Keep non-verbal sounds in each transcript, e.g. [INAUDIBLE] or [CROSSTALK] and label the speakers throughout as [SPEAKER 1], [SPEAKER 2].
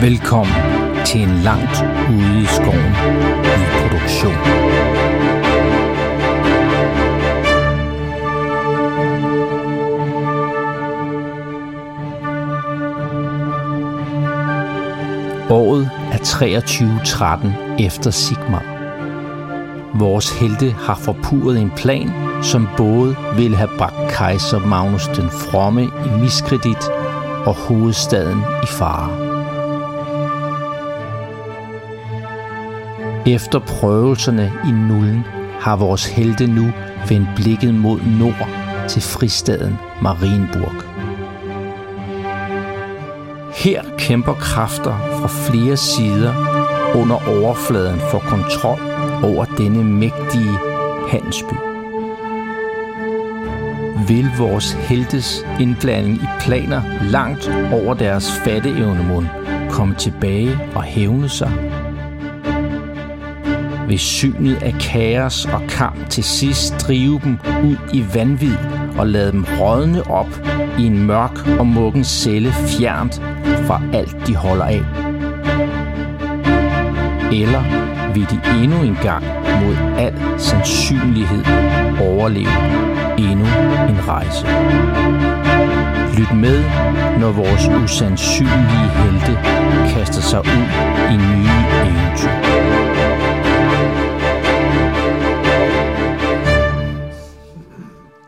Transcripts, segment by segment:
[SPEAKER 1] Velkommen til en langt ude i skoven ny produktion. Året er 2313 efter Sigmar. Vores helte har forpurret en plan, som både ville have bragt kejser Magnus den Fromme i miskredit og hovedstaden i fare. Efter prøvelserne i nullen har vores helte nu vendt blikket mod nord til fristaden Marienburg. Her kæmper kræfter fra flere sider under overfladen for kontrol over denne mægtige handelsby. Vil vores heltes indblanding i planer langt over deres fatteevne mund komme tilbage og hævne sig? vil synet af kaos og kamp til sidst drive dem ud i vanvid og lade dem rådne op i en mørk og mukken celle fjernt fra alt, de holder af. Eller vil de endnu en gang mod al sandsynlighed overleve endnu en rejse. Lyt med, når vores usandsynlige helte kaster sig ud i nye eventyr.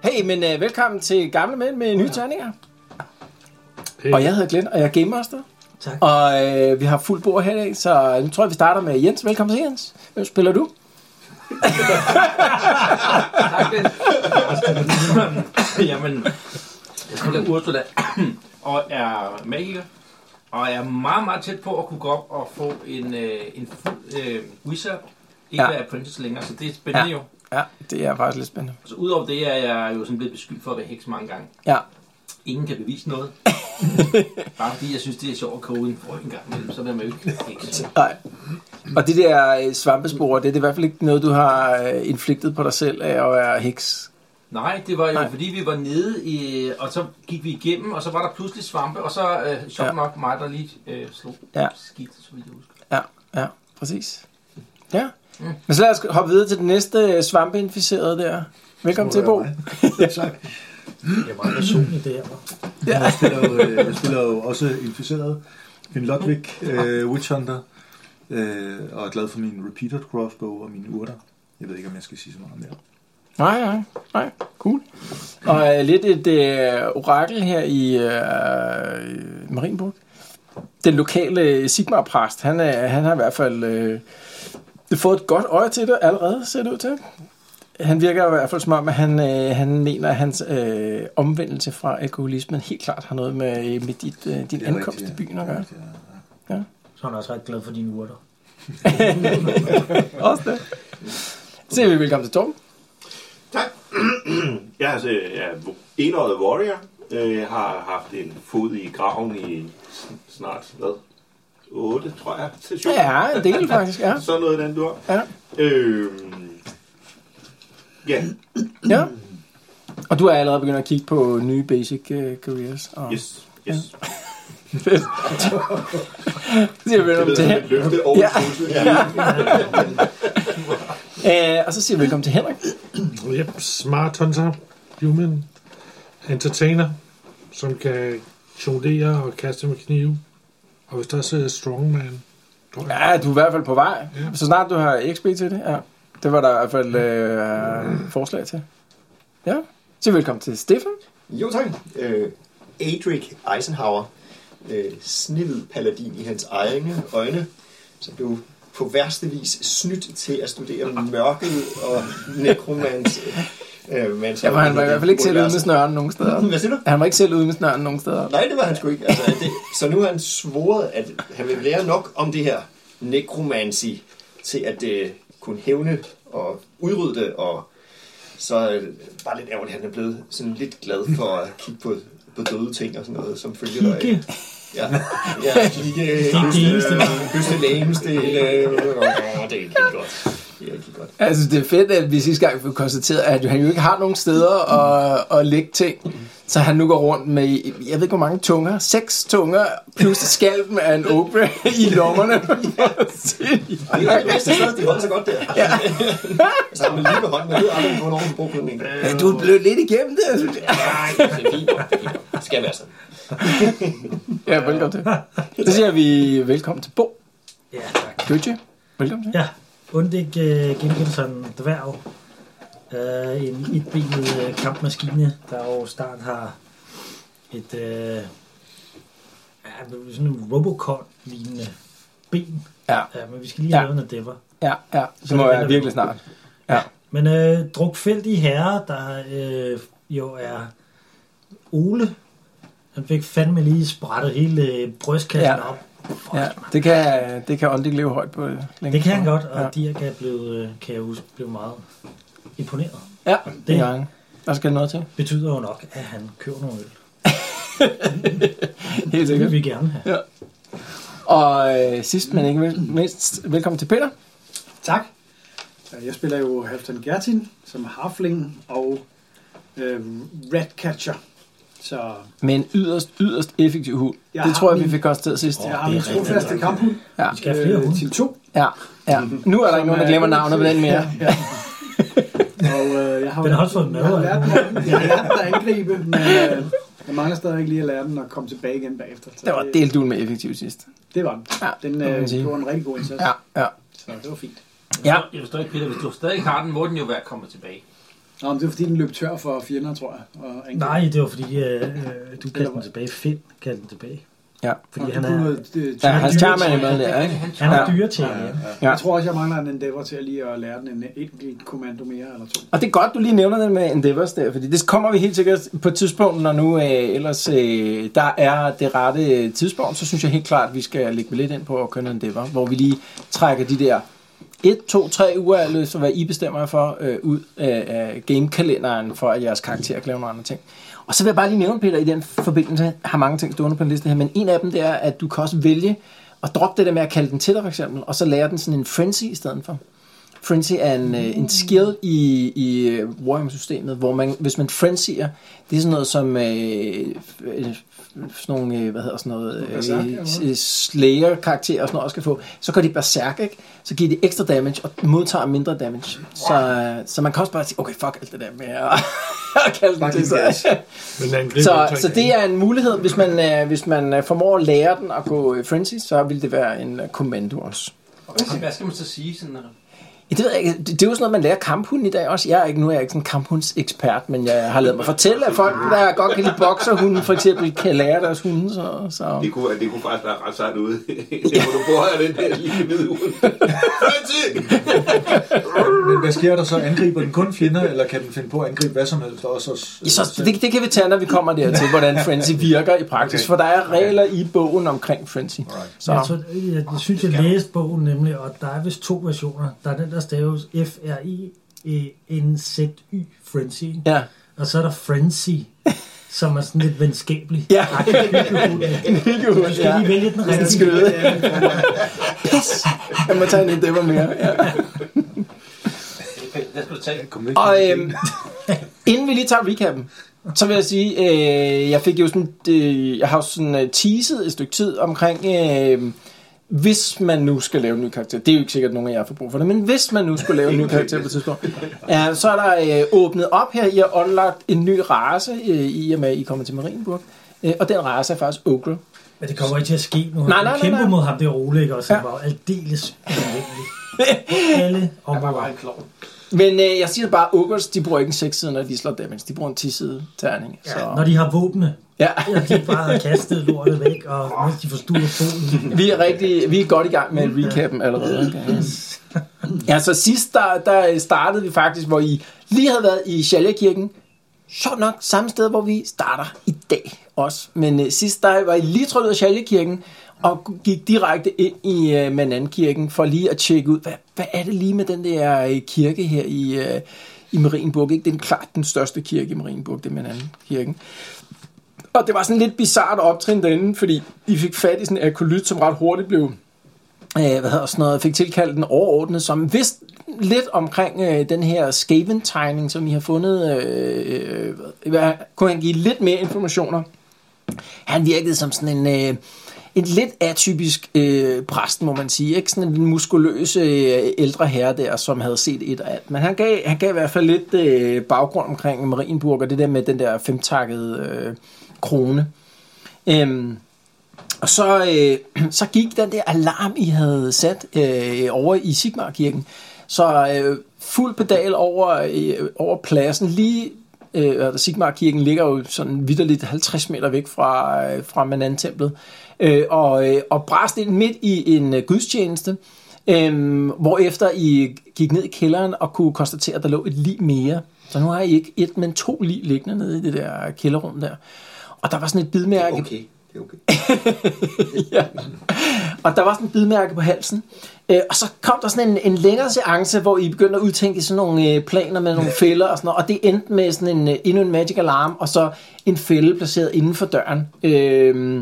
[SPEAKER 2] Hey, men uh, velkommen til Gamle Mænd med nye terninger. Og jeg hedder Glenn, og jeg er gamemaster.
[SPEAKER 3] Tak.
[SPEAKER 2] Og øh, vi har fuld bord her i dag, så øh, nu tror jeg, vi starter med Jens. Velkommen til Jens. Hvem spiller du?
[SPEAKER 4] Jamen, jeg spiller Ursula [CLEARS THROAT] og er magiker. Og er meget, meget tæt på at kunne gå op og få en, øh, en fuld øh, wizard. Ikke
[SPEAKER 2] Ja.
[SPEAKER 4] ja. være apprentice længere, så det er spændende
[SPEAKER 2] Ja.
[SPEAKER 4] ja. jo.
[SPEAKER 2] Ja, det er faktisk lidt spændende.
[SPEAKER 4] Altså, udover det er jeg jo sådan blevet beskyldt for at være heks mange gange.
[SPEAKER 2] Ja,
[SPEAKER 4] Ingen kan
[SPEAKER 2] [LAUGHS]
[SPEAKER 4] bevise noget. Bare fordi jeg synes, det er sjovt at koge en frø en gang imellem, så er man jo ikke heks.
[SPEAKER 2] nej. Og det der øh, svampespor, det er det i hvert fald ikke noget, du har øh, infliktet på dig selv af at være heks.
[SPEAKER 4] Nej, det var jo
[SPEAKER 2] Nej.
[SPEAKER 4] Nej. fordi vi var nede, i, og så gik vi igennem, og så var der pludselig svampe, og så øh, sjovt
[SPEAKER 2] Ja.
[SPEAKER 4] ja. nok mig, der lige øh, slog
[SPEAKER 2] Ja.
[SPEAKER 4] ja. skidt, så vidt jeg husker.
[SPEAKER 2] Ja, ja, præcis. Ja. Men så lad os hoppe videre til den næste øh, svampeinficerede der. Velkommen til, Bo.
[SPEAKER 5] tak.
[SPEAKER 3] Det er meget personligt, det her. hva'?
[SPEAKER 5] Jeg spiller, jo, øh, jeg spiller jo også inficeret. En Ludwig øh, Witch Hunter. Øh, og er glad for min repeated crossbow og mine urter. Jeg ved ikke, om jeg skal sige så meget mere.
[SPEAKER 2] Nej, nej, nej. Cool. Og øh, lidt et øh, orakel her i øh, Marienburg. Den lokale øh, Sigmar-præst, han, er, han har i hvert fald øh, fået et godt øje til det allerede, ser det ud til. Han virker i hvert fald som om, at han, øh, han mener, at hans øh, omvendelse fra alkoholismen helt klart har noget med, med dit, øh, din
[SPEAKER 5] Det er
[SPEAKER 2] ankomst
[SPEAKER 5] rigtigt,
[SPEAKER 2] til
[SPEAKER 5] ja.
[SPEAKER 2] byen at gøre.
[SPEAKER 5] Det er-
[SPEAKER 3] Så er han også ret glad for dine urter.
[SPEAKER 2] Også det. Så er vi velkommen til Torben.
[SPEAKER 6] Tak. [CLEARS THROAT] jeg er, øh, jeg er enåret warrior. Øh, Jeg har haft en fod i graven i snart, hvad? 8, tror jeg, til 7.
[SPEAKER 2] Ja, en del faktisk, ja.
[SPEAKER 6] Sådan noget i den dur.
[SPEAKER 2] Ja.
[SPEAKER 6] Øhm, ja,
[SPEAKER 2] Ja. Og du er allerede begyndt at kigge på nye basic uh, careers. Og...
[SPEAKER 6] yes, yes.
[SPEAKER 2] Så siger vi
[SPEAKER 6] Det
[SPEAKER 2] velkommen
[SPEAKER 6] ved
[SPEAKER 2] til
[SPEAKER 6] jeg,
[SPEAKER 2] Hen-
[SPEAKER 6] et løfte over
[SPEAKER 2] Ja.
[SPEAKER 6] ja. ja.
[SPEAKER 2] Øh, og så siger vi velkommen til Henrik.
[SPEAKER 7] Yep, smart hunter, human, entertainer, som kan jonglere og kaste med knive. Og hvis der også er strongman, tror jeg.
[SPEAKER 2] Ja, du er i hvert fald på vej.
[SPEAKER 7] Ja.
[SPEAKER 2] Så snart du har XP til det. Ja. Det var der i hvert fald øh, forslag til. Ja. Så velkommen til Stefan.
[SPEAKER 8] Jo tak. Øh, Adric Eisenhower, øh, snivet paladin i hans egne øjne, som blev på værste vis snydt til at studere mørket og [LAUGHS] nekromant. Øh, men så-
[SPEAKER 2] Ja, for han var i hvert fald ikke selv ude med snøren nogen steder.
[SPEAKER 8] Hvad siger du?
[SPEAKER 2] Han var ikke selv ude med snøren nogen steder.
[SPEAKER 8] Nej, det var han sgu ikke. Altså, det, så nu har han svoret, at han vil lære nok om det her nekromancy til at øh, kunne hævne og udrydde det, og så øh, bare lidt ærgerligt, at han er blevet sådan lidt glad for at kigge på, på døde ting og sådan noget, som følger dig.
[SPEAKER 3] Kigge.
[SPEAKER 8] Ja, ja, kigge, høste, høste lægemstil, øh, åh, det er ikke godt. Det er ikke godt.
[SPEAKER 2] Altså, det er fedt, at vi sidste gang fik konstateret, at han jo ikke har nogen steder at, at lægge ting. Så han nu går rundt med, jeg ved ikke hvor mange tunger, seks tunger, plus skalpen af en obre i
[SPEAKER 6] [LAUGHS]
[SPEAKER 2] lommerne.
[SPEAKER 8] Og det er det bedste sted, de holder sig godt der. Ja. så har man lige med hånden, man ved aldrig, hvornår man bruger brugklædning.
[SPEAKER 2] Ja, du blev lidt igennem det.
[SPEAKER 8] Nej, det er fint. Det er fint. Det skal være sådan.
[SPEAKER 2] Ja, velkommen [LAUGHS] til. Så siger vi velkommen til Bo.
[SPEAKER 3] Ja, tak.
[SPEAKER 2] Gøtje, velkommen til.
[SPEAKER 3] Ja, Undik øh, genkendt som en dværg. Øh, en etbenet øh, kampmaskine, der jo snart har et øh, ja, sådan en Robocop-lignende ben.
[SPEAKER 2] Ja,
[SPEAKER 3] Ja, men vi skal lige have
[SPEAKER 2] Ja.
[SPEAKER 3] lavet noget dæpper.
[SPEAKER 2] ja, ja. Det må være virkelig snart.
[SPEAKER 3] Men øh, drukfældige herrer, der øh, jo er Ole, han fik fandme lige sprættet hele øh, brystkassen
[SPEAKER 2] Ja.
[SPEAKER 3] ja. op. Fuck,
[SPEAKER 2] Ja,
[SPEAKER 3] ja.
[SPEAKER 2] det kan, det kan Ondik leve højt på længe.
[SPEAKER 3] Det kan han godt, og
[SPEAKER 2] Ja.
[SPEAKER 3] ja. Dirk er blevet, øh, kan jeg huske, blev meget imponeret.
[SPEAKER 2] Ja, det
[SPEAKER 3] Det-
[SPEAKER 2] er han. Der skal noget til.
[SPEAKER 3] Betyder jo nok, at han køber nogle øl.
[SPEAKER 2] Helt
[SPEAKER 3] Det vil
[SPEAKER 2] sikkert.
[SPEAKER 3] vi gerne have.
[SPEAKER 2] Og øh, sidst, men ikke mindst, velkommen til Peter.
[SPEAKER 9] Tak. Jeg spiller jo Halfdan Gertin som harfling og øh, ratcatcher. Så
[SPEAKER 2] Med en yderst, yderst effektiv hund.
[SPEAKER 9] Jeg
[SPEAKER 2] det
[SPEAKER 9] har
[SPEAKER 2] tror jeg, vi
[SPEAKER 9] min-
[SPEAKER 2] fik konstateret sidst.
[SPEAKER 9] jeg har min trofaste
[SPEAKER 8] [LAUGHS]
[SPEAKER 9] kamphund
[SPEAKER 2] Ja.
[SPEAKER 3] Vi skal have flere hunde.
[SPEAKER 9] til to.
[SPEAKER 2] ja, ja. Nu er der ikke nogen, der glemmer navnet på den mere.
[SPEAKER 9] Ja. Og øh, jeg har,
[SPEAKER 3] Den har også fået
[SPEAKER 9] jeg har
[SPEAKER 3] mad,
[SPEAKER 9] lært den at- jeg har lært den at angribe, men øh, jeg mangler stadigvæk lige at lære den at komme tilbage igen bagefter. Så
[SPEAKER 2] Det var
[SPEAKER 9] det,
[SPEAKER 2] delt ud med effektiv sidst.
[SPEAKER 9] det var den.
[SPEAKER 2] Ja,
[SPEAKER 9] Den
[SPEAKER 2] må man sige.
[SPEAKER 9] øh, gjorde en rigtig god indsats,
[SPEAKER 2] Ja, ja.
[SPEAKER 9] så det var fint.
[SPEAKER 2] Ja.
[SPEAKER 4] Jeg forstår ikke, Peter, hvis du stadig har den, må den jo være kommet tilbage.
[SPEAKER 9] Nå, men det var fordi, den løb tør for fjender, tror jeg. Og angribe.
[SPEAKER 3] Nej, det var fordi, øh, øh, du kaldte den tilbage. Finn kaldte den tilbage.
[SPEAKER 2] Ja.
[SPEAKER 3] Fordi
[SPEAKER 9] Og
[SPEAKER 3] han
[SPEAKER 9] det kunne
[SPEAKER 3] er,
[SPEAKER 9] noget, det,
[SPEAKER 2] Ja,
[SPEAKER 9] tydeligt.
[SPEAKER 2] han tager man med der, ikke?
[SPEAKER 3] han er
[SPEAKER 2] Ja.
[SPEAKER 3] dyre til ja.
[SPEAKER 9] Jeg tror også, jeg mangler en endeavor til at lige at lære den en enkelt kommando mere eller to.
[SPEAKER 2] Og det er godt, du lige nævner den med Endeavors der, fordi det kommer vi helt sikkert på et tidspunkt, når nu øh, ellers øh, der er det rette øh, tidspunkt, så synes jeg helt klart, at vi skal lægge lidt ind på at køre noget Endeavor, hvor vi lige trækker de der 1, 2, 3 uger af løs, og hvad I bestemmer jer for, øh, ud af, af gamekalenderen, for at jeres karakter kan lave nogle andre ting. Og så vil jeg bare lige nævne, Peter, i den forbindelse, jeg har mange ting stående på en liste her, men en af dem det er, at du kan også vælge at droppe det der med at kalde den til dig for eksempel, og så lære den sådan en frenzy i stedet for. Frenzy er en, øh, en skill i, i øh, Warhammer-systemet, hvor man, hvis man frenzier, det er sådan noget som øh, øh, sådan nogle, øh, hvad hedder sådan noget,
[SPEAKER 9] Berserk, eller
[SPEAKER 2] øh, øh, slayer-karakterer og sådan noget også kan få, så går de berserk, ikke? Så giver de ekstra damage og modtager mindre damage. Så, øh, så man kan også bare sige, okay, fuck alt det der med at, [LAUGHS] at kalde den
[SPEAKER 5] Bare
[SPEAKER 2] til
[SPEAKER 5] give
[SPEAKER 2] sig.
[SPEAKER 5] gas.
[SPEAKER 7] Men han griber
[SPEAKER 2] [LAUGHS] Så,
[SPEAKER 7] omkring
[SPEAKER 2] så det
[SPEAKER 7] den.
[SPEAKER 2] er en mulighed, hvis man, øh, hvis man øh, formår at lære den at gå øh, frenzy, så vil det være en øh, kommando også.
[SPEAKER 4] Og hvad, hvad skal man så sige? Sådan, øh,
[SPEAKER 2] Ja, Det, ved jeg ikke. Det, det er jo sådan noget, man lærer kamphunden i dag også. Jeg er ikke, nu er jeg ikke sådan en kamphundsekspert, men jeg har lavet mig fortælle, at folk, der godt kan lide bokserhunden, for eksempel, kan lære deres hunde. Så, så.
[SPEAKER 6] Det kunne, det kunne faktisk være ret sejt ude. Det kunne du bruge af den der lille hvide uge.
[SPEAKER 5] Men hvad sker der så? Angriber den kun fjender, eller kan den finde på at angribe hvad som helst? Også,
[SPEAKER 2] Ja, så det, det kan vi tage, når vi kommer dertil, hvordan [LAUGHS] Frenzy virker i praksis. Okay.
[SPEAKER 5] Okay.
[SPEAKER 2] For der er regler i bogen omkring Frenzy. Så,
[SPEAKER 3] Jeg, tror, jeg, jeg synes, jeg læste bogen nemlig, og der er vist to versioner. Der er den, der staves E F-R-I-N-Z-Y, Frenzy. ikke?
[SPEAKER 2] [LAUGHS] ja.
[SPEAKER 3] Og så er der Frenzy, som er sådan lidt venskabelig.
[SPEAKER 2] Ja.
[SPEAKER 3] Ej, det er hyggelig hund.
[SPEAKER 2] [LAUGHS] Hyggehund,
[SPEAKER 3] Du skal lige vælge den
[SPEAKER 2] Den
[SPEAKER 3] rigtige.
[SPEAKER 2] skøde. Pis! Jeg må tage en endeavor mere. Ja.
[SPEAKER 4] Hvad skal du tage?
[SPEAKER 5] Kom væk.
[SPEAKER 2] Og øhm, [LAUGHS] inden vi lige tager recappen, så vil jeg sige, øh, jeg fik jo sådan, øh, jeg har jo sådan øh, teaset et stykke tid omkring, øh, hvis man nu skal lave en ny karakter, det er jo ikke sikkert, at nogen af jer får brug for det, men hvis man nu skulle lave en ny karakter på et tidspunkt, ja, så er der øh, åbnet op her, I har unlocked en ny race, øh, i og med, at I kommer til Marienburg, øh, og den race er faktisk Ogre.
[SPEAKER 3] Men det kommer ikke til at ske nu. Han
[SPEAKER 2] Nej, nej, nej,
[SPEAKER 3] kæmper
[SPEAKER 2] nej.
[SPEAKER 3] mod ham, det er Ole, ikke? Også, han
[SPEAKER 2] Ja.
[SPEAKER 3] var jo aldeles
[SPEAKER 2] [LAUGHS]
[SPEAKER 3] anvendelig. Alle områder.
[SPEAKER 2] Men øh, jeg siger bare, Ogres, de bruger ikke en 6 side, når de slår damage, de bruger en 10 side terning. Så.
[SPEAKER 3] Ja, når de har våbne,
[SPEAKER 2] ja.
[SPEAKER 3] og de bare har kastet lortet væk, og mens de forstuer solen.
[SPEAKER 2] [LAUGHS] Vi er, rigtig, vi er godt i gang med recappen allerede.
[SPEAKER 3] Yes.
[SPEAKER 2] Ja, så sidst der, der startede vi faktisk, hvor I lige havde været i Shalja-kirken. Sjovt nok, samme sted, hvor vi starter i dag også. Men øh, sidst der var I lige trådt ud af Shalja-kirken og gik direkte ind i øh, Manan-kirken for lige at tjekke ud, hvad, hvad er det lige med den der øh, kirke her i, øh, i Marienburg. Ikke? Det er den klart den største kirke i Marienburg, det er Manan-kirken. Og det var sådan lidt bizart optrin derinde, fordi I fik fat i sådan en akolyt, som ret hurtigt blev øh, hvad hedder sådan noget, fik tilkaldt den overordnet, som vidste lidt omkring øh, den her Skaven-tegning, som I har fundet? Øh, øh, hvad, kunne han give lidt mere informationer? Han virkede som sådan en... Øh, en lidt atypisk øh, præst, må man sige. Ikke? Sådan en muskuløs øh, ældre herre der, som havde set et og alt. Men han gav, han gav i hvert fald lidt øh, baggrund omkring Marienburg, og det der med den der femtakkede øh, krone. Øhm, og så, øh, [CLEARS THROAT] så gik den der alarm, I havde sat øh, over i Sigmarkirken. Så øh, fuld pedal over, øh, over pladsen, lige øh, altså Sigmarkirken ligger jo sådan vidderligt 50 meter væk fra, øh, fra Manantemplet, øh, og, øh, og brast ind midt i en øh, gudstjeneste, øh, hvorefter I gik ned i kælderen og kunne konstatere, at der lå et lig mere. Så nu har I ikke et, men to lig liggende nede i det der kælderrum der. Og der var sådan et bidmærke.
[SPEAKER 8] Okay, det er okay.
[SPEAKER 2] ja. Og der var sådan et bidmærke på halsen. Øh, og så kom der sådan en, en længere seance, hvor I begyndte at udtænke sådan nogle øh, planer med nogle fælder og sådan noget. Og det endte med sådan en, øh, endnu en magic alarm, og så en fælde placeret inden for døren. Øh,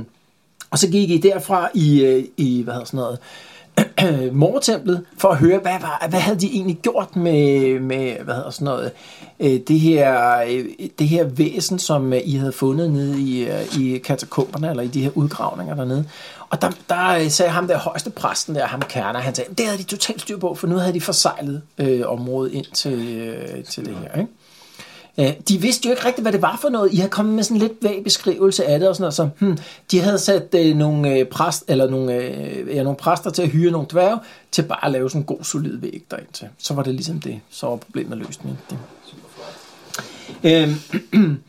[SPEAKER 2] og så gik I derfra i, øh, i hvad hedder sådan noget, [CLEARS THROAT] øh, mortemplet for at høre, hvad, var, hvad havde de egentlig gjort med, med hvad hedder sådan noget, øh, det, her, øh, det her væsen, som øh, I havde fundet nede i, øh, i katakomberne, eller i de her udgravninger dernede. Og der, der øh, sagde ham der højeste præsten der, ham kerner, han sagde, det havde de totalt styr på, for nu havde de forsejlet øh, området ind til, øh, til det her. Ikke? Øh, De vidste jo ikke rigtigt, hvad det var for noget. I havde kommet med sådan lidt vag beskrivelse af det og sådan noget. Så, hmm, de havde sat øh, nogle, øh, præst, eller nogle, øh, ja, nogle præster til at hyre nogle dværge til bare at lave sådan en god, solid væg derind til. Så var det ligesom det. Så var problemet løst med det. Øhm, [CLEARS THROAT]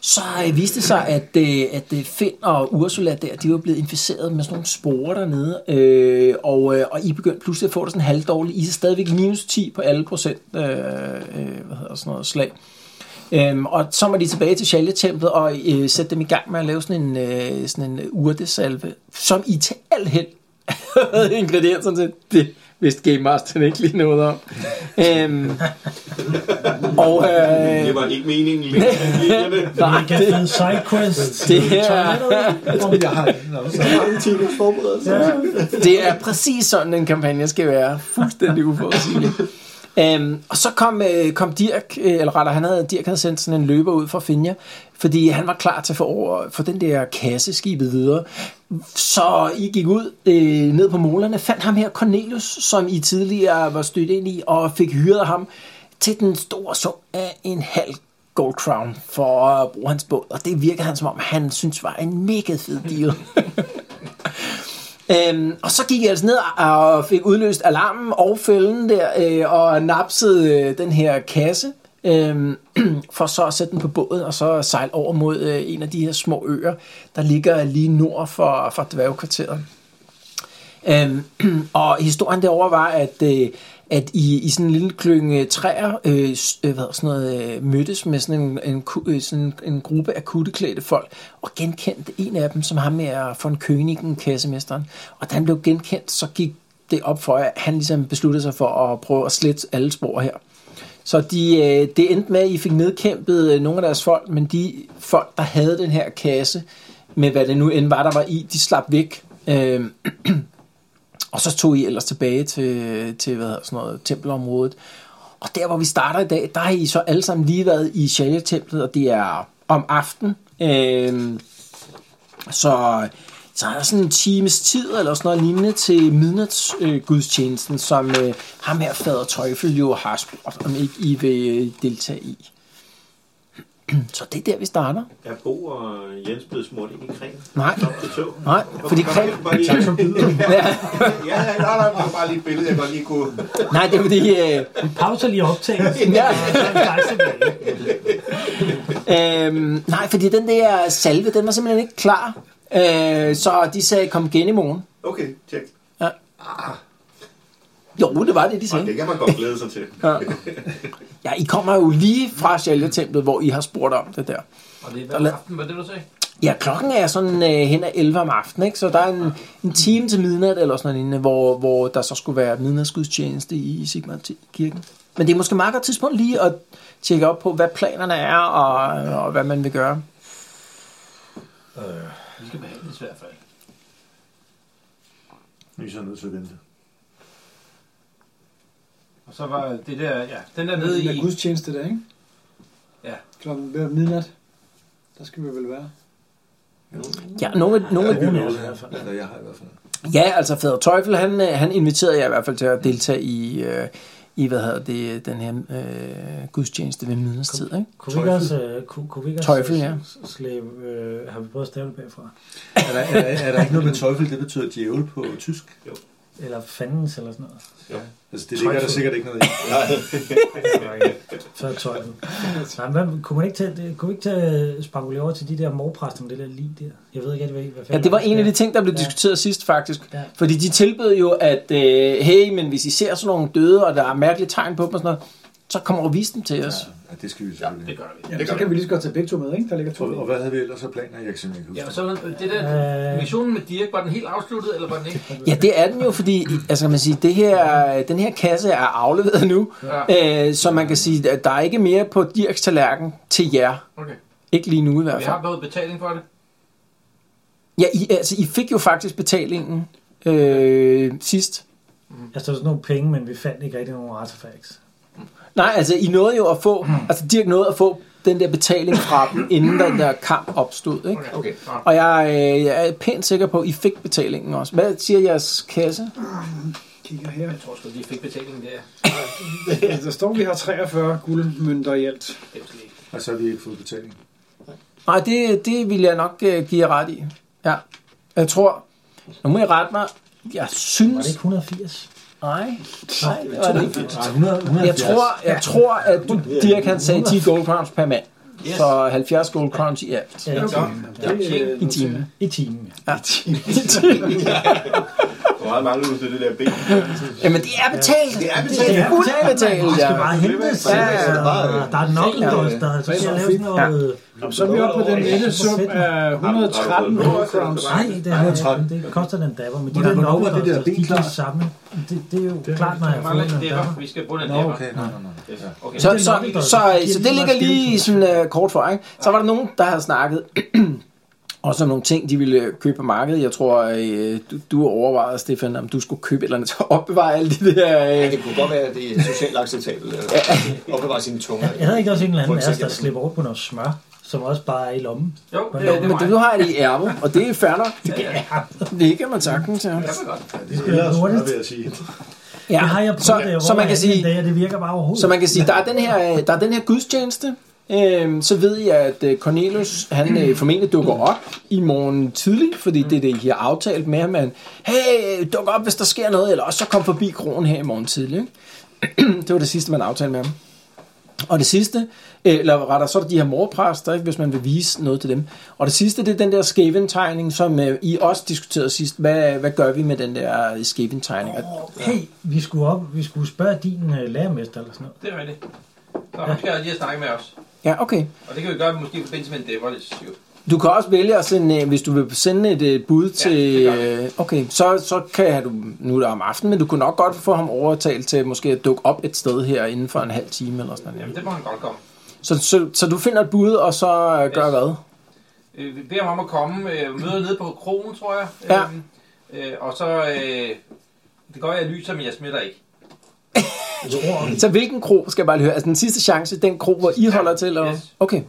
[SPEAKER 2] så øh, viste det sig, at, øh, at øh, Finn og Ursula der, de var blevet inficeret med sådan nogle sporer dernede, øh, og, øh, og I begyndte pludselig at få det sådan halvdårligt. I er stadigvæk minus 10 på alle procent øh, øh, hvad hedder sådan noget, slag. Øhm, og så må de tilbage til Shaljetemplet og øh, sætte dem i gang med at lave sådan en, øh, sådan en urtesalve, som I til al held havde [LAUGHS] ingredienser til. Det vidste Game Master ikke lige noget om. øhm, og, øh,
[SPEAKER 6] Det var ikke meningen lige. lige
[SPEAKER 2] nej,
[SPEAKER 3] Man kan
[SPEAKER 2] det,
[SPEAKER 3] finde sidequests.
[SPEAKER 2] det er... [LAUGHS]
[SPEAKER 5] Jeg har en også.
[SPEAKER 8] Mange timers forberedelse. Ja.
[SPEAKER 2] det er præcis sådan, en kampagne skal være. Fuldstændig uforudsigelig. Øhm, og så kom, øh, kom Dirk, øh, eller rettere, han havde, Dirk havde sendt sådan en løber ud fra Finja, fordi han var klar til at få, over, for den der kasseskibet videre. Så I gik ud øh, ned på målerne, fandt ham her, Cornelius, som I tidligere var stødt ind i, og fik hyret ham til den store sum af en halv gold crown for at bruge hans båd. Og det virkede han som om, han synes var en mega fed deal. Øhm, og så gik jeg altså ned og fik udløst alarmen og fælden der, øh, og napsede øh, den her kasse, øh, [CLEARS THROAT] for så at sætte den på båden og så sejle over mod øh, en af de her små øer, der ligger lige nord for, for dværgkvarteret. Øhm, [CLEARS THROAT] og historien derovre var, at, øh, at i, i sådan en lille klynge træer øh, s- øh, hvad hedder sådan noget, øh, mødtes med sådan en, en, ku- øh, sådan en gruppe af kutteklædte folk, og genkendte en af dem, som ham er von Königen, kassemesteren. Og da han blev genkendt, så gik det op for, at han ligesom besluttede sig for at prøve at slette alle spor her. Så de, øh, det endte med, at I fik nedkæmpet øh, nogle af deres folk, men de folk, der havde den her kasse, med hvad det nu end var, der var i, de slap væk. Øh, og så tog I ellers tilbage til, til hvad hedder sådan noget, tempelområdet. Og der, hvor vi starter i dag, der har I så alle sammen lige været i Shalya-templet, og det er om aften. Øhm, så, så er der sådan en times tid eller sådan noget lignende til midnatsgudstjenesten, øh, gudstjenesten, som øh, ham her fader Tøjfel jo har spurgt, om ikke I vil øh, deltage i. [CLEARS THROAT] Så det er der, vi starter.
[SPEAKER 6] Er Bo og Jens blevet smurt ind i kring?
[SPEAKER 2] Nej,
[SPEAKER 6] Stop til tog?
[SPEAKER 2] nej, fordi
[SPEAKER 6] Bare
[SPEAKER 2] kring,
[SPEAKER 6] lige- bare lige-
[SPEAKER 5] Tak for bidder.
[SPEAKER 2] ja,
[SPEAKER 6] Ja, ja, nej, nej, det var bare lige et billede, jeg godt lige kunne...
[SPEAKER 2] nej, det er fordi, øh,
[SPEAKER 3] Vi pauser lige optagelsen.
[SPEAKER 2] Ja.
[SPEAKER 3] og så er vi klar tilbage.
[SPEAKER 2] Øhm, nej, fordi den der salve, den var simpelthen ikke klar. Øh, så de sagde, kom igen i morgen.
[SPEAKER 6] Okay, tjek.
[SPEAKER 2] Jo, det var det, de
[SPEAKER 6] Og
[SPEAKER 2] sagde.
[SPEAKER 6] det kan man godt glæde sig til.
[SPEAKER 2] Ja. ja, I kommer jo lige fra Sjaljetemplet, hvor I har spurgt om det der.
[SPEAKER 4] Og det er hver aften, var det, du sagde?
[SPEAKER 2] Ja, klokken er sådan øh, hen ad 11 om aftenen, ikke? så der er en, en time til midnat eller sådan noget, lignende, hvor, hvor der så skulle være midnatsgudstjeneste i Sigmar-kirken. Men det er måske meget godt tidspunkt lige at tjekke op på, hvad planerne er og, og hvad man vil gøre.
[SPEAKER 4] Vi skal behandles i hvert fald.
[SPEAKER 5] Vi er så nødt til at vente.
[SPEAKER 4] Og så var det der, ja, den der nede
[SPEAKER 9] Det er
[SPEAKER 4] i...
[SPEAKER 9] gudstjeneste der, ikke?
[SPEAKER 4] Ja.
[SPEAKER 9] Klokken ved midnat. Der skal vi vel være.
[SPEAKER 2] Ja, nogle, af- nogle, af-
[SPEAKER 5] Eller jeg har i hvert fald.
[SPEAKER 2] Ja, altså Fader Teufel, han, øh, han inviterede jeg i hvert fald til at deltage i, øh, i hvad hedder det, den her øh, gudstjeneste ved midnadstid. Ikke?
[SPEAKER 3] Kunne vi ikke også, øh, kunne, kunne vi ikke
[SPEAKER 2] Teufel, ja.
[SPEAKER 3] s- s- slæbe, øh, har vi prøvet at stave det bagfra?
[SPEAKER 5] Er der, er, der, er der ikke noget med teufel, det betyder djævel på tysk?
[SPEAKER 3] Eller fandens eller sådan noget.
[SPEAKER 5] Altså, det ligger der sikkert ikke noget i.
[SPEAKER 3] Så er tøjlen. Nej, men hvad, kunne man ikke tage, det- kunne vi ikke tage spankulere over til de der morpræster med det der lige der? Jeg ved ikke rigtig, hvad, hvad
[SPEAKER 2] Ja, det var en af de ting, der blev
[SPEAKER 3] Ja.
[SPEAKER 2] diskuteret sidst faktisk.
[SPEAKER 3] Ja.
[SPEAKER 2] Fordi de tilbød jo, at øh, hey, men hvis I ser sådan nogle døde, og der er mærkelige tegn på dem og sådan noget, så kommer og vis dem til os.
[SPEAKER 5] Ja, det skal vi selvfølgelig.
[SPEAKER 4] Det gør vi.
[SPEAKER 9] Ja, så kan vi lige så godt tage begge to med, ikke? Der ligger to.
[SPEAKER 5] Og, og hvad havde vi ellers af planer? Jeg kan simpelthen
[SPEAKER 4] Ja,
[SPEAKER 5] ikke
[SPEAKER 4] og
[SPEAKER 5] huske.
[SPEAKER 4] så var det der, missionen med Dirk, var den helt afsluttet, eller var [LAUGHS] den ikke?
[SPEAKER 2] Ja, det er den jo, fordi altså, kan man sige, det her, den her kasse er afleveret nu, ja. øh, så man kan sige, at der er ikke mere på Dirks tallerken til jer.
[SPEAKER 4] Okay.
[SPEAKER 2] Ikke lige nu i hvert
[SPEAKER 4] Vi
[SPEAKER 2] fald.
[SPEAKER 4] har fået betaling for det.
[SPEAKER 2] Ja, I, altså, I fik jo faktisk betalingen øh, sidst.
[SPEAKER 3] Altså, der var sådan nogle penge, men vi fandt ikke rigtig nogen artefacts.
[SPEAKER 2] Nej, altså, I nåede jo at få,
[SPEAKER 8] Hmm.
[SPEAKER 2] altså, Dirk nåede at få den der betaling fra
[SPEAKER 8] [COUGHS]
[SPEAKER 2] dem, inden den der kamp opstod, ikke?
[SPEAKER 8] Okay.
[SPEAKER 2] Og jeg, øh, jeg er pænt sikker på, at I fik betalingen også. Hvad siger jeres kasse?
[SPEAKER 9] Kigger her.
[SPEAKER 4] Jeg tror sgu, de fik betalingen der.
[SPEAKER 9] Ja, der står, vi har 43 guldmønter i alt.
[SPEAKER 4] Det er måske ikke.
[SPEAKER 5] Og så har vi ikke fået betaling.
[SPEAKER 2] Nej, det, det vil jeg nok øh, give jer ret i. Ja. Jeg tror... Nu må I rette mig. Jeg
[SPEAKER 3] Var det ikke
[SPEAKER 2] synes...
[SPEAKER 3] 180?
[SPEAKER 2] Nej, nej, det var det ikke.
[SPEAKER 5] Nej, 100, 170.
[SPEAKER 2] Jeg tror, jeg tror at du, Dirk han sagde 10 gold crowns per mand.
[SPEAKER 4] Yes.
[SPEAKER 2] Så 70 gold crowns i alt.
[SPEAKER 3] Ja, i timen.
[SPEAKER 9] Det, øh,
[SPEAKER 2] I timen.
[SPEAKER 3] I timen, ja.
[SPEAKER 2] Ja.
[SPEAKER 6] Hvor meget mangler du til det der ben?
[SPEAKER 2] Jamen, det er betalt. Det er betalt. Det er fuldt betalt,
[SPEAKER 3] Det skal
[SPEAKER 2] ja.
[SPEAKER 3] bare hentes.
[SPEAKER 2] Ja, ja, ja.
[SPEAKER 3] Der er nok en døst, der er så skal jeg lave sådan noget... øh,
[SPEAKER 9] Nå, så er vi oppe på den nette sum af 113 gold crowns.
[SPEAKER 3] Nej, det, er, det koster den dapper, men de
[SPEAKER 5] Hvordan-
[SPEAKER 3] der
[SPEAKER 5] hvornår var det
[SPEAKER 3] nokkedoster,
[SPEAKER 5] der? Det er
[SPEAKER 3] de er
[SPEAKER 5] klart.
[SPEAKER 3] de samme. Det, det er jo
[SPEAKER 7] er
[SPEAKER 3] klart, når jeg
[SPEAKER 4] Der
[SPEAKER 3] har
[SPEAKER 4] mangler en
[SPEAKER 3] fået den dapper.
[SPEAKER 4] dæpper. Vi skal bruge den
[SPEAKER 5] Nå,
[SPEAKER 4] dæpper.
[SPEAKER 5] okay. Nej, nej, nej. Ja.
[SPEAKER 4] Okay.
[SPEAKER 2] Så, så, så, så, så det ligger lige i sådan uh, kort for, ikke? Så var der nogen, der havde snakket [CLEARS THROAT] også om nogle ting, de ville øh, købe på markedet. Jeg tror, øh, du, du overvejede, Stefan, om du skulle købe et eller andet til at opbevare alle de der...
[SPEAKER 8] Ja,
[SPEAKER 2] Øh.
[SPEAKER 8] det kunne godt være, at det er socialt acceptabelt. Eller opbevare sine tunger.
[SPEAKER 3] Jeg havde ikke også en eller anden
[SPEAKER 8] Folk
[SPEAKER 3] af os, der
[SPEAKER 8] sikkert.
[SPEAKER 3] slipper rundt på noget smør, som også bare er i lommen.
[SPEAKER 4] Jo, det, det
[SPEAKER 2] Jo, men
[SPEAKER 4] er
[SPEAKER 2] det,
[SPEAKER 4] mig.
[SPEAKER 2] nu har jeg det i ærmet, og det er fair nok.
[SPEAKER 3] [LAUGHS]
[SPEAKER 2] Det kan, det kan man sagtens, ja.
[SPEAKER 4] Det var godt.
[SPEAKER 5] Det er ellers,
[SPEAKER 3] hurtigt.
[SPEAKER 5] hvad vil jeg sige.
[SPEAKER 2] ja.
[SPEAKER 3] Det har jeg prøvet,
[SPEAKER 2] så,
[SPEAKER 3] det,
[SPEAKER 2] så man kan sige,
[SPEAKER 3] Dag, og det virker bare overhovedet.
[SPEAKER 2] Så man kan sige, der er den her, øh, der er den her gudstjeneste. Øhm, så ved jeg, at øh, Cornelius, han øh, formentlig dukker op i morgen tidlig, fordi det er det, I har aftalt med ham. at, Hey, øh, duk op, hvis der sker noget, eller også så kom forbi kronen her i morgen tidlig. [CLEARS THROAT] Ikke? det var det sidste, man aftalte med ham. Og det sidste, øh, eller retter, så er der de her morpræster, ikke, hvis man vil vise noget til dem. Og det sidste, det er den der skævindtegning, som øh, I også diskuterede sidst. Hvad, hvad gør vi med den der øh, skævindtegning? Og
[SPEAKER 3] Hey, vi skulle, op, vi skulle spørge din uh, lærermester eller sådan noget.
[SPEAKER 4] Det er rigtigt. Så han skal lige at snakke med os.
[SPEAKER 2] Ja, okay.
[SPEAKER 4] Og det kan vi gøre måske i forbindelse med en dæpper. Jo.
[SPEAKER 2] Du kan også vælge at sende, øh, hvis du vil sende et øh, bud til...
[SPEAKER 4] det gør
[SPEAKER 2] øh, okay, så, så kan du, nu er det om aftenen, men du kunne nok godt få ham overtalt til måske at dukke op et sted her inden for en halv time eller sådan
[SPEAKER 4] Jamen,
[SPEAKER 2] noget.
[SPEAKER 4] det må han godt komme.
[SPEAKER 2] Så, så, så du finder et bud, og så øh, gør
[SPEAKER 4] Yes.
[SPEAKER 2] hvad?
[SPEAKER 4] Øh, vi beder ham om at komme. Øh, møder nede på krogen, tror jeg.
[SPEAKER 2] Ja.
[SPEAKER 4] Øhm, Øh, og så... Øh, det går, jeg lyser, men jeg smitter ikke.
[SPEAKER 2] Så hvilken kro, skal jeg bare lige høre? Altså den sidste chance, den kro, hvor I holder til? Eller?
[SPEAKER 4] Yes.
[SPEAKER 2] Okay.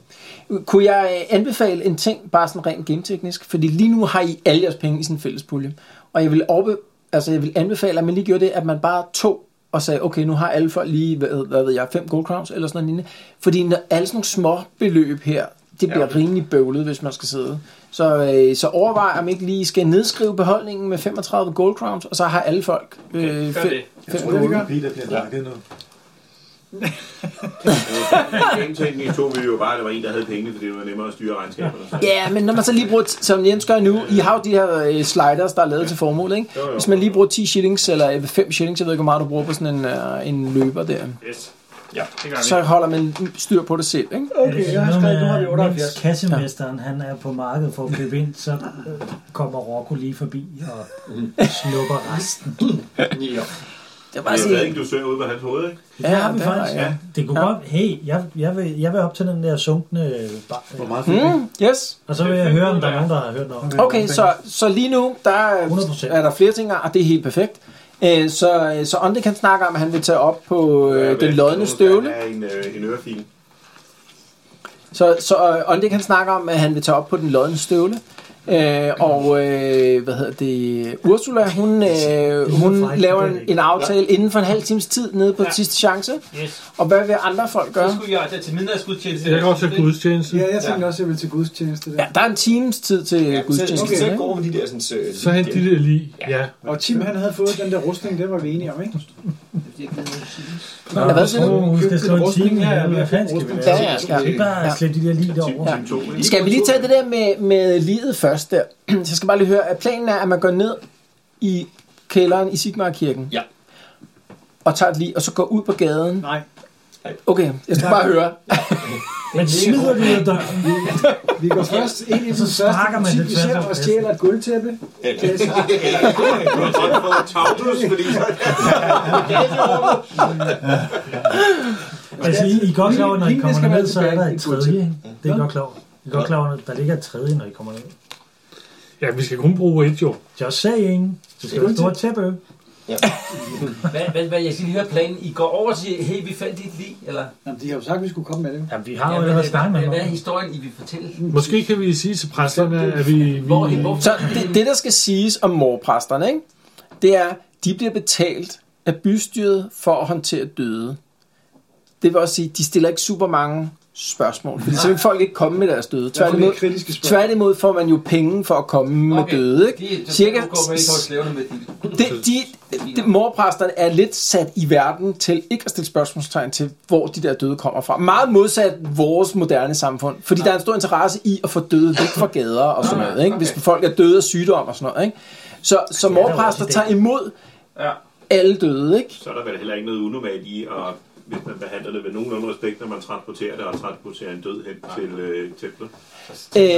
[SPEAKER 2] Kunne jeg øh, anbefale en ting, bare sådan rent genteknisk? Fordi lige nu har I alle jeres penge i sådan en fælles pulje. Og jeg vil, overbe... altså, jeg vil anbefale, at man lige gjorde det, at man bare tog og sagde, okay, nu har alle folk lige, hvad, hvad ved jeg, fem gold crowns eller sådan noget lignende. Fordi når alle sådan nogle små beløb her, det bliver rimelig bøvlet, hvis man skal sidde. Så, øh, så overvej, om ikke lige skal nedskrive beholdningen med 35 gold crowns, og så har alle folk øh, okay,
[SPEAKER 4] gør det.
[SPEAKER 5] Jeg tror,
[SPEAKER 2] gold.
[SPEAKER 5] det er Peter bliver nakket nu.
[SPEAKER 6] Gennemtænkning tog vi jo bare, at der var en, der havde penge, fordi det var nemmere at styre regnskaberne. Så-
[SPEAKER 2] Ja, men når man så lige bruger, t- som Jens gør nu, I har jo de her øh, sliders, der er lavet til formålet, ikke?
[SPEAKER 6] Jo, jo.
[SPEAKER 2] Hvis man lige bruger 10 shillings, eller 5 shillings, jeg ved ikke, hvor meget du bruger på sådan en, øh, en løber der,
[SPEAKER 6] Yes. Ja, det gør vi.
[SPEAKER 2] så holder man styr på det selv, ikke?
[SPEAKER 9] Okay, jeg har skrevet, nu har vi 78.
[SPEAKER 3] Mens kassemesteren han er på markedet for at købe ind, så øh, kommer Rocco lige forbi og snupper resten.
[SPEAKER 8] Ja.
[SPEAKER 2] Det er
[SPEAKER 6] Jeg
[SPEAKER 2] bare
[SPEAKER 6] ved ikke,
[SPEAKER 2] sådan,
[SPEAKER 6] du søger ud på hans hoved, ikke?
[SPEAKER 3] Det har vi
[SPEAKER 2] der er-
[SPEAKER 3] faktisk.
[SPEAKER 2] ja.
[SPEAKER 3] Det kunne
[SPEAKER 2] Ja.
[SPEAKER 3] godt... Hey, jeg, jeg, vil, jeg vil op til den der sunkne bar.
[SPEAKER 5] Hvor meget fik vi?
[SPEAKER 2] Hmm, yes.
[SPEAKER 3] Og så vil jeg høre, om der er nogen, der har hørt noget.
[SPEAKER 2] Okay, så, så lige nu, der er-
[SPEAKER 3] 100%.
[SPEAKER 2] er der flere ting, og det er helt perfekt. Øh, så, øh, så Onde kan snakke om, at han vil tage op på øh, den lodne støvle.
[SPEAKER 6] Der er en, øh, en ørefil.
[SPEAKER 2] Så, så øh, Ondik han snakker om, at han vil tage op på den lodne støvle. Øh, og øh, hvad hedder det? Ursula, hun, øh, hun laver en, en aftale inden for en halv times tid nede på ja. sidste chance.
[SPEAKER 4] Yes.
[SPEAKER 2] Og hvad vil andre folk
[SPEAKER 4] Så
[SPEAKER 2] gøre?
[SPEAKER 4] skulle jeg der til middagsgudstjeneste.
[SPEAKER 7] Jeg går også til gudstjeneste.
[SPEAKER 9] Ja, jeg tænker også, at jeg vil til gudstjeneste der.
[SPEAKER 2] Ja, der er en times tid til ja,
[SPEAKER 8] Så
[SPEAKER 2] gudstjeneste.
[SPEAKER 8] skal
[SPEAKER 2] ikke?
[SPEAKER 8] ikke gå over med de der sådan... Så,
[SPEAKER 7] Så han de der lige. Ja.
[SPEAKER 9] Og Tim, han havde fået den der rustning, det var vi enige om, ikke?
[SPEAKER 2] Ja, hvad siger du?
[SPEAKER 3] Åh, husk at slå en time.
[SPEAKER 9] Ja,
[SPEAKER 3] Ja,
[SPEAKER 9] vi
[SPEAKER 3] hvad
[SPEAKER 9] har
[SPEAKER 3] fanden
[SPEAKER 9] fået
[SPEAKER 3] skal vi
[SPEAKER 9] rustning.
[SPEAKER 3] lave?
[SPEAKER 2] Ja, ja, ja.
[SPEAKER 3] Ikke bare
[SPEAKER 2] Ja.
[SPEAKER 3] slæb de der lige
[SPEAKER 6] Team,
[SPEAKER 3] derovre.
[SPEAKER 6] team to. ikke?
[SPEAKER 2] Skal vi lige tage det der med, med livet først der? [CLEARS THROAT] Jeg skal bare lige høre, at planen er, at man går ned i kælderen i Sigmar-kirken.
[SPEAKER 8] Ja.
[SPEAKER 2] Og tager et lige, og så går ud på gaden.
[SPEAKER 9] Nej.
[SPEAKER 2] Okay, jeg skal bare høre.
[SPEAKER 3] Men smider du ud af døren?
[SPEAKER 9] Vi går først ind i den
[SPEAKER 3] sparker
[SPEAKER 9] første
[SPEAKER 3] man
[SPEAKER 9] butik,
[SPEAKER 3] den
[SPEAKER 9] vi
[SPEAKER 3] tværs
[SPEAKER 9] ser,
[SPEAKER 3] over
[SPEAKER 9] og stjæler et gulvtæppe.
[SPEAKER 6] Du har godt fået tavlus, fordi så
[SPEAKER 3] Altså, I, I er godt klar over, når I
[SPEAKER 9] Pengene
[SPEAKER 3] kommer
[SPEAKER 9] skal være
[SPEAKER 3] ned, så er der
[SPEAKER 9] tilbage
[SPEAKER 3] et
[SPEAKER 9] i
[SPEAKER 3] tredje. ikke? Det er I godt klar over. I er godt klar over, at der ligger et tredje, når I kommer ned.
[SPEAKER 7] Ja, vi skal kun bruge et jo.
[SPEAKER 3] Just saying. Du skal have et stort tæppe.
[SPEAKER 4] Hvad, hvad, hvad, jeg skal lige høre planen. I går over og siger, hey, vi fandt dit lig, eller?
[SPEAKER 9] Jamen, de har jo sagt, at vi skulle komme med det.
[SPEAKER 3] Jamen, vi har jo
[SPEAKER 4] hvad,
[SPEAKER 3] allerede
[SPEAKER 4] hvad,
[SPEAKER 3] snakket med
[SPEAKER 4] hvad, hvad er
[SPEAKER 3] ham.
[SPEAKER 4] historien, I vil fortælle?
[SPEAKER 7] Måske kan vi sige til præsterne, at vi... vi
[SPEAKER 4] Hvor, hvor,
[SPEAKER 2] Mm. Så det, det, der skal siges om morpræsterne, ikke? det er, de bliver betalt af bystyret for at håndtere døde. Det vil også sige, de stiller ikke super mange spørgsmål, fordi så vil folk ikke komme med deres døde.
[SPEAKER 9] Derfor er det
[SPEAKER 2] Tværtimod,
[SPEAKER 9] ikke kritiske spørgsmål.
[SPEAKER 2] tværtimod får man jo penge for at komme okay. med døde. Ikke?
[SPEAKER 4] Det,
[SPEAKER 2] Cirka,
[SPEAKER 4] Cirka... Det, det, det, med din.
[SPEAKER 2] det, de, de, morpræsterne er lidt sat i verden til ikke at stille spørgsmålstegn til, hvor de der døde kommer fra. Meget modsat vores moderne samfund, fordi der er en stor interesse i at få døde væk fra gader og sådan noget, ikke? hvis folk er døde af sygdom og sådan noget. Ikke? Så, så
[SPEAKER 3] er der jo
[SPEAKER 2] morpræster
[SPEAKER 3] også i
[SPEAKER 2] tager imod
[SPEAKER 4] Ja.
[SPEAKER 2] alle døde, ikke?
[SPEAKER 6] Så er der vel heller ikke noget unormalt i, at, hvis man behandler det med nogenlunde respekt, når man transporterer det og transporterer en død hen til øh, templet.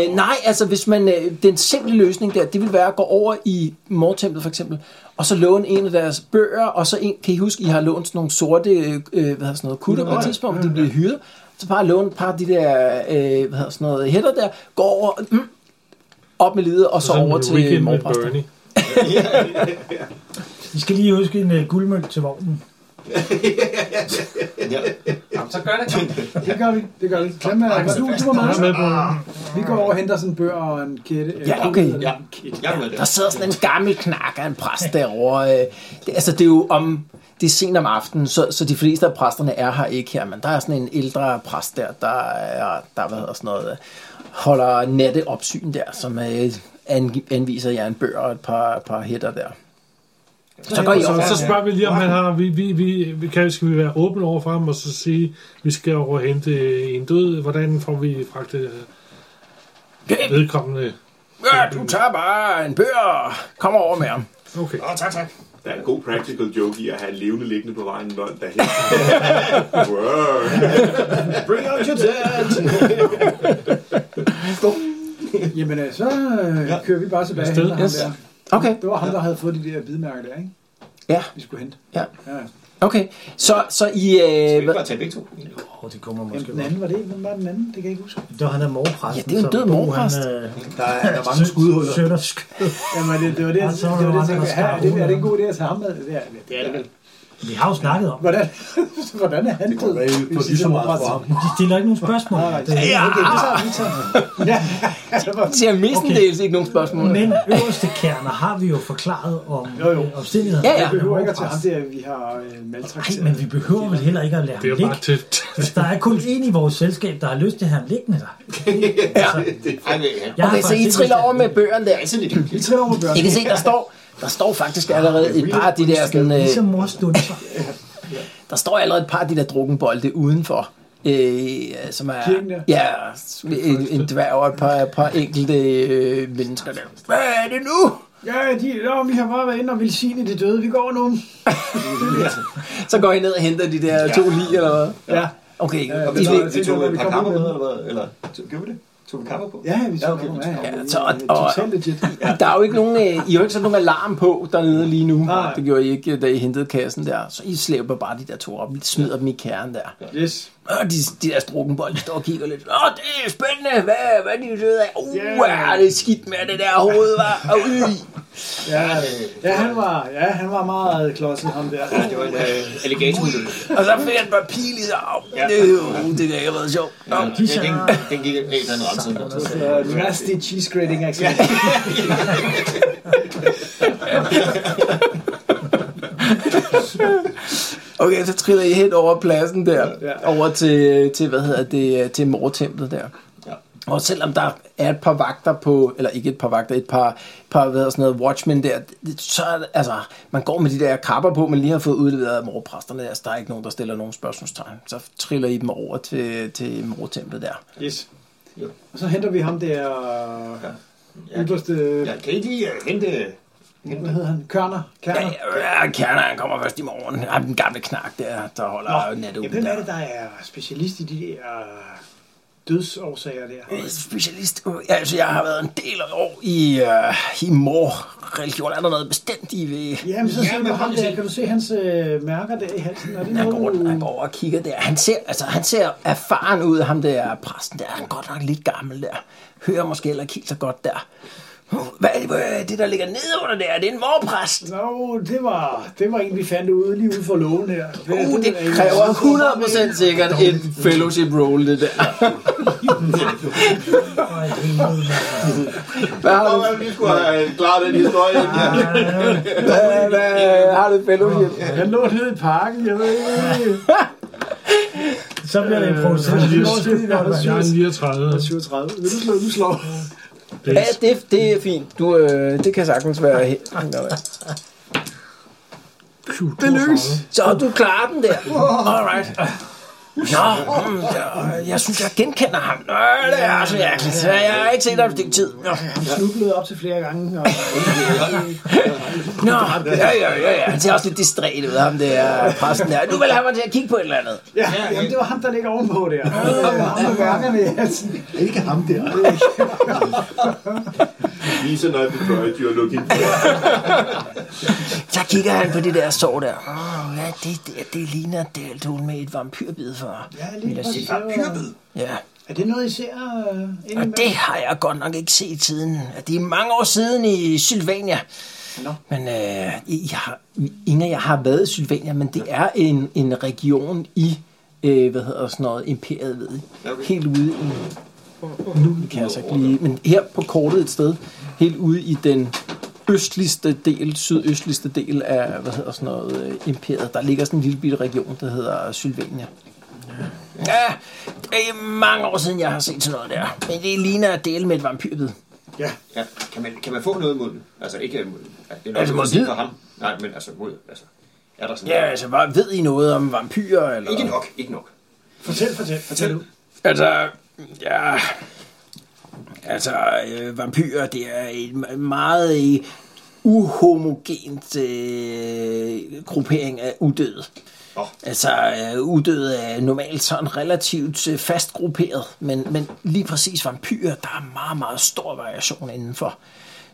[SPEAKER 2] Øh, nej, altså hvis man, øh, den simple løsning der, det vil være at gå over i mortemplet for eksempel, og så låne en af deres bøger, og så en, kan I huske, I har lånt sådan nogle sorte, øh, øh, hvad hedder sådan noget, kutter på et tidspunkt, de blev hyret, så bare låne et par af de der, øh, hvad hedder sådan noget, hætter der, gå over, mm, op med livet, og så,
[SPEAKER 7] sådan
[SPEAKER 2] over
[SPEAKER 7] en weekend
[SPEAKER 2] til
[SPEAKER 7] med
[SPEAKER 2] morpræster.
[SPEAKER 7] Bernie.
[SPEAKER 3] I skal lige huske en uh, guldmønt til vognen.
[SPEAKER 4] Jamen, så gør det.
[SPEAKER 9] Det gør vi, det gør vi. Klem med, du, du var
[SPEAKER 7] Jeg
[SPEAKER 9] meget "Ah,
[SPEAKER 7] er med på
[SPEAKER 9] Vi går over og henter sådan en bøger og en kætte. øh,
[SPEAKER 2] Ja, okay.
[SPEAKER 9] kæde.
[SPEAKER 8] Ja, jeg er med det.
[SPEAKER 2] Der sidder sådan en gammel knak af en præst derovre. øh. Det, altså, det er jo om... Det er sent om aftenen, så, så de fleste af præsterne er her ikke her, men der er sådan en ældre præst der, der, er, der hvad hedder sådan noget, øh, holder natteopsyn der, som øh, an, anviser jer en bøger og et par, par hætter der. Så går I
[SPEAKER 7] Så,
[SPEAKER 2] over.
[SPEAKER 7] så spørger vi lige, om han har... Vi, vi, vi, vi kan, skal vi være åbne over for ham, og så sige, vi skal over og hente øh, en død. Hvordan får vi fragtet øh, vedkommende?
[SPEAKER 2] Ja, du tager bare en bøger, kom over med ham.
[SPEAKER 7] Okay.
[SPEAKER 6] Der er en god practical joke i at have en levende liggende på vejen, når der
[SPEAKER 9] [LAUGHS]
[SPEAKER 6] hen. wow.
[SPEAKER 8] Bring out your dad!
[SPEAKER 9] Jamen, øh, så øh, kører vi bare tilbage og henter ham
[SPEAKER 2] Yes.
[SPEAKER 9] der.
[SPEAKER 2] Okay,
[SPEAKER 9] Det var ham, der havde fået de der hvidmærker der, ikke?
[SPEAKER 2] Ja.
[SPEAKER 9] Vi skulle hente.
[SPEAKER 2] Ja.
[SPEAKER 9] ja. ja.
[SPEAKER 2] okay. Så, så I...
[SPEAKER 8] Skal
[SPEAKER 2] Øh,
[SPEAKER 8] vi
[SPEAKER 2] hvad-
[SPEAKER 8] ikke bare tage begge to?
[SPEAKER 3] Åh, oh, det kommer
[SPEAKER 9] Jamen,
[SPEAKER 3] måske
[SPEAKER 9] den anden var det. Hvem var den anden? Det kan jeg ikke huske.
[SPEAKER 3] Det var han der morpræsten.
[SPEAKER 2] Ja, det er jo en
[SPEAKER 3] som
[SPEAKER 2] død
[SPEAKER 3] Bo,
[SPEAKER 2] morpræst.
[SPEAKER 3] Han, øh,
[SPEAKER 5] Der er, der er mange skudhuller.
[SPEAKER 3] sødt og skød.
[SPEAKER 9] Jamen, det, det var det, jeg
[SPEAKER 3] Ja, så var
[SPEAKER 9] det, var det,
[SPEAKER 3] der
[SPEAKER 9] jeg tænkte.
[SPEAKER 3] andre, der
[SPEAKER 9] Her, er, det,
[SPEAKER 3] skar
[SPEAKER 9] er det en god idé at tage ham med? Det er det. er det vel.
[SPEAKER 3] Vi har jo snakket om det.
[SPEAKER 9] Hvordan, hvordan er han død?
[SPEAKER 5] Det er jo på lige så meget for ham.
[SPEAKER 3] De stiller ikke nogen spørgsmål. Det,
[SPEAKER 9] Ja, okay, det tager vi tager. Ja, det var
[SPEAKER 2] ser mestendels ikke nogen spørgsmål.
[SPEAKER 3] men øverste kerner har vi jo forklaret om
[SPEAKER 9] Jo, jo.
[SPEAKER 3] øh, omstændighederne.
[SPEAKER 2] Ja, ja.
[SPEAKER 3] med
[SPEAKER 9] Vi behøver ikke at tage ham
[SPEAKER 3] morpræsten.
[SPEAKER 9] der, vi har øh,
[SPEAKER 3] Nej,
[SPEAKER 9] maltrakteret.
[SPEAKER 3] men vi behøver vel heller ikke at lade
[SPEAKER 7] Det
[SPEAKER 3] ham
[SPEAKER 7] er bare
[SPEAKER 3] ligge.
[SPEAKER 7] til...
[SPEAKER 3] Altså, der er kun en i vores selskab, der har lyst til at have ham liggende der. Altså,
[SPEAKER 8] Ej, men han
[SPEAKER 3] jeg har
[SPEAKER 2] Okay, så I
[SPEAKER 3] faktisk
[SPEAKER 2] triller
[SPEAKER 3] lyst til-
[SPEAKER 2] over med bøgerne der.
[SPEAKER 8] er altid lidt hyggeligt.
[SPEAKER 9] Vi triller over børn.
[SPEAKER 2] I kan se, der står, der står faktisk allerede et par af de der sådan,
[SPEAKER 3] Ligesom
[SPEAKER 2] øh,
[SPEAKER 3] mors dunser.
[SPEAKER 2] der står allerede et par af de der drukkenbolde udenfor. Øh, som er,
[SPEAKER 9] Kirken der?
[SPEAKER 2] ja, en, en dværg og et par, et par enkelte øh, mennesker der. Hvad er det nu?
[SPEAKER 9] Ja, de, nå, vi har bare været inde og velsigne de døde. Vi går nu.
[SPEAKER 2] Så går I ned og henter de der to lige, eller hvad?
[SPEAKER 9] Ja.
[SPEAKER 2] Okay,
[SPEAKER 9] Ja,
[SPEAKER 2] de,
[SPEAKER 8] Vi tog,
[SPEAKER 9] det-
[SPEAKER 8] vi tog
[SPEAKER 9] det-
[SPEAKER 8] et par
[SPEAKER 9] det-
[SPEAKER 8] kammer med, eller hvad? Eller, gjorde vi det? Tog vi kammer på?
[SPEAKER 9] Ja, vi tager
[SPEAKER 8] okay,
[SPEAKER 9] ham
[SPEAKER 8] vi
[SPEAKER 9] med.
[SPEAKER 8] tager
[SPEAKER 2] ham.
[SPEAKER 9] Ja,
[SPEAKER 2] Så-
[SPEAKER 9] det er
[SPEAKER 2] og-
[SPEAKER 9] Totalt legit.
[SPEAKER 2] der er jo ikke nogen, øh, I har jo ikke sat nogen alarm på dernede lige nu.
[SPEAKER 9] Nej.
[SPEAKER 2] Det gjorde I ikke, da I hentede kassen der. Så I slæber bare de der to op, smider dem i kernen der.
[SPEAKER 9] Yes.
[SPEAKER 2] Og de, de der strukkenbold, de står og kigger lidt. Åh, det er spændende. Hvad, hvad er de døde af? Uh,
[SPEAKER 9] Ja.
[SPEAKER 2] yeah. er det skidt med det der hoved, var? Og øh.
[SPEAKER 9] Ja, ja, han var, ja, han var meget klodset, ham der.
[SPEAKER 8] Ja, det var en øh, alligatormodel.
[SPEAKER 2] Og så fik han bare pil i sig. Au, Det, det der ikke har været sjovt. Nå.
[SPEAKER 8] Den, den, den gik af, den rensede.
[SPEAKER 9] Så nasty cheese grating accent.
[SPEAKER 2] Okay, så triller I hen over pladsen der, ja. over til, til, hvad hedder det, til mortemplet der.
[SPEAKER 8] Ja.
[SPEAKER 2] Og selvom der er et par vagter på, eller ikke et par vagter, et par, par hvad hedder sådan noget, watchmen der, det- så er det- altså, man går med de der kapper på, man lige har fået udleveret af morpræsterne altså, der, så der er ikke nogen, der stiller nogen spørgsmålstegn. Så triller I dem over til, til mortemplet der.
[SPEAKER 9] Yes.
[SPEAKER 8] Ja.
[SPEAKER 9] Og så henter vi ham der
[SPEAKER 8] Jeg,
[SPEAKER 9] yderste,
[SPEAKER 8] jeg kan ikke lige øh, hente...
[SPEAKER 9] hvad hedder han, Kørner?
[SPEAKER 2] Ja,
[SPEAKER 9] Kørner?
[SPEAKER 2] ja, ja, Kerner, han kommer først i morgen. Ham den gamle knak der, der holder nettet
[SPEAKER 9] Ja,
[SPEAKER 2] ude
[SPEAKER 9] hvem er
[SPEAKER 2] der.
[SPEAKER 9] det, der er specialist i de der dødsårsager der?
[SPEAKER 2] Øh, specialist. Øh, Altså, jeg har været en del af år i, øh, i mor-religion. Er der noget bestemt, I vil...
[SPEAKER 9] Jamen, så ser
[SPEAKER 4] Jamen,
[SPEAKER 9] du
[SPEAKER 4] kom
[SPEAKER 9] ham
[SPEAKER 4] til.
[SPEAKER 9] der. Kan du se hans øh, mærker der i halsen? Er det
[SPEAKER 2] Jeg går,
[SPEAKER 9] noget,
[SPEAKER 2] rundt,
[SPEAKER 9] du...
[SPEAKER 2] jeg går over og kigger der. Han ser, altså, han ser erfaren ud, ham der præsten der. Han er godt nok lidt gammel der. Hører måske heller ikke helt så godt der. Uh, Hvad er det, hvad er det, der ligger nede under der? Er det en morpræst?
[SPEAKER 9] Nå, det var, det var en, vi fandt ude lige ude for lågen her. Det,
[SPEAKER 2] Uh, det
[SPEAKER 9] er en-
[SPEAKER 2] kræver 100% sikkert en fellowship roll, det der.
[SPEAKER 3] For et helvede, mand.
[SPEAKER 2] Hvad har du,
[SPEAKER 6] Nå, men vi skulle have klaret den historie.
[SPEAKER 2] [LAUGHS] hvad, hvad, har du fellowship?
[SPEAKER 9] Han lå nede i parken, jeg ved ikke.
[SPEAKER 3] Så bliver det produceret.
[SPEAKER 9] Øh, det er
[SPEAKER 7] Jeg er 39.
[SPEAKER 9] 37. Vil du slå? Du slår.
[SPEAKER 2] Ja, det, det er fint. Du, øh, det kan sagtens være helt.
[SPEAKER 7] Det lykkes.
[SPEAKER 2] Så du klarer den der. Alright. Nå, mm, jeg, jeg synes, jeg genkender ham. Nå, det er også mærkeligt. Ja, Jeg har ikke set ham i et stykke tid. Nå,
[SPEAKER 9] Snublede op til flere gange. Og,
[SPEAKER 2] Nå ja, ja, ja, ja. Han ser også lidt distræt ud, ham der præsten der. Nu vil han mig til at kigge på et eller andet.
[SPEAKER 9] ja, jamen, det var ham, der ligger ovenpå der. Øh, Ham med mærkerne i halsen.
[SPEAKER 5] Ikke ham der.
[SPEAKER 6] Lisa Nøj Detroit, you're looking for.
[SPEAKER 2] Så kigger han på det der sår der. Åh, ja, det, det, det ligner deltun med et vampyrbid for.
[SPEAKER 9] Ja, lige præcis.
[SPEAKER 2] Ja.
[SPEAKER 9] Er det noget, I ser? Øh,
[SPEAKER 2] Og
[SPEAKER 9] inden
[SPEAKER 2] det har jeg godt nok ikke set siden. Det er mange år siden i Sylvania.
[SPEAKER 9] Nå.
[SPEAKER 2] Men øh, I har, ingen af jer har været i Sylvania, men det er en, en region i, øh, hvad hedder sådan noget, imperiet, ved I.
[SPEAKER 8] Okay.
[SPEAKER 2] Helt ude i... Nu kan jeg så ikke lige... Men her på kortet et sted, helt ude i den østligste del, sydøstligste del af, hvad hedder sådan noget, øh, imperiet, der ligger sådan en lille bitte region, der hedder Sylvania. Ja, det er mange år siden, jeg har set sådan noget der. Men det ligner at dele med et vampyrbid.
[SPEAKER 8] Ja, kan man, kan man få noget mod den? Altså ikke øh, mod ja, det er nok
[SPEAKER 2] Altså, mod
[SPEAKER 8] ikke
[SPEAKER 2] hvid?
[SPEAKER 8] for ham. Nej, men altså mod... Altså, er der sådan
[SPEAKER 2] Ja, altså, hvad ved I noget om vampyrer? Eller?
[SPEAKER 8] Ikke nok, ikke nok.
[SPEAKER 9] Fortæl, fortæl, fortæl.
[SPEAKER 2] Altså, ja... Altså, øh, vampyrer, det er et me- meget øh, uhomogent øh, gruppering af udøde.
[SPEAKER 8] Nå.
[SPEAKER 2] Altså, øh, udøde er normalt sådan relativt øh, fast grupperet, men, men lige præcis vampyrer, der er meget, meget stor variation indenfor.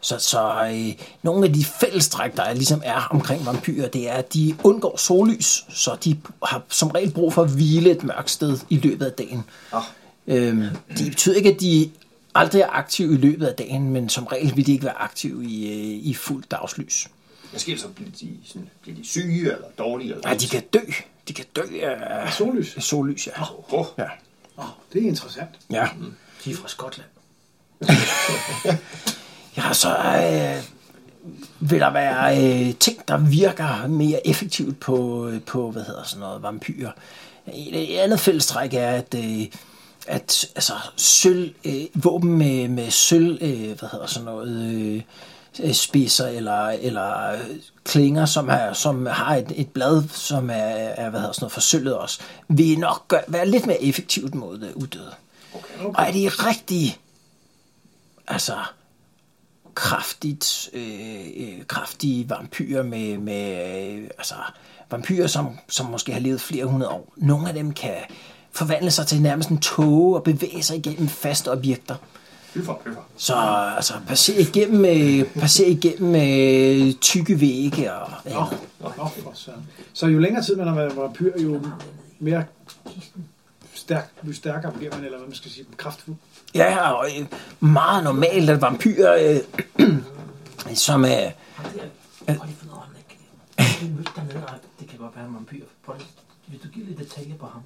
[SPEAKER 2] Så, så øh, nogle af de fællestræk, der ligesom er omkring vampyrer, det er, at de undgår sollys, så de har som regel brug for at hvile et mørkt sted i løbet af dagen.
[SPEAKER 8] Ah.
[SPEAKER 2] Øhm, det betyder ikke, at de aldrig er aktive i løbet af dagen, men som regel vil de ikke være aktive i, øh, i fuldt dagslys.
[SPEAKER 8] Måske så bliver altså de, sådan, bliver de syge eller dårlige. Eller
[SPEAKER 2] Nej, de kan dø. De kan dø af
[SPEAKER 9] Sollys.
[SPEAKER 2] af sollys, ja.
[SPEAKER 8] Oh,
[SPEAKER 2] Ja.
[SPEAKER 9] Det er interessant.
[SPEAKER 2] ja.
[SPEAKER 3] De er fra Skotland.
[SPEAKER 2] Ja, så øh, vil der være øh, ting, der virker mere effektivt på, øh, på hvad hedder sådan noget, vampyrer. Et, et andet fællestræk er, at, øh, at altså, sølv, øh, våben med, med sølv, øh, hvad hedder sådan noget, øh, øh, spidser eller, eller øh, klinger, som, er, som har et, et blad, som er, er hvad hedder sådan noget, forsølvet også, vil nok gøre, være lidt mere effektivt mod øh, uddøde. Okay, okay. Og er de rigtige, altså kraftigt, øh, øh, kraftige vampyrer med, med øh, altså, vampyrer, som, som måske har levet flere hundrede år. Nogle af dem kan forvandle sig til nærmest en tåge og bevæge sig igennem faste objekter.
[SPEAKER 8] pyffer, pyffer.
[SPEAKER 2] Så altså, passer igennem, øh, passer igennem øh, tykke vægge og andet.
[SPEAKER 9] Nå, for søren. Så jo længere tid man har været vampyr, jo mere stærk, jo stærkere bliver man, eller hvad man skal sige, kraftfuld.
[SPEAKER 2] Ja, og øh, [CLEARS THROAT] meget normalt, at vampyrer øh, som er...
[SPEAKER 4] Ham der, prøv lige at finde ud af, om han ikke kan Det mødte dernede, og det kan godt være, han var en vampyr. Prøv lige, hvis du giver lidt detaljer på ham.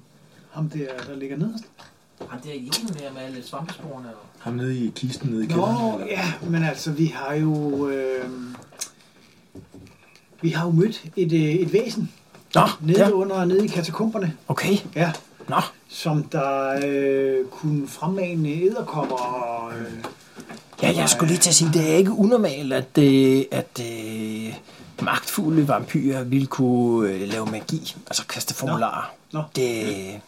[SPEAKER 9] Ham der, der ligger nederst.
[SPEAKER 4] Ham der jorden der med alle svampesporene og...
[SPEAKER 5] Ham nede i kisten nede i kælderen.
[SPEAKER 9] Nå, ja, men altså, vi har jo... Øh, vi har jo mødt et, øh, et væsen
[SPEAKER 2] Nå,
[SPEAKER 9] nede
[SPEAKER 2] ja,
[SPEAKER 9] ja. under, nede i katakomberne,
[SPEAKER 2] okay.
[SPEAKER 9] ja,
[SPEAKER 2] Nå,
[SPEAKER 9] som der øh, kunne fremmane æderkopper og... Øh,
[SPEAKER 2] ja, jeg skulle lige til at sige, det er ikke unormalt, at, øh, at øh, magtfulde vampyrer ville kunne øh, lave magi, altså kaste formularer.
[SPEAKER 9] Nå.
[SPEAKER 2] Det, I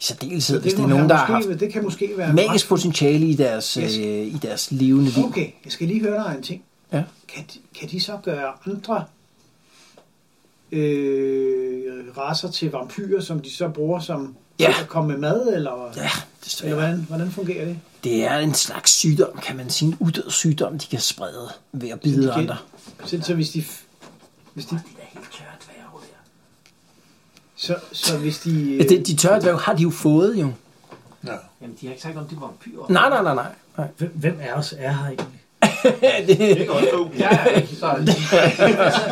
[SPEAKER 2] særdeleshed, hvis det er
[SPEAKER 9] kan
[SPEAKER 2] nogen, der har haft
[SPEAKER 9] måske, det kan måske være...
[SPEAKER 2] magisk potentiale i deres, yes.
[SPEAKER 9] Yes.
[SPEAKER 2] øh, i deres levende liv.
[SPEAKER 9] Okay, jeg skal lige høre dig en ting.
[SPEAKER 2] Ja.
[SPEAKER 9] Kan, de- kan de så gøre andre øh, raser til vampyrer, som de så bruger som
[SPEAKER 2] Ja.
[SPEAKER 9] til at komme med mad, eller,
[SPEAKER 2] Ja,
[SPEAKER 9] eller
[SPEAKER 2] desværre.
[SPEAKER 9] hvordan, hvordan fungerer det?
[SPEAKER 2] Det er en slags sygdom, kan man sige. En uddød sygdom, de kan sprede ved at bide
[SPEAKER 9] kan- øh,
[SPEAKER 2] andre.
[SPEAKER 9] Så, så hvis de... Hvis de
[SPEAKER 4] De der helt tørre dværge der.
[SPEAKER 9] så, så hvis de...
[SPEAKER 2] Ja, Altså, det, de tørre dværge har de jo fået, jo.
[SPEAKER 4] Jamen, de har ikke sagt, om de var vampyrer.
[SPEAKER 2] Nej, nej, nej, nej. nej.
[SPEAKER 3] Hvem, hvem af os er her egentlig?
[SPEAKER 6] Det kan også gå.
[SPEAKER 4] Jeg er ikke så... Så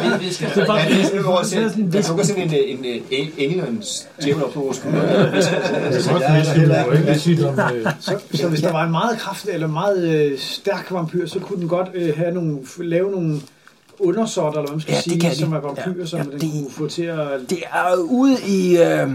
[SPEAKER 4] vi, vi skal... Det
[SPEAKER 8] Ja, det er sådan over selv. Der dukker sådan en, øh, en, øh, en engel og en djævel op på vores skulder.
[SPEAKER 10] Det er godt,
[SPEAKER 5] jeg er
[SPEAKER 10] hvis
[SPEAKER 5] heller
[SPEAKER 10] du
[SPEAKER 5] ikke-
[SPEAKER 10] ikke sige det om... øh,
[SPEAKER 9] Så, så hvis der var en meget kraftig eller meget øh, stærk vampyr, så kunne den godt øh, have nogle, lave nogle undersorter, eller hvad man skal
[SPEAKER 2] Ja, det
[SPEAKER 9] sige,
[SPEAKER 2] kan de.
[SPEAKER 9] som er vampyrer,
[SPEAKER 2] Ja,
[SPEAKER 9] som
[SPEAKER 2] ja,
[SPEAKER 9] den
[SPEAKER 2] det-
[SPEAKER 9] kunne få til at...
[SPEAKER 2] Det er jo ude i, øh,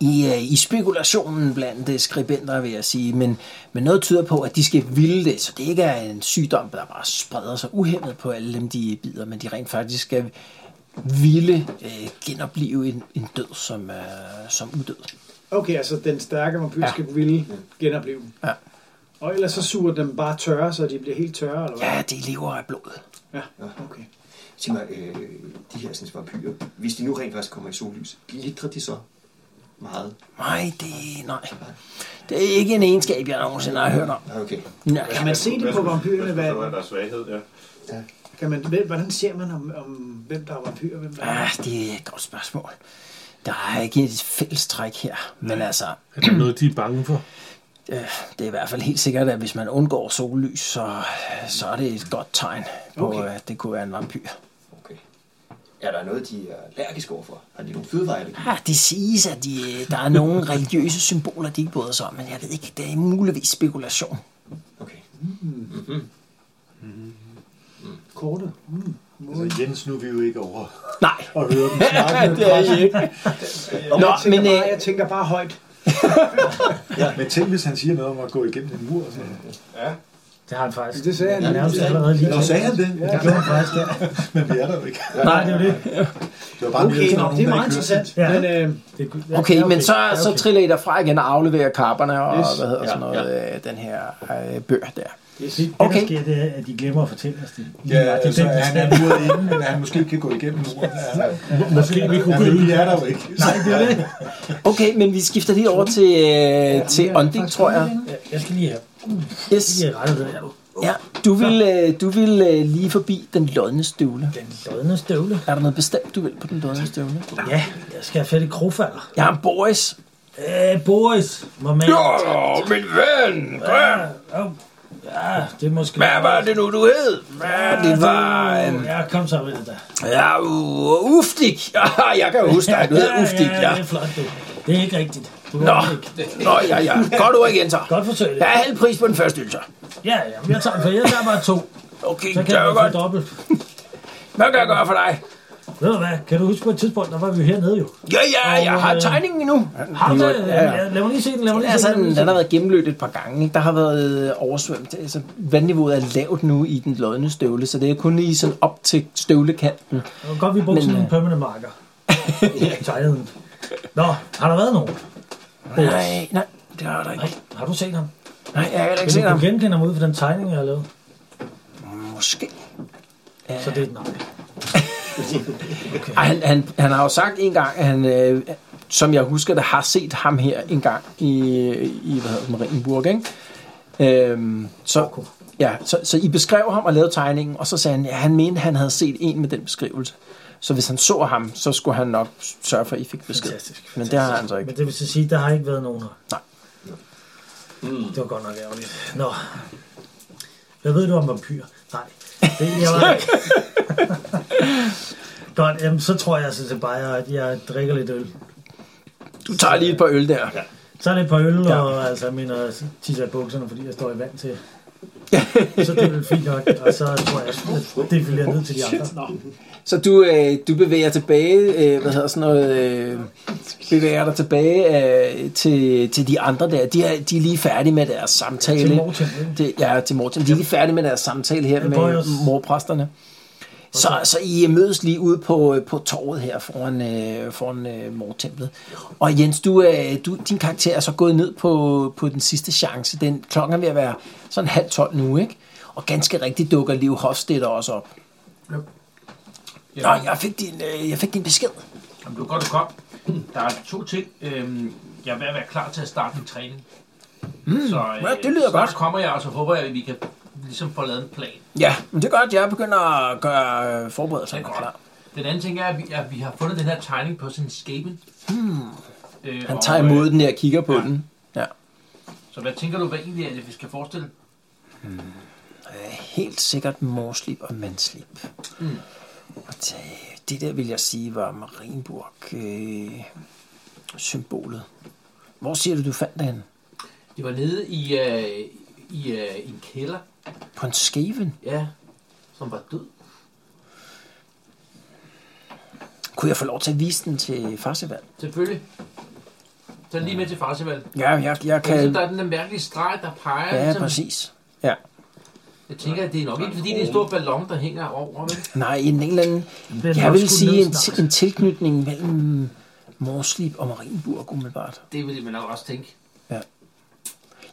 [SPEAKER 2] i, øh, i spekulationen blandt øh, skribenter, vil jeg sige. Men, men noget tyder på, at de skal ville det, så det ikke er en sygdom, der bare spreder sig uhemmet på alle dem, de bider, men de rent faktisk skal ville øh, genopleve en, en død som, øh, som udød.
[SPEAKER 9] Okay, altså den stærke vampyr ja.
[SPEAKER 2] Ja.
[SPEAKER 9] skal ville genopleve dem.
[SPEAKER 2] Ja.
[SPEAKER 9] Og ellers så suger den bare tørre, så de bliver helt tørre, eller hvad?
[SPEAKER 2] Ja, det lever af blod.
[SPEAKER 9] Ja. Okay.
[SPEAKER 8] Sig mig, øh, de her sådan, vampyrer, hvis de nu rent faktisk kommer i sollys, glitrer de så meget?
[SPEAKER 2] Nej, det, nej. det er ikke en egenskab, jeg nogensinde har hørt om.
[SPEAKER 8] Ja, okay.
[SPEAKER 2] Nej.
[SPEAKER 9] Kan man se det på vampyrerne?
[SPEAKER 6] Hvad
[SPEAKER 9] Hvad,
[SPEAKER 6] er der er svaghed, ja.
[SPEAKER 9] kan man, hvem- hvordan ser man, om, om hvem der er vampyr og hvem der er...
[SPEAKER 2] Ah, det er et godt spørgsmål. Der er ikke et fælles træk her, men altså,
[SPEAKER 10] Er der noget, de er bange for?
[SPEAKER 2] øh, det er i hvert fald helt sikkert, at hvis man undgår sollys, så, så er det et godt tegn på,
[SPEAKER 9] Okay.
[SPEAKER 2] okay. at det kunne være en vampyr.
[SPEAKER 8] okay. Er der noget, de er allergiske overfor? Har de nogle fødevareallergi?
[SPEAKER 2] Ah, det siges, at de, øh, der er [LAUGHS] nogle religiøse symboler, de ikke bryder sig om, men jeg ved ikke, det er muligvis spekulation.
[SPEAKER 8] Okay.
[SPEAKER 9] Korte. Mm.
[SPEAKER 5] Altså, Jens, nu er vi jo ikke over
[SPEAKER 2] Nej,
[SPEAKER 5] og høre dem snakke med
[SPEAKER 2] det er I ikke. [LAUGHS] Nå,
[SPEAKER 9] Jeg tænker,
[SPEAKER 2] men...
[SPEAKER 9] bare,
[SPEAKER 2] Øh,
[SPEAKER 9] jeg tænker bare højt.
[SPEAKER 5] dem. Men tænk, hvis han siger noget om at gå igennem en mur. Og sådan. noget.
[SPEAKER 3] Det har han faktisk.
[SPEAKER 9] Det sagde han.
[SPEAKER 3] han nærmest allerede lige.
[SPEAKER 5] Nå, sagde han det?
[SPEAKER 3] Det gjorde han faktisk, ja.
[SPEAKER 5] Men vi er der jo ikke.
[SPEAKER 2] øh,
[SPEAKER 3] Nej, det er jo det.
[SPEAKER 5] Det var bare mere
[SPEAKER 9] Okay,
[SPEAKER 5] sådan
[SPEAKER 9] nå,
[SPEAKER 5] nogen,
[SPEAKER 9] det er
[SPEAKER 5] der ikke
[SPEAKER 9] meget
[SPEAKER 5] hører
[SPEAKER 9] interessant.
[SPEAKER 3] Ja.
[SPEAKER 9] Men, øh,
[SPEAKER 3] det er- ja,
[SPEAKER 2] Okay,
[SPEAKER 3] ja,
[SPEAKER 2] okay, men så,
[SPEAKER 3] Ja,
[SPEAKER 2] okay. så triller I derfra igen og afleverer kapperne og
[SPEAKER 9] Yes.
[SPEAKER 2] yes. hvad hedder ja, sådan
[SPEAKER 8] Ja,
[SPEAKER 2] noget, ja. den her øh, bør der.
[SPEAKER 9] yes.
[SPEAKER 3] Det, det,
[SPEAKER 2] Okay.
[SPEAKER 3] der sker, det er, at de glemmer at fortælle os det.
[SPEAKER 5] Ja,
[SPEAKER 3] det
[SPEAKER 5] altså, han er muret inde, men han måske ikke kan gå igennem muren. Ja,
[SPEAKER 10] Måske vi kunne
[SPEAKER 5] men
[SPEAKER 10] købe
[SPEAKER 5] vi er der jo ikke. Nej, det er det.
[SPEAKER 2] Okay, men vi skifter lige over til, øh, ja, til Onding, tror jeg.
[SPEAKER 3] Ja, Jeg skal lige have
[SPEAKER 2] Yes.
[SPEAKER 3] lige have rettet det her.
[SPEAKER 2] Ja, du vil, øh, du vil øh, lige forbi den lodne støvle.
[SPEAKER 3] Den lodne støvle.
[SPEAKER 2] Er der noget bestemt, du vil på den lodne støvle?
[SPEAKER 3] Ja, jeg skal have fat i krogfalder.
[SPEAKER 2] Jeg er Boris.
[SPEAKER 3] Øh, Boris, må man...
[SPEAKER 2] min ven!
[SPEAKER 3] Ja, ja, ja, det er måske...
[SPEAKER 2] det nu, du hed? Hvad det var? øh,
[SPEAKER 3] Ja, kom så med det der.
[SPEAKER 2] Ja, u- [LAUGHS] uftig. Jeg kan jo huske dig, du hedder uftig,
[SPEAKER 3] ja.
[SPEAKER 2] ja.
[SPEAKER 3] det er flot, du. Det er ikke rigtigt. Du
[SPEAKER 2] Nå,
[SPEAKER 3] er ikke.
[SPEAKER 2] Nå ja, ja. Godt ord igen, så.
[SPEAKER 3] Godt forsøg.
[SPEAKER 2] Der er halv pris på den første ydelse.
[SPEAKER 3] Ja, ja, men jeg tager, for jeg tager bare to.
[SPEAKER 2] Okay,
[SPEAKER 3] Så
[SPEAKER 2] det
[SPEAKER 3] kan
[SPEAKER 2] er
[SPEAKER 3] jeg
[SPEAKER 2] jo
[SPEAKER 3] få
[SPEAKER 2] godt.
[SPEAKER 3] dobbelt.
[SPEAKER 2] Hvad kan jeg gøre for dig?
[SPEAKER 3] Ved du hvad, kan du huske på et tidspunkt, der var vi hernede jo.
[SPEAKER 2] Ja, ja, jeg har tegningen endnu.
[SPEAKER 3] øh, Har du det?
[SPEAKER 2] Ja, ja.
[SPEAKER 3] Ja, Lad mig lige se den, lad mig
[SPEAKER 2] Det
[SPEAKER 3] lige
[SPEAKER 2] er
[SPEAKER 3] se
[SPEAKER 2] sådan,
[SPEAKER 3] den, lad mig
[SPEAKER 2] den
[SPEAKER 3] lige se
[SPEAKER 2] har
[SPEAKER 3] den.
[SPEAKER 2] været gennemløbet et par gange. Ikke? Der har været øh, oversvømt. Altså, vandniveauet er lavt nu i den lodne støvle, så det er kun lige sådan op til støvlekanten.
[SPEAKER 3] Det var godt, vi brugte
[SPEAKER 2] Men,
[SPEAKER 3] sådan en
[SPEAKER 2] øh, [LAUGHS]
[SPEAKER 3] permanent marker. ja. Tegnede den. Nå, har der været nogen?
[SPEAKER 2] Nej, nej, det har der ikke.
[SPEAKER 3] Nej, har du set ham?
[SPEAKER 2] Nej, jeg har heller ikke
[SPEAKER 3] Kan
[SPEAKER 2] set ham.
[SPEAKER 3] du genkende ham ud fra den tegning, jeg har lavet?
[SPEAKER 2] Måske.
[SPEAKER 3] Så det er et nej.
[SPEAKER 2] Ej, han, han, han har jo sagt en gang, at han, øh, som jeg husker det, har set ham her en gang i, i hvad hedder det, Marienburg, ikke? Øhm, så, ja, så, så I beskrev ham og lavede tegningen, og så sagde han, at han mente, han havde set en med den beskrivelse. Så hvis han så ham, så skulle han nok sørge for, at I fik besked.
[SPEAKER 3] Fantastisk,
[SPEAKER 2] Men det har han så ikke.
[SPEAKER 3] Men det vil så sige, der har ikke været nogen her.
[SPEAKER 2] Nej.
[SPEAKER 3] Mm. Det var godt nok ærgerligt. Nå. Hvad ved du om vampyr? Nej, det jeg var...
[SPEAKER 2] [LAUGHS]
[SPEAKER 3] Godt, jamen, så tror jeg sådan set bare, at jeg drikker lidt øl.
[SPEAKER 2] Du tager lige et par øl der.
[SPEAKER 3] Så er det et par øl,
[SPEAKER 2] Ja.
[SPEAKER 3] ja. og altså, jeg mener, så tisser jeg i bukserne, fordi jeg står i vand
[SPEAKER 2] [LAUGHS]
[SPEAKER 3] til. så det er vel fint nok, og så tror jeg, at det vil jeg ned til de andre.
[SPEAKER 9] Nå,
[SPEAKER 2] Så du, øh, du bevæger tilbage, øh, hvad hedder sådan noget, øh, bevæger dig tilbage øh, til, til de andre der. De er, de er lige færdige med deres samtale.
[SPEAKER 3] Til
[SPEAKER 2] ikke?
[SPEAKER 3] Morten, ikke?
[SPEAKER 2] Det, ja, til Morten. De er lige færdige med deres samtale her
[SPEAKER 3] Ja,
[SPEAKER 2] med
[SPEAKER 3] Bojos.
[SPEAKER 2] morpræsterne. Så, så I mødes lige ude på, øh, på torvet her foran, øh, foran øh, mortemplet. Og Jens, du, øh, du, din karakter er så gået ned på, på den sidste chance. Den klokken er ved at være sådan halv tolv nu, ikke? Og ganske rigtigt dukker Liv Hofstetter også op. Ja. Nå, jeg fik, din, øh, jeg fik din besked.
[SPEAKER 4] Jamen, du er godt, du kom. Der er to ting. Øhm, jeg er ved at være klar til at starte min træning. Mm, så øh,
[SPEAKER 2] ja, det lyder
[SPEAKER 4] snart
[SPEAKER 2] godt.
[SPEAKER 4] kommer jeg, og så håber jeg, at vi kan ligesom få lavet en plan.
[SPEAKER 2] Ja, men det er godt. Jeg begynder at gøre øh,
[SPEAKER 4] Det
[SPEAKER 2] forberedelserne
[SPEAKER 4] er
[SPEAKER 2] klar.
[SPEAKER 4] godt. Den anden ting er, at vi, at vi har fundet den her tegning på sådan en skæben. Hmm. Øh,
[SPEAKER 2] Mm. Han
[SPEAKER 4] og,
[SPEAKER 2] tager imod
[SPEAKER 4] øh,
[SPEAKER 2] den der og kigger på ja. den. Ja.
[SPEAKER 4] Så hvad tænker du, hvad egentlig er det, vi skal forestille?
[SPEAKER 2] helt sikkert morslip og mandslip. Mm. Og det, det der vil jeg sige var øh, Marienburg-symbolet. Hvor siger du, du fandt den?
[SPEAKER 4] Det var nede i, øh, i øh, en kælder,
[SPEAKER 2] På en skæven?
[SPEAKER 4] ja, som var død.
[SPEAKER 2] Kunne jeg få lov til at vise den til Farsevald?
[SPEAKER 4] Selvfølgelig. Så lige med til Farsevald.
[SPEAKER 2] Ja, jeg, jeg
[SPEAKER 4] Kan...
[SPEAKER 2] kan...
[SPEAKER 4] Ligesom, der er den der mærkelige streg, der peger.
[SPEAKER 2] Ja,
[SPEAKER 4] ligesom,
[SPEAKER 2] præcis. Ja.
[SPEAKER 4] Jeg tænker, at det er nok ikke, fordi det er en stor ballon, der hænger over. Men...
[SPEAKER 2] Nej, en eller anden...
[SPEAKER 3] er
[SPEAKER 2] Jeg
[SPEAKER 3] nok
[SPEAKER 2] vil
[SPEAKER 3] skudt
[SPEAKER 2] sige
[SPEAKER 3] ned
[SPEAKER 2] en,
[SPEAKER 3] snart.
[SPEAKER 2] ti- en tilknytning mellem morslip og Marienburg, umiddelbart.
[SPEAKER 4] [LAUGHS] Det ville man nok også tænke.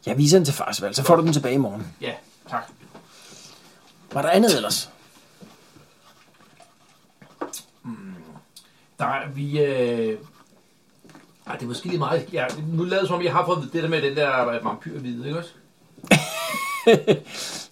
[SPEAKER 2] Jeg viser den til Farsevald, så får du den tilbage i morgen.
[SPEAKER 4] Ja, tak.
[SPEAKER 2] Var der andet ellers?
[SPEAKER 4] Der er vi... Øh... Ej, det er måske lige meget... Ja, nu lader det som om, jeg har fået det der med den der vampyrhvide, ikke også?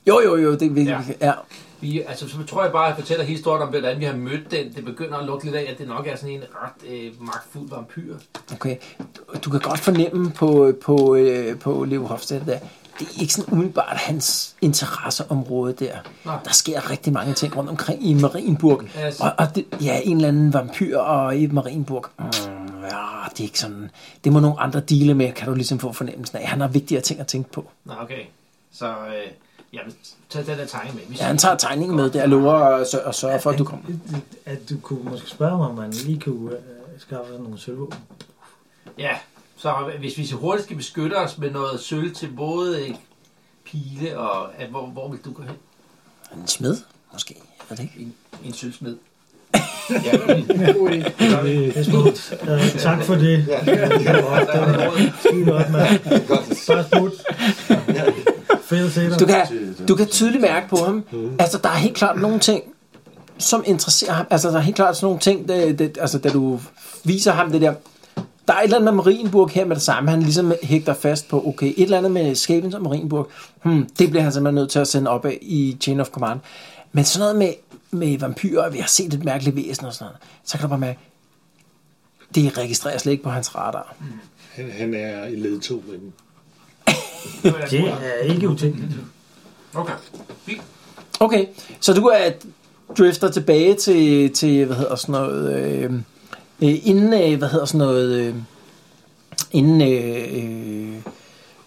[SPEAKER 2] Jo, jo, jo, det vil ja.
[SPEAKER 4] Ja.
[SPEAKER 2] ja.
[SPEAKER 4] Vi, altså, så tror jeg bare, at jeg fortæller hele historien om, hvordan vi har mødt den. Det begynder at lukke lidt af, at det nok er sådan en ret øh, magtfuld vampyr.
[SPEAKER 2] Okay. Du- Du kan godt fornemme på, på, øh, på Leo Hofstad, der. det er ikke sådan umiddelbart hans interesseområde der.
[SPEAKER 4] Nej.
[SPEAKER 2] Der sker rigtig mange ting rundt omkring i Marienburg.
[SPEAKER 4] Altså.
[SPEAKER 2] Og, og det, ja, en eller anden vampyr og i Marienburg. Mm, ja, det er ikke sådan. Det må nogle andre dele med, kan du ligesom få fornemmelsen af. Han har vigtigere ting at tænke på.
[SPEAKER 4] Nå, okay. Så øh, jamen, tag den der tegning med. Vi
[SPEAKER 2] Ja, han tager tegningen med der, lover og, sør- og sørger for, at du kommer.
[SPEAKER 3] At du kunne måske spørge mig, om man lige kunne øh, skaffe sådan nogle sølvvåben.
[SPEAKER 4] Ja, så hvis vi så hurtigt skal beskytte os med noget sølv til både øh, pile og... At, hvor, hvor vil du gå hen?
[SPEAKER 2] En smed, måske. Er det ikke?
[SPEAKER 4] En, en
[SPEAKER 2] [LAUGHS]
[SPEAKER 4] sølvsmed.
[SPEAKER 8] Ja,
[SPEAKER 9] god idé.
[SPEAKER 3] Det er smukt. Øh, tak for det.
[SPEAKER 8] ja,
[SPEAKER 4] Der er noget-
[SPEAKER 3] Skide godt, mand.
[SPEAKER 8] godt.
[SPEAKER 3] Bare smukt. Fedt at se dig.
[SPEAKER 2] Du kan, du kan tydeligt mærke på ham, altså der er helt klart nogle ting, som interesserer ham. Altså der er helt klart sådan nogle ting, det, det, altså da du viser ham det der, der er et eller andet med Marienburg her med det samme. Han ligesom hægter fast på, okay, et eller andet med skæbnen som Marienburg. Hmm, det bliver han simpelthen nødt til at sende op af i Chain of Command. Men sådan noget med, med vampyrer, og vi har set et mærkeligt væsen og sådan noget, så kan du bare mærke, det registreres slet ikke på hans radar.
[SPEAKER 7] Han, han er i ledtog med dem.
[SPEAKER 3] Det er ikke utænkeligt.
[SPEAKER 4] Okay. Fint.
[SPEAKER 2] Okay, så du er drifter tilbage til, til hvad hedder sådan noget, øh, øh, inden, øh, hvad hedder sådan noget, øh, inden øh, øh,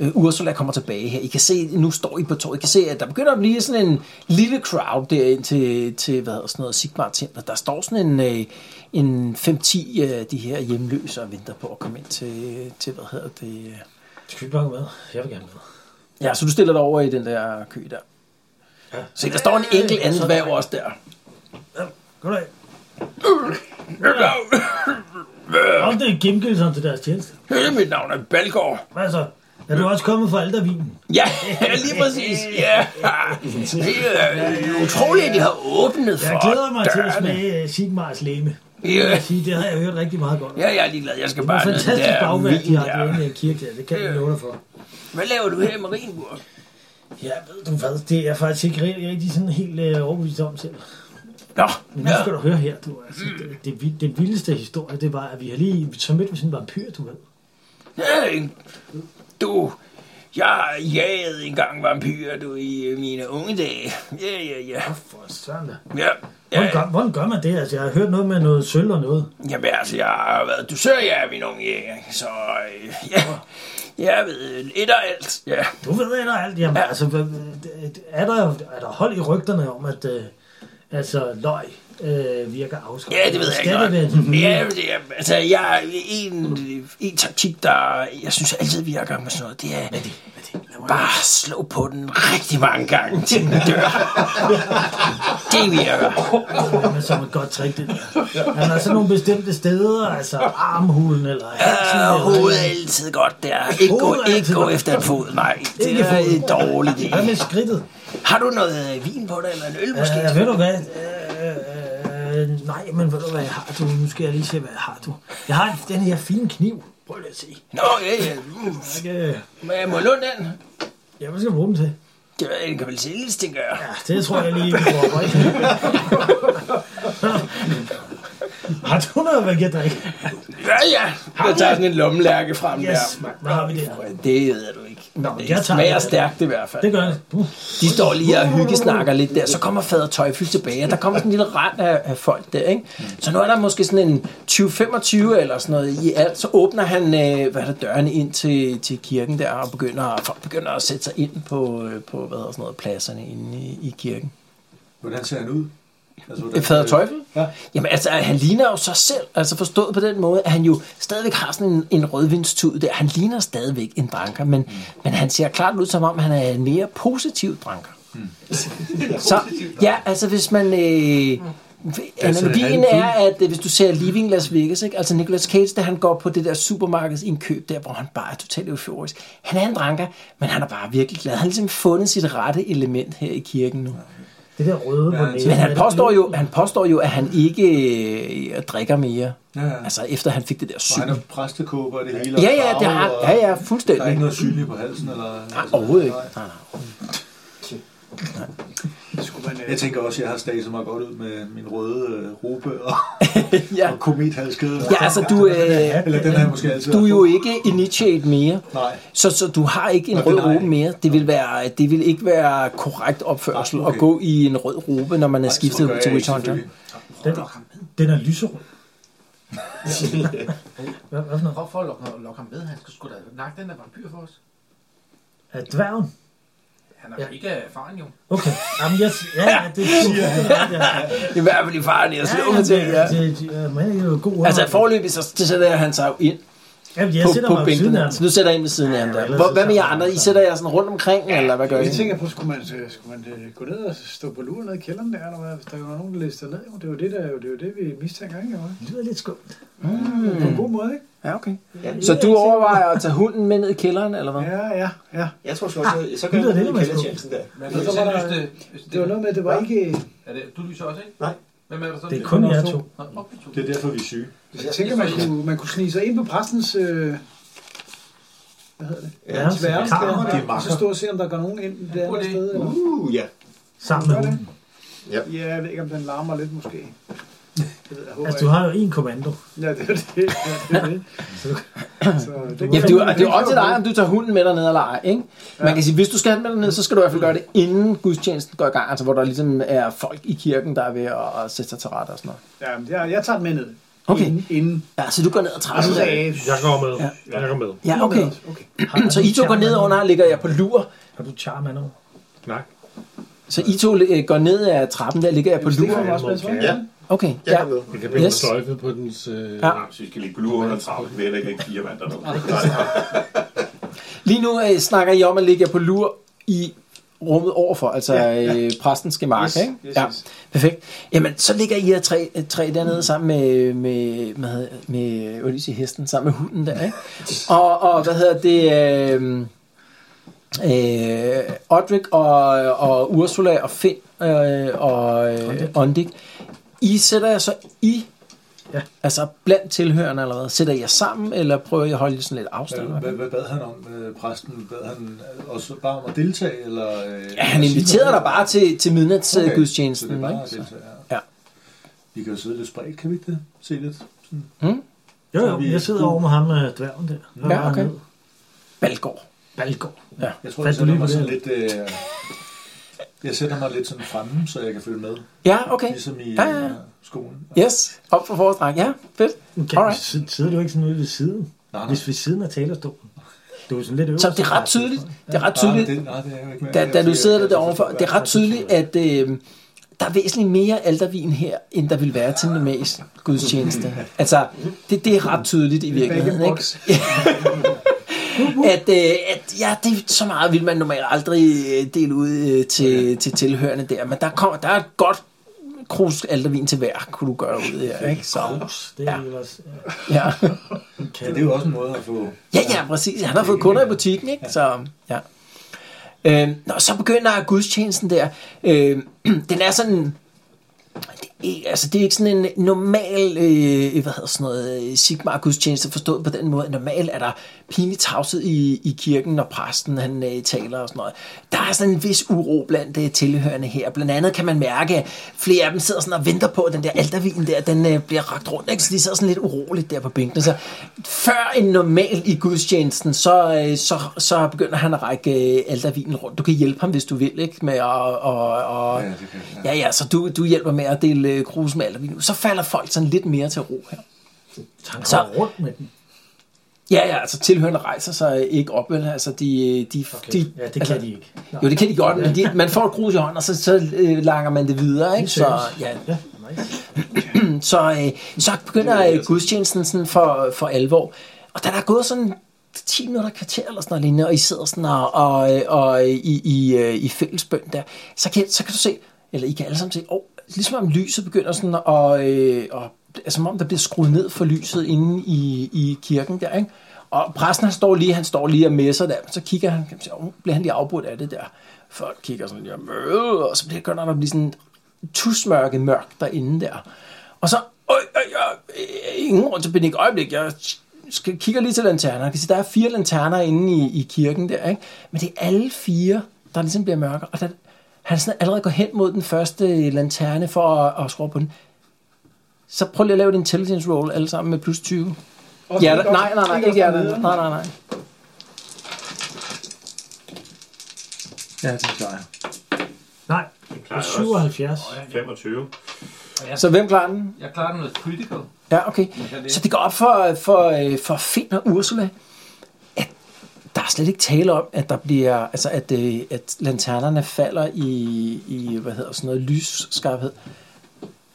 [SPEAKER 2] øh, Ursula kommer tilbage her. I kan se, nu står I på torvet. I kan se, at der begynder at blive sådan en lille crowd derind til, til hvad hedder sådan noget, Sigmar Templet. Der står sådan en, øh, en 5-10 af de her hjemløse og venter på at komme ind til, til hvad hedder det. øh.
[SPEAKER 3] Skal vi bare med? Jeg vil gerne med.
[SPEAKER 2] Ja, så du stiller dig over i den der kø der. Ja. Se, der står en enkelt
[SPEAKER 3] Øh,
[SPEAKER 2] anden
[SPEAKER 3] sådan.
[SPEAKER 2] dværg også der.
[SPEAKER 3] Goddag. Om det er gennemgivelsen til deres tjeneste.
[SPEAKER 2] Hele mit navn er Balgaard.
[SPEAKER 3] Hvad så? Er du også kommet fra aldervinen?
[SPEAKER 2] Ja, [LAUGHS] lige præcis. Ja. Det er øh, utroligt, at de har åbnet for
[SPEAKER 3] Jeg glæder mig til at
[SPEAKER 2] dørene.
[SPEAKER 3] smage øh, Sigmars læme. Det vil
[SPEAKER 2] Ja,
[SPEAKER 3] jeg sige, det har jeg hørt rigtig meget godt. om.
[SPEAKER 2] ja, jeg er ligeglad. Jeg skal
[SPEAKER 3] Det er
[SPEAKER 2] bare
[SPEAKER 3] et
[SPEAKER 2] ned
[SPEAKER 3] fantastisk
[SPEAKER 2] der. og
[SPEAKER 3] bagværk, de
[SPEAKER 2] vin
[SPEAKER 3] har
[SPEAKER 2] der.
[SPEAKER 3] derinde i kirke der. Det kan jeg love dig for.
[SPEAKER 2] Hvad laver du her i Marienburg?
[SPEAKER 3] Ja, ved du hvad, det er jeg faktisk ikke rigtig, rigtig sådan helt øh, overbevist om selv.
[SPEAKER 2] Nå, Mm.
[SPEAKER 3] Men nu
[SPEAKER 2] ja.
[SPEAKER 3] skal du høre her, du. Altså, det, det, vild- det vildeste historie, det var, at vi har lige så mødt med sådan en vampyr, du ved.
[SPEAKER 2] Hey, Du, Jeg jagede engang vampyrer, du, i øh, mine unge dage. Ja, ja, ja.
[SPEAKER 3] Åh, for søren da.
[SPEAKER 2] Ja, ja,
[SPEAKER 3] Hvordan gør, hvordan gør man det? Altså, jeg har hørt noget med noget sølv og noget.
[SPEAKER 2] Jamen altså, jeg har været dusørjæger, min unge jæger, ikke? så øh, ja, jeg ved lidt af alt. Ja.
[SPEAKER 3] Du ved ikke alt. Jamen,
[SPEAKER 2] Ja.
[SPEAKER 3] ja. altså, hvad- det- er der, er der hold i rygterne om, at øh, altså, løg øh, virker afskrækkende?
[SPEAKER 2] ja, det ved jeg
[SPEAKER 3] Skal
[SPEAKER 2] ikke
[SPEAKER 3] det være
[SPEAKER 2] noget.
[SPEAKER 3] de nye?
[SPEAKER 2] Ja, men det er, altså, jeg er en, en taktik, der jeg synes altid virker med sådan noget, det er bare slå på den rigtig mange gange, til den
[SPEAKER 4] [LAUGHS]
[SPEAKER 2] dør. Det virker.
[SPEAKER 3] Jamen, som et godt trick, det der. Jamen, der er sådan nogle bestemte steder, altså armhulen eller halsen.
[SPEAKER 2] Øh,
[SPEAKER 3] eller-
[SPEAKER 2] hovedet er altid godt der. Ikke gå,
[SPEAKER 3] Hovedet er
[SPEAKER 2] ikke
[SPEAKER 3] altid
[SPEAKER 2] gå
[SPEAKER 3] godt.
[SPEAKER 2] efter en fod, nej. Det
[SPEAKER 3] Ikke
[SPEAKER 2] er
[SPEAKER 3] foden.
[SPEAKER 2] en dårlig idé.
[SPEAKER 3] Hvad med skridtet?
[SPEAKER 2] Har du noget øh, vin på dig, eller en øl måske?
[SPEAKER 3] Øh, ved du hvad? Øh, øh, nej, men ved du hvad har du? Nu skal jeg lige se, hvad har du. Jeg har en- den her fine kniv. Prøv lige at se.
[SPEAKER 2] Nå, ja, ja. Mm.
[SPEAKER 3] Jeg kan-
[SPEAKER 2] Hvad må låne den?
[SPEAKER 3] Ja, hvad skal jeg bruge den til?
[SPEAKER 2] Det ved jeg, den kan vel sælges, tænker jeg.
[SPEAKER 3] Ja, det tror jeg lige, vi prøver ikke. [LAUGHS] Har du noget, hvad jeg drikke?
[SPEAKER 2] Ja, ja. Jeg tager sådan en lommelærke frem
[SPEAKER 3] Yes, mand. Hvad har vi der?
[SPEAKER 2] Det ved du ikke.
[SPEAKER 3] Nå,
[SPEAKER 2] det
[SPEAKER 3] jeg tager
[SPEAKER 2] smager
[SPEAKER 3] det.
[SPEAKER 2] stærkt i hvert fald.
[SPEAKER 3] Det gør det. Uh,
[SPEAKER 2] De står lige og hyggesnakker lidt der, så kommer fader Tøjfyld tilbage, og der kommer sådan en lille rand af, af folk der, ikke? Så nu er der måske sådan en 20-25 eller sådan noget i alt, så åbner han øh, hvad er det, dørene ind til, til kirken der, og begynder, folk begynder at sætte sig ind på, øh, på hvad hedder sådan noget, pladserne inde i, i kirken.
[SPEAKER 5] Hvordan ser han ud? Altså,
[SPEAKER 2] Det Øh.
[SPEAKER 5] hvordan,
[SPEAKER 2] er fader Teufel?
[SPEAKER 5] Ja.
[SPEAKER 2] Jamen altså, han ligner jo sig selv, altså forstået på den måde, at han jo stadigvæk har sådan en, en rødvindstud der. Han ligner stadigvæk en dranker, men, mm. men han ser klart ud som om, han er en mere positiv dranker. Mm. Så ja, altså hvis man... Øh,
[SPEAKER 5] Altså,
[SPEAKER 2] Analogien
[SPEAKER 5] han-
[SPEAKER 2] er, at øh, hvis du ser Living Las Vegas, ikke? altså Nicolas Cage, da han går på det der supermarkedsindkøb der, hvor han bare er totalt euforisk. Han er en dranker, men han er bare virkelig glad. Han har ligesom fundet sit rette element her i kirken nu.
[SPEAKER 3] det der røde på næsen.
[SPEAKER 2] Men han påstår jo, han påstår jo at han ikke øh, drikker mere.
[SPEAKER 5] Ja, ja.
[SPEAKER 2] Altså efter han fik det der
[SPEAKER 5] Og
[SPEAKER 2] syn.
[SPEAKER 5] han har præstekåber og det hele. og
[SPEAKER 2] Ja, ja, det
[SPEAKER 5] farve,
[SPEAKER 2] har,
[SPEAKER 5] og
[SPEAKER 2] ja, ja,
[SPEAKER 5] Der er ikke
[SPEAKER 2] fuldstændig.
[SPEAKER 5] noget synligt på halsen? Eller,
[SPEAKER 2] Nej, overhovedet ikke. Nej, nej.
[SPEAKER 9] Skulle man, øh,
[SPEAKER 5] Altså, Jeg tænker også, at jeg har staget mig godt ud med min røde øh, robe og,
[SPEAKER 2] Ja.
[SPEAKER 5] og komethalskede.
[SPEAKER 2] Ja, altså du, øh,
[SPEAKER 5] Eller den har jeg måske altid
[SPEAKER 2] du er
[SPEAKER 5] haft
[SPEAKER 2] jo
[SPEAKER 5] på.
[SPEAKER 2] ikke initiate mere,
[SPEAKER 5] Nej.
[SPEAKER 2] så, så du har ikke en
[SPEAKER 5] Nå,
[SPEAKER 2] rød
[SPEAKER 5] den har jeg
[SPEAKER 2] robe mere. Det vil, være, det vil ikke være korrekt opførsel
[SPEAKER 5] Nej,
[SPEAKER 2] at
[SPEAKER 5] okay.
[SPEAKER 2] gå i en rød robe, når man er
[SPEAKER 5] Det gør
[SPEAKER 2] skiftet
[SPEAKER 5] jeg
[SPEAKER 2] til
[SPEAKER 5] ikke,
[SPEAKER 2] Witch Hunter.
[SPEAKER 5] selvfølgelig.
[SPEAKER 3] Den, den er lyserød. [LAUGHS] Hvad, hvad for noget?
[SPEAKER 4] Hvorfor lokke, lokke ham med? Han skal sgu da nakke den der vampyr for os.
[SPEAKER 3] Er dværgen?
[SPEAKER 4] Han er ja. ikke erfaren jo.
[SPEAKER 3] Okay. Jamen, jeg, ja, ja, det siger han.
[SPEAKER 2] I
[SPEAKER 3] Ja,
[SPEAKER 2] hvert fald i faren i at slå mig til. Ja.
[SPEAKER 3] det- det- ja, Man er jo god under-
[SPEAKER 2] Altså forløbig, så, så sætter han sig jo ind
[SPEAKER 3] Jamen, jeg
[SPEAKER 2] på,
[SPEAKER 3] sætter
[SPEAKER 2] på
[SPEAKER 3] mig ved siden af
[SPEAKER 2] bænken.
[SPEAKER 3] ham.
[SPEAKER 2] Så nu sætter jeg ind ved siden af ham der. Hvor- Hvad med jer andre? I sætter jer sådan rundt omkring, eller hvad gør I?
[SPEAKER 9] jeg tænker på, skulle man, øh, skulle man øh, gå ned og stå på lur ned i kælderen der, eller hvad? Hvis der var nogen, der lister ned, jo. det var det, der, det var det vi mistænker, ikke? Eller?
[SPEAKER 3] Det lyder lidt skumt.
[SPEAKER 9] Mm. På en god måde, ikke?
[SPEAKER 2] Ja, okay. Så du overvejer at tage hunden med ned i kælderen, eller hvad?
[SPEAKER 9] Ja, ja, ja.
[SPEAKER 8] Jeg tror sgu også, jeg-
[SPEAKER 11] Ah,
[SPEAKER 8] så gør
[SPEAKER 3] lyder
[SPEAKER 8] jeg
[SPEAKER 3] det,
[SPEAKER 8] det
[SPEAKER 3] når
[SPEAKER 8] med
[SPEAKER 3] man
[SPEAKER 8] kældertjenesten der.
[SPEAKER 4] Men
[SPEAKER 9] Nå,
[SPEAKER 4] hvis
[SPEAKER 9] så var
[SPEAKER 4] han
[SPEAKER 9] der-
[SPEAKER 4] lyste, hvis det,
[SPEAKER 9] Det var noget med, at det var ikke...
[SPEAKER 4] er det, du lyser også, ikke?
[SPEAKER 8] Nej.
[SPEAKER 4] Hvem er der så?
[SPEAKER 3] Det er kun jer to.
[SPEAKER 4] Nå, op, vi to.
[SPEAKER 5] Det er derfor, vi er syge.
[SPEAKER 9] Jeg tænker, man kunne, man kunne snige sig ind på præstens... Øh, hvad hedder det?
[SPEAKER 3] Ja,
[SPEAKER 9] Hans værelse
[SPEAKER 3] kammer.
[SPEAKER 9] der,
[SPEAKER 5] er
[SPEAKER 9] og så stå og se, om der går nogen ind det andet
[SPEAKER 4] det.
[SPEAKER 9] sted. Eller?
[SPEAKER 8] Uh, ja.
[SPEAKER 3] Sammen med hunden.
[SPEAKER 9] Ja, jeg ved ikke, om den larmer lidt måske. Det ved jeg, håber
[SPEAKER 3] Altså, du
[SPEAKER 9] jeg.
[SPEAKER 3] har jo én kommando.
[SPEAKER 9] Ja, det er [LAUGHS] det. Ja, det, er det. Så, det
[SPEAKER 2] Ja, for det, er jo- det er jo op til dig, om du tager hunden med dig ned eller ej. Ikke? Man kan sige, hvis du skal have den med dig ned, så skal du i hvert fald gøre det, inden gudstjenesten går i gang. Altså, hvor der ligesom er folk i kirken, der er ved at, at sætte sig til ret og sådan noget.
[SPEAKER 9] Ja, men jeg, jeg tager den med ned.
[SPEAKER 2] Okay.
[SPEAKER 9] Inden, inden
[SPEAKER 2] Ja, så du går ned og træder.
[SPEAKER 9] altså,
[SPEAKER 2] der.
[SPEAKER 7] Jeg går med. Jeg går med.
[SPEAKER 2] Ja, okay.
[SPEAKER 9] okay.
[SPEAKER 2] Så I to går ned under, og ligger jeg på lur.
[SPEAKER 3] Har du charm endnu?
[SPEAKER 7] Nej.
[SPEAKER 2] Så I to øh, går ned ad trappen, der ligger jeg på
[SPEAKER 9] Det kan
[SPEAKER 2] lur.
[SPEAKER 9] man også med, tror jeg.
[SPEAKER 8] Ja.
[SPEAKER 2] Okay,
[SPEAKER 8] Jeg
[SPEAKER 2] ja.
[SPEAKER 8] er med.
[SPEAKER 7] Jeg kan blive
[SPEAKER 2] Yes.
[SPEAKER 7] yes. sløjfet på dens... Øh,
[SPEAKER 2] Ja.
[SPEAKER 7] ja.
[SPEAKER 6] Så vi skal lige glue under trappen. Vi er heller ikke fire mand dernede.
[SPEAKER 2] Lige nu øh, snakker I om at ligge jer på lur i rummet overfor, altså ja, ja. Øh, præstens gemark,
[SPEAKER 9] Yes,
[SPEAKER 2] ikke?
[SPEAKER 9] yes,
[SPEAKER 2] ja,
[SPEAKER 9] yes.
[SPEAKER 2] perfekt. Jamen, så ligger I her tre, øh, tre dernede sammen med, med, med, med Odyssey hesten, sammen med hunden der, ikke? Og, og hvad hedder det... Øh, Øh, Odrik og, og Ursula og Finn øh, og øh, Ondik, I sætter jer så i, ja.
[SPEAKER 3] Ja.
[SPEAKER 2] altså blandt tilhørende eller hvad, sætter I jer sammen, eller prøver I at holde sådan lidt afstand? eller
[SPEAKER 5] Hvad, hvad, hvad bad han om, øh, præsten? Bad han øh, også bare om at deltage? Eller, øh,
[SPEAKER 2] Ja, han inviterede dig bare til, til midnatsgudstjenesten.
[SPEAKER 5] Okay, så det er bare at
[SPEAKER 2] ikke?
[SPEAKER 5] deltage,
[SPEAKER 2] Ja.
[SPEAKER 5] Vi kan jo sidde lidt spredt, kan vi ikke det? Se lidt. Sådan.
[SPEAKER 3] Jo,
[SPEAKER 5] Så
[SPEAKER 3] jo,
[SPEAKER 5] vi-
[SPEAKER 3] jeg sidder over med ham med dværgen øh, der.
[SPEAKER 2] Ja, okay. Valgård.
[SPEAKER 3] Balgård.
[SPEAKER 5] Jeg tror,
[SPEAKER 3] Fandt
[SPEAKER 5] jeg
[SPEAKER 3] du
[SPEAKER 5] sætter
[SPEAKER 3] lige
[SPEAKER 5] mig
[SPEAKER 3] på
[SPEAKER 5] sådan
[SPEAKER 3] det,
[SPEAKER 5] lidt... Øh, jeg sætter mig lidt sådan fremme, så jeg kan følge med.
[SPEAKER 2] Ja, okay.
[SPEAKER 5] Ligesom i
[SPEAKER 2] Ja, ja.
[SPEAKER 5] øh, skolen.
[SPEAKER 2] Yes, op på vores dreng. Ja, fedt.
[SPEAKER 3] Okay,
[SPEAKER 2] Alright.
[SPEAKER 3] Alright. sidder du ikke sådan ude ved siden?
[SPEAKER 5] Nej, nej.
[SPEAKER 3] Hvis ved siden af talerstolen. Du er sådan lidt øverst.
[SPEAKER 2] Så det er ret tydeligt, det er ret
[SPEAKER 5] Nej,
[SPEAKER 2] tydeligt,
[SPEAKER 5] Ah, det, nej, det er jo ikke mere.
[SPEAKER 2] da, da
[SPEAKER 5] Jeg-
[SPEAKER 2] du
[SPEAKER 5] jeg-
[SPEAKER 2] sidder der
[SPEAKER 5] jeg-
[SPEAKER 2] derovre, det er ret tydeligt, at øh, der er væsentligt mere aldervin her, end der vil være til en normal gudstjeneste. Altså, det, det er ret tydeligt i virkeligheden, ikke?
[SPEAKER 9] box.
[SPEAKER 2] [LAUGHS] At, øh, at ja, det er så meget vil man normalt aldrig øh, dele ud øh, til, til tilhørende der, men der, kommer, der er et godt krus aldervin til hver, kunne du gøre ud her, ikke? Så,
[SPEAKER 3] Det er jo også... ja,
[SPEAKER 2] ja.
[SPEAKER 5] Ja, det er jo også en måde at få...
[SPEAKER 2] Ja, ja, præcis. Han har fået kunder i butikken, ikke? Så, ja. Øh, nå, så begynder gudstjenesten der. Øh, [CLEARS THROAT] den er sådan... Det er, altså, det er ikke sådan en normal, øh, hvad hedder sådan noget, øh, Sigmar-gudstjeneste forstået på den måde. Normalt er der pinlig tavshed i, i kirken, når præsten han øh, taler og sådan noget. Der er sådan en vis uro blandt øh, tilhørende her. Blandt andet kan man mærke, at flere af dem sidder sådan og venter på, at den der aldervin der, den øh, bliver ragt rundt. Ikke? Så de sidder sådan lidt uroligt der på bænkene. Så før en normal i gudstjenesten, så, øh, så, så begynder han at række øh, aldervinen rundt. Du kan hjælpe ham, hvis du vil, ikke? Med at, og, og,
[SPEAKER 5] Ja, det kan, ja.
[SPEAKER 2] Ja, ja, så du, du hjælper med at dele øh, krus med aldervin. ud. Så falder folk sådan lidt mere til ro her.
[SPEAKER 3] Han
[SPEAKER 2] Så-
[SPEAKER 3] går rundt med den.
[SPEAKER 2] Ja, ja, altså tilhørende rejser sig ikke op, vel? Altså, de, de,
[SPEAKER 3] Okay.
[SPEAKER 2] de,
[SPEAKER 3] ja, det
[SPEAKER 2] altså,
[SPEAKER 3] kan de ikke. Nå,
[SPEAKER 2] Jo, det kan de godt, men de, man får et krus i hånden, og så, så øh, langer man det videre, ikke? Så, ja,
[SPEAKER 3] ja, nice.
[SPEAKER 2] så, øh, så begynder øh, gudstjenesten sådan for, for alvor. Og da der er gået sådan 10 minutter kvarter eller sådan noget lignende, og I sidder sådan og, og, øh, og i, i, øh, i fællesbøn der, så kan, så kan du se, eller I kan alle sammen se, oh, ligesom om lyset begynder sådan at, øh, og, altså, som om der bliver skruet ned for lyset inde i, i kirken der, ikke? Og præsten han står lige, han står lige og messer der, så kigger han, kan man sige, oh, nu bliver han lige afbrudt af det der. Folk kigger sådan, ja, øh, og så bliver det godt nok at blive sådan tusmørke mørkt derinde der. Og så, øj, øj, øj, øh, ingen grund til panik, øjeblik, jeg skal, kigger lige til lanterner. Jeg kan se, der er fire lanterner inde i, i kirken der, ikke? Men det er alle fire, der ligesom bliver mørke, og der, han sådan allerede går hen mod den første lanterne for at, at skrue på den. Så prøv lige at lave din intelligence roll alle sammen med plus 20. Ja, nej, nej, nej, ikke hjertet. Nej, nej, nej.
[SPEAKER 5] Ja, det klarer jeg.
[SPEAKER 3] Nej,
[SPEAKER 6] Klarer jeg også.
[SPEAKER 3] 77.
[SPEAKER 6] 25.
[SPEAKER 2] Så hvem klarer den?
[SPEAKER 4] Jeg klarer noget critical.
[SPEAKER 2] Ja, okay. Så det går op for, for, øh, for Finn og Ursula, at der er slet ikke tale om, at der bliver, altså at, øh, at lanternerne falder i, i, hvad hedder sådan noget, lysskarphed.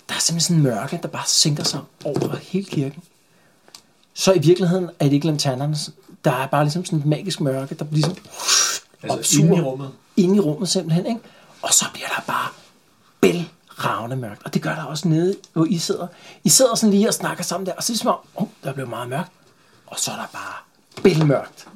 [SPEAKER 2] Der er simpelthen sådan en mørke, der bare sænker sig over hele kirken. Så i virkeligheden er det ikke lanternerne, der er bare ligesom sådan et magisk mørke, der bliver ligesom
[SPEAKER 5] Altså,
[SPEAKER 2] Opsuger.
[SPEAKER 5] inde i rummet.
[SPEAKER 2] inde i rummet simpelthen, ikke? Og så bliver der bare bælragende mørkt. Og det gør der også nede, hvor I sidder. I sidder sådan lige og snakker sammen der, og så er det som om, oh, der blev meget mørkt. Og så er der bare bælmørkt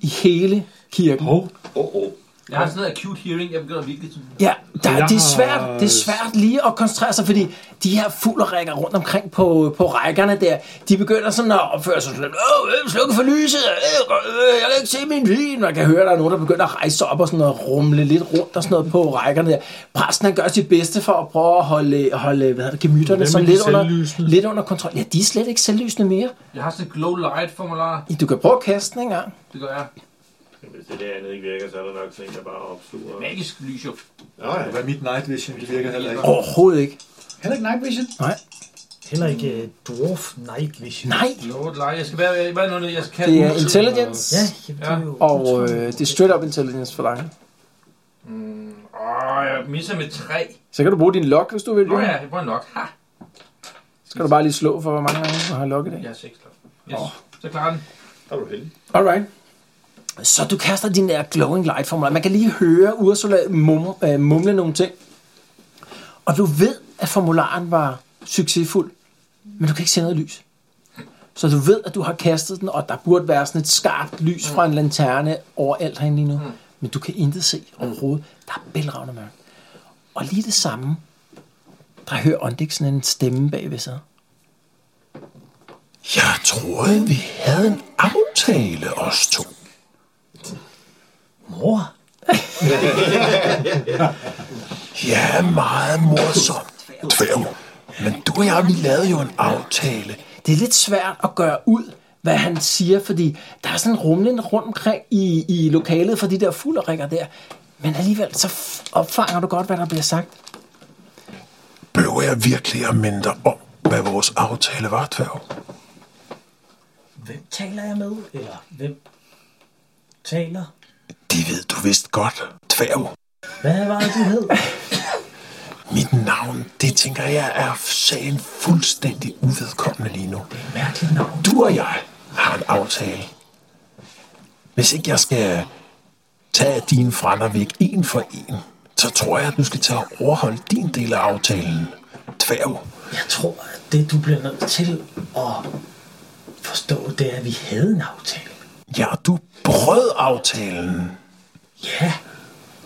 [SPEAKER 2] i hele kirken.
[SPEAKER 7] Hov,
[SPEAKER 8] Åh, åh.
[SPEAKER 4] Jeg har sådan noget acute hearing, jeg begynder at virkelig sådan...
[SPEAKER 2] Ja, der,
[SPEAKER 7] Jeg
[SPEAKER 2] det, er
[SPEAKER 7] har-
[SPEAKER 2] svært, det er svært lige at koncentrere sig, fordi de her fuglerækker rundt omkring på, på rækkerne der, de begynder sådan at opføre sig sådan lidt, åh, øh, slukke for lyset, øh, øh, jeg kan ikke se min vin, man kan høre, der er nogen, der begynder at rejse sig op og sådan noget, rumle lidt rundt og sådan noget på rækkerne der. Præsten han gør sit bedste for at prøve at holde, holde hvad hedder det, gemytterne
[SPEAKER 7] Hvad
[SPEAKER 2] sådan
[SPEAKER 7] med
[SPEAKER 2] lidt
[SPEAKER 7] de
[SPEAKER 2] under,
[SPEAKER 7] selvlysende?
[SPEAKER 2] lidt under kontrol. Ja, de er slet ikke selvlysende mere.
[SPEAKER 4] Jeg har sådan en glow light formular.
[SPEAKER 2] Du kan prøve at kaste den engang.
[SPEAKER 4] Det gør jeg.
[SPEAKER 6] Hvis det der andet ikke virker, så er der nok sådan en, der bare opsuger.
[SPEAKER 4] Magisk lys jo.
[SPEAKER 8] Nå, ja.
[SPEAKER 5] Hvad mit night vision, det virker heller ikke.
[SPEAKER 2] Overhovedet ikke.
[SPEAKER 9] Heller ikke night vision.
[SPEAKER 3] Heller ikke øh, Dwarf Night Vision.
[SPEAKER 2] Nej,
[SPEAKER 4] Glow light. Jeg skal være... Hvad er noget, jeg skal
[SPEAKER 2] det er intelligence.
[SPEAKER 3] Ja, jamen, det er jo...
[SPEAKER 2] Og øh, det er straight up intelligence for dig.
[SPEAKER 4] Mm, Åh, jeg misser med tre.
[SPEAKER 2] Så kan du bruge din lok, hvis du vil.
[SPEAKER 4] Nå
[SPEAKER 2] Johan.
[SPEAKER 4] ja, jeg bruger nok. Ha!
[SPEAKER 2] Skal du bare lige slå for, hvor mange gange du har lukket det?
[SPEAKER 4] Jeg har seks lov. Yes. Så klarer den.
[SPEAKER 8] Der er du heldig.
[SPEAKER 2] Alright. Så du kaster din der glowing light formula. Man kan lige høre Ursula mum, øh, mumle nogle ting. Og du ved, at formularen var succesfuld, men du kan ikke se noget lys. Så du ved, at du har kastet den, og der burde være sådan et skarpt lys fra en lanterne overalt herinde lige nu. Men du kan intet se overhovedet. Der er bælragende mørkt. Og lige det samme, der hører Ondik sådan en stemme bagved sig.
[SPEAKER 11] Jeg troede, vi havde en aftale, os to.
[SPEAKER 2] [LAUGHS]
[SPEAKER 3] Mor?
[SPEAKER 11] Ja, meget morsomt. Tværv. Men du og jeg, vi lavede jo en aftale.
[SPEAKER 2] Det er lidt svært at gøre ud, hvad han siger, fordi der er sådan en rumlen rundt omkring i, i lokalet for de der fuglerikker der. Men alligevel, så f- opfanger du godt, hvad der bliver sagt.
[SPEAKER 11] Behøver jeg virkelig at minde dig om, hvad vores aftale var, dværg?
[SPEAKER 3] Hvem taler jeg med? Eller hvem taler?
[SPEAKER 11] Det ved du vist godt, dværg.
[SPEAKER 3] Hvad var det, du hed?
[SPEAKER 11] Mit navn, det tænker jeg, er sagen fuldstændig uvedkommende lige nu.
[SPEAKER 3] Mærkeligt navn.
[SPEAKER 11] Du og jeg har en aftale. Hvis ikke jeg skal tage dine fra dig væk en for en, så tror jeg, at du skal tage og overholde din del af aftalen. Tværv.
[SPEAKER 3] Jeg tror, at det, du bliver nødt til at forstå, det er, at vi havde en aftale.
[SPEAKER 11] Ja, du brød aftalen.
[SPEAKER 3] Ja,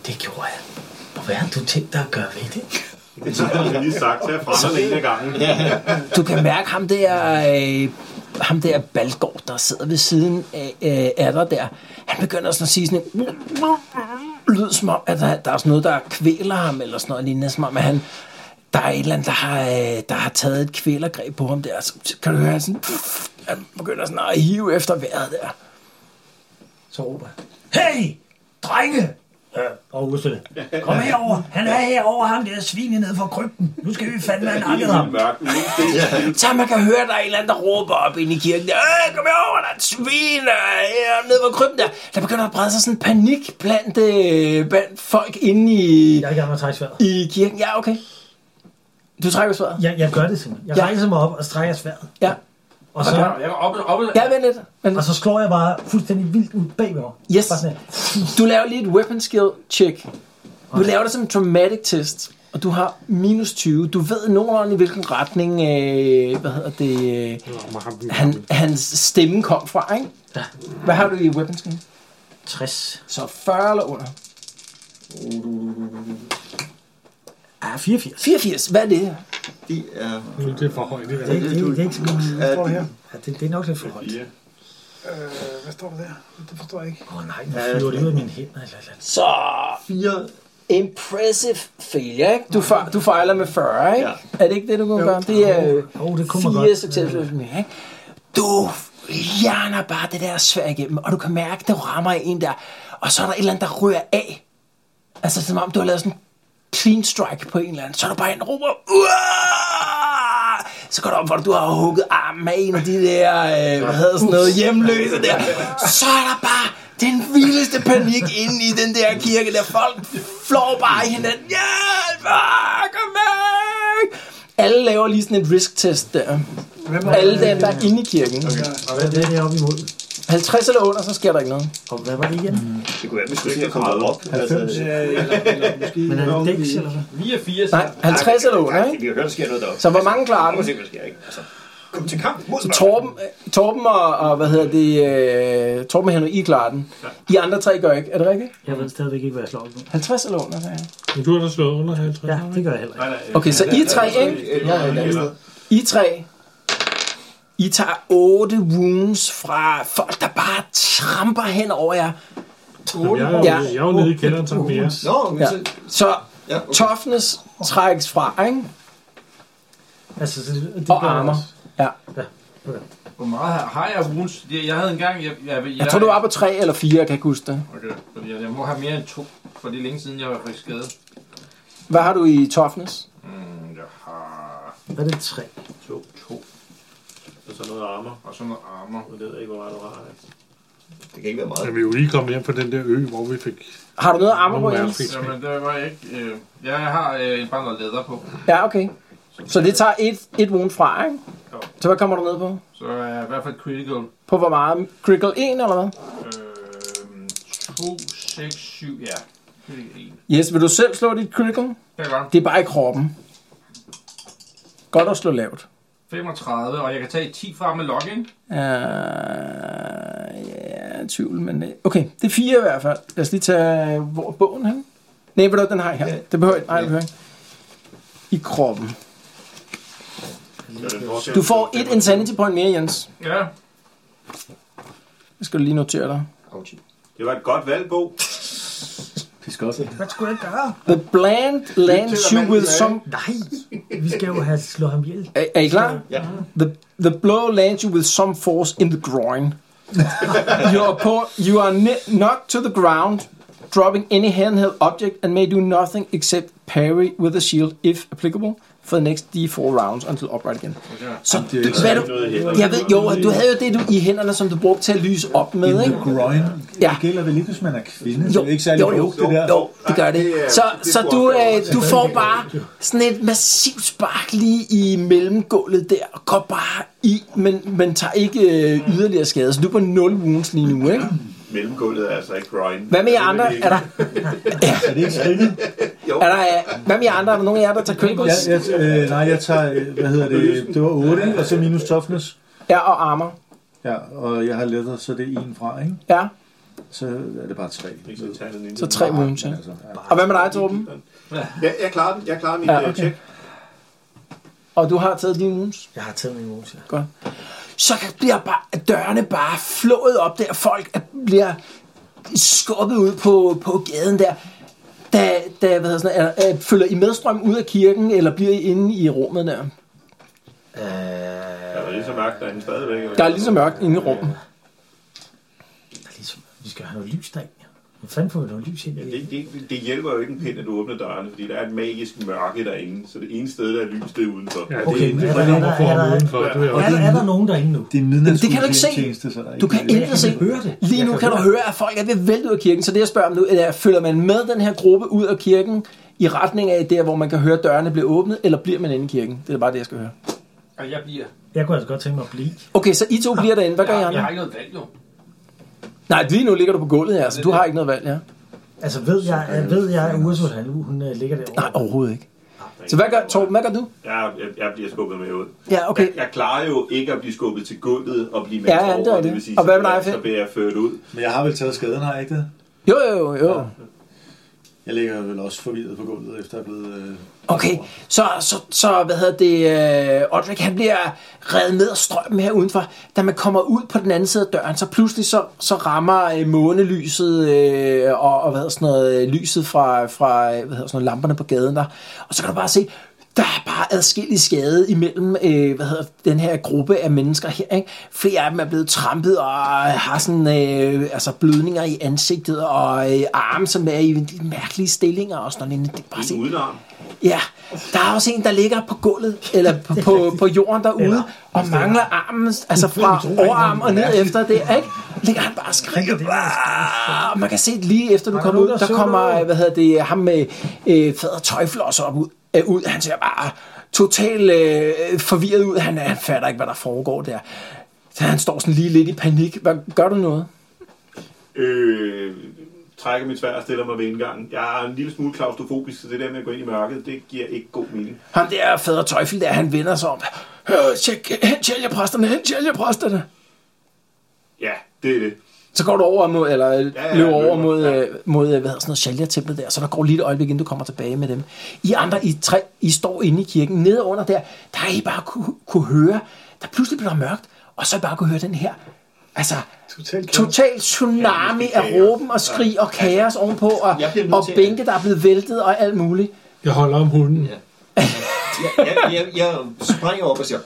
[SPEAKER 3] det gjorde jeg. Og hvad har du tænkt dig at gøre ved det?
[SPEAKER 6] Det har jeg lige sagt til jer fra den ene gang.
[SPEAKER 2] Du kan mærke ham der, øh, ham der Balgård, der sidder ved siden af, øh, af dig der. Han begynder sådan at sige sådan en lyd, som om, at der, der er sådan noget, der kvæler ham, eller sådan noget lignende, som om, at han, der er et eller andet, der har, øh, der har taget et kvælergreb på ham der. Så kan du høre, han sådan, han begynder sådan at hive efter vejret der.
[SPEAKER 3] Så råber jeg, Hey, drenge! Ja, og [LAUGHS] Ursula. Kom herover. Han er herover ham der svine nede for krybten. Nu skal vi fandme have nakket ham.
[SPEAKER 6] Mørken, det er
[SPEAKER 2] Så man kan høre, at der er en eller anden, der råber op ind i kirken. Der, Øh, kom herover, der er et svin øh, nede på krybben der. Der begynder at brede sig sådan en panik blandt, øh, blandt folk inde i,
[SPEAKER 3] Jeg er i gang med at trække sværet.
[SPEAKER 2] i kirken. Ja, okay. Du trækker svaret?
[SPEAKER 3] Jeg, jeg gør det simpelthen. Jeg
[SPEAKER 2] Ja.
[SPEAKER 3] rejser mig op og strækker sværet.
[SPEAKER 2] Ja.
[SPEAKER 3] Og så,
[SPEAKER 4] Jeg er oppe, oppe,
[SPEAKER 2] Ja, vent lidt. Vent
[SPEAKER 3] og
[SPEAKER 2] lidt.
[SPEAKER 3] så slår jeg bare fuldstændig vildt ud bagved mig.
[SPEAKER 2] Yes.
[SPEAKER 3] Bare sådan her.
[SPEAKER 2] Du laver lige et weapon skill check. Du laver det som en traumatic test, og du har minus 20. Du ved nogenlunde i hvilken retning, øh, hvad hedder det, øh,
[SPEAKER 7] Rammer ham den
[SPEAKER 2] han,
[SPEAKER 7] gamle.
[SPEAKER 2] hans stemme kom fra, ikke?
[SPEAKER 3] Ja.
[SPEAKER 2] Hvad har du i weapon skill?
[SPEAKER 3] 60.
[SPEAKER 2] Så 40 eller under?
[SPEAKER 3] Ja, 84.
[SPEAKER 2] 84, hvad er det?
[SPEAKER 8] De er...
[SPEAKER 7] Nu er det for højt. Det
[SPEAKER 3] Det,
[SPEAKER 7] er.
[SPEAKER 3] det, det, det er ikke så godt.
[SPEAKER 8] er
[SPEAKER 9] Står det her?
[SPEAKER 3] Ja, det, det er nok lidt for højt.
[SPEAKER 9] Øh, hvad står der der? Det forstår jeg ikke.
[SPEAKER 3] Åh oh, nej, nu flyver det ud af mine hænder. Eller, eller.
[SPEAKER 2] Så
[SPEAKER 8] Fire...
[SPEAKER 2] impressive failure, ikke? Du, fej- du fejler med 40, ikke? Ja.
[SPEAKER 8] Ja.
[SPEAKER 2] Er det ikke det, du kunne gøre? Det er øh,
[SPEAKER 3] Jo, det kunne man
[SPEAKER 2] fire
[SPEAKER 3] godt.
[SPEAKER 2] succesfulde mere, ikke? Du hjerner bare det der svær igennem, og du kan mærke, det rammer en der, og så er der et eller andet, der rører af. Altså, som om du har lavet sådan en clean strike på en eller anden. Så er der bare en der råber, Uah! så går det op for dig, du har hugget armen af en af de der, øh, hvad hedder sådan noget, hjemløse der. Så er der bare den vildeste panik inde i den der kirke, der folk flår bare i hinanden. Hjælp! Ah, Kom væk! Alle laver lige sådan en risk-test der.
[SPEAKER 9] Hvem var
[SPEAKER 2] Alle
[SPEAKER 9] det?
[SPEAKER 2] dem, der er inde i kirken.
[SPEAKER 3] Og hvad hvad er det op imod?
[SPEAKER 2] 50 eller under, så sker der ikke noget.
[SPEAKER 3] Og hvad var det igen?
[SPEAKER 8] Det kunne være, vi skulle se at komme op. Altså,
[SPEAKER 9] Ja, eller, eller måske...
[SPEAKER 3] Men er det dæks eller hvad?
[SPEAKER 4] 89.
[SPEAKER 2] Nej, 50 eller under,
[SPEAKER 8] nej,
[SPEAKER 2] ikke?
[SPEAKER 8] vi kan høre, der sker noget deroppe.
[SPEAKER 2] Så hvor mange klarer
[SPEAKER 8] Nu
[SPEAKER 2] den?
[SPEAKER 8] må se, hvad der sker, ikke? Altså, kom til kamp mod
[SPEAKER 2] Så Torben, øh, Torben og, og, hvad hedder det, øh, Torben og Henrik, I klarer den. I andre tre gør ikke, er det rigtigt?
[SPEAKER 3] Jeg ved stadigvæk ikke, hvad jeg slår op nu.
[SPEAKER 2] 50 eller under, sagde jeg.
[SPEAKER 7] Men du har da slået under 50.
[SPEAKER 3] Ja,
[SPEAKER 7] har du
[SPEAKER 3] det
[SPEAKER 7] ikke?
[SPEAKER 3] gør jeg heller ikke.
[SPEAKER 2] Okay, så I tre, ikke? I tre, I tager 8 wounds fra folk, der bare tramper hen over jer.
[SPEAKER 7] Jamen, Jeg,
[SPEAKER 2] Ja.
[SPEAKER 7] er jo- jeg er jo nede i kælderen sammen med jer.
[SPEAKER 8] Nå, men
[SPEAKER 2] Ja.
[SPEAKER 8] så...
[SPEAKER 2] Så
[SPEAKER 8] Ja, okay.
[SPEAKER 2] toughness trækkes fra, ikke?
[SPEAKER 3] Altså, så det, det
[SPEAKER 2] Og
[SPEAKER 3] gør jeg
[SPEAKER 2] armer.
[SPEAKER 3] også.
[SPEAKER 2] Ja.
[SPEAKER 4] Hvor meget har, har jeg wounds? Jeg, jeg havde engang... Jeg, jeg, jeg,
[SPEAKER 2] Jeg tror, du var på 3 eller 4, jeg kan ikke huske det.
[SPEAKER 4] Okay, fordi jeg, jeg må have mere end to, for det er længe siden, jeg var frisk skadet.
[SPEAKER 2] Hvad har du i toughness?
[SPEAKER 4] Mm, jeg har
[SPEAKER 3] Hvad er det tre?
[SPEAKER 6] to, to. Og så noget armer.
[SPEAKER 4] og sådan noget armor.
[SPEAKER 6] Jeg ved ikke, hvor meget du har. altså. Alex.
[SPEAKER 8] Det kan ikke være meget.
[SPEAKER 7] Men vi er jo lige kommet hjem på den der ø, hvor vi fik...
[SPEAKER 2] Har du noget armor på,
[SPEAKER 7] Nogle
[SPEAKER 2] Jens?
[SPEAKER 7] værnepligt.
[SPEAKER 4] Jamen, det var jeg ikke... Øh, jeg har øh, bare noget læder på,
[SPEAKER 2] Ja, okay. Så det tager et, et wound fra, ikke?
[SPEAKER 4] Jo.
[SPEAKER 2] Så hvad kommer du ned på?
[SPEAKER 4] så er jeg i hvert fald critical.
[SPEAKER 2] På hvor meget? Critical 1 eller hvad?
[SPEAKER 4] Øh, 2, 6, 7, ja. Det er ikke en.
[SPEAKER 2] Yes, vil du selv slå dit critical?
[SPEAKER 4] Det er godt.
[SPEAKER 2] Det er bare i kroppen. Godt at slå lavt.
[SPEAKER 4] 35, og jeg kan tage 10 fra med login.
[SPEAKER 2] Uh, ja, jeg er i tvivl, men... øh, Okay, det er fire i hvert fald. Lad os lige tage... Hvor er bogen hen? Nej, ved du, den har jeg her. Det behøver jeg Nej, det behøver jeg ikke. I kroppen. Du får et insanity point mere, Jens.
[SPEAKER 4] Ja,
[SPEAKER 2] Det skal du lige notere dig.
[SPEAKER 6] Det var et godt valg, Bo.
[SPEAKER 5] godt.
[SPEAKER 3] Hvad skulle jeg gøre?
[SPEAKER 2] The bland lands you with some...
[SPEAKER 3] Nej, vi skal jo have slået ham ihjel.
[SPEAKER 2] Er, er I klar?
[SPEAKER 8] Ja.
[SPEAKER 2] The, the blow lands you with some force in the
[SPEAKER 5] [LAUGHS]
[SPEAKER 2] groin. you are, po- you are kn- knocked to the ground, dropping any handheld object, and may do nothing except parry with a shield, if applicable, for the next d4 rounds until upright again. Så
[SPEAKER 5] Det er ikke
[SPEAKER 2] du, hvad du, jeg ved, jo, at du havde jo det du, i hænderne, som du brugte til at lyse op med,
[SPEAKER 5] In
[SPEAKER 2] ikke?
[SPEAKER 5] the groin.
[SPEAKER 2] Ja.
[SPEAKER 5] Ja. Det gælder vel ikke, hvis man er kvinde.
[SPEAKER 2] Jo,
[SPEAKER 5] det er ikke særlig
[SPEAKER 2] jo, jo,
[SPEAKER 5] brugt, det der.
[SPEAKER 2] jo, det gør det.
[SPEAKER 6] Ej, det er-
[SPEAKER 2] Så,
[SPEAKER 6] det
[SPEAKER 2] så
[SPEAKER 6] tror
[SPEAKER 2] du,
[SPEAKER 6] jeg
[SPEAKER 2] øh, du får bare sådan et massivt spark lige i mellemgulvet der, og går bare i, men, men tager ikke øh, yderligere skade. Så du er på 0 wounds lige nu, ikke?
[SPEAKER 6] Mellemgulvet er altså ikke grind.
[SPEAKER 2] Hvad med jer andre? Er der,
[SPEAKER 5] Er det ikke skridt?
[SPEAKER 2] er der, øh, hvad med jer andre? Er der nogen af jer, der tager
[SPEAKER 5] Ja,
[SPEAKER 2] criticals?
[SPEAKER 5] jeg, øh, nej, jeg tager, øh, hvad hedder det, det var 8, og så minus toughness.
[SPEAKER 2] Ja, og armor.
[SPEAKER 5] Ja, og jeg har letter, så det er en fra, ikke?
[SPEAKER 2] Ja,
[SPEAKER 5] Så er det bare tre.
[SPEAKER 2] så tre wounds, ja.
[SPEAKER 5] Altså, ja.
[SPEAKER 2] Og hvad med dig, Torben?
[SPEAKER 6] Ja, jeg klarer den. Jeg klarer min
[SPEAKER 2] Ja,
[SPEAKER 6] ja,
[SPEAKER 2] okay.
[SPEAKER 6] okay. check.
[SPEAKER 2] Og du har taget dine wounds?
[SPEAKER 3] Jeg har taget min mose.
[SPEAKER 2] Godt. Så kan- bliver bare, dørene bare flået op der. Folk er- bliver skubbet ud på, på gaden der. Da, da hvad hedder sådan, noget, er, er, følger I medstrøm ud af kirken, eller bliver I inde i rummet der?
[SPEAKER 6] Ja, der er lige så mørkt derinde stadigvæk. eller?
[SPEAKER 2] Der er lige så mørkt inde i rummet.
[SPEAKER 3] Ligesom, vi skal have noget lys derind. Hvad fanden får vi noget lys ind i?
[SPEAKER 6] Ja, Det, det, det hjælper jo ikke en pind, at du åbner dørene, fordi der er et magisk mørke derinde, så det ene sted, der er lys, det er udenfor.
[SPEAKER 7] Ja,
[SPEAKER 6] Ja.
[SPEAKER 7] det er
[SPEAKER 3] Okay,
[SPEAKER 7] ikke
[SPEAKER 3] men
[SPEAKER 7] det,
[SPEAKER 3] er
[SPEAKER 7] for
[SPEAKER 3] der-
[SPEAKER 7] det
[SPEAKER 3] er
[SPEAKER 7] er
[SPEAKER 3] der-
[SPEAKER 7] for
[SPEAKER 3] er der-
[SPEAKER 7] udenfor. Det er
[SPEAKER 3] Er der, er der nogen derinde nu?
[SPEAKER 5] Det er midnatskud,
[SPEAKER 2] Det kan du ikke se.
[SPEAKER 5] så der er
[SPEAKER 2] Du
[SPEAKER 5] ikke-
[SPEAKER 2] kan intet se.
[SPEAKER 3] høre det.
[SPEAKER 2] Lige nu kan du høre, at folk er ved at vælte ud af kirken, så det jeg spørger om nu, er, følger man med den her gruppe ud af kirken i retning af der, hvor man kan høre dørene blive åbnet, eller bliver man inde i kirken? Det er bare det, jeg skal høre.
[SPEAKER 4] Og jeg bliver...
[SPEAKER 3] Jeg kunne altså godt tænke mig at blive.
[SPEAKER 2] Okay, så I to bliver derinde. Hvad gør I
[SPEAKER 4] Jeg, jeg har
[SPEAKER 2] andre?
[SPEAKER 4] ikke noget valg, jo.
[SPEAKER 2] Nej, lige nu ligger du på gulvet her, så du har ikke noget valg, ja.
[SPEAKER 3] Altså ved jeg, jeg ved jeg, at Ursula han, hun øh, ligger derovre.
[SPEAKER 2] Nej, overhovedet ikke. Så hvad gør, Torben, hvad gør du?
[SPEAKER 6] Jeg, jeg bliver skubbet med ud.
[SPEAKER 2] Ja, okay.
[SPEAKER 6] Jeg, jeg klarer jo ikke at blive skubbet til gulvet og blive med
[SPEAKER 2] Ja, ja, det er
[SPEAKER 6] over,
[SPEAKER 2] det.
[SPEAKER 6] vil sige,
[SPEAKER 2] Og hvad
[SPEAKER 6] så
[SPEAKER 2] med dig,
[SPEAKER 6] bliver-
[SPEAKER 2] Finn?
[SPEAKER 6] Så bliver jeg ført ud.
[SPEAKER 5] Men jeg har vel taget skaden, har jeg ikke det?
[SPEAKER 2] Jo, jo, jo.
[SPEAKER 5] Jeg ligger vel også forvirret på gulvet, efter jeg er blevet... Øh,
[SPEAKER 2] Okay, så, så, så hvad hedder det, øh, Odrik, han bliver reddet med af strømmen her udenfor. Da man kommer ud på den anden side af døren, så pludselig så, så rammer øh, månelyset øh, og, og hvad hedder sådan noget, øh, lyset fra, fra øh, hvad hedder sådan noget, lamperne på gaden der. Og så kan du bare se, der er bare adskillig skade imellem øh, hvad hedder, den her gruppe af mennesker her. Ikke? Flere af dem er blevet trampet og har sådan, øh, altså blødninger i ansigtet og øh, arme, som er i de mærkelige stillinger og sådan noget. Det er bare se,
[SPEAKER 6] Uden arm.
[SPEAKER 2] Ja, der er også en, der ligger på gulvet, eller på, på, på jorden derude,
[SPEAKER 3] Eller-
[SPEAKER 2] og mangler armen, altså fra overarm og ned efter det, ikke? Ligger han bare og skriger. "Aah!" Og man kan se lige efter, du kommer ud, der kommer, hvad hedder det, ham med øh, fader tøjflosser op ud, øh, ud. Han ser bare totalt øh, forvirret ud. Han, han fatter ikke, hvad der foregår der. Så han står sådan lige lidt i panik. Hvad, gør du noget?
[SPEAKER 6] Øh, trækker mit svær og stiller mig ved indgangen. Jeg er en lille smule klaustrofobisk, så det der med at gå ind i mørket, det giver ikke god mening.
[SPEAKER 2] Ham der fader tøjfel der, han vender sig om. Øh, tjek, hen tjælgepræsterne, hen tjælgepræsterne.
[SPEAKER 6] Ja, det er det.
[SPEAKER 2] Så går du over mod, eller ja, ja,
[SPEAKER 6] ja,
[SPEAKER 2] løber over
[SPEAKER 6] løber,
[SPEAKER 2] mod,
[SPEAKER 6] ja.
[SPEAKER 2] ja. mod, øh, hvad hedder sådan noget, Shalya-templet der, så der går lige et øjeblik, inden du kommer tilbage med dem. I andre, I tre, I står inde i kirken, nede under der, der har I bare kunne, kunne høre, der pludselig blev der mørkt, og så I bare kunne høre den her, altså,
[SPEAKER 9] Total kaos.
[SPEAKER 2] total tsunami
[SPEAKER 6] Ja,
[SPEAKER 2] af
[SPEAKER 6] kaos.
[SPEAKER 2] råben og skrig og kaos ovenpå, og,
[SPEAKER 8] Jeg bliver nødt
[SPEAKER 2] og
[SPEAKER 8] til at-
[SPEAKER 2] bænke, der er blevet væltet og alt muligt.
[SPEAKER 7] Jeg holder om hunden.
[SPEAKER 8] Jeg, jeg, jeg, jeg springer op og siger,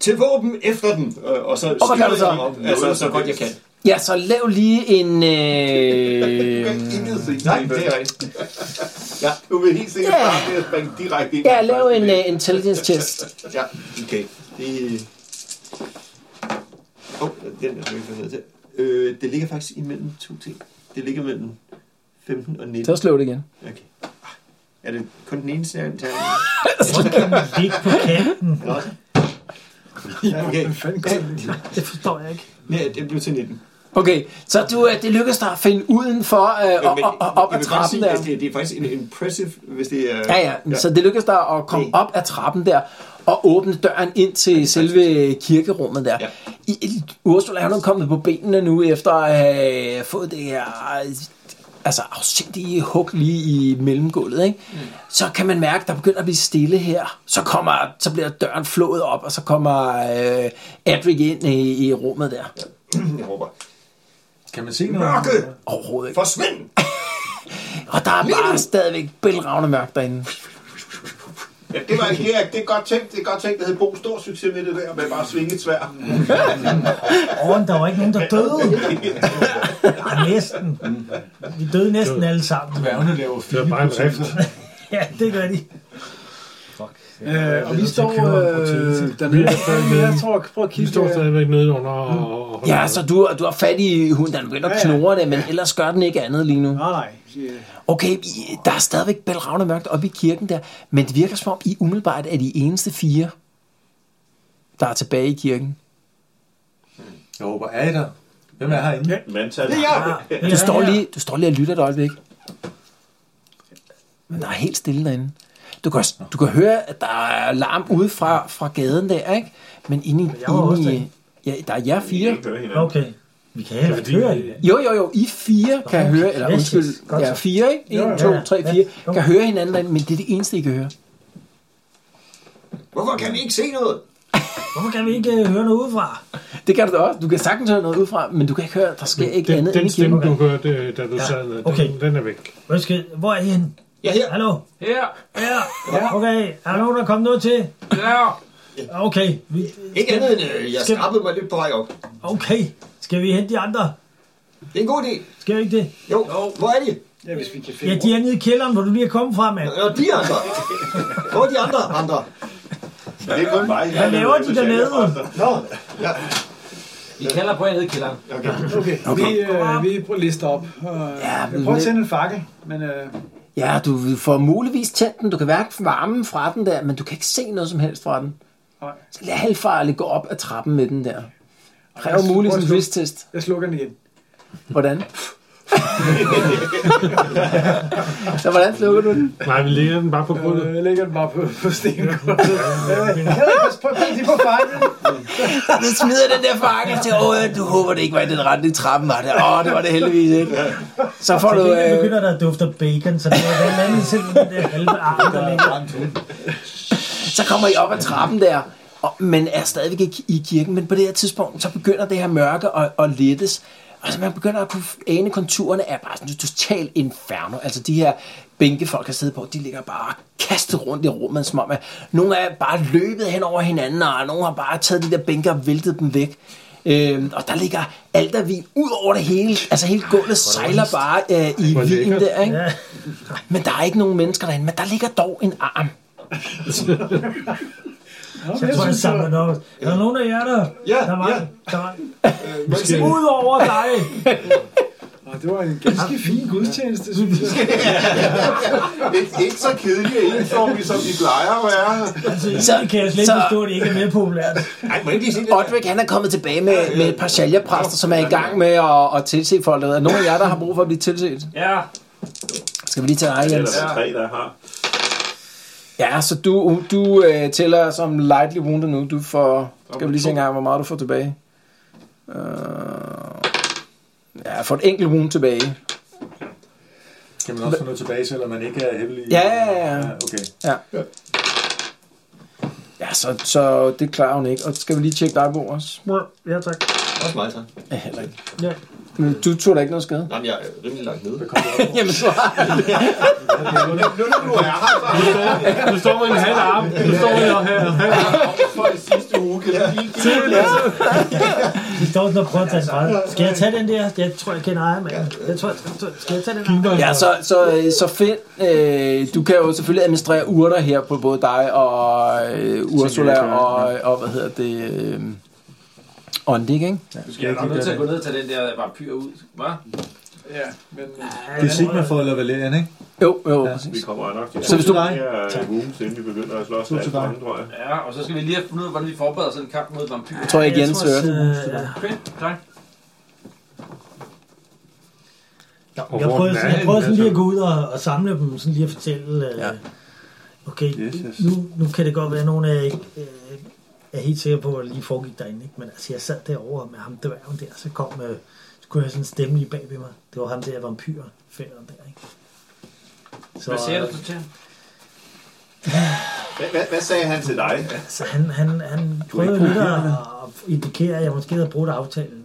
[SPEAKER 8] til våben efter den, og, og så
[SPEAKER 2] hvad gør du så?
[SPEAKER 8] jeg op, altså, så godt jeg kan.
[SPEAKER 2] Ja, så lav lige en... [LAUGHS] Øh,
[SPEAKER 6] Intet se.
[SPEAKER 8] Nej, det er rigtigt.
[SPEAKER 6] Du vil helt sikkert
[SPEAKER 2] Ja.
[SPEAKER 6] starte med at springe direkte ind.
[SPEAKER 2] ja, lav en uh, intelligence test.
[SPEAKER 8] Ja, okay. Det... Åh, oh, den er jeg ikke ned til. Øh, det ligger faktisk imellem to ting. Det ligger mellem 15 og 19.
[SPEAKER 2] Så slå det igen.
[SPEAKER 8] Okay. Ah, Er det kun den ene serien? terning?
[SPEAKER 3] Ligge på kanten.
[SPEAKER 8] Nå. Ja, okay.
[SPEAKER 3] [LAUGHS] Det forstår jeg ikke.
[SPEAKER 8] Ja, det blev til 19.
[SPEAKER 2] Okay, så du, øh, det lykkedes dig at finde udenfor øh, og, og, og op
[SPEAKER 8] jeg
[SPEAKER 2] ad
[SPEAKER 8] vil godt
[SPEAKER 2] trappen
[SPEAKER 8] sige,
[SPEAKER 2] der.
[SPEAKER 8] at det, det er faktisk en impressive, hvis det er...
[SPEAKER 2] Ja, ja, så det lykkedes dig at komme op ad trappen der og åbne døren ind til selve øh, kirkerummet der.
[SPEAKER 8] Ja.
[SPEAKER 2] I, I- Ursula, hun er kommet på benene nu efter at have fået det her øh, altså afsindige hug lige i mellemgulvet, ikke? Mm. Så kan man mærke, at der begynder at blive stille her. Så, kommer, så bliver døren flået op, og så kommer øh, Adric ind i, i rummet der.
[SPEAKER 8] [CLEARS THROAT] Jeg håber.
[SPEAKER 5] kan man se noget?
[SPEAKER 8] Mørke!
[SPEAKER 2] Overhovedet ikke.
[SPEAKER 8] Forsvind!
[SPEAKER 12] Og der er bare stadigvæk bælragende mørkt derinde.
[SPEAKER 6] Ja, det var en Erik. Det er godt tænkt. Det er godt tænkt. Det havde Bo stor succes med det der med bare at svinge et svær.
[SPEAKER 3] Åh, der var ikke nogen, der døde. Ja, næsten. Vi døde næsten alle sammen.
[SPEAKER 5] Dværgene laver
[SPEAKER 13] Det var bare en rift.
[SPEAKER 3] Ja, det gør de.
[SPEAKER 9] Øh, og vi står øh, dernede. Jeg tror, prøv at
[SPEAKER 13] De
[SPEAKER 9] kigge.
[SPEAKER 13] står stadigvæk nede under og... og
[SPEAKER 2] Ja, så du, du har fat i hunden, der begynder at
[SPEAKER 9] Ja, ja.
[SPEAKER 2] knurre det, men ellers gør den ikke andet lige nu.
[SPEAKER 9] Nej, nej. øh,
[SPEAKER 2] Okay, I- der er stadigvæk bælragende mørkt oppe i kirken der, men det virker som om, I umiddelbart er de eneste fire, der er tilbage i kirken.
[SPEAKER 5] Jeg håber, er I der? Hvem er herinde? Ja.
[SPEAKER 6] Mandtal.
[SPEAKER 8] Det er jeg.
[SPEAKER 2] Du står lige, du står lige og lytter et øjeblik. Men der er helt stille derinde. Du kan, du kan høre, at der er larm ude fra, fra gaden der, ikke? Men inde i...
[SPEAKER 3] jeg var også
[SPEAKER 2] Inde i
[SPEAKER 3] derinde.
[SPEAKER 2] ja, der er jer fire.
[SPEAKER 3] Okay. Vi kan heller ikke høre hinanden.
[SPEAKER 2] Jo, jo, jo. I fire kan okay. høre, eller
[SPEAKER 3] Yes, yes.
[SPEAKER 2] undskyld,
[SPEAKER 3] Godt
[SPEAKER 2] ja,
[SPEAKER 3] så.
[SPEAKER 2] fire, ikke? En,
[SPEAKER 9] Jo, jo.
[SPEAKER 2] to, tre,
[SPEAKER 3] Ja,
[SPEAKER 2] fire.
[SPEAKER 3] jo.
[SPEAKER 2] Kan høre hinanden, derinde, men det er det eneste, I kan høre.
[SPEAKER 8] Hvorfor kan vi ikke se noget?
[SPEAKER 3] Hvorfor kan vi ikke øh, høre noget udefra?
[SPEAKER 2] Det kan du da også. Du kan sagtens høre noget ud fra, men du kan ikke høre, der sker ikke
[SPEAKER 13] Den,
[SPEAKER 2] andet
[SPEAKER 13] den
[SPEAKER 2] end
[SPEAKER 13] stemme,
[SPEAKER 2] igen.
[SPEAKER 13] du hørte, da du ja. sad nede,
[SPEAKER 3] okay.
[SPEAKER 13] den, den er væk.
[SPEAKER 3] Hvor, skal, hvor er I henne?
[SPEAKER 8] Ja, her.
[SPEAKER 3] Hallo?
[SPEAKER 4] Her,
[SPEAKER 3] Ja. Okay, er der nogen, der er kommet noget til?
[SPEAKER 4] der.
[SPEAKER 3] Okay, vi,
[SPEAKER 8] Ikke andet end, øh, jeg
[SPEAKER 3] Skal-
[SPEAKER 8] skrabbede mig lidt på vej op.
[SPEAKER 3] okay. Skal vi hente de andre?
[SPEAKER 8] Det er en god idé.
[SPEAKER 3] Skal vi ikke det?
[SPEAKER 8] Jo, hvor er de?
[SPEAKER 9] Ja, hvis vi kan
[SPEAKER 3] Ja,
[SPEAKER 9] finde
[SPEAKER 3] de er nede i kælderen, hvor du lige er kommet fra, mand.
[SPEAKER 8] Nå, de andre. Hvor er de andre andre?
[SPEAKER 6] Det er kun mig.
[SPEAKER 3] Hvad laver de dernede?
[SPEAKER 8] Nå, ja.
[SPEAKER 4] Vi kalder på jer nede i kælderen.
[SPEAKER 9] Okay, vi, øh, vi prøver at liste op. Og,
[SPEAKER 2] Ja,
[SPEAKER 9] ja,
[SPEAKER 2] men
[SPEAKER 9] jeg prøver at
[SPEAKER 2] lidt-
[SPEAKER 9] tænde en fakkel, men øh,
[SPEAKER 2] Ja, du får muligvis tændt den. Du kan mærke varmen fra den der, men du kan ikke se noget som helst fra den.
[SPEAKER 9] Nej.
[SPEAKER 2] Så lad halvfarligt gå op ad trappen med den der.
[SPEAKER 9] jeg
[SPEAKER 2] Kræver muligvis
[SPEAKER 9] prøver at
[SPEAKER 2] en
[SPEAKER 9] slå-
[SPEAKER 2] wrist test.
[SPEAKER 9] jeg slukker den igen.
[SPEAKER 2] Hvordan? så hvordan slukker du den?
[SPEAKER 13] Nej, vi ligger den bare på gulvet.
[SPEAKER 9] Øh, jeg lægger den bare på, på stenkortet. Jeg ved ikke, prøv at på faklen.
[SPEAKER 2] Du smider den der fange til, åh, du håber det ikke var i den rette trappen, var det? Åh, det var det heldigvis ikke. Så får
[SPEAKER 3] Til
[SPEAKER 2] du...
[SPEAKER 3] gengæld
[SPEAKER 2] Øh,
[SPEAKER 3] begynder der at dufte af bacon, så det er vel andet selv den der halve arm, der ligger.
[SPEAKER 2] så kommer I op ad trappen der, og, men er stadigvæk ikke i kirken. Men på det her tidspunkt, så begynder det her mørke at, at lettes. Altså man begynder at kunne ane konturerne af bare sådan et totalt inferno. Altså de her bænke, folk har siddet på, de ligger bare kastet rundt i rummet, som om at nogle er bare løbet hen over hinanden, og nogle har bare taget de der bænker og væltet dem væk. Øhm, og der ligger altervin ud over det hele. Altså hele gulvet sejler bare øh, i vin
[SPEAKER 13] lækkert.
[SPEAKER 2] der, ikke?
[SPEAKER 3] Ja.
[SPEAKER 2] Men der er ikke nogen mennesker derinde, men der ligger dog en arm.
[SPEAKER 3] Så jeg tror, jeg samler den op. Er der nogen af jer, der,
[SPEAKER 8] Ja,
[SPEAKER 3] der var?
[SPEAKER 8] ja.
[SPEAKER 3] Der var
[SPEAKER 13] Skal-
[SPEAKER 3] Udover dig!
[SPEAKER 9] Og det var en ganske fin gudstjeneste, synes jeg.
[SPEAKER 6] Ikke, ikke så kedelige og ensomme, som de plejer at være.
[SPEAKER 3] Altså, så kan jeg slet ikke
[SPEAKER 2] så-
[SPEAKER 3] forstå, at det ikke er mere populært.
[SPEAKER 8] Ej, må jeg ikke lige se det?
[SPEAKER 2] Odrik, han er kommet tilbage med, med et par sælgerpræster, som er i gang med at, at tilse folk. Er der nogen af jer, der har brug for at blive tilset?
[SPEAKER 4] Ja,
[SPEAKER 2] Skal vi lige tage dig,
[SPEAKER 6] Eller
[SPEAKER 2] Jens?
[SPEAKER 6] de tre, der har.
[SPEAKER 2] Ja, så du, du øh, tæller som lightly wounded nu. Du får... Skal vi lige se engang, hvor meget du får tilbage? Uh, ja, får et enkelt wound tilbage.
[SPEAKER 5] Kan man også få noget tilbage, selvom man ikke er heavily?
[SPEAKER 2] Ja, ja, ja.
[SPEAKER 5] okay.
[SPEAKER 2] Ja, så, så det klarer hun ikke. Og skal vi lige tjekke dig på også?
[SPEAKER 3] Ja, tak.
[SPEAKER 8] Også mig, så.
[SPEAKER 2] Ja, heller ikke.
[SPEAKER 3] Ja.
[SPEAKER 2] Men du tog da ikke noget skade?
[SPEAKER 8] Nej, men jeg er rimelig langt nede.
[SPEAKER 2] [LAUGHS] Jamen, så
[SPEAKER 6] Nu når du er her, så
[SPEAKER 13] Du står med en halv arm. Du står med en halv arm.
[SPEAKER 6] for i sidste uge. Kan du lige give
[SPEAKER 3] Vi står sådan og prøver at tage den fra. Skal jeg tage den der? Jeg tror, jeg kender ejer, mand. Jeg tror, jeg, skal jeg tage den der?
[SPEAKER 2] Ja, så, så, øh, så find, øh, du kan jo selvfølgelig administrere urter her på både dig og øh, Ursula og, og, hvad hedder det, øh, Ondik, ikke?
[SPEAKER 4] du skal nok nødt til at gå ned og tage den der vampyr ud. Hva?
[SPEAKER 9] Ja, men
[SPEAKER 5] Det er Sigma for eller Valerian, ikke?
[SPEAKER 2] Jo, jo,
[SPEAKER 5] Ja.
[SPEAKER 2] præcis.
[SPEAKER 6] Vi kommer nok til
[SPEAKER 2] Så hvis du-
[SPEAKER 6] at tage rooms, inden vi begynder at slås med
[SPEAKER 5] til
[SPEAKER 6] alle
[SPEAKER 5] dig.
[SPEAKER 6] sammen, tror jeg.
[SPEAKER 4] Ja, og så skal vi lige have fundet ud af, hvordan vi forbereder sådan en kamp mod vampyrer.
[SPEAKER 2] Jeg tror ikke, Jens hører det.
[SPEAKER 3] øh, ja.
[SPEAKER 4] Okay, tak.
[SPEAKER 13] Og
[SPEAKER 3] Jeg
[SPEAKER 13] hvor
[SPEAKER 3] prøver,
[SPEAKER 13] den er
[SPEAKER 3] sådan, jeg
[SPEAKER 13] henne,
[SPEAKER 3] prøver sådan lige at
[SPEAKER 13] altså.
[SPEAKER 3] gå ud og, og samle dem, sådan lige at fortælle, øh,
[SPEAKER 2] Ja.
[SPEAKER 3] okay,
[SPEAKER 5] Yes, yes.
[SPEAKER 3] Nu, nu kan det godt være, at nogen af jer ikke øh, er helt sikre på, at lige foregik derinde, ikke? men altså jeg sad derovre med ham dværgen der, så kom, øh, så kunne jeg høre sådan en stemme lige bag ved mig. Det var ham der vampyrfælderen der, ikke? Så,
[SPEAKER 4] Hvad siger du
[SPEAKER 3] øh,
[SPEAKER 4] så til ham?
[SPEAKER 6] Hvad, hvad, hvad sagde han til dig?
[SPEAKER 3] Så han, han, han prøvede lidt at, at indikere, at jeg måske havde brudt aftalen.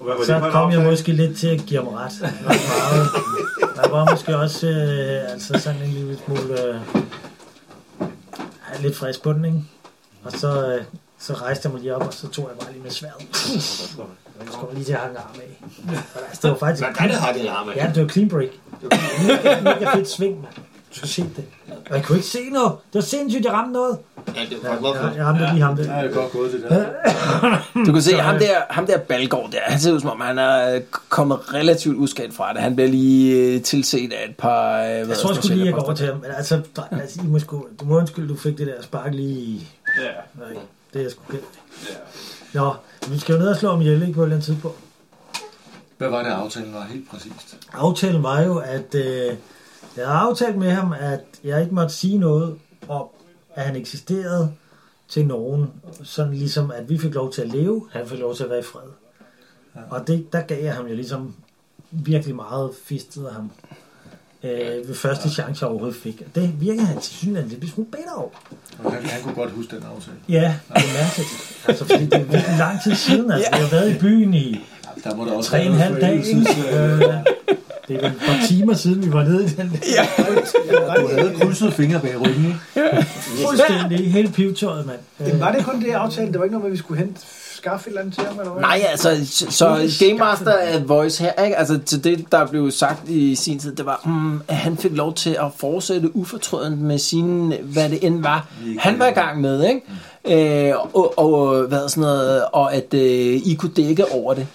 [SPEAKER 6] Hvad var det for
[SPEAKER 3] så
[SPEAKER 6] en
[SPEAKER 3] kom jeg
[SPEAKER 6] aftale?
[SPEAKER 3] måske lidt til at give ham ret. Der var, meget- der var måske også øh, altså sådan en lille smule øh, ja, lidt frisk på den, ikke? Og så, øh, så rejste jeg mig lige op, og så tog jeg bare lige med sværet. Jeg skulle lige til at hakke arm af. Og der- Det var faktisk...
[SPEAKER 8] Var det dig, der hakkede arm af?
[SPEAKER 3] Ja, det var clean break. Det var mega fedt sving, mand. Du skulle se det. Og jeg kunne ikke se noget. Det var sindssygt, jeg ramte noget.
[SPEAKER 8] Ja, det var
[SPEAKER 3] Ja,
[SPEAKER 8] faktisk meget
[SPEAKER 3] jeg,
[SPEAKER 8] fedt.
[SPEAKER 3] jeg ramte lige ham der.
[SPEAKER 5] Ja, det er godt gået, det der.
[SPEAKER 2] Du kan se, ham der, ham der Balgård der, han ser ud som om, han er øh, kommet relativt uskadt fra det. Han bliver lige øh, tilset af et par... Øh,
[SPEAKER 3] Jeg tror sgu lige, jeg går over til ham. Men altså, drej- altså I må sgu, du må undskylde, du fik det der spark lige i...
[SPEAKER 4] Ja.
[SPEAKER 3] Nej, det er jeg sgu ked af. Nå, vi skal jo ned og slå om ihjel, ikke på et eller andet tidspunkt.
[SPEAKER 5] Hvad var det, aftalen var helt præcist?
[SPEAKER 3] Aftalen var jo, at øh, jeg havde aftalt med ham, at jeg ikke måtte sige noget om, at han eksisterede til nogen. Sådan ligesom, at vi fik lov til at leve, han fik lov til at være i fred. Og det, der gav jeg ham jo ligesom virkelig meget fistet af ham. Øh, ved første chance, jeg overhovedet fik. Og det virker han til synligheden lidt smule bedre over.
[SPEAKER 5] Og Han, han kunne godt huske den aftale.
[SPEAKER 3] Ja, det er mærkeligt. Altså, fordi det er virkelig lang tid siden, altså. Vi har været i byen i
[SPEAKER 5] Der må der også
[SPEAKER 3] tre og en halv dag, ikke?
[SPEAKER 5] Øh,
[SPEAKER 3] Øh, Det er vel et par timer siden, vi var nede i den
[SPEAKER 5] du havde krydset fingre bag ryggen, ikke?
[SPEAKER 3] fuldstændig hele pivetøjet, mand.
[SPEAKER 9] Det var det kun det aftale? Det var ikke noget med, at vi skulle hente skaffe et eller andet til ham? Eller hvad?
[SPEAKER 2] Nej, altså, så, så Game Master er voice her, ikke? Altså, til det, der blev sagt i sin tid, det var, mm, at han fik lov til at fortsætte ufortrødent med sine, hvad det end var, han var i gang med, ikke?
[SPEAKER 3] Mm.
[SPEAKER 2] Øh, og, og, hvad sådan noget, og at øh, I kunne dække over det.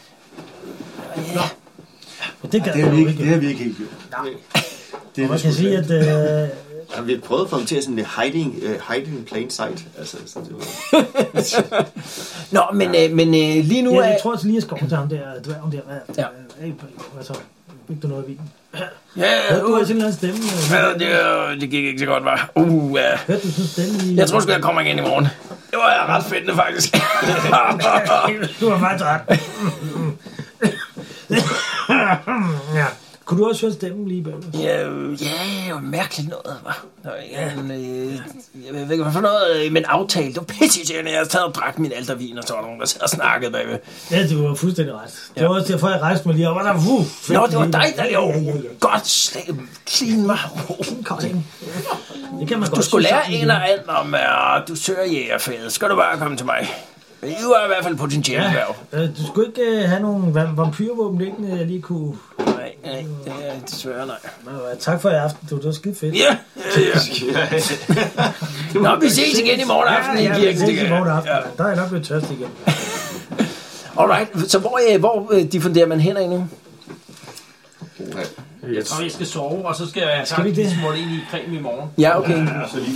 [SPEAKER 3] Men det gad
[SPEAKER 5] Det
[SPEAKER 3] jeg
[SPEAKER 5] har
[SPEAKER 3] jo
[SPEAKER 5] vi ikke, det
[SPEAKER 3] ikke.
[SPEAKER 5] har vi ikke helt gjort. Det
[SPEAKER 3] Og
[SPEAKER 5] er vi
[SPEAKER 3] man kan
[SPEAKER 5] sgu
[SPEAKER 3] sige,
[SPEAKER 5] sige,
[SPEAKER 3] at øh,
[SPEAKER 8] Ja, vi prøvede at få ham til at sådan lidt hiding, uh, hiding in plain sight. Altså, så det var...
[SPEAKER 2] Nå, men, øh, men øh, lige nu
[SPEAKER 3] ja,
[SPEAKER 2] er...
[SPEAKER 3] jeg tror også lige, jeg skal over til ham der, dværgen der. Hvad,
[SPEAKER 2] Ja.
[SPEAKER 3] ja. Altså, fik du noget af vinen?
[SPEAKER 2] Ja,
[SPEAKER 3] Hørte du også en eller anden stemme?
[SPEAKER 2] Ja, det, det gik ikke så godt, var. Uh, ja.
[SPEAKER 3] Hørte du sådan en stemme i...
[SPEAKER 2] Jeg tror sgu, jeg kommer igen i morgen. Det var ret spændende, faktisk.
[SPEAKER 3] [LAUGHS] Du har faktisk
[SPEAKER 2] [LAUGHS]
[SPEAKER 3] ret. ja. Kunne du også høre stemmen lige bag os?
[SPEAKER 2] ja, øh, ja, det var mærkeligt noget, hva'? Der var ikke en, øh, Jeg ved ikke, hvad for noget, øh, men aftale. Det var pisseirriterende. Jeg sad og drak min altervin, og så var der nogen, der sad og snakkede bagved.
[SPEAKER 3] Ja, det var fuldstændig ret. Det var også derfor, jeg rejste mig lige op, og der uh, fik
[SPEAKER 2] Nå, det var
[SPEAKER 3] lige-
[SPEAKER 2] dig, der
[SPEAKER 3] Ja, ja,
[SPEAKER 2] jo.
[SPEAKER 3] ja, ja.
[SPEAKER 2] Godt slag. Øh, Clean mig.
[SPEAKER 3] Cutting. Det kan man
[SPEAKER 2] Du
[SPEAKER 3] godt
[SPEAKER 2] skulle
[SPEAKER 3] sige
[SPEAKER 2] lære
[SPEAKER 3] sammen
[SPEAKER 2] en
[SPEAKER 3] igen.
[SPEAKER 2] og alt om, at du søger jægerfædet. Skal du bare komme til mig? Du er i hvert fald potentielt
[SPEAKER 3] Ja,
[SPEAKER 2] værv.
[SPEAKER 3] øh, du skulle ikke øh, have nogen va- vampyrvåben liggende, jeg lige kunne...
[SPEAKER 2] Nej, nej, det er desværre nej.
[SPEAKER 3] Nå, øh, tak for i aften, du. Det var skide fedt.
[SPEAKER 2] Ja, ja, ja. Nå, vi ses igen i morgen aften i
[SPEAKER 3] ja,
[SPEAKER 2] kirken.
[SPEAKER 3] det er i morgen aften.
[SPEAKER 2] Ja.
[SPEAKER 3] mand. Der er jeg nok blevet tørst igen.
[SPEAKER 2] Alright, så hvor, øh, hvor øh, diffunderer man hen nu?
[SPEAKER 4] Jeg tror, jeg skal sove, og så skal jeg
[SPEAKER 3] Skal vi
[SPEAKER 4] faktisk
[SPEAKER 3] det?
[SPEAKER 4] smutte ind i creme i morgen.
[SPEAKER 2] Ja, okay.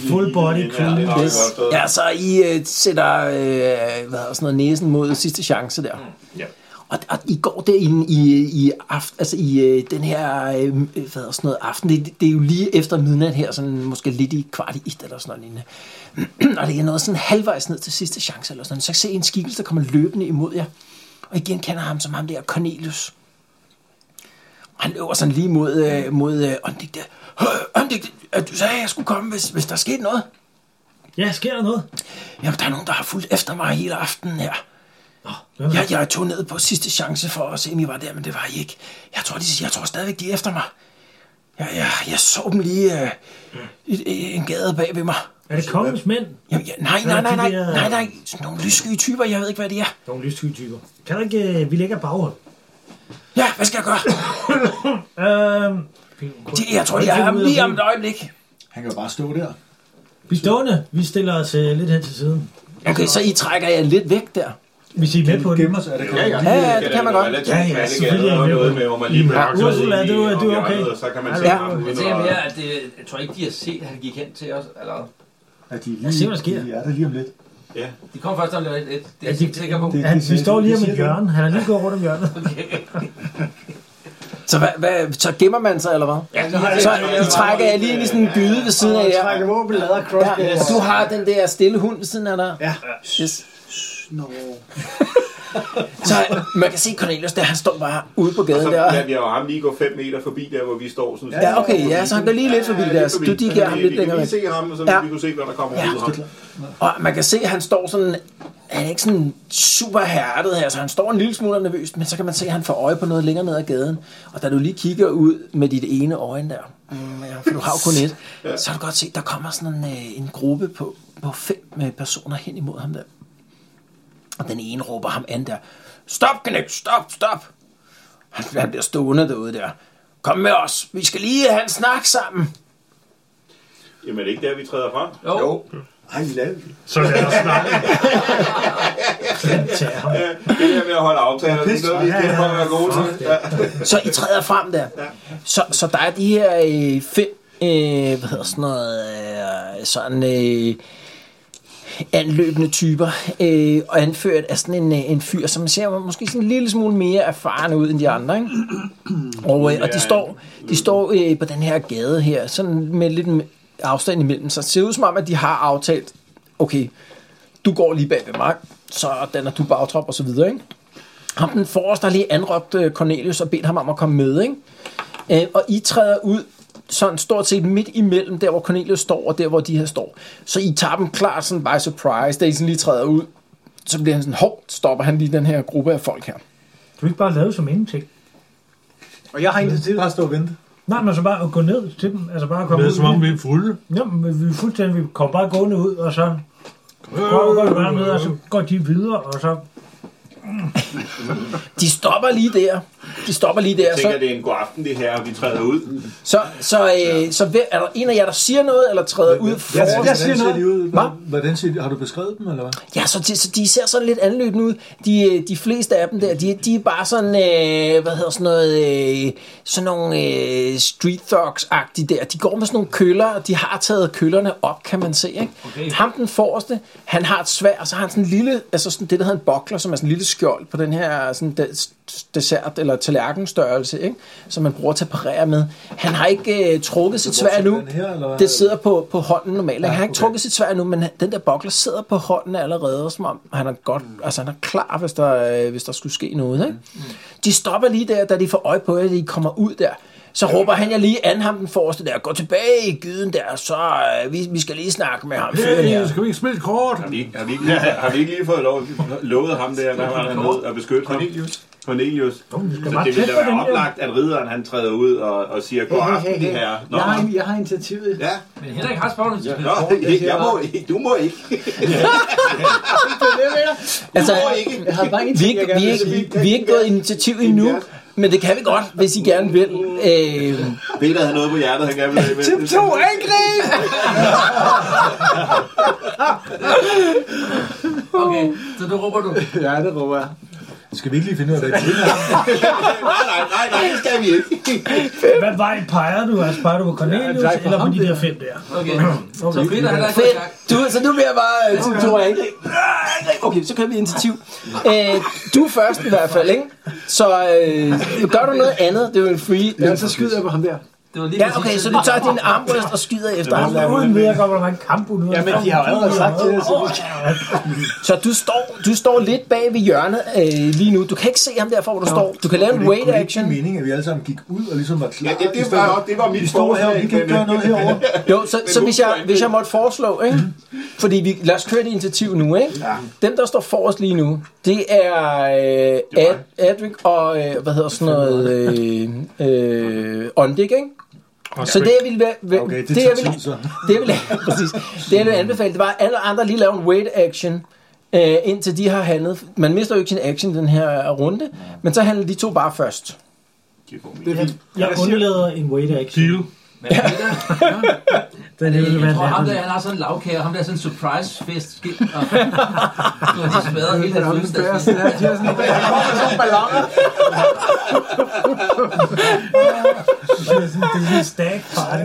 [SPEAKER 3] Full body cream,
[SPEAKER 6] yes.
[SPEAKER 2] Ja, så I øh, sætter øh, hvad hedder sådan noget, næsen mod sidste chance der.
[SPEAKER 6] Ja.
[SPEAKER 2] Og, og I går derinde i, i, aften, altså i øh, den her øh, hvad hedder sådan noget, aften. Det, det er jo lige efter midnat her, sådan måske lidt i kvart i et eller sådan noget lignende. [CLEARS THROAT] og det er noget sådan halvvejs ned til sidste chance eller sådan noget. Så kan I se en skikkelse, der kommer løbende imod jer. Og igen kender ham som ham der Cornelius. Og han løber sådan lige mod, øh, mod øh, ånddigte. Øh, ånddigte, øh, du sagde, at jeg skulle komme, hvis, hvis der skete noget.
[SPEAKER 3] Ja, sker der noget?
[SPEAKER 2] Jamen, der er nogen, der har fulgt efter mig hele aftenen her.
[SPEAKER 3] Hvem er
[SPEAKER 2] Jeg, jeg tog ned på sidste chance for at se, om I var der, men det var I ikke. Jeg tror, de, jeg tror stadigvæk, de er efter mig. Jeg, jeg, jeg så dem lige øh, i, i en gade bag ved mig.
[SPEAKER 3] Er det kongens mænd?
[SPEAKER 2] Jamen, jeg, nej, nej, nej, nej, nej, nej. Sådan nogle lyssky typer, jeg ved ikke, hvad de er.
[SPEAKER 3] Nogle lyssky typer. Kan der ikke... øh, Vi ligger baghold.
[SPEAKER 2] Ja, hvad skal jeg gøre?
[SPEAKER 3] Øhm...
[SPEAKER 2] De, jeg tror, de er her lige om et øjeblik.
[SPEAKER 5] Han kan jo bare stå der.
[SPEAKER 3] Vi er stående. Vi stiller os øh, lidt hen til siden.
[SPEAKER 2] Okay, så I trækker jer lidt væk der.
[SPEAKER 3] Hvis I er med på det.
[SPEAKER 5] Gemmer sig, er det
[SPEAKER 6] Ja, ja.
[SPEAKER 2] Ja, ja, det kan man godt.
[SPEAKER 6] Ja, ja, selvfølgelig er det noget med, hvor man lige
[SPEAKER 7] Ja,
[SPEAKER 6] mærker
[SPEAKER 3] Ursula,
[SPEAKER 6] ind i-
[SPEAKER 3] det er- det er
[SPEAKER 6] om
[SPEAKER 3] okay.
[SPEAKER 6] hjørnet, og Så kan man
[SPEAKER 3] Ja,
[SPEAKER 6] se
[SPEAKER 2] ja.
[SPEAKER 6] ham
[SPEAKER 4] Jeg
[SPEAKER 6] uden
[SPEAKER 4] tænker
[SPEAKER 6] at-
[SPEAKER 4] mere, at det, jeg tror ikke, de har set, at han gik hen til os. Eller,
[SPEAKER 5] At de
[SPEAKER 3] Lad os se, hvad der sker.
[SPEAKER 5] de er der lige om lidt.
[SPEAKER 4] de kom først om lidt. lidt. Det er
[SPEAKER 3] Ja,
[SPEAKER 4] jeg
[SPEAKER 3] de-
[SPEAKER 4] ikke sikker på. [LAUGHS]
[SPEAKER 5] Det-
[SPEAKER 3] Han, vi
[SPEAKER 5] det-
[SPEAKER 3] står lige
[SPEAKER 5] det
[SPEAKER 3] om
[SPEAKER 5] siger
[SPEAKER 3] et hjørne. Han er lige gået rundt om hjørnet.
[SPEAKER 2] Så, hvad, hvad, så gemmer man sig, eller hvad?
[SPEAKER 4] Ja, så har jeg-
[SPEAKER 2] Så I trækker jer lige ind i sådan en gyde ved siden af
[SPEAKER 9] Og
[SPEAKER 2] jer.
[SPEAKER 9] trække våben, lader cross
[SPEAKER 2] Ja, du har den der stille hund ved siden af dig.
[SPEAKER 9] Ja.
[SPEAKER 2] Yes.
[SPEAKER 9] Nå.
[SPEAKER 2] Så man kan se Cornelius, der han står bare ude på gaden
[SPEAKER 6] Så
[SPEAKER 2] der.
[SPEAKER 6] lader vi jo ham lige gå 5 meter forbi der, hvor vi står. Sådan,
[SPEAKER 2] Ja, okay, ja, så han går lige lidt forbi der. Så du, de giver ham lidt længere
[SPEAKER 6] væk.
[SPEAKER 2] væk.
[SPEAKER 6] Vi kan lige se ham, og så
[SPEAKER 2] Ja.
[SPEAKER 6] vi kunne se, hvad der kommer ud af ham.
[SPEAKER 2] Og man kan se, at han står sådan... han er ikke sådan super hærdet her, så han står en lille smule nervøst, men så kan man se, at han får øje på noget længere ned ad gaden. Og da du lige kigger ud med dit ene øje der, mm, ja, for du har jo kun et, så har du godt se, der kommer sådan en, øh, en gruppe på, på fem øh, personer hen imod ham der. Og den ene råber ham an der, stop knæk, stop, stop. Han, han bliver stående derude der. Kom med os, vi skal lige have en snak sammen.
[SPEAKER 6] Jamen, er det ikke der, vi træder frem?
[SPEAKER 4] Jo. jo.
[SPEAKER 5] Ej, vi lavede
[SPEAKER 7] Så lad os snakke.
[SPEAKER 6] Det der med at holde aftaler, det er noget, vi kan ja, være gode til. Ja.
[SPEAKER 2] Så I træder frem der. Så, så der er de her øh, fem, øh, hvad hedder sådan noget, øh, sådan øh, anløbende typer, øh, og anført af sådan en, øh, en fyr, som ser måske sådan en lille smule mere erfaren ud end de andre. Ikke? Og, øh, og de står, de står øh, på den her gade her, sådan med lidt afstand imellem sig. Det ser ud som om, at de har aftalt, okay, du går lige bag ved mig, så danner du bagtrop og så videre, ikke? Ham den forreste har lige anråbt øh, Cornelius og bedt ham om at komme med, ikke? Øh, og I træder ud sådan stort set midt imellem, der hvor Cornelius står og der hvor de her står. Så I tager dem klar sådan by surprise, da I sådan lige træder ud. Så bliver han sådan, hov, stopper han lige den her gruppe af folk her.
[SPEAKER 3] Du ikke bare lave som ingenting.
[SPEAKER 9] Og jeg har intet til.
[SPEAKER 5] Bare stå og vente.
[SPEAKER 3] Nej, men så bare at gå ned til dem. Altså bare at komme
[SPEAKER 7] Det
[SPEAKER 3] ud.
[SPEAKER 7] er som om, vi er fulde.
[SPEAKER 3] Jamen, vi er fuldstændig, vi kommer bare gående ud, og så går, går, bare med, og så går de videre, og så...
[SPEAKER 2] De stopper lige der. De stopper lige der.
[SPEAKER 6] Jeg
[SPEAKER 2] Så,
[SPEAKER 6] tænker, det er en god aften, det her, og vi træder ud.
[SPEAKER 2] så, så, øh, så hvem- er der en af jer, der siger noget, eller træder ud
[SPEAKER 5] Jeg,
[SPEAKER 2] foran?
[SPEAKER 5] jeg siger noget. De ud?
[SPEAKER 2] Hvad?
[SPEAKER 5] Hvordan ser de, har du beskrevet dem, eller hvad?
[SPEAKER 2] Ja, så de, så de ser sådan lidt anløbende ud. De, øh, de fleste af dem der, de, de er bare sådan, øh, hvad hedder sådan noget, øh, sådan nogle øh, street thugs-agtige der. De går med sådan nogle køller, og de har taget køllerne op, kan man se. Ikke? Okay. Ham den forreste, han har et svær, og så har han sådan en lille, altså sådan det, der hedder en bokler, som er sådan en lille skjold på den her sådan de, dessert- eller tallerkenstørrelse, ikke? som man bruger til at parere med. Han har ikke øh, trukket sit svær
[SPEAKER 5] til
[SPEAKER 2] endnu.
[SPEAKER 5] den her, eller hvad?
[SPEAKER 2] Det sidder på, på hånden normalt. Ja, han har ikke trukket sit svær endnu, men den der bokler sidder på hånden allerede, som om han er, godt, altså, han er klar, hvis der, øh, hvis der skulle ske noget. Ikke? De stopper lige der, da de får øje på, at de kommer ud der. Så råber han jeg lige an ham den forreste der, gå tilbage i gyden der, så øh, vi, vi skal lige snakke med ham. fyren her."
[SPEAKER 7] Hey, skal vi ikke spille kort?
[SPEAKER 6] Har vi ikke, har vi ikke, har vi ikke lige fået lov, lovet ham der, der var dernede og beskytte ham? Cornelius. Cornelius. Så det ville da være oplagt, at ridderen han træder ud og, og siger, god aften, det her. Nå,
[SPEAKER 9] Jeg har, jeg har initiativet.
[SPEAKER 6] ja.
[SPEAKER 4] Men Henrik har spørgsmål til
[SPEAKER 6] Nå, jeg må, ikke- du må ikke.
[SPEAKER 2] Altså,
[SPEAKER 6] Du må ikke.
[SPEAKER 9] Jeg har bare en
[SPEAKER 2] vi er
[SPEAKER 9] ting, jeg
[SPEAKER 2] ikke,
[SPEAKER 9] gerne
[SPEAKER 2] vi er
[SPEAKER 9] vil
[SPEAKER 2] ikke,
[SPEAKER 9] sige.
[SPEAKER 2] vi er ikke gået initiativ endnu, men det kan vi godt, hvis I gerne vil. Øh,
[SPEAKER 6] Peter havde noget på hjertet, han gerne ville have med.
[SPEAKER 2] angreb! [LAUGHS]
[SPEAKER 4] Okay, så nu råber du.
[SPEAKER 9] Ja, det råber jeg.
[SPEAKER 5] Skal vi ikke lige finde ud af, hvad de vil?
[SPEAKER 6] Nej, nej, nej, nej, det skal vi ikke.
[SPEAKER 3] Hvad vej peger du? Altså peger du på Cornelius,
[SPEAKER 9] Ja,
[SPEAKER 3] ja,
[SPEAKER 9] tak for
[SPEAKER 3] eller på
[SPEAKER 9] ham
[SPEAKER 3] de
[SPEAKER 9] der.
[SPEAKER 3] der fem der?
[SPEAKER 4] Okay. Så Peter, han er ikke i
[SPEAKER 2] Fedt.
[SPEAKER 4] gang.
[SPEAKER 2] Du, så nu bliver jeg bare øh, til to angreb. Okay, så kører vi initiativ. Øh, du er først i hvert fald, ikke? Så øh, gør du noget andet, det er jo en free.
[SPEAKER 9] Ja, så skyder jeg på ham der.
[SPEAKER 4] Det var lige
[SPEAKER 2] Ja,
[SPEAKER 4] præcis
[SPEAKER 2] okay, så
[SPEAKER 4] det.
[SPEAKER 2] du tager din armbrøst og skyder efter ham.
[SPEAKER 3] Uden ved, jeg godt, hvor mange kamp du nu har.
[SPEAKER 9] Jamen, de har jo allerede sagt altså. til os, at vi skal-
[SPEAKER 2] Så du står, du står lidt bag ved hjørnet øh, lige nu. Du kan ikke se ham derfra, hvor du står. Du kan lave en
[SPEAKER 5] Kunne det
[SPEAKER 2] wait
[SPEAKER 5] ikke- kunne det ikke give
[SPEAKER 2] action.
[SPEAKER 5] mening, at vi alle sammen gik ud og ligesom var klar?
[SPEAKER 6] Ja, det, det, var, det var mit
[SPEAKER 5] Vi stod her, og
[SPEAKER 6] forslag,
[SPEAKER 5] vi kan ikke
[SPEAKER 6] men,
[SPEAKER 5] gøre noget herovre.
[SPEAKER 2] Jo, så, så hvis, jeg,
[SPEAKER 6] hvorfor
[SPEAKER 2] hvis jeg måtte foreslå, ikke? fordi vi, lad os køre det initiativ nu, ikke? Mhm. Ja. dem der står forrest lige nu, det er øh, Ad, Adric og, øh, hvad hedder sådan noget, øh, øh, Ondik, ikke?
[SPEAKER 7] Og
[SPEAKER 2] Så det jeg ville, være- være-
[SPEAKER 5] Okay, det
[SPEAKER 2] det, jeg
[SPEAKER 5] tager
[SPEAKER 2] ville,
[SPEAKER 5] tid, så.
[SPEAKER 2] [LAUGHS] det jeg ville, præcis, det jeg ville anbefale, det var at alle andre lige lave en wait action, øh, indtil de har handlet. Man mister jo ikke sin action i den her runde, men så handler de to bare først.
[SPEAKER 3] Jeg undlader en wait action.
[SPEAKER 7] Deal.
[SPEAKER 4] Men Peter,
[SPEAKER 3] Den er jo
[SPEAKER 4] jeg tror, ham der,
[SPEAKER 3] vandet.
[SPEAKER 4] han har sådan en lavkage, og ham der er sådan en surprise-fest. skilt, Og så har de smadret hele hans fødselsdag.
[SPEAKER 9] Ja, de har sådan- Der kommer sådan nogle balloner.
[SPEAKER 3] Det er sådan en stag party.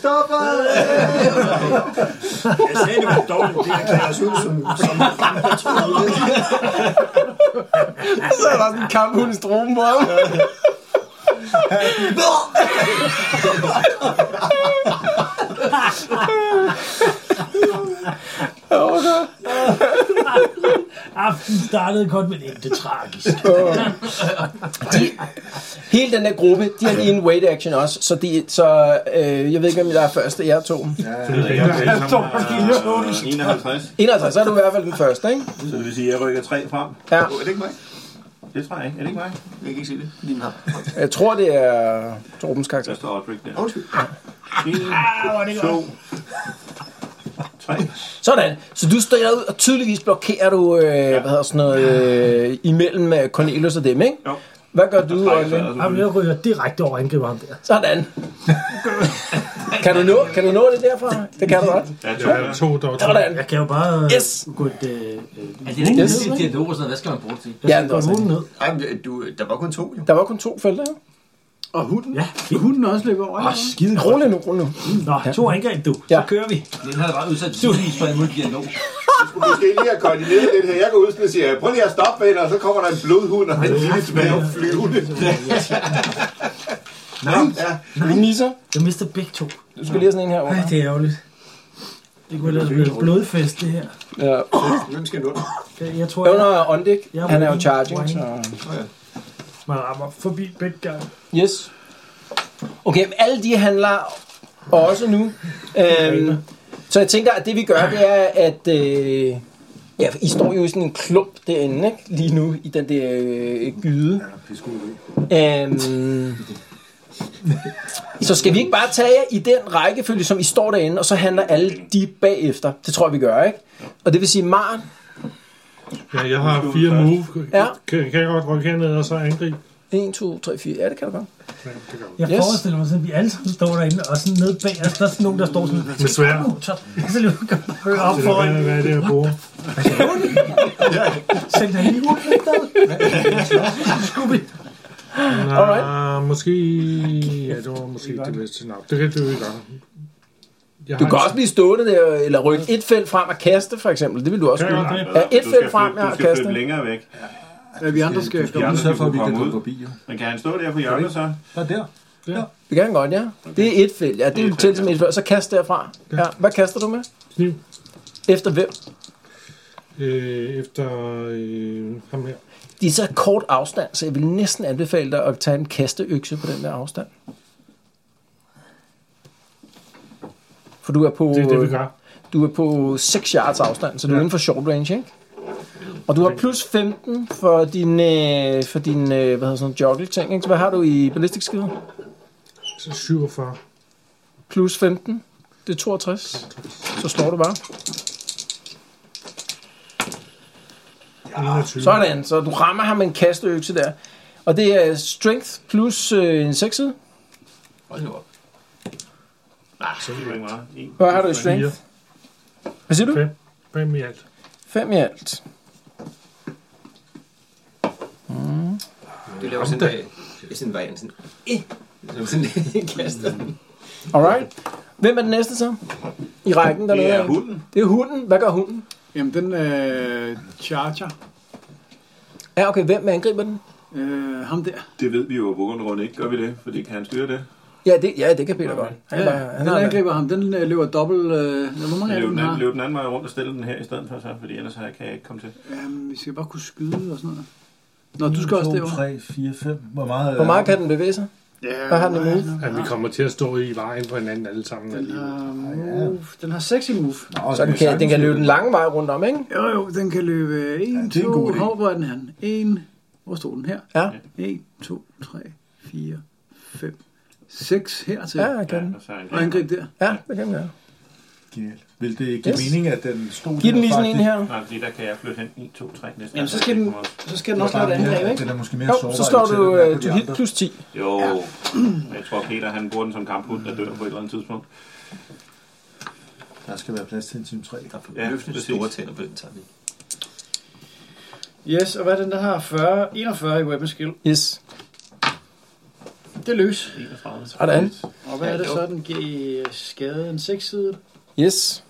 [SPEAKER 9] Stopper!
[SPEAKER 8] Jeg sagde, det var dårligt. Det er klæder os ud som, som
[SPEAKER 2] Så er der sådan en kamphund i stroben på ham.
[SPEAKER 3] Ah, Den startede godt, men endte tragisk.
[SPEAKER 2] Hele den der gruppe, de har lige en wait action også, så, de, så øh, jeg ved ikke, om jeg er først af jer to.
[SPEAKER 6] Jeg
[SPEAKER 2] står på kilo.
[SPEAKER 6] 51.
[SPEAKER 2] 51, så er du i hvert fald den første, ikke?
[SPEAKER 6] Så det vil sige, at jeg rykker 3 frem.
[SPEAKER 2] Ja.
[SPEAKER 6] Åh, Er det ikke mig? Det tror jeg ikke. Er det ikke mig? Jeg kan ikke se det. Lige her.
[SPEAKER 2] Jeg tror, det er Torbens
[SPEAKER 6] Der
[SPEAKER 2] karakter.
[SPEAKER 6] står Albrecht der.
[SPEAKER 8] Undskyld.
[SPEAKER 6] 1, 2, 3.
[SPEAKER 2] Sådan. Så du stikker ud, og tydeligvis blokerer du, øh, hvad hedder sådan noget, øh, imellem øh, Cornelius og dem, ikke?
[SPEAKER 6] Jo.
[SPEAKER 2] Hvad gør du, Øjvind?
[SPEAKER 3] Ham jeg ryger direkte over og angriber ham der.
[SPEAKER 2] Sådan. kan, du nå, kan du nå det derfra? Det kan du godt.
[SPEAKER 6] Ja,
[SPEAKER 7] Der er to, der er to.
[SPEAKER 2] Sådan.
[SPEAKER 3] Jeg kan jo bare øh,
[SPEAKER 2] Yes.
[SPEAKER 3] gå et... Øh, øh,
[SPEAKER 4] Er det ikke
[SPEAKER 2] Yes.
[SPEAKER 4] yes. til dialog og sådan noget? Hvad skal man bruge det til?
[SPEAKER 2] Ja, det
[SPEAKER 3] gå
[SPEAKER 2] er også
[SPEAKER 3] hunden
[SPEAKER 2] rigtigt.
[SPEAKER 3] ned.
[SPEAKER 8] Ej, men du, der var kun to, jo.
[SPEAKER 2] der var kun to felter. ikke?
[SPEAKER 9] Og hunden.
[SPEAKER 3] Ja,
[SPEAKER 9] Skal hunden også løbe over? Oh,
[SPEAKER 2] Skide godt. Rolig nu, rolig nu.
[SPEAKER 3] Nå, to angreb, du.
[SPEAKER 2] Ja.
[SPEAKER 3] Så kører vi.
[SPEAKER 4] Den har da bare udsat tydeligvis for imod dialog.
[SPEAKER 6] Du skal lige have koordineret lidt her. Jeg går ud og siger, prøv lige at stoppe med og så kommer der en blodhund og en lille dværg flyvende. Nå, ja.
[SPEAKER 2] Du misser.
[SPEAKER 3] Jeg mister begge to.
[SPEAKER 2] Du skal lige have sådan en her
[SPEAKER 3] Ej,
[SPEAKER 2] over.
[SPEAKER 3] det er ærgerligt. Det kunne ellers blive et blodfest, det her.
[SPEAKER 2] Ja.
[SPEAKER 8] Hvem skal nu?
[SPEAKER 3] Jeg- Jeg tror, jeg,
[SPEAKER 2] Under Ondik,
[SPEAKER 3] Jeg
[SPEAKER 2] han er jo
[SPEAKER 3] må-
[SPEAKER 2] charging, så...
[SPEAKER 3] man rammer forbi begge gange.
[SPEAKER 2] Yes. Okay, men alle de handler også nu. Øhm, så jeg tænker, at det vi gør, det er, at... Øh, ja, I står jo i sådan en klump derinde, ikke? Lige nu, i den der øh, gyde.
[SPEAKER 5] Ja, pisse god idé.
[SPEAKER 2] Øhm, så skal vi ikke bare tage jer i den rækkefølge, som I står derinde, og så handler alle de bagefter. Det tror jeg, vi gør, ikke? Og det vil sige, Maren,
[SPEAKER 7] Ja, jeg har fire move.
[SPEAKER 2] Ja.
[SPEAKER 7] Kan, kan jeg godt rykke herned og så angribe?
[SPEAKER 2] 1, 2, 3, 4. Ja, det kan du godt.
[SPEAKER 3] Jeg
[SPEAKER 2] Yes.
[SPEAKER 3] yes. forestiller mig sådan, at vi alle sammen står derinde, og sådan nede bag os, der er sådan nogen, der står sådan...
[SPEAKER 7] Med svær.
[SPEAKER 3] "Åh, Så så lukker man bare op foran.
[SPEAKER 7] Hvad, hvad er det, jeg bruger?
[SPEAKER 9] [LAUGHS]
[SPEAKER 3] Send dig lige ud, Scooby.
[SPEAKER 7] Nej, måske... Ja, det var måske det bedste nok. Det kan du ikke gøre. Jeg
[SPEAKER 2] Du
[SPEAKER 7] har
[SPEAKER 2] kan
[SPEAKER 7] en-
[SPEAKER 2] også blive stående der, eller rykke et felt frem og kaste, for eksempel. Det vil du også
[SPEAKER 7] Kan jeg
[SPEAKER 2] kunne.
[SPEAKER 7] godt det?
[SPEAKER 2] Ja, et
[SPEAKER 6] Du
[SPEAKER 2] felt
[SPEAKER 6] skal
[SPEAKER 2] frem,
[SPEAKER 6] flytte-
[SPEAKER 2] jeg har
[SPEAKER 6] Du skal flytte
[SPEAKER 2] kastet.
[SPEAKER 6] længere væk.
[SPEAKER 9] vi andre skal
[SPEAKER 5] Du skal
[SPEAKER 6] Ja,
[SPEAKER 5] jo sørge for, at vi
[SPEAKER 6] du
[SPEAKER 5] kan
[SPEAKER 6] kommer
[SPEAKER 5] komme
[SPEAKER 6] ud.
[SPEAKER 5] forbi. jo.
[SPEAKER 6] Men kan han stå der på hjørnet så?
[SPEAKER 5] Der er der.
[SPEAKER 2] Det kan han godt, ja. Det er et felt. Ja, det er jo til som et felt. Så kast derfra. Ja. Hvad kaster du med?
[SPEAKER 7] Kniv.
[SPEAKER 2] Efter hvem?
[SPEAKER 7] Øh, efter øh, ham her.
[SPEAKER 2] De er så kort afstand, så jeg vil næsten anbefale dig at tage en kasteøkse på den der afstand. For du er på,
[SPEAKER 7] Det er det, vi gør.
[SPEAKER 2] du er på 6 yards afstand, så du er inden for short range, ikke? Og du har plus 15 for din, øh, for din øh, hvad hedder sådan, joggle ting, ikke? Så hvad har du i ballistic skill?
[SPEAKER 7] Så 47.
[SPEAKER 2] Plus 15, det er 62. Så slår du bare.
[SPEAKER 7] 21.
[SPEAKER 2] Sådan, så du rammer ham med en kasteøkse der. Og det er strength plus øh, en 6
[SPEAKER 4] Hold nu op.
[SPEAKER 6] Nej, det er ikke meget. En.
[SPEAKER 2] Hvad har du i
[SPEAKER 7] Fire.
[SPEAKER 2] strength? Hvad siger du?
[SPEAKER 7] Fem. Fem i alt.
[SPEAKER 2] 5 i alt.
[SPEAKER 8] Du laver sådan en vej, sådan en vej, sådan eh, som sådan en kaster.
[SPEAKER 2] Alright. Hvem er den næste så? I rækken dernede?
[SPEAKER 6] Det er hunden.
[SPEAKER 2] Det er hunden. Hvad gør hunden?
[SPEAKER 9] Jamen, den øh, charger.
[SPEAKER 2] Ja, okay. Hvem angriber den?
[SPEAKER 9] Øh, ham der.
[SPEAKER 6] Det ved vi jo af grund rundt ikke. Gør vi det? Fordi kan han styre det?
[SPEAKER 2] Ja, det, ja, det kan Peter godt. Han er, bare, han
[SPEAKER 9] den
[SPEAKER 2] er,
[SPEAKER 9] angriber ham. Den øh, løber dobbelt... Øh, hvor mange af
[SPEAKER 6] Løb
[SPEAKER 9] dem
[SPEAKER 6] den,
[SPEAKER 9] har?
[SPEAKER 6] anden, løb den anden vej rundt og stille den her i stedet for så, fordi ellers her kan jeg ikke komme til.
[SPEAKER 9] Jamen, Øhm, vi skal bare kunne skyde og sådan noget. Nå, du skal også
[SPEAKER 5] 2,
[SPEAKER 9] derovre.
[SPEAKER 5] 3, 4, 5. Hvor meget? øh,
[SPEAKER 2] hvor meget kan den bevæge sig?
[SPEAKER 9] Ja,
[SPEAKER 2] Hvad har den i move?
[SPEAKER 7] At vi kommer til at stå i vejen for hinanden alle sammen alligevel.
[SPEAKER 9] Øh, move. Den har 6 i move.
[SPEAKER 5] Nå,
[SPEAKER 2] Så den kan, den kan løbe den lange vej rundt om, ikke?
[SPEAKER 9] Jo, jo, den kan løbe 1,
[SPEAKER 5] det er en
[SPEAKER 9] 2,
[SPEAKER 5] god idé.
[SPEAKER 9] hvor var den han? 1, hvor stod den her?
[SPEAKER 2] Ja,
[SPEAKER 9] 1, 2, 3, 4, 5, 6 hertil.
[SPEAKER 2] ja, jeg kan den.
[SPEAKER 6] Og så er han
[SPEAKER 9] Og angreb der.
[SPEAKER 2] Ja, det kan den gøre.
[SPEAKER 5] Genialt. Vil det give
[SPEAKER 2] Yes.
[SPEAKER 5] mening, at den stod
[SPEAKER 2] Giv
[SPEAKER 5] der
[SPEAKER 2] den lige sådan en
[SPEAKER 5] faktisk?
[SPEAKER 2] her.
[SPEAKER 6] Nej, fordi der kan jeg flytte hen 1, 2, 3 næsten.
[SPEAKER 9] Jamen, så skal den, så skal den også lave et angreb, ikke?
[SPEAKER 5] Den er måske mere
[SPEAKER 2] Jo,
[SPEAKER 5] sårbar.
[SPEAKER 2] så slår
[SPEAKER 5] til
[SPEAKER 2] du,
[SPEAKER 5] den, end
[SPEAKER 2] øh,
[SPEAKER 5] på de
[SPEAKER 2] du hit
[SPEAKER 5] andre.
[SPEAKER 2] plus 10.
[SPEAKER 6] Jo, jeg tror Peter han bruger den som kamphund, der dør på et eller andet tidspunkt.
[SPEAKER 5] Der skal være plads til en time 3.
[SPEAKER 6] Ja,
[SPEAKER 8] Løftende
[SPEAKER 6] præcis.
[SPEAKER 8] store tænder på den tegning.
[SPEAKER 9] Yes, og hvad er den, der har 40, 41 i weapon skill?
[SPEAKER 2] Yes.
[SPEAKER 9] Det er løs.
[SPEAKER 6] 31.
[SPEAKER 2] Sådan.
[SPEAKER 9] Og hvad er det så, den giver i skade? En 6 side
[SPEAKER 2] Yes.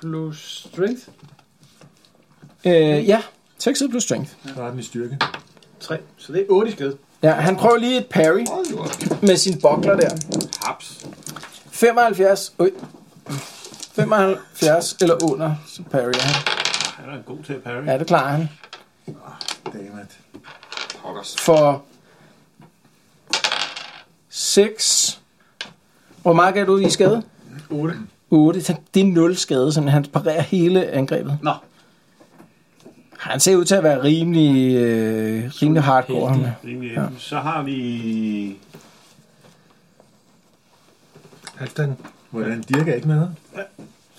[SPEAKER 9] plus strength?
[SPEAKER 2] Øh, ja, 6 plus strength.
[SPEAKER 5] Der er den i styrke.
[SPEAKER 9] 3. Så det er 8 i skade.
[SPEAKER 2] Ja, han prøver lige et parry med sin bokler der.
[SPEAKER 6] Haps.
[SPEAKER 2] 75, øj, 75 eller under, så parry han.
[SPEAKER 6] Han er god til at parry.
[SPEAKER 2] Ja, det klarer han.
[SPEAKER 8] Pokkers.
[SPEAKER 2] for 6. Hvor meget gav du i skade?
[SPEAKER 9] 8.
[SPEAKER 2] 8. Det er 0 skade, så han parerer hele angrebet.
[SPEAKER 9] Nå.
[SPEAKER 2] Han ser ud til at være rimelig, øh, rimelig hardcore. Ham. her.
[SPEAKER 6] Rimelig.
[SPEAKER 2] Ja.
[SPEAKER 6] Så har vi...
[SPEAKER 7] Halvdan.
[SPEAKER 5] Hvordan? Dirk er ikke med her.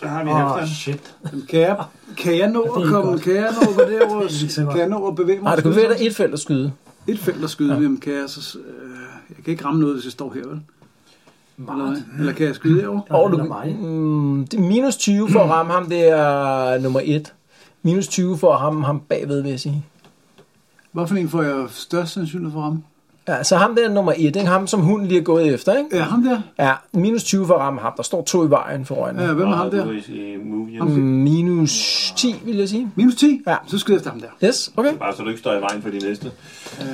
[SPEAKER 6] Så har vi
[SPEAKER 3] Åh,
[SPEAKER 6] oh,
[SPEAKER 3] oh,
[SPEAKER 6] Halvdan.
[SPEAKER 3] shit.
[SPEAKER 9] Kan jeg, kan jeg nå at
[SPEAKER 3] ikke
[SPEAKER 9] komme?
[SPEAKER 3] godt.
[SPEAKER 9] Kan jeg nå at gå derover?
[SPEAKER 3] Det er ikke så godt.
[SPEAKER 9] kan jeg nå at bevæge mig?
[SPEAKER 2] Nej, der kunne være der et felt at skyde.
[SPEAKER 9] Et felt at skyde, ja. jamen kan jeg så... s- Øh, jeg kan ikke ramme noget, hvis jeg står her, vel? Eller, hvad? eller kan jeg skyde derovre?
[SPEAKER 3] Der
[SPEAKER 2] Og
[SPEAKER 3] er
[SPEAKER 2] du,
[SPEAKER 3] mig.
[SPEAKER 2] mm, det er minus 20 for at ramme ham, det er nummer 1. Minus 20 for at ramme ham bagved, vil jeg sige.
[SPEAKER 9] Hvad for en får jeg størst sandsynlighed for at ramme?
[SPEAKER 2] Ja, så ham der er nummer 1, ikke? ham som hunden lige er gået efter, ikke?
[SPEAKER 9] Ja, ham der.
[SPEAKER 2] Ja, minus 20 for at ramme ham. Der står to i vejen for øjnene.
[SPEAKER 9] Ja, hvem er ham der?
[SPEAKER 6] Du i movie.
[SPEAKER 2] Mm, Minus 10, vil jeg sige.
[SPEAKER 9] Minus 10?
[SPEAKER 2] Ja.
[SPEAKER 9] Så skyder jeg efter ham der.
[SPEAKER 2] Yes, okay.
[SPEAKER 6] Bare så du ikke står i vejen for de næste.
[SPEAKER 9] Øh,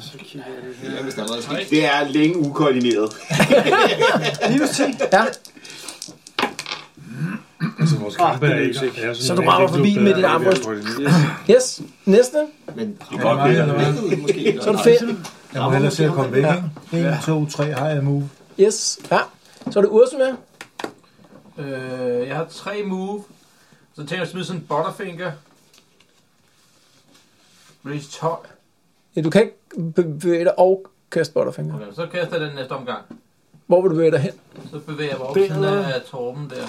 [SPEAKER 9] så kigger jeg lige her.
[SPEAKER 8] Ja, hvis der er noget skidt.
[SPEAKER 6] Det er længe ukoordineret.
[SPEAKER 9] Minus 10?
[SPEAKER 2] Ja,
[SPEAKER 7] Altså, vores kamp er ikke. er sådan
[SPEAKER 2] Så du rammer
[SPEAKER 7] rigtig
[SPEAKER 2] forbi
[SPEAKER 7] bedre
[SPEAKER 2] med
[SPEAKER 7] end
[SPEAKER 2] dit
[SPEAKER 7] vi er
[SPEAKER 2] armbrøst.
[SPEAKER 7] koordineret.
[SPEAKER 2] yes. Næste.
[SPEAKER 8] Men
[SPEAKER 6] Det er godt, det er.
[SPEAKER 8] det måske ikke.
[SPEAKER 2] Så er det fedt.
[SPEAKER 5] Jeg må hellere se at komme væk, ikke? 1, 2, 3, har jeg move.
[SPEAKER 2] Yes, ja. Så er det Ursula.
[SPEAKER 4] Øh, jeg har tre move. Så tænker jeg at smide sådan en butterfinger. Release 12.
[SPEAKER 2] Ja, du kan ikke bevæge dig og kaste butterfinger.
[SPEAKER 4] Okay, så kaster jeg den næste omgang.
[SPEAKER 2] Hvor vil du bevæge dig hen?
[SPEAKER 4] Så bevæger jeg mig op ved siden af Torben der.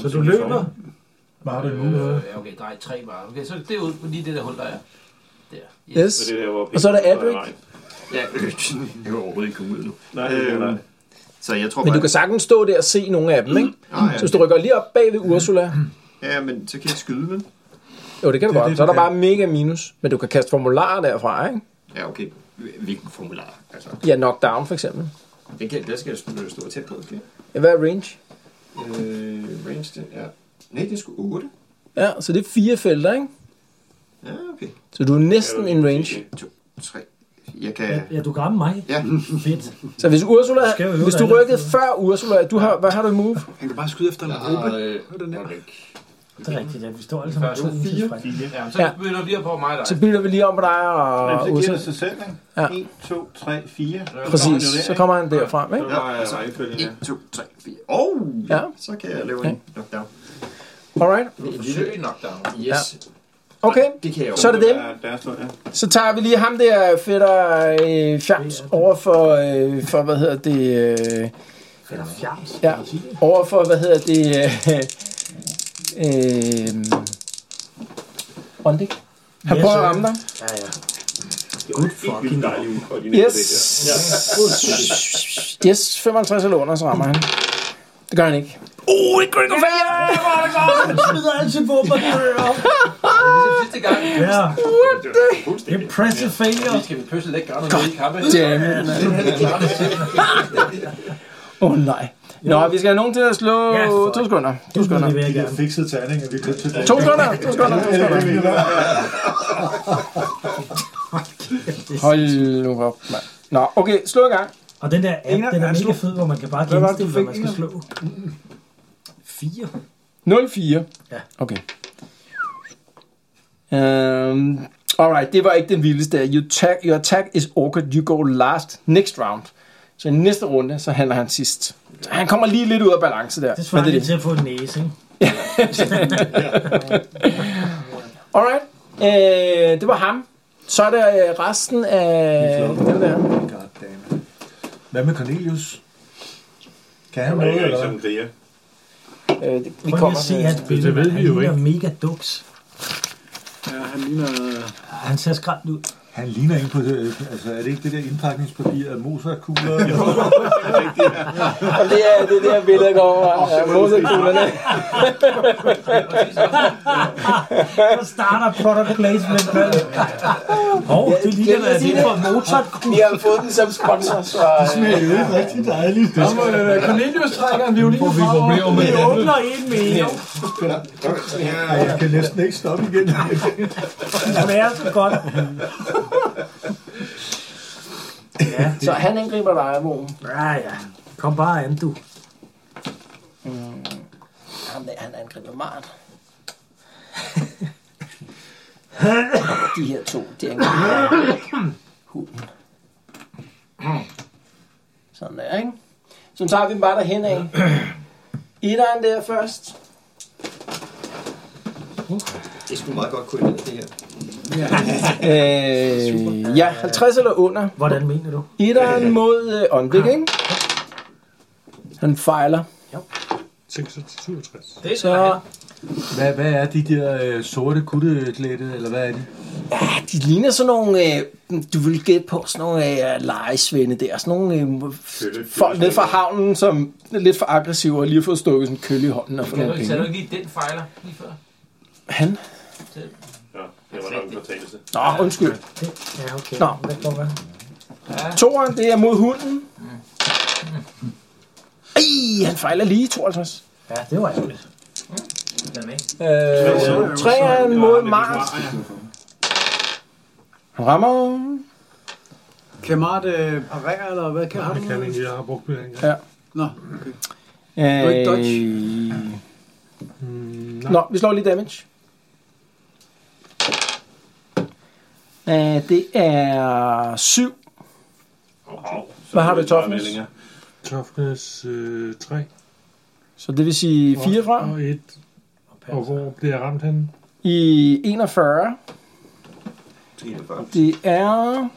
[SPEAKER 3] Så du løber?
[SPEAKER 5] Hvad har du nu?
[SPEAKER 4] Øh, ja, okay, drej tre bare. Okay, så det er ud på lige det der hul, der er. Der.
[SPEAKER 2] Yes.
[SPEAKER 6] Så det der, hvor
[SPEAKER 2] Og så er der Adric.
[SPEAKER 8] Ja, øh, jeg kan overhovedet ikke komme ud nu.
[SPEAKER 6] Nej, det er der.
[SPEAKER 8] Så jeg tror
[SPEAKER 2] Men du
[SPEAKER 8] bare...
[SPEAKER 2] kan sagtens stå der og se nogle af dem, ikke?
[SPEAKER 8] Ah, ja.
[SPEAKER 2] Så hvis du rykker lige op bag ved Ursula,
[SPEAKER 8] Ja, men så kan jeg skyde, vel?
[SPEAKER 2] jo, det kan du
[SPEAKER 5] Det er
[SPEAKER 2] godt.
[SPEAKER 5] det,
[SPEAKER 2] Så er
[SPEAKER 5] du
[SPEAKER 2] der
[SPEAKER 5] kan.
[SPEAKER 2] bare mega minus. Men du kan kaste formularer derfra, ikke?
[SPEAKER 8] Ja, okay. Hvilken formular? Altså,
[SPEAKER 2] Ja, knockdown for eksempel.
[SPEAKER 8] det, kan, der skal jeg stå, stå tæt på, skal jeg?
[SPEAKER 2] Ja, Hvad er range?
[SPEAKER 8] Øh, range, den er... Nej, det er sgu 8.
[SPEAKER 2] Ja, så det er fire felter, ikke?
[SPEAKER 8] Ja, okay.
[SPEAKER 2] Så du er næsten en range.
[SPEAKER 8] 2, 3. Jeg kan...
[SPEAKER 3] Ja, ja, du kan ramme mig.
[SPEAKER 8] Ja,
[SPEAKER 3] Fedt.
[SPEAKER 2] Så hvis Ursula,
[SPEAKER 3] skal jo øve
[SPEAKER 2] hvis du
[SPEAKER 3] dig
[SPEAKER 2] rykkede
[SPEAKER 3] altid.
[SPEAKER 2] før Ursula, du har, hvad har du i move?
[SPEAKER 9] Han kan bare skyde efter en
[SPEAKER 8] jeg har...
[SPEAKER 9] gruppe.
[SPEAKER 8] Øh,
[SPEAKER 9] Hør det nemmere.
[SPEAKER 3] Det er rigtigt, ja. Vi står alle sammen
[SPEAKER 4] Første
[SPEAKER 3] to utilfredse.
[SPEAKER 4] Ja,
[SPEAKER 2] Ja.
[SPEAKER 4] så begynder du lige at på mig og dig.
[SPEAKER 2] Så bytter vi lige om på dig og
[SPEAKER 6] Jamen, så giver
[SPEAKER 2] Ursula.
[SPEAKER 6] det sig selv, ikke?
[SPEAKER 2] Ja.
[SPEAKER 6] 1, 2, 3, 4.
[SPEAKER 2] Præcis, så kommer han derfra, ikke?
[SPEAKER 6] Så var jeg rækkefølgen her.
[SPEAKER 8] 1, 2, 3, 4. Oh!
[SPEAKER 2] Ja.
[SPEAKER 8] Så kan jeg lave en knockdown.
[SPEAKER 2] Alright,
[SPEAKER 8] En lille...
[SPEAKER 4] Forsøg en knockdown.
[SPEAKER 8] Yes.
[SPEAKER 2] okay.
[SPEAKER 8] Det kan jeg jo.
[SPEAKER 2] Så er det dem.
[SPEAKER 6] Der- Der står, ja.
[SPEAKER 2] Så tager vi lige ham der fætter øh, fjams over for, øh, for, hvad hedder det... Øh,
[SPEAKER 3] Eller fjams.
[SPEAKER 2] ja, over for, hvad hedder det... Øh, [LAUGHS] øh, Ondik. Han
[SPEAKER 3] Yes,
[SPEAKER 2] prøver at
[SPEAKER 3] sir.
[SPEAKER 2] ramme dig.
[SPEAKER 3] Ja, ja.
[SPEAKER 6] Good fucking dejligt ukoordineret,
[SPEAKER 2] Yes.
[SPEAKER 6] det der.
[SPEAKER 2] [LAUGHS] Yes, 55 eller under, så rammer han. Det gør han ikke.
[SPEAKER 3] Du smider altid på mig.
[SPEAKER 4] Ligesom sidste gang.
[SPEAKER 3] Ja.
[SPEAKER 6] Fuldstændig.
[SPEAKER 3] Impressive failure.
[SPEAKER 4] Vi skal vi pludselig ikke gøre noget ved i kampe.
[SPEAKER 2] Damn it, man. Åh oh, nej. Nå, vi skal have nogen til at slå
[SPEAKER 3] Ja, for-
[SPEAKER 2] to sekunder.
[SPEAKER 3] Du
[SPEAKER 2] To
[SPEAKER 3] skal
[SPEAKER 2] sekunder.
[SPEAKER 3] det vil jeg
[SPEAKER 5] De der
[SPEAKER 3] gerne.
[SPEAKER 5] fikset terninger, vi købte til dag.
[SPEAKER 2] To sekunder, to sekunder, to sekunder. Hold nu op, mand. Nå, okay, slå i gang.
[SPEAKER 3] Og den der app,
[SPEAKER 9] Inger,
[SPEAKER 3] den er
[SPEAKER 9] han
[SPEAKER 3] mega
[SPEAKER 9] slog-
[SPEAKER 3] fed, hvor man kan bare
[SPEAKER 9] Hvad var det,
[SPEAKER 3] genstille,
[SPEAKER 9] du
[SPEAKER 3] hvad
[SPEAKER 9] fik,
[SPEAKER 3] man skal slå.
[SPEAKER 2] 0-4.
[SPEAKER 3] Fire. Ja.
[SPEAKER 2] Okay. Um, alright, det var ikke den vildeste. You attack, your attack is awkward. You go last next round. Så i næste runde, så handler han sidst. Så han kommer lige lidt ud af balance der.
[SPEAKER 3] Det
[SPEAKER 2] Men
[SPEAKER 3] svarer lidt til at få en næse, ikke?
[SPEAKER 2] Alright. Øh, det var ham. Så er der øh, resten af dem der.
[SPEAKER 5] Goddammit. Hvad med Cornelius? Kan han
[SPEAKER 6] Jeg
[SPEAKER 5] noget,
[SPEAKER 6] er ikke
[SPEAKER 5] eller
[SPEAKER 6] som
[SPEAKER 5] hvad?
[SPEAKER 6] en kriger.
[SPEAKER 2] Øh, det, vi
[SPEAKER 3] Prøv lige
[SPEAKER 2] kommer
[SPEAKER 3] at se hans billede.
[SPEAKER 7] det ved
[SPEAKER 3] mand.
[SPEAKER 7] vi jo
[SPEAKER 3] han ligner mega duks.
[SPEAKER 9] Ja, han ligner... øh,
[SPEAKER 3] Ah, Han ser skræmt ud.
[SPEAKER 5] Han ligner en på... øh, Altså, er det ikke det der indpakningspapir af Mozart-kugler?
[SPEAKER 2] Og det er det der billede, der går over. Ja, motorkuglerne.
[SPEAKER 3] Så starter product placement. vel? Åh, oh, det ligner,
[SPEAKER 2] glemte
[SPEAKER 3] at
[SPEAKER 2] at
[SPEAKER 3] det
[SPEAKER 2] sige
[SPEAKER 3] er fra mozart
[SPEAKER 2] Vi har fået den som sponsor, så... øh.
[SPEAKER 5] Det er jo ikke rigtig dejligt. Det skal
[SPEAKER 2] Cornelius trækker en violin fra
[SPEAKER 3] Vi åbner en med en.
[SPEAKER 5] Ej, jeg kan næsten ikke stoppe igen.
[SPEAKER 3] Det smager så godt. Ja,
[SPEAKER 2] Så han angriber dig, Mo.
[SPEAKER 3] ja, ja. Kom bare an, du.
[SPEAKER 2] Ham der, han angriber Mart.
[SPEAKER 14] de her to. Det er en kæmpe hunden. Sådan der, ikke? Så tager vi den bare derhen af. Etteren der først.
[SPEAKER 8] Det skulle meget godt kunne lide, det her.
[SPEAKER 2] Øh, ja, 50 eller under.
[SPEAKER 3] Hvordan mener du?
[SPEAKER 2] Etteren mod øh, Åndvik, ikke? Han fejler.
[SPEAKER 7] 66.
[SPEAKER 4] Det
[SPEAKER 2] Så
[SPEAKER 5] Hvad, hvad er de der øh, sorte kutteklæde, eller hvad er de?
[SPEAKER 2] ja, de ligner sådan nogle, øh, du vil gætte på, sådan nogle øh, lejesvende der. Sådan nogle øh, folk nede fra havnen, som er lidt for aggressive og lige har fået stukket sådan en kølle i hånden og fået
[SPEAKER 4] Kan du
[SPEAKER 2] nogle
[SPEAKER 4] ikke, sagde du
[SPEAKER 2] penge.
[SPEAKER 4] ikke lige den fejler lige før?
[SPEAKER 2] Han?
[SPEAKER 6] Ja, det var nok en fortalelse.
[SPEAKER 2] Nå, undskyld.
[SPEAKER 3] Ja, okay.
[SPEAKER 2] Nå.
[SPEAKER 3] Hvad går hvad?
[SPEAKER 2] Toren, det er mod hunden. Ej, han fejler lige 52.
[SPEAKER 3] Ja, det var ærgerligt.
[SPEAKER 4] Den er ikke.
[SPEAKER 2] Øh, træeren mod Mars. Han rammer.
[SPEAKER 9] Kan Mart øh, parere, eller hvad kan han?
[SPEAKER 7] Jeg kan ikke, jeg har brugt det engang.
[SPEAKER 2] Ja.
[SPEAKER 9] Nå, okay.
[SPEAKER 2] Øh,
[SPEAKER 9] ikke dodge.
[SPEAKER 7] Mm,
[SPEAKER 2] Nå, vi slår lige damage. Øh, det er 7. Hvad har du i toppen?
[SPEAKER 7] Toughness øh, 3.
[SPEAKER 2] Så det vil sige 4 fra.
[SPEAKER 7] Og 1. Og hvor bliver jeg ramt henne?
[SPEAKER 2] I 41. Det er...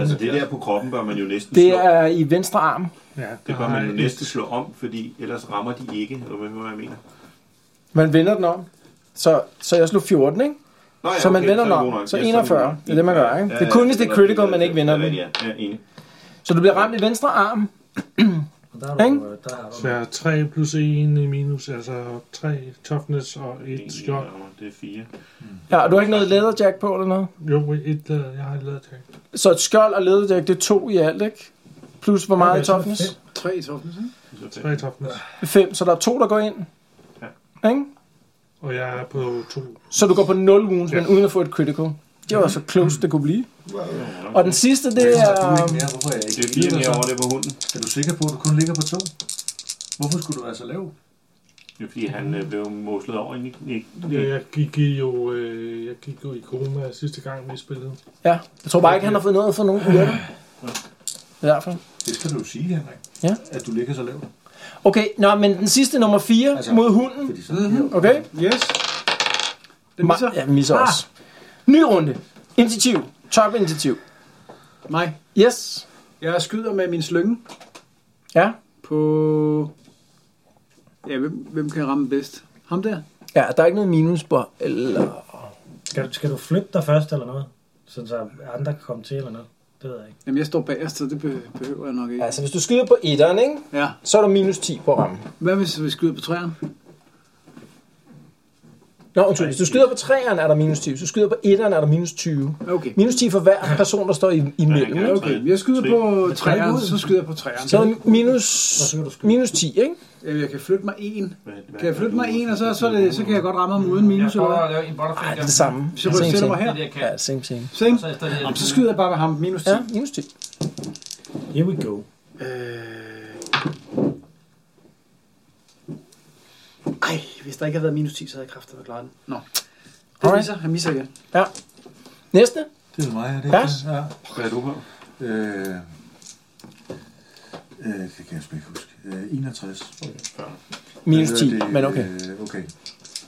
[SPEAKER 6] Altså det der på kroppen bør man jo næsten
[SPEAKER 2] Det
[SPEAKER 6] slå.
[SPEAKER 2] er i venstre arm.
[SPEAKER 7] Ja,
[SPEAKER 6] Det bør
[SPEAKER 7] har
[SPEAKER 6] man jo
[SPEAKER 7] jeg
[SPEAKER 6] næsten slå om, fordi ellers rammer de ikke. Eller hvad hvad jeg mener?
[SPEAKER 2] Man vender den om. Så, så jeg slog 14, ikke?
[SPEAKER 6] Nå, ja,
[SPEAKER 2] Så man vender
[SPEAKER 6] er
[SPEAKER 2] den
[SPEAKER 6] det
[SPEAKER 2] om.
[SPEAKER 6] god nok.
[SPEAKER 2] Så
[SPEAKER 6] Ja, er
[SPEAKER 2] 41. Det er det, man gør, ikke?
[SPEAKER 6] Ja,
[SPEAKER 2] Det er kun,
[SPEAKER 6] ja,
[SPEAKER 2] hvis det er
[SPEAKER 6] ja,
[SPEAKER 2] critical,
[SPEAKER 6] ja,
[SPEAKER 2] man ikke
[SPEAKER 6] ja,
[SPEAKER 2] vinder
[SPEAKER 6] ja,
[SPEAKER 2] den.
[SPEAKER 6] Ja, ja, enig.
[SPEAKER 2] Så du bliver ramt i venstre arm.
[SPEAKER 3] Og der er du,
[SPEAKER 2] Ikke?
[SPEAKER 3] øh, der har du
[SPEAKER 7] Så jeg har 3 plus 1 i minus, altså 3 toughness og 1 skjold.
[SPEAKER 6] Det er 4.
[SPEAKER 2] Ja, og du har ikke noget leatherjack på eller noget?
[SPEAKER 7] Jo, et, øh, jeg har et lavet tag.
[SPEAKER 2] Så et skjold og leatherjack, det er to i alt, ikke? Plus hvor meget i toughness?
[SPEAKER 9] Tre i toppen, ikke?
[SPEAKER 7] 3 toughness.
[SPEAKER 2] 5, så der er to, der går ind. Ikke?
[SPEAKER 7] Og jeg er på 2.
[SPEAKER 2] Så du går på 0 wounds, men uden at få et critical. Det var så close, det kunne blive. Og den sidste, det
[SPEAKER 5] Har Altså, du ikke
[SPEAKER 2] er...
[SPEAKER 5] mere? Hvorfor Um, er jeg
[SPEAKER 6] Det
[SPEAKER 5] ikke
[SPEAKER 6] er 4
[SPEAKER 5] enig,
[SPEAKER 6] mere
[SPEAKER 5] altså?
[SPEAKER 6] over det på hunden.
[SPEAKER 5] Er du sikker på, at du kun ligger på to? Hvorfor skulle du være så lav?
[SPEAKER 6] Det er fordi, han øh, blev moslet over i Nick.
[SPEAKER 7] Ja, jeg gik i jo, øh, jeg gik jo i koma sidste gang, vi spillede.
[SPEAKER 2] Ja, jeg tror bare ikke, han har fået noget for nogen byrder. Det er derfor.
[SPEAKER 5] Det skal du jo sige, Henrik.
[SPEAKER 2] Ja.
[SPEAKER 5] At du ligger så lavt.
[SPEAKER 2] Okay, nå, men den sidste nummer 4
[SPEAKER 5] Altså-
[SPEAKER 2] mod hunden.
[SPEAKER 5] Fordi så mm-hmm.
[SPEAKER 2] Okay?
[SPEAKER 9] Yes.
[SPEAKER 2] Ma-
[SPEAKER 9] Det misser. Ah.
[SPEAKER 2] Ja, den misser også. Ny runde. Initiativ. Top initiativ.
[SPEAKER 9] Mig.
[SPEAKER 2] Yes.
[SPEAKER 9] Jeg skyder med min slynge
[SPEAKER 2] Ja.
[SPEAKER 9] på... Ja, hvem, hvem kan ramme bedst? Ham der?
[SPEAKER 2] Ja, der er ikke noget minus på. Eller...
[SPEAKER 3] Skal, du- skal du flytte dig først eller noget? Sådan så andre kan komme til eller noget? Det ved jeg ikke.
[SPEAKER 9] Jamen, jeg står bagerst, så det behø- behøver jeg nok ikke.
[SPEAKER 2] Altså, hvis du skyder på etteren, ikke?
[SPEAKER 9] Ja.
[SPEAKER 2] Så er der minus 10 på rammen.
[SPEAKER 9] Hvad hvis vi skyder på træerne?
[SPEAKER 2] Nå, undskyld. Hvis du skyder på træeren, er der minus 10. Hvis du skyder på etteren, er der minus 20.
[SPEAKER 9] Okay.
[SPEAKER 2] Minus 10 for hver person, der står i, imellem.
[SPEAKER 6] Ja,
[SPEAKER 2] ikke?
[SPEAKER 9] Okay, jeg skyder på træerne, så skyder jeg på træerne.
[SPEAKER 2] Så er der minus, minus 10, ikke?
[SPEAKER 9] Jamen, jeg kan flytte mig en. Kan jeg flytte mig en, og så, så, er det, så kan jeg godt ramme ham uden
[SPEAKER 4] Jeg
[SPEAKER 9] minus eller
[SPEAKER 4] prøver at
[SPEAKER 9] hvad?
[SPEAKER 4] lave en butterfly.
[SPEAKER 2] Nej, det er det samme.
[SPEAKER 9] Så kan jeg
[SPEAKER 2] Same,
[SPEAKER 9] sætte
[SPEAKER 2] same.
[SPEAKER 9] mig her.
[SPEAKER 4] Det jeg kan.
[SPEAKER 2] Ja, same, same.
[SPEAKER 9] Same.
[SPEAKER 4] Så i stedet
[SPEAKER 9] Jamen, så skyder jeg bare med ham minus 10.
[SPEAKER 2] Ja, minus 10.
[SPEAKER 3] Here we go.
[SPEAKER 9] Øh... Ej, Øh, hvis der ikke havde været minus 10, så havde jeg kraftet at klare den. Nå. Det
[SPEAKER 2] Alright.
[SPEAKER 9] misser, han misser igen.
[SPEAKER 2] Næste.
[SPEAKER 5] Det er mig, er det
[SPEAKER 2] Ja.
[SPEAKER 5] ikke? Ja.
[SPEAKER 6] Hvad er du på?
[SPEAKER 5] Øh, øh, det kan jeg sgu ikke huske. Øh, 61. Okay.
[SPEAKER 2] Minus 10,
[SPEAKER 5] Hvad hedder det?
[SPEAKER 2] men okay.
[SPEAKER 5] Øh, okay,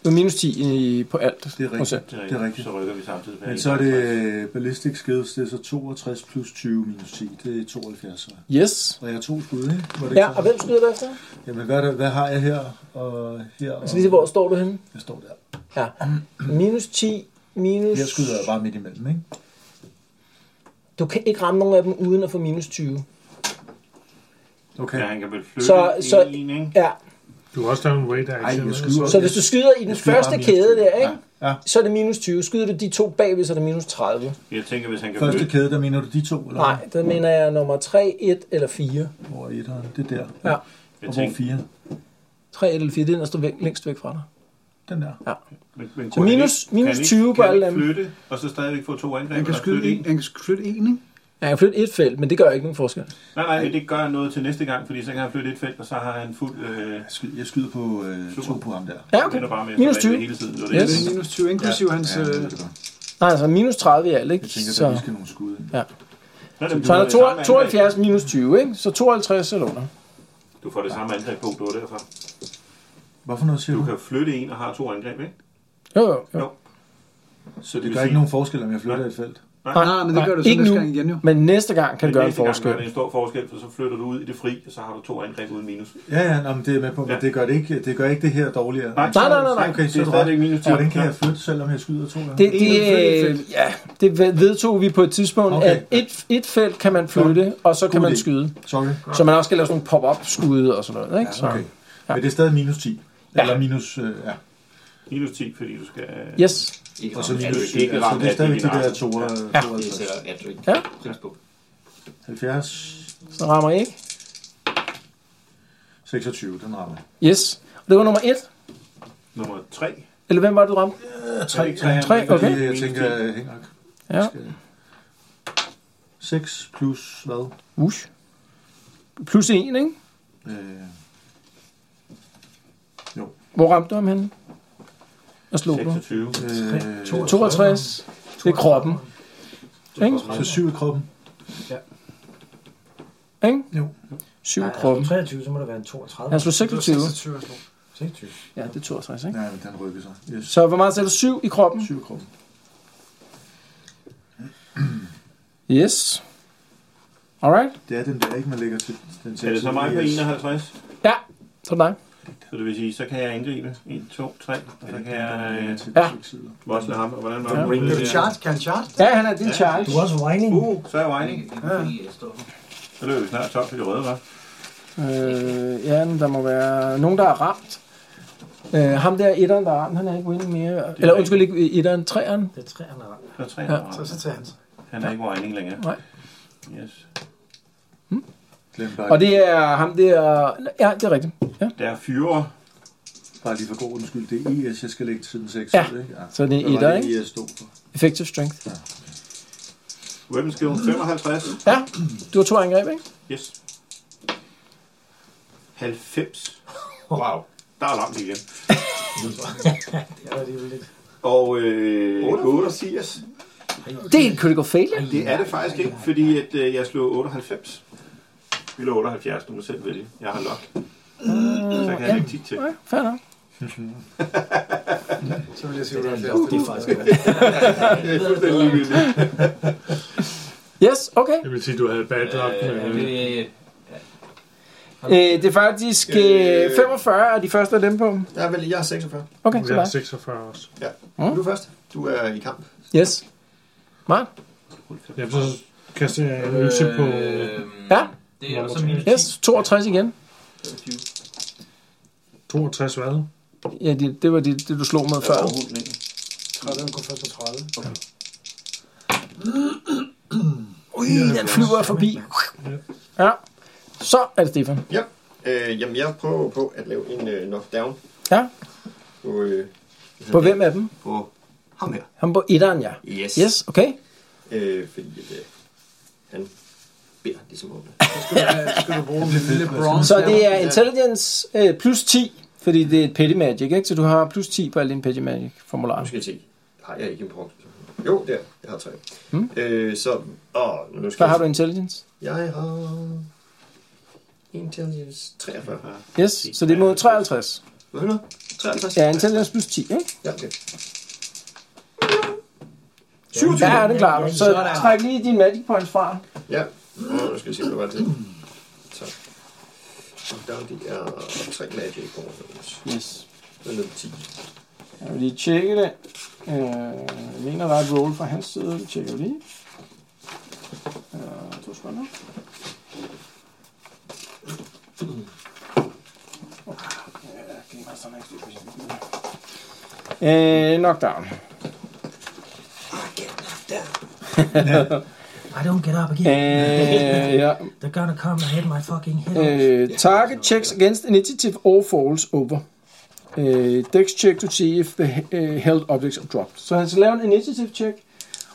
[SPEAKER 2] Det er minus 10 i, på alt.
[SPEAKER 5] det er rigtigt.
[SPEAKER 2] Procent.
[SPEAKER 5] Det er rigtigt.
[SPEAKER 6] Så rykker vi samtidig. med
[SPEAKER 5] Men så er det
[SPEAKER 6] 51.
[SPEAKER 5] øh, ballistic skills, det er så 62 plus 20 minus 10, det er 72. så.
[SPEAKER 2] Yes.
[SPEAKER 5] Og jeg har to skud, ikke? Var det
[SPEAKER 2] Ja,
[SPEAKER 5] ikke
[SPEAKER 2] og hvem skyder du efter?
[SPEAKER 5] sådan? Jamen, hvad, er der- hvad har jeg her og her? Og
[SPEAKER 2] Så lige hvor står du henne?
[SPEAKER 5] Jeg står der.
[SPEAKER 2] Ja. Minus 10, minus...
[SPEAKER 5] Her skyder jeg bare midt imellem, ikke?
[SPEAKER 2] Du kan ikke ramme nogen af dem uden at få minus 20.
[SPEAKER 5] Okay.
[SPEAKER 6] Ja, han kan vel flytte
[SPEAKER 2] Så-
[SPEAKER 6] en,
[SPEAKER 2] så-
[SPEAKER 6] en, ikke?
[SPEAKER 2] Ja,
[SPEAKER 7] Du har også lavet en weight
[SPEAKER 5] Ej,
[SPEAKER 7] action.
[SPEAKER 5] jeg
[SPEAKER 7] ikke?
[SPEAKER 5] skyder.
[SPEAKER 2] så hvis du skyder i den
[SPEAKER 5] Jeg skyder
[SPEAKER 2] første
[SPEAKER 5] bare minus
[SPEAKER 2] kæde
[SPEAKER 5] 20.
[SPEAKER 2] der, ikke?
[SPEAKER 5] Ja. ja.
[SPEAKER 2] Så er det minus 20. Skyder du de to bagved, så er det minus 30.
[SPEAKER 6] Jeg tænker, hvis han kan
[SPEAKER 5] Første
[SPEAKER 6] flytte...
[SPEAKER 5] kæde, der mener du de to, eller
[SPEAKER 2] Nej, der mener jeg nummer 3, 1 eller 4.
[SPEAKER 5] hvad? Hvor er etteren? Det er der.
[SPEAKER 2] Ja.
[SPEAKER 5] Og
[SPEAKER 6] Jeg
[SPEAKER 5] hvor er
[SPEAKER 6] tænker,
[SPEAKER 5] fire?
[SPEAKER 2] 3, 1 eller 4, det er den, der står væk, længst væk fra dig.
[SPEAKER 5] Den der.
[SPEAKER 6] men, men
[SPEAKER 2] Så minus- minus 20 på alle
[SPEAKER 6] dem.
[SPEAKER 2] dem.
[SPEAKER 6] flytte, og så stadigvæk få to angreb?
[SPEAKER 9] Han kan
[SPEAKER 6] eller
[SPEAKER 9] skyde
[SPEAKER 6] flytte
[SPEAKER 9] en, han kan flytte en, ikke?
[SPEAKER 2] Ja, jeg kan flytte et felt, men det gør ikke nogen forskel.
[SPEAKER 6] Nej, nej, men det gør noget til næste gang, fordi så kan han flytte et felt, og så har han fuld... Øh,
[SPEAKER 5] Jeg skyder, jeg skyder på øh,
[SPEAKER 6] Super.
[SPEAKER 5] to på ham der.
[SPEAKER 2] Ja, okay.
[SPEAKER 6] vender bare med at
[SPEAKER 2] Minus
[SPEAKER 6] forvalte
[SPEAKER 2] 20.
[SPEAKER 6] Hele tiden, det var
[SPEAKER 9] Ja,
[SPEAKER 6] det.
[SPEAKER 9] det er minus 20, inklusive hans...
[SPEAKER 5] Ja,
[SPEAKER 9] øh,
[SPEAKER 5] det er godt.
[SPEAKER 2] Nej, altså minus 30 i alt, ikke?
[SPEAKER 5] Jeg tænker,
[SPEAKER 2] så...
[SPEAKER 5] der lige skal nogle skud ind.
[SPEAKER 2] Ja.
[SPEAKER 6] Nå, det
[SPEAKER 2] Så
[SPEAKER 6] betyder
[SPEAKER 2] er der
[SPEAKER 6] det samme
[SPEAKER 2] to-
[SPEAKER 6] angreb.
[SPEAKER 2] 72 minus 20, ikke? Så 52 eller under.
[SPEAKER 6] Du får det samme angreb på, du er derfor.
[SPEAKER 5] Hvorfor noget siger
[SPEAKER 6] Du
[SPEAKER 5] du?
[SPEAKER 6] kan flytte en og har to angreb, ikke?
[SPEAKER 2] Jo, jo. jo.
[SPEAKER 6] Så
[SPEAKER 5] Det
[SPEAKER 6] vil
[SPEAKER 5] gør
[SPEAKER 6] sige-
[SPEAKER 5] ikke nogen forskel, om jeg flytter et felt.
[SPEAKER 9] Nej, men det gør du så
[SPEAKER 2] ikke
[SPEAKER 9] næste
[SPEAKER 2] nu,
[SPEAKER 9] gang igen, jo.
[SPEAKER 2] Men næste gang kan det
[SPEAKER 6] Men
[SPEAKER 2] gøre en
[SPEAKER 6] næste gang
[SPEAKER 2] forskel.
[SPEAKER 6] Gør det en stor forskel, for så flytter du ud i det fri, og så har du to angreb uden minus.
[SPEAKER 5] Ja, ja, nå, men det er med på, men
[SPEAKER 6] Ja.
[SPEAKER 5] det gør det ikke, det gør ikke det her dårligere.
[SPEAKER 6] Nej,
[SPEAKER 2] nej, nej, nej.
[SPEAKER 5] Okay,
[SPEAKER 6] Det
[SPEAKER 5] så
[SPEAKER 6] er
[SPEAKER 5] er du
[SPEAKER 6] stadigvæk
[SPEAKER 5] ret.
[SPEAKER 6] minus
[SPEAKER 5] Og Hvordan
[SPEAKER 6] 10.
[SPEAKER 5] kan jeg flytte, selvom jeg skyder to gange?
[SPEAKER 2] Det,
[SPEAKER 9] En ud af
[SPEAKER 2] det,
[SPEAKER 9] fem
[SPEAKER 2] øh, ja, det ved- vedtog vi på et tidspunkt,
[SPEAKER 5] Okay.
[SPEAKER 2] okay. at et, et felt kan man flytte, og så kan
[SPEAKER 5] God
[SPEAKER 2] man
[SPEAKER 5] idé.
[SPEAKER 2] skyde.
[SPEAKER 5] Sorry.
[SPEAKER 2] Så man også skal lave sådan nogle pop-up-skud og sådan noget. Ikke? Så.
[SPEAKER 5] Okay. Men det er stadig minus 10. Eller minus, øh, ja.
[SPEAKER 6] Minus 10, fordi du skal... øh,
[SPEAKER 2] Yes.
[SPEAKER 8] Ikke
[SPEAKER 5] Og så
[SPEAKER 8] ramt af
[SPEAKER 5] minus
[SPEAKER 8] det.
[SPEAKER 5] 7.
[SPEAKER 6] ikke
[SPEAKER 5] Så
[SPEAKER 6] ramt
[SPEAKER 5] det er
[SPEAKER 6] af
[SPEAKER 5] stadigvæk de
[SPEAKER 6] det,
[SPEAKER 5] der
[SPEAKER 6] din
[SPEAKER 5] to, øh,
[SPEAKER 6] arm.
[SPEAKER 8] Det er
[SPEAKER 5] 52.
[SPEAKER 8] så- ja, du ikke
[SPEAKER 2] Ja.
[SPEAKER 8] pris på.
[SPEAKER 5] 70,
[SPEAKER 2] Så rammer I ikke.
[SPEAKER 5] 26, den rammer.
[SPEAKER 2] Yes. Og det var nummer et.
[SPEAKER 6] Nummer 3.
[SPEAKER 2] Eller hvem var det, du ramte?
[SPEAKER 5] 3,
[SPEAKER 2] Tre, okay.
[SPEAKER 5] Jeg tænker, øh, hænger ikke.
[SPEAKER 2] Ja.
[SPEAKER 5] 6 plus hvad?
[SPEAKER 2] Ush. Plus en, ikke?
[SPEAKER 5] Øh,
[SPEAKER 2] Hvor ramte du ham henne? Og slog du?
[SPEAKER 6] 26.
[SPEAKER 5] øh,
[SPEAKER 2] 62. Det er kroppen. Ikke?
[SPEAKER 5] så 7 i kroppen.
[SPEAKER 2] Ikke?
[SPEAKER 5] Jo.
[SPEAKER 2] 7 i
[SPEAKER 3] Nej,
[SPEAKER 2] kroppen.
[SPEAKER 3] altså 23, så må der være en 32.
[SPEAKER 2] Han slog 26.
[SPEAKER 15] 26
[SPEAKER 3] altså.
[SPEAKER 15] og slog.
[SPEAKER 3] 26.
[SPEAKER 2] Ja, det er 62, ikke?
[SPEAKER 5] Nej, men den rykker sig. Yes.
[SPEAKER 2] Så hvor meget sagde du? 7 i kroppen?
[SPEAKER 5] 7 i kroppen.
[SPEAKER 2] Yes. Alright.
[SPEAKER 5] Det er den der, ikke? Man lægger til den
[SPEAKER 6] Er det så mig på 51?
[SPEAKER 2] Ja, så er det dig.
[SPEAKER 6] Så det vil sige, så kan jeg angribe. 1, 2, 3. Og så kan jeg øh,
[SPEAKER 2] Ja.
[SPEAKER 6] vodsle ham. Og hvordan var
[SPEAKER 2] Ja.
[SPEAKER 6] det?
[SPEAKER 15] Kan du charge? Kan han charge?
[SPEAKER 2] Ja, han er din charge.
[SPEAKER 3] Du er også whining.
[SPEAKER 6] Uh, så er jeg whining.
[SPEAKER 4] Ja.
[SPEAKER 6] Så løber vi snart top for de røde, hva'?
[SPEAKER 2] Øh, ja, men der må være nogen, der er ramt. Øh, ham der etteren, der er ramt, han er ikke winning mere. Eller undskyld, ikke etteren, treeren.
[SPEAKER 3] Det er 3, han har.
[SPEAKER 6] Der er tre,
[SPEAKER 2] Ja.
[SPEAKER 6] der
[SPEAKER 15] Så, så
[SPEAKER 6] rammer.
[SPEAKER 15] tager han.
[SPEAKER 6] Han er ikke whining længere.
[SPEAKER 2] Nej.
[SPEAKER 6] Yes.
[SPEAKER 5] Glem bare,
[SPEAKER 2] Og det er ham der... Ja, det er rigtigt. Ja.
[SPEAKER 6] Der er fyre.
[SPEAKER 5] bare lige for god undskyld. Det er ES, jeg skal lægge til den 6.
[SPEAKER 2] Ja.
[SPEAKER 5] Ikke? Ja.
[SPEAKER 2] Så det er
[SPEAKER 5] Hvad
[SPEAKER 2] etter,
[SPEAKER 5] var det,
[SPEAKER 2] ikke?
[SPEAKER 5] ES stod for?
[SPEAKER 2] Effective strength.
[SPEAKER 6] Weapon skill 55.
[SPEAKER 2] Ja, du har to angreb, ikke?
[SPEAKER 6] Yes. 90. Wow. Der er langt igen.
[SPEAKER 3] Det er alligevel lidt.
[SPEAKER 6] Og øh, 88.
[SPEAKER 2] Det er en critical failure.
[SPEAKER 6] Det er det faktisk ikke, fordi at, øh, jeg slog 98. Vi lå 78, du må selv vælge. Jeg har lok. Så kan jeg ikke tit til.
[SPEAKER 2] Nej, fair nok.
[SPEAKER 9] Så vil jeg sige, at
[SPEAKER 2] Uh,
[SPEAKER 8] Det er faktisk
[SPEAKER 6] [LAUGHS] Det er fuldstændig ligegyldigt.
[SPEAKER 2] Yes, okay.
[SPEAKER 7] Det vil sige, du havde bad luck med...
[SPEAKER 4] Øh,
[SPEAKER 2] Øh, det er faktisk øh, 45 af de første af dem på.
[SPEAKER 8] Jeg er, vel, jeg er 46.
[SPEAKER 2] Okay,
[SPEAKER 7] Jeg
[SPEAKER 2] så
[SPEAKER 7] er
[SPEAKER 2] dig.
[SPEAKER 7] 46 også.
[SPEAKER 8] Er du først? Du er i kamp.
[SPEAKER 2] Yes. Mark?
[SPEAKER 7] Jamen, så kaster jeg en øse på...
[SPEAKER 2] Ja.
[SPEAKER 4] Det er også minus 10.
[SPEAKER 2] Yes, 62 igen.
[SPEAKER 7] 62 hvad?
[SPEAKER 2] Ja, det, det var det, det, du slog med før.
[SPEAKER 15] Den går først på 30.
[SPEAKER 2] [CLEARS THROAT] Ui, den flyver forbi. Ja. Så er det Stefan.
[SPEAKER 8] Ja. Øh, jamen, jeg prøver på at lave en øh, knockdown
[SPEAKER 2] Ja.
[SPEAKER 8] på, øh,
[SPEAKER 2] På hvem af dem?
[SPEAKER 8] på ham her.
[SPEAKER 2] Han på etteren, ja.
[SPEAKER 8] Yes.
[SPEAKER 2] Yes, okay.
[SPEAKER 8] Øh, fordi at, øh, han beder ligesom om det.
[SPEAKER 9] skal du bruge en lille bronze.
[SPEAKER 2] Så det er intelligence øh, plus 10, fordi det er et petty magic, ikke? Så du har plus 10 på alle dine petty magic
[SPEAKER 8] Nu
[SPEAKER 2] formularer.
[SPEAKER 8] skal jeg se. Har jeg ikke en bronze? Jo, der. Jeg har tre.
[SPEAKER 2] Mm.
[SPEAKER 8] Øh, så... Åh, nu skal
[SPEAKER 2] Hvad har
[SPEAKER 8] jeg...
[SPEAKER 2] du intelligence?
[SPEAKER 8] Jeg har... Intelligence 43.
[SPEAKER 2] Yes, så det er mod 53.
[SPEAKER 8] Hvad er det? 53?
[SPEAKER 2] Ja, intelligence plus 10, ikke?
[SPEAKER 8] Ja, okay.
[SPEAKER 2] Ja, den klarer du. Så træk lige dine magic points fra.
[SPEAKER 8] Ja. Nå, Nu skal vi se, hvad var det? Så. Og der er de her tre magic på rundt.
[SPEAKER 2] Yes.
[SPEAKER 8] Den er 10.
[SPEAKER 2] Jeg vil lige tjekke det. Øh, jeg mener, der er et roll fra hans side. Det tjekker vi lige. Øh, to sekunder. Øh, knockdown.
[SPEAKER 3] I don't get up again. [LAUGHS]
[SPEAKER 2] Øh, ja.
[SPEAKER 3] They're gonna come and hit my fucking head.
[SPEAKER 2] øh, target checks against initiative or falls over. Øh, dex check to see if the øh, held objects are dropped. Så han skal lave en initiative check,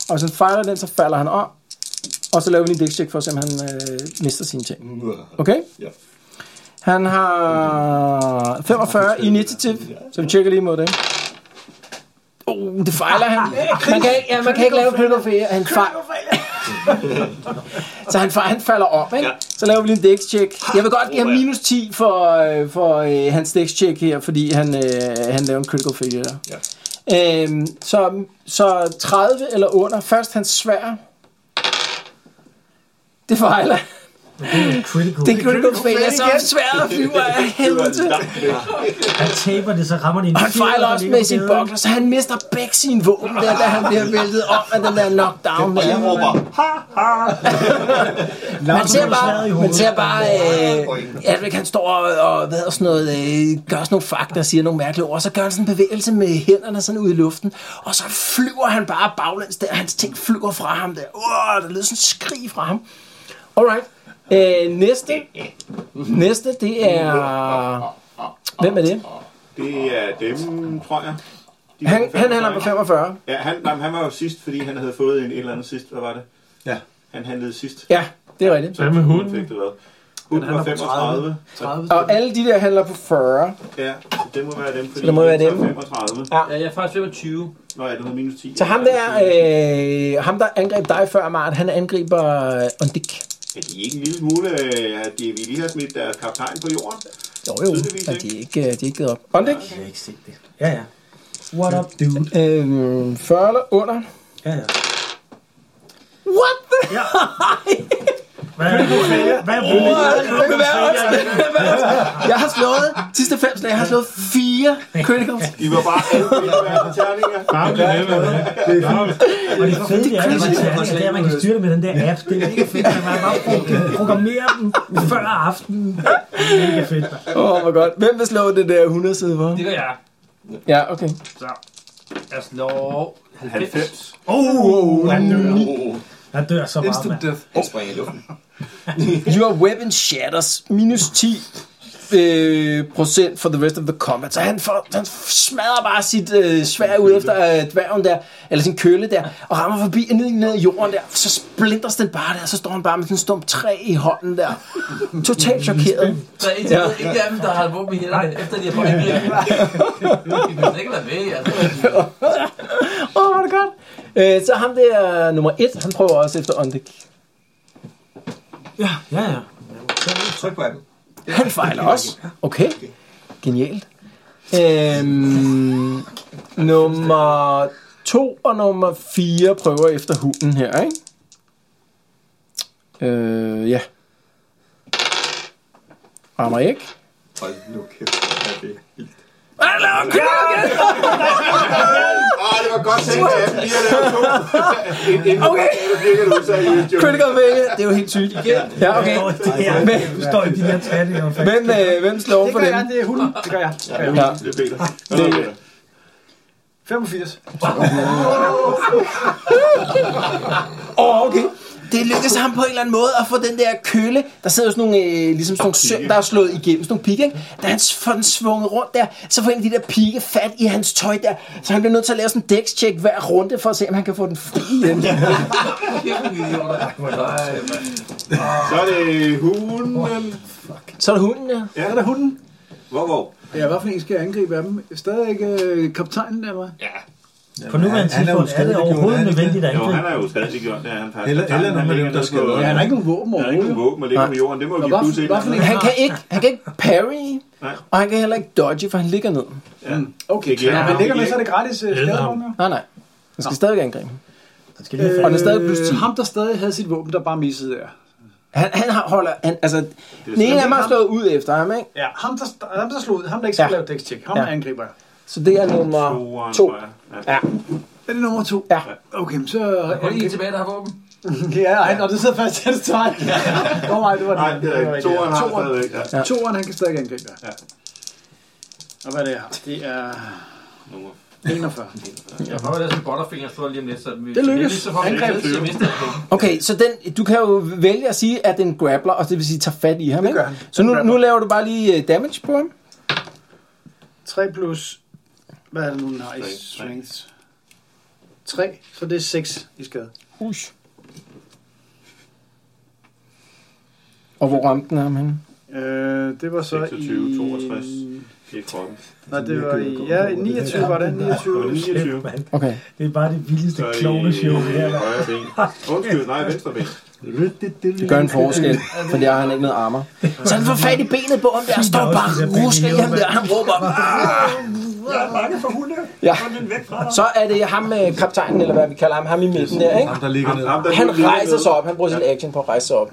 [SPEAKER 2] og så fejler den, så falder han om. Og så laver vi en dex check for at se, om han øh, mister sine ting. Okay?
[SPEAKER 8] Ja.
[SPEAKER 2] Han har 45 i initiative, så vi tjekker lige imod det. Oh, Det fejler han. Man kan, ikke- ja, man kan ikke lave critical failure. Han fejler. så han, fa- han falder om, ikke? Så laver vi lige en dex check. Jeg vil godt give ham minus 10 for, øh, for øh, hans dex check her, fordi han, øh, han laver en critical failure.
[SPEAKER 16] Ja.
[SPEAKER 2] Øhm, så, så 30 eller under. Først hans svær. Det fejler.
[SPEAKER 3] Det er critical.
[SPEAKER 2] Det er critical failure, så er sværet flyver [LAUGHS] af helvede til.
[SPEAKER 3] Han taber det, så rammer det en
[SPEAKER 2] Og han
[SPEAKER 3] fjeder,
[SPEAKER 2] fejler
[SPEAKER 3] der
[SPEAKER 2] også
[SPEAKER 3] ligger
[SPEAKER 2] med
[SPEAKER 3] på
[SPEAKER 2] sin
[SPEAKER 3] gaden.
[SPEAKER 2] bokler, så han mister begge sine våben der, da han bliver væltet op af den der knockdown.
[SPEAKER 16] Og jeg råber,
[SPEAKER 2] ha, ha.
[SPEAKER 9] Altså,
[SPEAKER 2] man ser bare, man ser bare øh, Erik, han står og, og hvad hedder sådan noget, øh, gør sådan nogle fakta og siger nogle mærkelige ord, og så gør han sådan en bevægelse med hænderne sådan ud i luften, og så flyver han bare baglæns der, hans ting flyver fra ham der. Åh, der lyder sådan en skrig fra ham. Alright. Øh, næste. Næste, det er... Hvem er det?
[SPEAKER 6] Det er dem, tror jeg.
[SPEAKER 2] Han, han handler på 45.
[SPEAKER 6] Ja, han, nej, men han var jo sidst, fordi han havde fået en, en eller anden sidst. Hvad var det?
[SPEAKER 5] Ja.
[SPEAKER 6] Han handlede sidst.
[SPEAKER 2] Ja, det er rigtigt.
[SPEAKER 6] Så med hunden? Fik det hvad? Hunden var
[SPEAKER 2] handler på
[SPEAKER 6] 35. 30.
[SPEAKER 2] Og alle de der handler på 40.
[SPEAKER 6] Ja, så det må være dem, fordi
[SPEAKER 2] det må være
[SPEAKER 6] den
[SPEAKER 2] dem.
[SPEAKER 6] tager 35.
[SPEAKER 2] Ja.
[SPEAKER 6] jeg er faktisk 25. Nå ja, du havde minus 10.
[SPEAKER 2] Så ham der, øh, ham der angreb dig før, Mart, han angriber øh, Ondik.
[SPEAKER 6] Er de ikke en lille smule, øh, at de, vi lige har smidt deres kaptajn på jorden?
[SPEAKER 2] Jo, jo, at de ikke, øh, de ikke givet op. Ondik?
[SPEAKER 3] Jeg har ikke set det. Ja, ja.
[SPEAKER 2] What up, dude? Øhm, 40 eller under?
[SPEAKER 3] Ja, ja.
[SPEAKER 2] What the? Ja.
[SPEAKER 3] Hvad er det? Hvad er det?
[SPEAKER 2] Jeg har slået, sidste fem slag, jeg har slået fire criticals.
[SPEAKER 6] I var bare alle mine terninger.
[SPEAKER 17] Bare bliv ved med det.
[SPEAKER 5] Det er fint.
[SPEAKER 3] Og det fede det er, at man, kan, det er, at man kan styre det med den der app. Det er mega fedt. Man kan bare
[SPEAKER 2] [LAUGHS]
[SPEAKER 3] pro- programmere dem før aftenen. Det er mega fedt.
[SPEAKER 2] [LAUGHS] Åh, oh, hvor godt. Hvem vil slå det der 100 side for?
[SPEAKER 4] Det gør jeg.
[SPEAKER 2] Ja, okay.
[SPEAKER 4] Så jeg slår 90.
[SPEAKER 3] Oh, oh, han dør. Han dør så meget,
[SPEAKER 4] Instant
[SPEAKER 3] mand.
[SPEAKER 4] death.
[SPEAKER 16] Han springer i luften.
[SPEAKER 2] Your weapon shatters minus 10 øh, procent for the rest of the combat. Så han, får, han smadrer bare sit øh, svær ud efter øh, dværgen der, eller sin kølle der, og rammer forbi og ned, ned i jorden der. Så splinters den bare der, så står han bare med sådan en stump træ i hånden der. Totalt chokeret.
[SPEAKER 4] Så indtil
[SPEAKER 2] Ja.
[SPEAKER 4] ja. ikke af dem, der har våben i hænderne, efter de har fået angrebet. I kan slet ikke lade væk, altså.
[SPEAKER 2] Åh, oh, hvor er det godt. Øh, så ham der nummer 1, han prøver også efter Ondik.
[SPEAKER 3] Ja, ja, ja.
[SPEAKER 16] Tryk på appen.
[SPEAKER 2] Han fejler også. Okay. Genialt. Øhm, nummer 2 og nummer 4 prøver efter hunden her, ikke? Øh, ja. Rammer ikke.
[SPEAKER 16] Hold nu kæft, hvor er det vildt.
[SPEAKER 2] Han laver en kæmpe igen!
[SPEAKER 6] Åh, det var godt tænkt af dem lige at lave to. Inden- Inden du
[SPEAKER 2] [LAUGHS] Okay.
[SPEAKER 6] fik det ud, så er det jo-
[SPEAKER 2] Critical failure. Det er jo helt sygt. Ja, okay.
[SPEAKER 3] Du står i de der træninger.
[SPEAKER 2] Hvem, øh, hvem slår
[SPEAKER 9] Det
[SPEAKER 2] for
[SPEAKER 9] gør
[SPEAKER 2] dem?
[SPEAKER 9] jeg, det er hunden. Det gør jeg. Det gør jeg.
[SPEAKER 2] Ja.
[SPEAKER 6] Det er Peter.
[SPEAKER 2] Det-
[SPEAKER 9] 85.
[SPEAKER 2] Åh, okay. Det lykkedes ham på en eller anden måde at få den der køle, der sidder jo sådan nogle, øh, ligesom sådan nogle søm, der er slået igennem, sådan nogle pigge, ikke? Da han s- får den svunget rundt der, så får en af de der pigge fat i hans tøj der, så han bliver nødt til at lave sådan en dækstjek hver runde, for at se, om han kan få den fri igen.
[SPEAKER 4] Kæmpe idioter. Nej, mand.
[SPEAKER 6] Så er det hunden.
[SPEAKER 2] Så er der hunden, ja.
[SPEAKER 9] Ja, der er hunden.
[SPEAKER 6] Hvor, hvor?
[SPEAKER 9] Ja, hvad for en skal jeg angribe af dem? Stadig ikke øh, kaptajnen, eller hvad?
[SPEAKER 3] På nuværende
[SPEAKER 5] Han er jo
[SPEAKER 3] tidspunkt er det
[SPEAKER 5] stadigvæk
[SPEAKER 3] overhovedet
[SPEAKER 5] gjort, er det ikke
[SPEAKER 3] nødvendigt at
[SPEAKER 6] Jo, han
[SPEAKER 3] angribe.
[SPEAKER 6] er jo stadig gjort det. er Han faktisk
[SPEAKER 5] Eller- eller nogen, der skal
[SPEAKER 9] Ja, han har ikke nogen våben
[SPEAKER 6] Han har ikke nogen
[SPEAKER 9] overhovedet.
[SPEAKER 6] våben og ligger på jorden. Det må vi
[SPEAKER 9] Nå, hvad-
[SPEAKER 6] pludselig
[SPEAKER 9] hvad for
[SPEAKER 6] ind.
[SPEAKER 9] en-
[SPEAKER 2] Han kan ikke, han kan ikke parry,
[SPEAKER 6] Nej.
[SPEAKER 2] og han kan heller ikke dodge, for han ligger ned.
[SPEAKER 9] Okay,
[SPEAKER 6] giver
[SPEAKER 9] ja,
[SPEAKER 6] ham.
[SPEAKER 9] han ligger
[SPEAKER 6] Det giver
[SPEAKER 9] med, så er det gratis øh, skadevogn. jo.
[SPEAKER 2] Nej, nej. Han skal stadig angribe.
[SPEAKER 3] Han skal lige have
[SPEAKER 2] Og den er stadig plus 10.
[SPEAKER 9] Øh, Ham, der stadig havde sit våben, der bare missede der.
[SPEAKER 2] Han, han har- holder, han, altså, den ene
[SPEAKER 6] sådan,
[SPEAKER 2] af dem har slået ud efter ham, ikke?
[SPEAKER 9] Ja, ham der, ham, der slog ud, ham der ikke skal
[SPEAKER 2] Ja.
[SPEAKER 9] ja. lave dækstjek, ham
[SPEAKER 2] Ja.
[SPEAKER 9] ja. angriber jeg.
[SPEAKER 2] Så det er nummer
[SPEAKER 6] Toeren,
[SPEAKER 2] to.
[SPEAKER 6] tror jeg. Ja.
[SPEAKER 9] Er det nummer to?
[SPEAKER 2] Ja.
[SPEAKER 9] Okay, men så...
[SPEAKER 4] Kun en tilbage, der har våben.
[SPEAKER 9] Ja, han, og det sidder fast i hans tøj. Nå, nej, det var
[SPEAKER 6] Nej,
[SPEAKER 9] den.
[SPEAKER 6] det er
[SPEAKER 9] var
[SPEAKER 6] ikke. Toeren har det
[SPEAKER 9] Toeren.
[SPEAKER 6] stadigvæk. Ja.
[SPEAKER 2] Ja.
[SPEAKER 9] Toeren, han kan stadig angribe jer.
[SPEAKER 6] Ja.
[SPEAKER 9] Og hvad er det, jeg har? Det er
[SPEAKER 6] Nummer
[SPEAKER 9] 41.
[SPEAKER 4] Jeg prøver at lade sådan en butterfinger slå lige om lidt, så vi...
[SPEAKER 9] Det lykkes.
[SPEAKER 4] Så får vi
[SPEAKER 9] Angreb
[SPEAKER 4] altid
[SPEAKER 9] lykkes.
[SPEAKER 4] mistet på.
[SPEAKER 2] Okay, så den, du kan jo vælge at sige, at den grappler, og det vil sige, tager fat i ham,
[SPEAKER 9] Det
[SPEAKER 2] ikke?
[SPEAKER 9] gør han.
[SPEAKER 2] Så nu,
[SPEAKER 9] Den
[SPEAKER 2] nu
[SPEAKER 9] grappler.
[SPEAKER 2] laver du bare lige øh, damage på ham.
[SPEAKER 9] 3 plus... Hvad er det nu, den har i
[SPEAKER 6] Tre.
[SPEAKER 9] strength? 3, så det er 6 i skade.
[SPEAKER 2] Ush. Og hvor ramte den ham henne?
[SPEAKER 9] Øh, det var så
[SPEAKER 6] 26,
[SPEAKER 9] i...
[SPEAKER 6] 62. Det er kroppen.
[SPEAKER 9] Nå, Altså, det var i... Ja, i 29 var det. 29.
[SPEAKER 2] Okay.
[SPEAKER 3] Det er bare det vildeste
[SPEAKER 6] Så i-
[SPEAKER 3] klovne show
[SPEAKER 6] i
[SPEAKER 3] her.
[SPEAKER 6] højre ben. Undskyld, nej, venstre ben.
[SPEAKER 2] Det gør en forskel, for der har han ikke noget armer.
[SPEAKER 14] Så han får fat i benet på ham der, og står bare og rusker i ham der, og han råber. "Ah!"
[SPEAKER 3] Jeg er bange for hunde.
[SPEAKER 2] Ja. Så er det ham, øh, kaptajnen, eller hvad vi kalder ham, ham i midten der, ikke?
[SPEAKER 5] Ham, der ligger ned.
[SPEAKER 2] Han rejser sig op, han bruger sin action på at rejse sig op.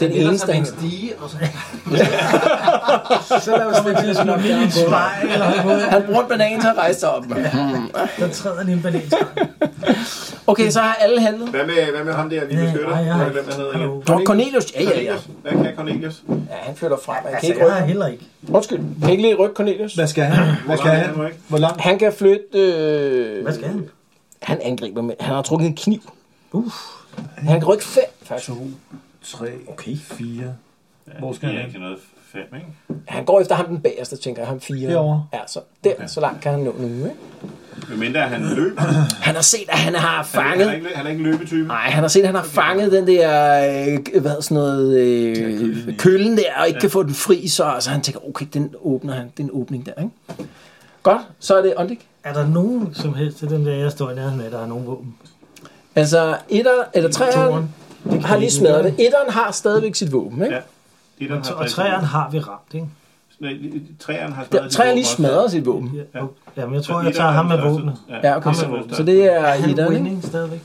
[SPEAKER 2] Det er det eneste, han...
[SPEAKER 4] stige, og så...
[SPEAKER 9] Så laver vi det sådan
[SPEAKER 3] Midt i et spejl, eller noget.
[SPEAKER 2] Han bruger en banan til at rejse sig op.
[SPEAKER 3] Der træder han i en bananskræk.
[SPEAKER 2] Okay, så har alle handlet.
[SPEAKER 6] Hvad med, hvad med ham der, vi beskytter?
[SPEAKER 3] nej, jeg har
[SPEAKER 6] Hvad- Hvem han hedder igen?
[SPEAKER 2] Du har Cornelius. Ja, ja, ja.
[SPEAKER 6] Cornelius. Hvad kan Cornelius?
[SPEAKER 2] Ja, han flytter frem. Han kan
[SPEAKER 3] Altså,
[SPEAKER 2] ikke
[SPEAKER 3] jeg har
[SPEAKER 2] rykke.
[SPEAKER 3] heller ikke.
[SPEAKER 2] Undskyld, han kan ikke lige rykke Cornelius.
[SPEAKER 5] Hvad skal han? Hvad skal han? Hvor langt?
[SPEAKER 2] Han kan flytte... Øh...
[SPEAKER 3] Hvad skal han?
[SPEAKER 2] Han angriber med... Han har trukket en kniv.
[SPEAKER 3] Uh,
[SPEAKER 2] Han kan rykke fem, faktisk.
[SPEAKER 5] 3,
[SPEAKER 3] Okay.
[SPEAKER 5] 4. Hvor skal
[SPEAKER 6] Det er
[SPEAKER 5] han?
[SPEAKER 6] ikke noget fem, ikke?
[SPEAKER 2] Han går efter ham den bagerste, tænker jeg. Ham fire.
[SPEAKER 5] Herovre?
[SPEAKER 2] Ja, så der, så langt kan han nå nu, ikke?
[SPEAKER 6] Hvem mindre han løber.
[SPEAKER 2] Han har set, at han har
[SPEAKER 6] Han er
[SPEAKER 2] fanget...
[SPEAKER 6] ikke, han er ikke en løbetype.
[SPEAKER 2] Nej, han har set, at han har fanget den der, øh, hvad hedder sådan noget, øh, køllen der, og ikke kan få den fri, så altså, han tænker, okay, den åbner han, den åbning der, ikke? Godt, så er det Ondik.
[SPEAKER 3] er der nogen som helst til den der, jeg står i nærheden af, der har nogen våben?
[SPEAKER 2] Altså, etter, eller træeren har lige smadret det. Etteren har stadigvæk sit våben, ikke?
[SPEAKER 6] Ja. Det er den,
[SPEAKER 3] Så, og træerne har vi ramt, ikke?
[SPEAKER 6] Træerne har
[SPEAKER 2] Der, træer lige smadret sit våben.
[SPEAKER 3] Ja. Jamen, jeg tror, jeg tager ham med våbnet.
[SPEAKER 2] Ja, okay,
[SPEAKER 3] Ham
[SPEAKER 2] så,
[SPEAKER 3] er vores
[SPEAKER 2] så det er
[SPEAKER 3] Er han
[SPEAKER 2] etteren, ikke?
[SPEAKER 3] winning stadigvæk?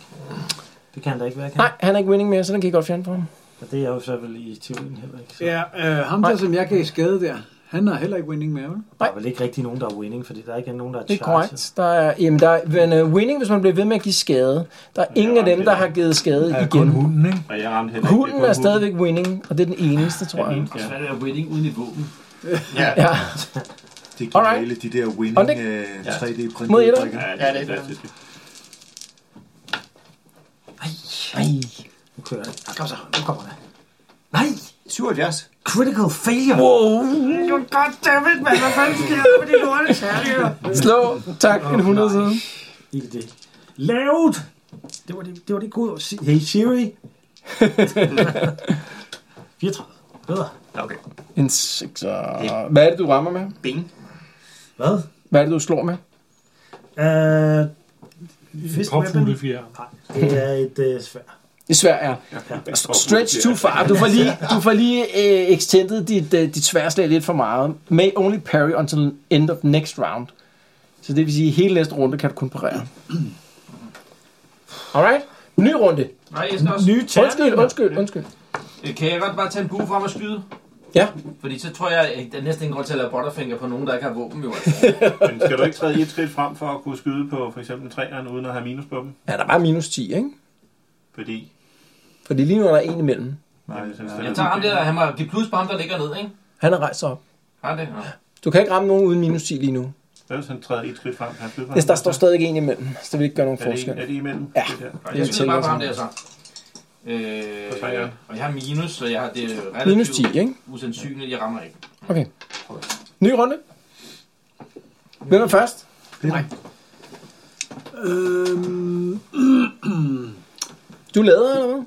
[SPEAKER 3] Det kan han da ikke være, kan
[SPEAKER 2] Nej,
[SPEAKER 3] han?
[SPEAKER 2] han er ikke winning mere, så den kan I godt fjerne fra ham.
[SPEAKER 3] Og det er jo så vel i teorien heller ikke. Så.
[SPEAKER 9] Ja, øh, ham der, som jeg gav skade der, han har heller ikke winning med, vel?
[SPEAKER 3] Der er vel ikke rigtig nogen, der er winning, fordi der ikke er nogen, der er
[SPEAKER 2] Det er
[SPEAKER 3] charged.
[SPEAKER 2] korrekt. Der er, jamen, der er, men uh, winning, hvis man bliver ved med at give skade. Der er ingen af dem, der har givet skade
[SPEAKER 5] Er kun
[SPEAKER 2] igen.
[SPEAKER 5] hunden, ikke?
[SPEAKER 6] Og jeg ramte heller ikke. Det
[SPEAKER 2] Hunden
[SPEAKER 6] kun
[SPEAKER 2] er stadigvæk winning, og det er den eneste, tror jeg.
[SPEAKER 6] hunden. Ja.
[SPEAKER 4] Hvad er winning uden et våben?
[SPEAKER 2] Ja,
[SPEAKER 5] Det er
[SPEAKER 2] Alright.
[SPEAKER 5] geniale, de der
[SPEAKER 2] Og
[SPEAKER 5] winning
[SPEAKER 2] det-
[SPEAKER 5] øh, 3D-printede
[SPEAKER 2] Mod etteren?
[SPEAKER 5] brikker.
[SPEAKER 6] Ja, det er fantastisk.
[SPEAKER 3] Nu kører det. Kom så, nu kommer det. Nej!
[SPEAKER 8] 77.
[SPEAKER 3] Critical failure! Wow! Goddammit, mand! Hvad fanden sker der med de lorte tærligere?
[SPEAKER 2] slå. Tak, en 100 siden.
[SPEAKER 3] Ikke det. Lavt! Det var det, det, var det gode ord. Si- Hey [LAUGHS] Siri! 34. Bedre.
[SPEAKER 8] Okay.
[SPEAKER 2] En 6. Hvad er det, du rammer med?
[SPEAKER 8] Bing.
[SPEAKER 3] Hvad?
[SPEAKER 2] Hvad er det, du slår med?
[SPEAKER 3] Uh, fist weapon?
[SPEAKER 7] Popfuglefjer.
[SPEAKER 3] Nej, det er et uh, svær.
[SPEAKER 2] I Sverige.
[SPEAKER 6] Ja.
[SPEAKER 2] Stretch too far. Du får lige, du får lige øh, extended dit, øh, dit sværslag lidt for meget. May only parry until end of next round. Så det vil sige, at hele næste runde kan du kun parere. Alright. Ny runde.
[SPEAKER 4] Nej, jeg skal også...
[SPEAKER 3] Nye
[SPEAKER 2] Undskyld, undskyld, undskyld.
[SPEAKER 4] Øh, Kan jeg godt bare tage en bue frem og skyde?
[SPEAKER 2] Ja.
[SPEAKER 4] Fordi så tror jeg, at der er næsten ingen grund til at lade butterfinger på nogen, der ikke har våben, jo. altså.
[SPEAKER 6] Men skal du ikke træde et skridt frem for at kunne skyde på for eksempel træerne uden at have minus på dem?
[SPEAKER 2] Ja, der var minus 10, ikke?
[SPEAKER 6] Fordi...
[SPEAKER 2] Fordi lige nu er der en imellem.
[SPEAKER 5] Nej,
[SPEAKER 6] Jamen, så hvis den er
[SPEAKER 4] Jeg tager ham
[SPEAKER 6] udbygget-
[SPEAKER 4] der, han må give plus på ham, der ligger ned, ikke?
[SPEAKER 2] Han er rejst sig op.
[SPEAKER 4] Har han det? Nå.
[SPEAKER 2] Du kan ikke ramme nogen uden minus 10 lige nu.
[SPEAKER 6] Hvad hvis han træder et skridt frem? Kan han skyde på
[SPEAKER 2] Hvis
[SPEAKER 6] ham?
[SPEAKER 2] der står stadig en imellem, så det vil ikke gøre nogen
[SPEAKER 6] Er det,
[SPEAKER 2] forskel.
[SPEAKER 6] er det imellem?
[SPEAKER 2] Ja.
[SPEAKER 6] Det der?
[SPEAKER 4] Nej,
[SPEAKER 2] Jeg
[SPEAKER 4] Jeg skyder
[SPEAKER 2] tænker
[SPEAKER 4] bare på ham
[SPEAKER 2] sådan.
[SPEAKER 4] der, så. Øh,
[SPEAKER 6] Så tager jeg.
[SPEAKER 4] og jeg har minus, så jeg har det er relativt
[SPEAKER 2] Minus 10, ikke?
[SPEAKER 4] usandsynligt, jeg rammer ikke.
[SPEAKER 2] Okay. Ny runde. Hvem er først?
[SPEAKER 9] Øhm,
[SPEAKER 2] Du lader, eller hvad?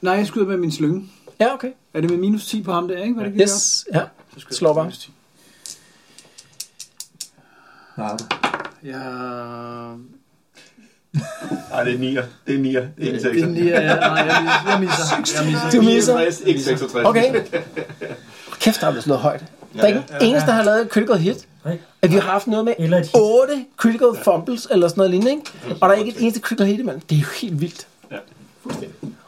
[SPEAKER 9] nej, jeg skyder med min slynge.
[SPEAKER 2] Ja, okay.
[SPEAKER 9] Er det med minus 10 på ham der, ikke? Var det ikke det,
[SPEAKER 2] Yes, ja.
[SPEAKER 9] jeg
[SPEAKER 2] Slår bare.
[SPEAKER 9] minus 10.
[SPEAKER 5] Hvad har du?
[SPEAKER 9] Jeg...
[SPEAKER 6] Nej, det er nier. Det er nier. Det er ikke
[SPEAKER 9] Det er
[SPEAKER 6] 66.
[SPEAKER 9] lige, ja, nej, jeg misser. Jeg misser. Jeg misser.
[SPEAKER 2] Du misser.
[SPEAKER 6] 69, ikke 66.
[SPEAKER 2] Okay. Kæft, der er blevet slået højt. Der er ikke ja, eneste, der har lavet et critical hit.
[SPEAKER 3] Nej.
[SPEAKER 2] At vi har haft noget med
[SPEAKER 3] Eller et hit.
[SPEAKER 2] 8 critical fumbles eller sådan noget lignende, ikke? Og der er ikke et eneste critical hit imellem. Det er jo helt vildt.
[SPEAKER 6] Ja.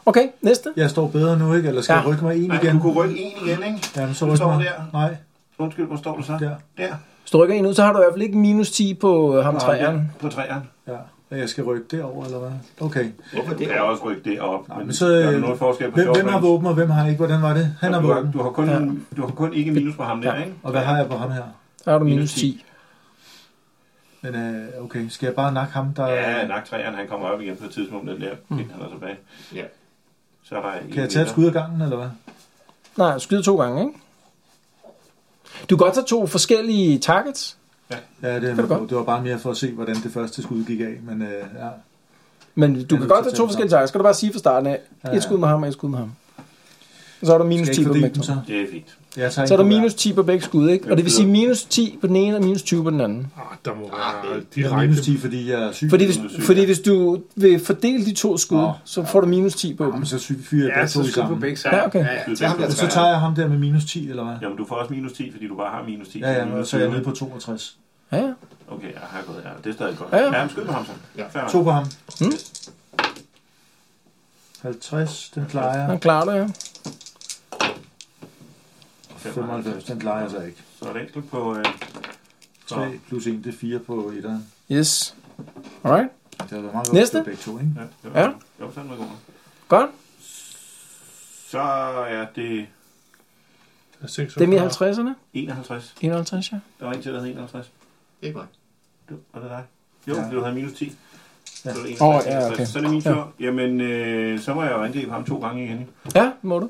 [SPEAKER 2] Okay, næste.
[SPEAKER 5] Jeg står bedre nu, ikke? Eller skal
[SPEAKER 2] Ja.
[SPEAKER 5] jeg rykke mig en
[SPEAKER 6] Nej,
[SPEAKER 5] igen?
[SPEAKER 6] du kunne rykke en igen, ikke?
[SPEAKER 5] Ja, så
[SPEAKER 6] Du
[SPEAKER 5] rykker
[SPEAKER 6] står
[SPEAKER 5] mig.
[SPEAKER 6] der.
[SPEAKER 5] Nej,
[SPEAKER 6] Undskyld, hvor står du så?
[SPEAKER 5] der.
[SPEAKER 6] Der.
[SPEAKER 2] Hvis du rykker en ud, så har du i hvert fald ikke minus 10 på øh, ham træerne.
[SPEAKER 6] På træerne.
[SPEAKER 5] Ja. Og Jeg skal rykke derover, eller hvad? Okay.
[SPEAKER 8] Hvorfor det?
[SPEAKER 6] Jeg har også rykket derop.
[SPEAKER 5] Nej, men så,
[SPEAKER 6] der er
[SPEAKER 5] øh,
[SPEAKER 6] noget forskel på
[SPEAKER 5] Hvem,
[SPEAKER 6] short
[SPEAKER 5] hvem har
[SPEAKER 6] range.
[SPEAKER 5] våben, og hvem har ikke? Hvordan var det? Han har
[SPEAKER 6] du har,
[SPEAKER 5] våben.
[SPEAKER 6] du har, kun, du har kun ikke minus på ham der,
[SPEAKER 2] Ja.
[SPEAKER 6] ikke?
[SPEAKER 5] Og hvad har jeg på ham her?
[SPEAKER 2] Der har du
[SPEAKER 6] Minus
[SPEAKER 2] minus 10.
[SPEAKER 5] Men øh, okay, skal jeg bare nakke ham, der...
[SPEAKER 6] Ja, nok træerne, han kommer op igen på et tidspunkt, den der mm. han er tilbage.
[SPEAKER 8] Ja.
[SPEAKER 6] Så er der en
[SPEAKER 5] Kan jeg tage et
[SPEAKER 6] meter.
[SPEAKER 5] skud af gangen, eller hvad?
[SPEAKER 2] Nej, du skyder to gange, ikke? Du kan godt tage to forskellige targets,
[SPEAKER 5] Ja, det, er
[SPEAKER 2] du
[SPEAKER 5] med på.
[SPEAKER 2] godt.
[SPEAKER 5] det var bare mere for at se, hvordan det første skud gik af. Men øh, ja.
[SPEAKER 2] men du
[SPEAKER 5] Ja,
[SPEAKER 2] kan
[SPEAKER 5] du
[SPEAKER 2] godt
[SPEAKER 5] kan
[SPEAKER 2] tage
[SPEAKER 5] tage
[SPEAKER 2] to
[SPEAKER 5] dem
[SPEAKER 2] forskellige targets. Skal du bare sige fra starten af,
[SPEAKER 5] Ja, ja.
[SPEAKER 2] et skud med ham og et skud med ham. Og så har du minus
[SPEAKER 5] Skal jeg
[SPEAKER 2] 10
[SPEAKER 5] ikke
[SPEAKER 2] på dem begge
[SPEAKER 5] fordele dem
[SPEAKER 2] to.
[SPEAKER 5] så?
[SPEAKER 6] Det er fint.
[SPEAKER 5] Jeg tager en
[SPEAKER 2] Så er der
[SPEAKER 5] på hver.
[SPEAKER 2] minus 10 på begge skud, ikke? Og det vil sige minus 10 på den ene og minus 20 på den anden.
[SPEAKER 7] Ah, der må være
[SPEAKER 5] Jeg
[SPEAKER 7] direkte.
[SPEAKER 5] er minus 10, fordi jeg er syg.
[SPEAKER 2] Fordi hvis, fordi hvis du vil fordele de to skud, så får du minus 10 på dem.
[SPEAKER 5] Så fyrer
[SPEAKER 2] Ja,
[SPEAKER 5] jeg begge
[SPEAKER 2] så
[SPEAKER 5] to i
[SPEAKER 2] skud på
[SPEAKER 5] sammen.
[SPEAKER 2] begge sider. Ja, okay. Ja, ja.
[SPEAKER 5] Så, ham der, så tager jeg ham der med minus 10, eller hvad?
[SPEAKER 6] Jamen, du får også minus 10, fordi du bare har minus 10.
[SPEAKER 5] Ja, ja,
[SPEAKER 6] minus
[SPEAKER 5] så er jeg
[SPEAKER 6] 20.
[SPEAKER 5] nede på 62.
[SPEAKER 2] Ja, ja.
[SPEAKER 6] Okay, ja, her er gået. Ja, det er stadig godt.
[SPEAKER 5] Ja,
[SPEAKER 6] Ja,
[SPEAKER 5] ja.
[SPEAKER 6] ja. men skyd på ham så.
[SPEAKER 5] Ja.
[SPEAKER 6] Fair nok.
[SPEAKER 5] To på ham. Hmm? 50, den klarer jeg.
[SPEAKER 2] Den klarer du, ja.
[SPEAKER 5] 95, den klarer jeg så ikke.
[SPEAKER 6] Så er det enkelt på... Øh,
[SPEAKER 5] 3 plus 1, det er 4 på 1'eren.
[SPEAKER 2] Yes. Alright.
[SPEAKER 5] Det har været meget godt,
[SPEAKER 2] Næste.
[SPEAKER 5] at det var begge to, ikke?
[SPEAKER 6] Ja. ja. Jo, sådan var det godt.
[SPEAKER 2] Godt.
[SPEAKER 6] Så er det...
[SPEAKER 2] Dem i 50'erne?
[SPEAKER 6] 51.
[SPEAKER 2] 51, ja.
[SPEAKER 6] Der var en til, der hed 51.
[SPEAKER 8] Det er mig.
[SPEAKER 6] Du, var det dig? Jo,
[SPEAKER 2] Ja.
[SPEAKER 6] ja. du havde minus 10.
[SPEAKER 2] Ja.
[SPEAKER 6] Så er det
[SPEAKER 2] Åh,
[SPEAKER 6] 51,
[SPEAKER 2] ja,
[SPEAKER 6] 51.
[SPEAKER 2] okay.
[SPEAKER 6] Så er det min
[SPEAKER 2] Ja.
[SPEAKER 6] tur. Jamen, øh, så må jeg jo angribe ham to gange igen.
[SPEAKER 2] Ja, må du.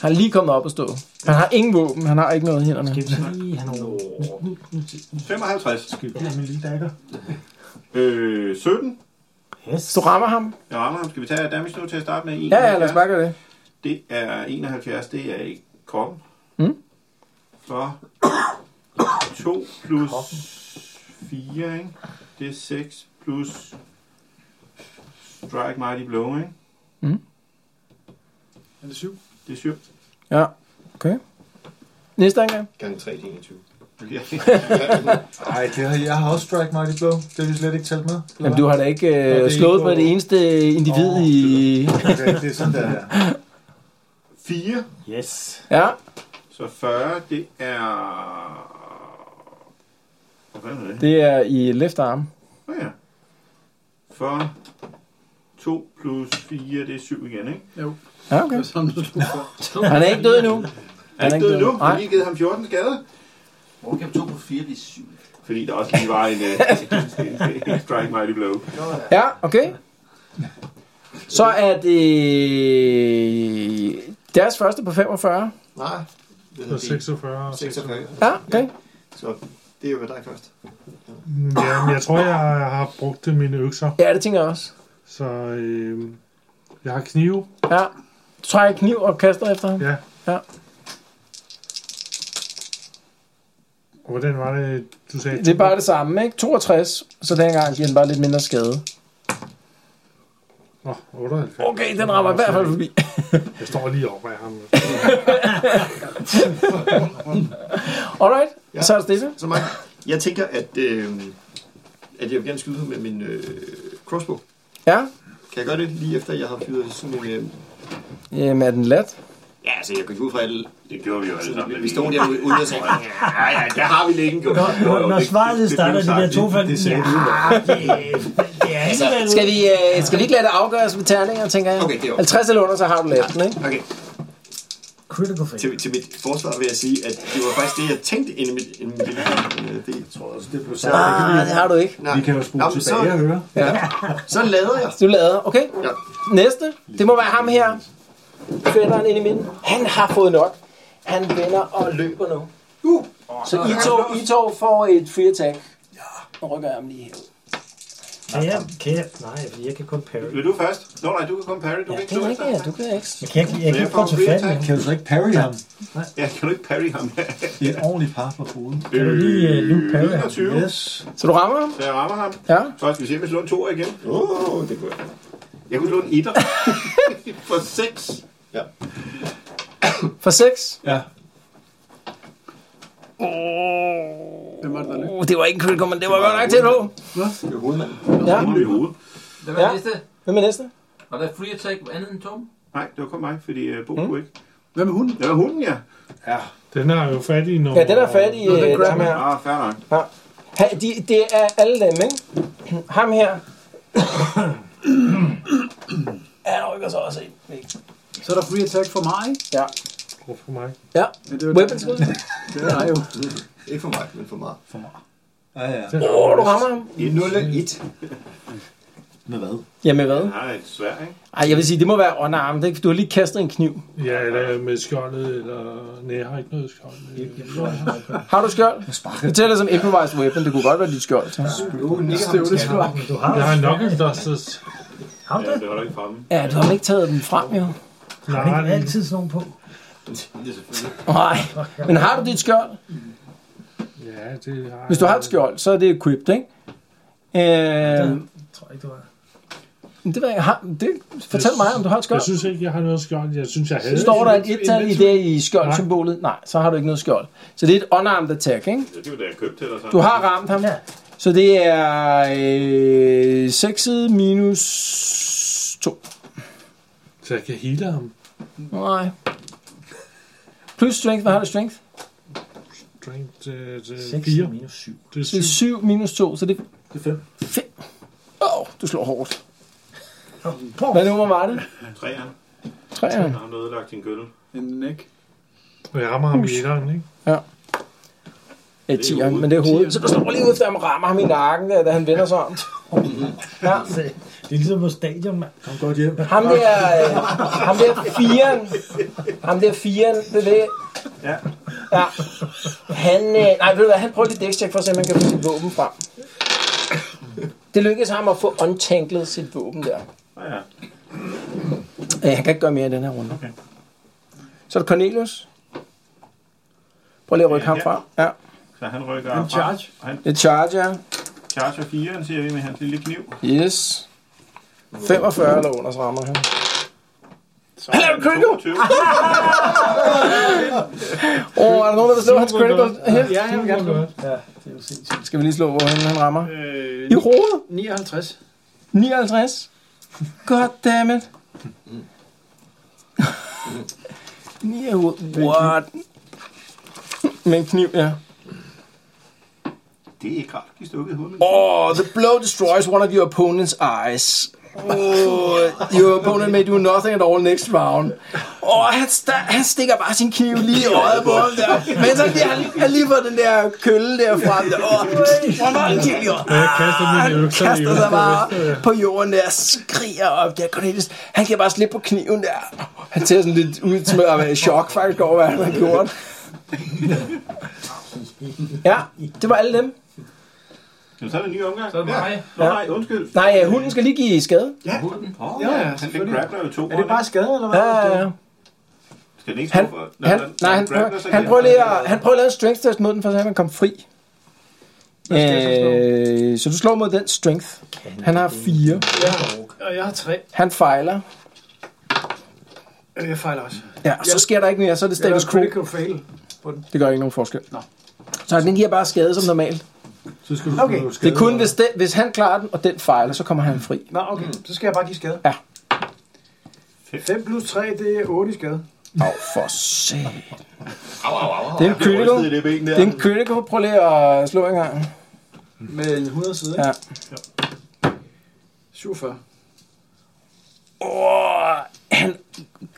[SPEAKER 2] Han er lige kommet op og stå. Han har ingen våben, han har ikke noget i hænderne. Skal
[SPEAKER 3] vi lige have nogle...
[SPEAKER 6] 55.
[SPEAKER 5] Skal vi have min lille dagger?
[SPEAKER 6] Øh, 17.
[SPEAKER 3] Yes.
[SPEAKER 2] Du rammer ham.
[SPEAKER 6] Jeg rammer ham. Skal vi tage damage nu til at starte med?
[SPEAKER 2] Ja, ja, lad os bare gøre det.
[SPEAKER 6] Det er 71, det er i kroppen.
[SPEAKER 2] Mm.
[SPEAKER 6] Så 2 plus 4, ikke? Det er 6 plus Strike Mighty Blow, ikke?
[SPEAKER 2] Mm.
[SPEAKER 6] Er det 7? Det er 7.
[SPEAKER 2] Ja, okay. Næste gang.
[SPEAKER 8] Gange 3, det er 21.
[SPEAKER 6] [LAUGHS]
[SPEAKER 5] Nej, det har, jeg har også strike mighty blow. Det har vi slet ikke talt med. eller
[SPEAKER 2] Jamen,
[SPEAKER 5] hvad?
[SPEAKER 2] du har da ikke
[SPEAKER 5] Nå, det er
[SPEAKER 2] øh, slået på
[SPEAKER 5] ikke
[SPEAKER 2] det eneste individ oh, i...
[SPEAKER 5] Okay, det er sådan der, ja.
[SPEAKER 6] 4.
[SPEAKER 3] Yes.
[SPEAKER 2] Ja.
[SPEAKER 6] Så 40, det er... Hvad fanden er det?
[SPEAKER 2] Det er i left arm.
[SPEAKER 6] Nå ja. 40. 2 plus 4, det er 7 igen, ikke?
[SPEAKER 9] Jo.
[SPEAKER 2] Ja, okay.
[SPEAKER 6] Han er ikke død endnu. Han er ikke død
[SPEAKER 2] endnu.
[SPEAKER 6] nu. Vi har
[SPEAKER 2] Nej.
[SPEAKER 6] lige givet ham 14 skader. Hvor kan 2 plus 4 blive 7? Fordi der også lige var en, øh, [LAUGHS] en, en strike mighty blow.
[SPEAKER 2] Ja, okay. Så er det deres første på 45.
[SPEAKER 8] Nej. hvad hedder
[SPEAKER 7] Og
[SPEAKER 8] det?
[SPEAKER 7] 46.
[SPEAKER 8] 46.
[SPEAKER 2] Ja, okay.
[SPEAKER 8] Så det er jo dig først.
[SPEAKER 7] Ja, men jeg tror, jeg har brugt mine økser.
[SPEAKER 2] Ja, det tænker jeg også.
[SPEAKER 7] Så øh, jeg har knive.
[SPEAKER 2] Ja. Du trækker kniv og kaster efter ham.
[SPEAKER 7] Ja.
[SPEAKER 2] ja.
[SPEAKER 7] Og hvordan var det, du sagde?
[SPEAKER 2] Det er bare det samme, ikke? 62, så dengang giver den bare lidt mindre skade.
[SPEAKER 7] Nå, 98.
[SPEAKER 2] Okay, den rammer i hvert fald forbi.
[SPEAKER 7] Jeg står lige op af ham.
[SPEAKER 2] Alright, ja. så er det stille.
[SPEAKER 8] Så mig. Jeg tænker, at, øh, at jeg vil gerne skyde ham med min øh, crossbow.
[SPEAKER 2] Ja.
[SPEAKER 8] Kan jeg gøre det lige efter, jeg har fyret sådan en... Øh,
[SPEAKER 2] Jamen, er den let?
[SPEAKER 8] Ja, altså, jeg gik ud fra alle...
[SPEAKER 6] Det gjorde vi jo alle sammen.
[SPEAKER 8] Vi, vi stod der ude ude og sagde, ja, ja, der har vi længe gjort.
[SPEAKER 3] Når- når- når svaret starter, de der to fald-
[SPEAKER 2] Altså, skal, vi, øh, skal vi ikke lade det afgøres med terninger, tænker jeg? Okay,
[SPEAKER 8] det er okay.
[SPEAKER 2] 50 eller under, så har du lasten, ikke?
[SPEAKER 8] Okay.
[SPEAKER 3] Critical fail.
[SPEAKER 8] Til, til mit forsvar vil jeg sige, at det var faktisk det, jeg tænkte inden mit... Inden mit øh, det jeg tror også, det blev
[SPEAKER 2] sagt. Ah, det har du ikke.
[SPEAKER 8] Nej.
[SPEAKER 5] Vi kan jo spole
[SPEAKER 8] Nå, men
[SPEAKER 5] tilbage og høre.
[SPEAKER 2] Ja.
[SPEAKER 8] Så lader jeg.
[SPEAKER 2] Du lader, okay? Ja. Næste, det må være ham her. Fætteren ind i midten. Han har fået nok. Han vender og løber nu. Uh. Så I to, I to får et free attack. Ja. Og rykker jeg ham lige her.
[SPEAKER 3] Kan jeg, kan jeg, nej, fordi jeg kan kun parry.
[SPEAKER 6] Vil du først? Nå, nej, du kan komme parry. Du
[SPEAKER 2] Ja,
[SPEAKER 6] kan
[SPEAKER 2] det
[SPEAKER 6] ikke
[SPEAKER 2] er rigtigt,
[SPEAKER 6] stå
[SPEAKER 2] ja. Du kan ikke.
[SPEAKER 3] Jeg kan ikke, jeg kan ikke få til fat i ham.
[SPEAKER 5] Kan du så ikke parry ham?
[SPEAKER 6] Ja, kan du ikke parry ham?
[SPEAKER 5] Det er et ordentligt par på hovedet.
[SPEAKER 6] Kan du lige, øh, nu parry ham? 21.
[SPEAKER 5] Yes.
[SPEAKER 2] Så du rammer ham?
[SPEAKER 6] Så jeg rammer ham.
[SPEAKER 2] Ja.
[SPEAKER 6] Så skal vi se, om jeg slår en 2 igen. Åh, oh, det kunne jeg. Jeg kunne slå en 1'er. [LAUGHS] For 6.
[SPEAKER 2] For 6?
[SPEAKER 5] Ja.
[SPEAKER 9] Hvem var det, der løb?
[SPEAKER 2] Uh, det var ikke en critical, men det var godt nok til nu.
[SPEAKER 8] Det er hovedmanden.
[SPEAKER 2] Ja.
[SPEAKER 4] Hvad var
[SPEAKER 2] Ja.
[SPEAKER 4] ja. næste?
[SPEAKER 2] Hvem er næste?
[SPEAKER 4] Var der free attack på andet end Tom?
[SPEAKER 6] Nej, det var kun mig, fordi uh, Bo
[SPEAKER 2] Mm.
[SPEAKER 6] kunne ikke. Hvem er hunden? Det var hunden, ja. Ja,
[SPEAKER 7] Den er jo fat i noget.
[SPEAKER 2] Ja, den er fat i
[SPEAKER 7] Nå, den
[SPEAKER 2] øh, ham
[SPEAKER 7] grabber.
[SPEAKER 2] her.
[SPEAKER 6] Ah, fair nok.
[SPEAKER 2] Ja. Ha, de, det er alle dem, ikke? Ham her. ja, rykker så også ind.
[SPEAKER 9] Så er der free attack for mig.
[SPEAKER 2] Ja.
[SPEAKER 7] Hvorfor mig?
[SPEAKER 2] Ja.
[SPEAKER 9] Men det er jo-
[SPEAKER 2] Weapons skud.
[SPEAKER 9] Det er dig jo.
[SPEAKER 8] Ikke for mig, men for mig.
[SPEAKER 5] For mig. Ja, ja.
[SPEAKER 2] Åh, oh, du rammer ham.
[SPEAKER 8] 0-1.
[SPEAKER 5] Med hvad?
[SPEAKER 2] Ja, med hvad?
[SPEAKER 6] Nej, et svær, ikke?
[SPEAKER 2] Ej, jeg vil sige, det må være underarmet, ikke? For Du har lige kastet en kniv.
[SPEAKER 7] Ja, eller med skjoldet, eller... Nej, jeg har ikke noget skjold.
[SPEAKER 2] Har du skjold? Det tæller som improvised weapon. Det kunne godt være dit skjold. Så.
[SPEAKER 3] Du har
[SPEAKER 7] Jeg har nok en dusters.
[SPEAKER 3] Ham
[SPEAKER 6] Ja,
[SPEAKER 3] der?
[SPEAKER 6] det holder ikke fremme.
[SPEAKER 2] Ja, du har vel ikke taget dem frem, jo.
[SPEAKER 3] Har du ikke altid sådan nogen på?
[SPEAKER 2] Nej, men har du dit skjold?
[SPEAKER 7] Ja, det har
[SPEAKER 2] Hvis du har et skjold, så er det equipped, ikke? Øh,
[SPEAKER 3] tror jeg ikke, du har.
[SPEAKER 2] det ved jeg, har, det, fortæl mig, om du har et skjold.
[SPEAKER 7] Jeg synes ikke, jeg har noget skjold. Jeg synes, jeg havde...
[SPEAKER 2] Står der et et-tal i det i skjold-symbolet? Nej, så har du ikke noget skjold. Så det er et unarmed attack, ikke?
[SPEAKER 6] Det var da jeg købte til dig. Så.
[SPEAKER 2] Du har ramt ham. Ja. Så det er øh, 6 minus 2.
[SPEAKER 7] Så jeg kan hele ham.
[SPEAKER 2] Nej. Plus strength, hvad har du i strength?
[SPEAKER 7] Strength til, til
[SPEAKER 2] Seks
[SPEAKER 7] 4. minus 7. Det er
[SPEAKER 2] Det
[SPEAKER 7] 7.
[SPEAKER 2] er 7 minus 2, så det
[SPEAKER 7] Det er 5.
[SPEAKER 2] 5. Åh, oh, du slår hårdt. Hvad nummer var det?
[SPEAKER 6] Træerne.
[SPEAKER 2] Træerne.
[SPEAKER 6] Har du ødelagt din gølle?
[SPEAKER 9] En næk.
[SPEAKER 7] Og jeg rammer ham i
[SPEAKER 2] Hus.
[SPEAKER 7] etteren, ikke?
[SPEAKER 2] Ja. Ja, tieren, men det er hovedet. Så du slår lige ud efter, at han rammer ham i nakken, der, da han vender sig om. Ja.
[SPEAKER 3] Det er ligesom på stadion, mand.
[SPEAKER 5] Kom godt hjem.
[SPEAKER 2] Ham der, øh, ham der firen, ham der firen, det det.
[SPEAKER 6] Ja.
[SPEAKER 2] Ja. Han, øh, nej, ved du hvad, han prøver lige dækstjek for at se, om han kan få sit våben frem. Det lykkedes ham at få untanklet sit våben der.
[SPEAKER 6] Ja.
[SPEAKER 2] Øh, han kan ikke gøre mere i den her runde. Okay. Så er det Cornelius. Prøv lige at rykke
[SPEAKER 6] Ja,
[SPEAKER 2] ham
[SPEAKER 6] her.
[SPEAKER 2] frem. Ja.
[SPEAKER 6] Så han rykker
[SPEAKER 9] En charge.
[SPEAKER 6] frem. Han
[SPEAKER 2] Det er Charger.
[SPEAKER 6] charger 4, siger vi med hans lille kniv.
[SPEAKER 2] Yes. 45 eller under, så rammer han.
[SPEAKER 6] Så
[SPEAKER 2] Han laver en critical!
[SPEAKER 6] 22.
[SPEAKER 2] [LAUGHS] Åh, oh, er der nogen, der vil slå hans critical? hit?
[SPEAKER 9] Ja, jeg vil gerne slå.
[SPEAKER 3] Ja, det er jo sindssygt.
[SPEAKER 2] Skal vi lige slå, hvor han, han rammer?
[SPEAKER 9] Øh,
[SPEAKER 2] I hovedet?
[SPEAKER 9] 59.
[SPEAKER 2] 59. Goddammit. [LAUGHS] Ni er hovedet. What? Med en kniv, ja.
[SPEAKER 6] Det er ikke rart, at blive stukket i hovedet.
[SPEAKER 2] Oh, the blow destroys one of your opponent's eyes. Oh, your opponent may do nothing at all next round. Og oh, han, sta- han stikker bare sin kniv lige i øjet på ham der. Men så bliver han, han lige fået den der kølle der frem. Der. Oh, han var en kniv i øjet.
[SPEAKER 7] Jeg kaster
[SPEAKER 2] Ah,
[SPEAKER 7] min
[SPEAKER 2] han
[SPEAKER 7] økser i
[SPEAKER 2] kaster sig bare
[SPEAKER 7] økser.
[SPEAKER 2] på jorden der, skriger op der. Cornelius, han kan bare slippe på kniven der. Han ser sådan lidt ud som at være i chok faktisk over, hvad han har gjort. Ja, det var alle dem.
[SPEAKER 6] Jamen, så er det en ny omgang.
[SPEAKER 4] Så er det mig.
[SPEAKER 6] Nå,
[SPEAKER 2] Ja.
[SPEAKER 6] nej, undskyld.
[SPEAKER 2] Nej, øh, hunden skal lige give skade.
[SPEAKER 6] Ja. Åh, ja,
[SPEAKER 9] Ja, ja,
[SPEAKER 6] ja, han den
[SPEAKER 9] selvfølgelig.
[SPEAKER 6] grappler jo to
[SPEAKER 9] Er det bare skade, eller hvad?
[SPEAKER 2] Ja, ja, ja.
[SPEAKER 6] Skal den ikke
[SPEAKER 2] Han,
[SPEAKER 6] stå for? Når
[SPEAKER 2] han,
[SPEAKER 6] den- når
[SPEAKER 2] nej,
[SPEAKER 6] den
[SPEAKER 2] han,
[SPEAKER 6] grappler, så
[SPEAKER 2] prøver, han,
[SPEAKER 6] kan-
[SPEAKER 2] prøver lige at, han prøver at lave en strength test mod den, for så han kom fri. Øh, så du slår mod den strength. Han har fire.
[SPEAKER 9] Og jeg har 3.
[SPEAKER 2] Han fejler.
[SPEAKER 9] Øh, Jeg fejler også.
[SPEAKER 2] Ja, så sker der ikke mere, så er det
[SPEAKER 9] Jeg
[SPEAKER 2] status
[SPEAKER 9] har
[SPEAKER 2] quo.
[SPEAKER 9] critical fail.
[SPEAKER 2] Det gør ikke nogen forskel. Så den giver bare skade som normalt.
[SPEAKER 5] Så skal du
[SPEAKER 9] Okay.
[SPEAKER 5] slå
[SPEAKER 2] Det
[SPEAKER 5] skade.
[SPEAKER 2] er kun, hvis, den, hvis han klarer den, og den fejler, så kommer han fri.
[SPEAKER 9] Nå, okay. Så skal jeg bare give skade.
[SPEAKER 2] Ja.
[SPEAKER 9] 5 plus 3, det er 8 i skade.
[SPEAKER 2] Åh, oh, for satan. Det er en critical.
[SPEAKER 6] Det er det ben der.
[SPEAKER 2] Det er en critical. Prøv lige at slå en gang.
[SPEAKER 9] Med en 100 side,
[SPEAKER 2] Ja.
[SPEAKER 9] 47.
[SPEAKER 2] Åh, han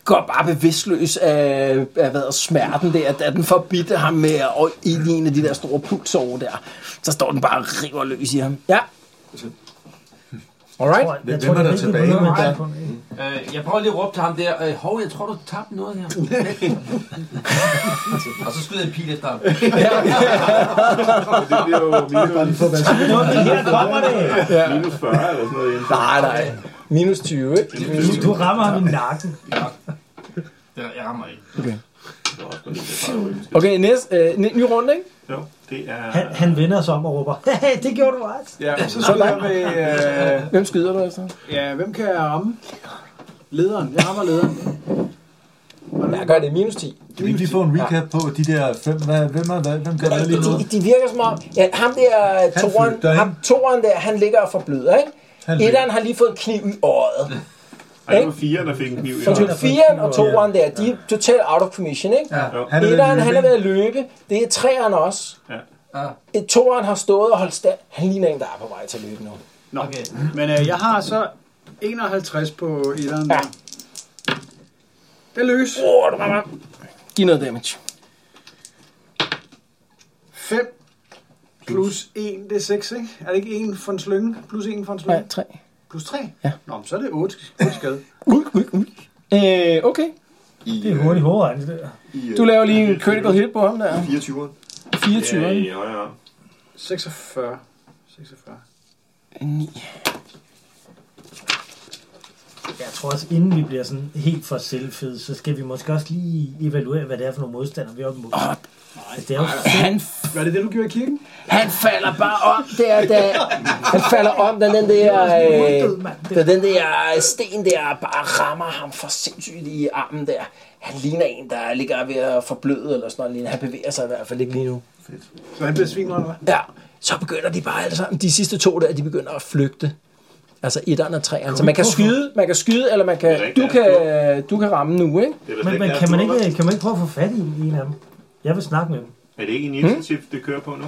[SPEAKER 2] går bare bevidstløs af, af hvad, smerten der, da den forbitter ham med og ind i en af de der store pulsår der. Så står den bare og river løs i ham. Ja. Alright.
[SPEAKER 3] Jeg, jeg
[SPEAKER 5] Hvem er der tilbage med der?
[SPEAKER 4] Øh, jeg prøver lige at råbe til ham der. Øh, hov, jeg tror, du tabte noget her. [LAUGHS] og så skyder jeg en pil efter ham.
[SPEAKER 6] Det
[SPEAKER 2] [LAUGHS]
[SPEAKER 6] bliver jo minus,
[SPEAKER 3] Her kommer det.
[SPEAKER 6] minus 40 eller sådan noget. Jens.
[SPEAKER 2] Nej, nej. Minus 20, ikke?
[SPEAKER 3] Du, du rammer ham i nakken.
[SPEAKER 4] Jeg, jeg rammer ikke.
[SPEAKER 6] Det var også kun lidt bare ryggen.
[SPEAKER 2] Okay, næste, øh, ny ny runde, ikke?
[SPEAKER 6] Jo, det er...
[SPEAKER 3] Han, han vender sig om og råber, hey, det gjorde du ret.
[SPEAKER 9] Ja, så skal jeg med... Øh,
[SPEAKER 2] Hvem skyder du altså? efter?
[SPEAKER 9] ja, hvem kan jeg ramme? Lederen. Jeg rammer lederen.
[SPEAKER 2] Jeg gør det minus 10.
[SPEAKER 5] Kan vi ikke lige få en recap på de der fem? Hvad, hvem er hvad? Hvem gør hvad lige nu?
[SPEAKER 2] De, de virker som om, ja, ham der toren,
[SPEAKER 5] flygter, ikke?
[SPEAKER 2] ham, toren der, han ligger og forbløder, ikke?
[SPEAKER 5] Han ligger.
[SPEAKER 2] Etteren har lige fået en kniv i øjet.
[SPEAKER 6] Ej, det var 4, der fik en kniv i
[SPEAKER 2] Så
[SPEAKER 6] hånden.
[SPEAKER 2] firen og toeren der, de er totalt out of commission, ikke?
[SPEAKER 5] Han er ved
[SPEAKER 2] Etteren,
[SPEAKER 5] at
[SPEAKER 2] han er ved at løbe. Det er træerne også.
[SPEAKER 6] Ja.
[SPEAKER 2] Et toeren har stået og holdt stand. Han ligner en, der er på vej til at løbe nu.
[SPEAKER 9] Nå,
[SPEAKER 4] Okay.
[SPEAKER 9] men øh, jeg har så 51 på etteren.
[SPEAKER 2] Ja.
[SPEAKER 9] Ja. Det er løs.
[SPEAKER 2] Åh, du rammer. Giv noget damage.
[SPEAKER 9] 5 plus 1, det er 6, ikke? Er det ikke 1 for en slynge? Plus 1 for en slynge?
[SPEAKER 2] Nej, tre.
[SPEAKER 9] Plus 3?
[SPEAKER 2] Ja.
[SPEAKER 9] Nå, men så er det 8, 8 skade.
[SPEAKER 2] Ui, ui, ui. Øh, okay.
[SPEAKER 8] I,
[SPEAKER 3] Det er hurtigt hårdere, det der.
[SPEAKER 8] i,
[SPEAKER 2] Du laver lige en critical hit på ham der.
[SPEAKER 8] 24'eren.
[SPEAKER 2] 24.
[SPEAKER 6] Ja, i højre arm.
[SPEAKER 9] 46. 46.
[SPEAKER 2] 9.
[SPEAKER 3] Jeg tror også, inden vi bliver sådan helt for selvfede, så skal vi måske også lige evaluere, hvad det er for nogle modstandere, vi er oppe mod. Oh, det er jo
[SPEAKER 2] han,
[SPEAKER 9] Var det det, du gjorde i kirken?
[SPEAKER 2] han falder bare om der, da, [LAUGHS] han falder om, da den der, øh, da den der øh, sten der bare rammer ham for sindssygt i armen der. Han ligner en, der ligger ved at forbløde eller sådan noget. lignende. Han bevæger sig i hvert fald ikke lige nu.
[SPEAKER 9] Så han besvimer, eller hvad?
[SPEAKER 2] Ja, så begynder de bare alle sammen. De sidste to der, de begynder at flygte. Altså etteren og treeren. Så man kan skyde, man kan skyde, eller man kan, du, kan, du kan ramme nu, ikke?
[SPEAKER 3] Men, men kan, man ikke, kan man ikke prøve at få fat i en af dem? Jeg vil snakke med dem.
[SPEAKER 6] Er det ikke initiativ,
[SPEAKER 2] Hmm?
[SPEAKER 6] det kører på nu?
[SPEAKER 1] Nå,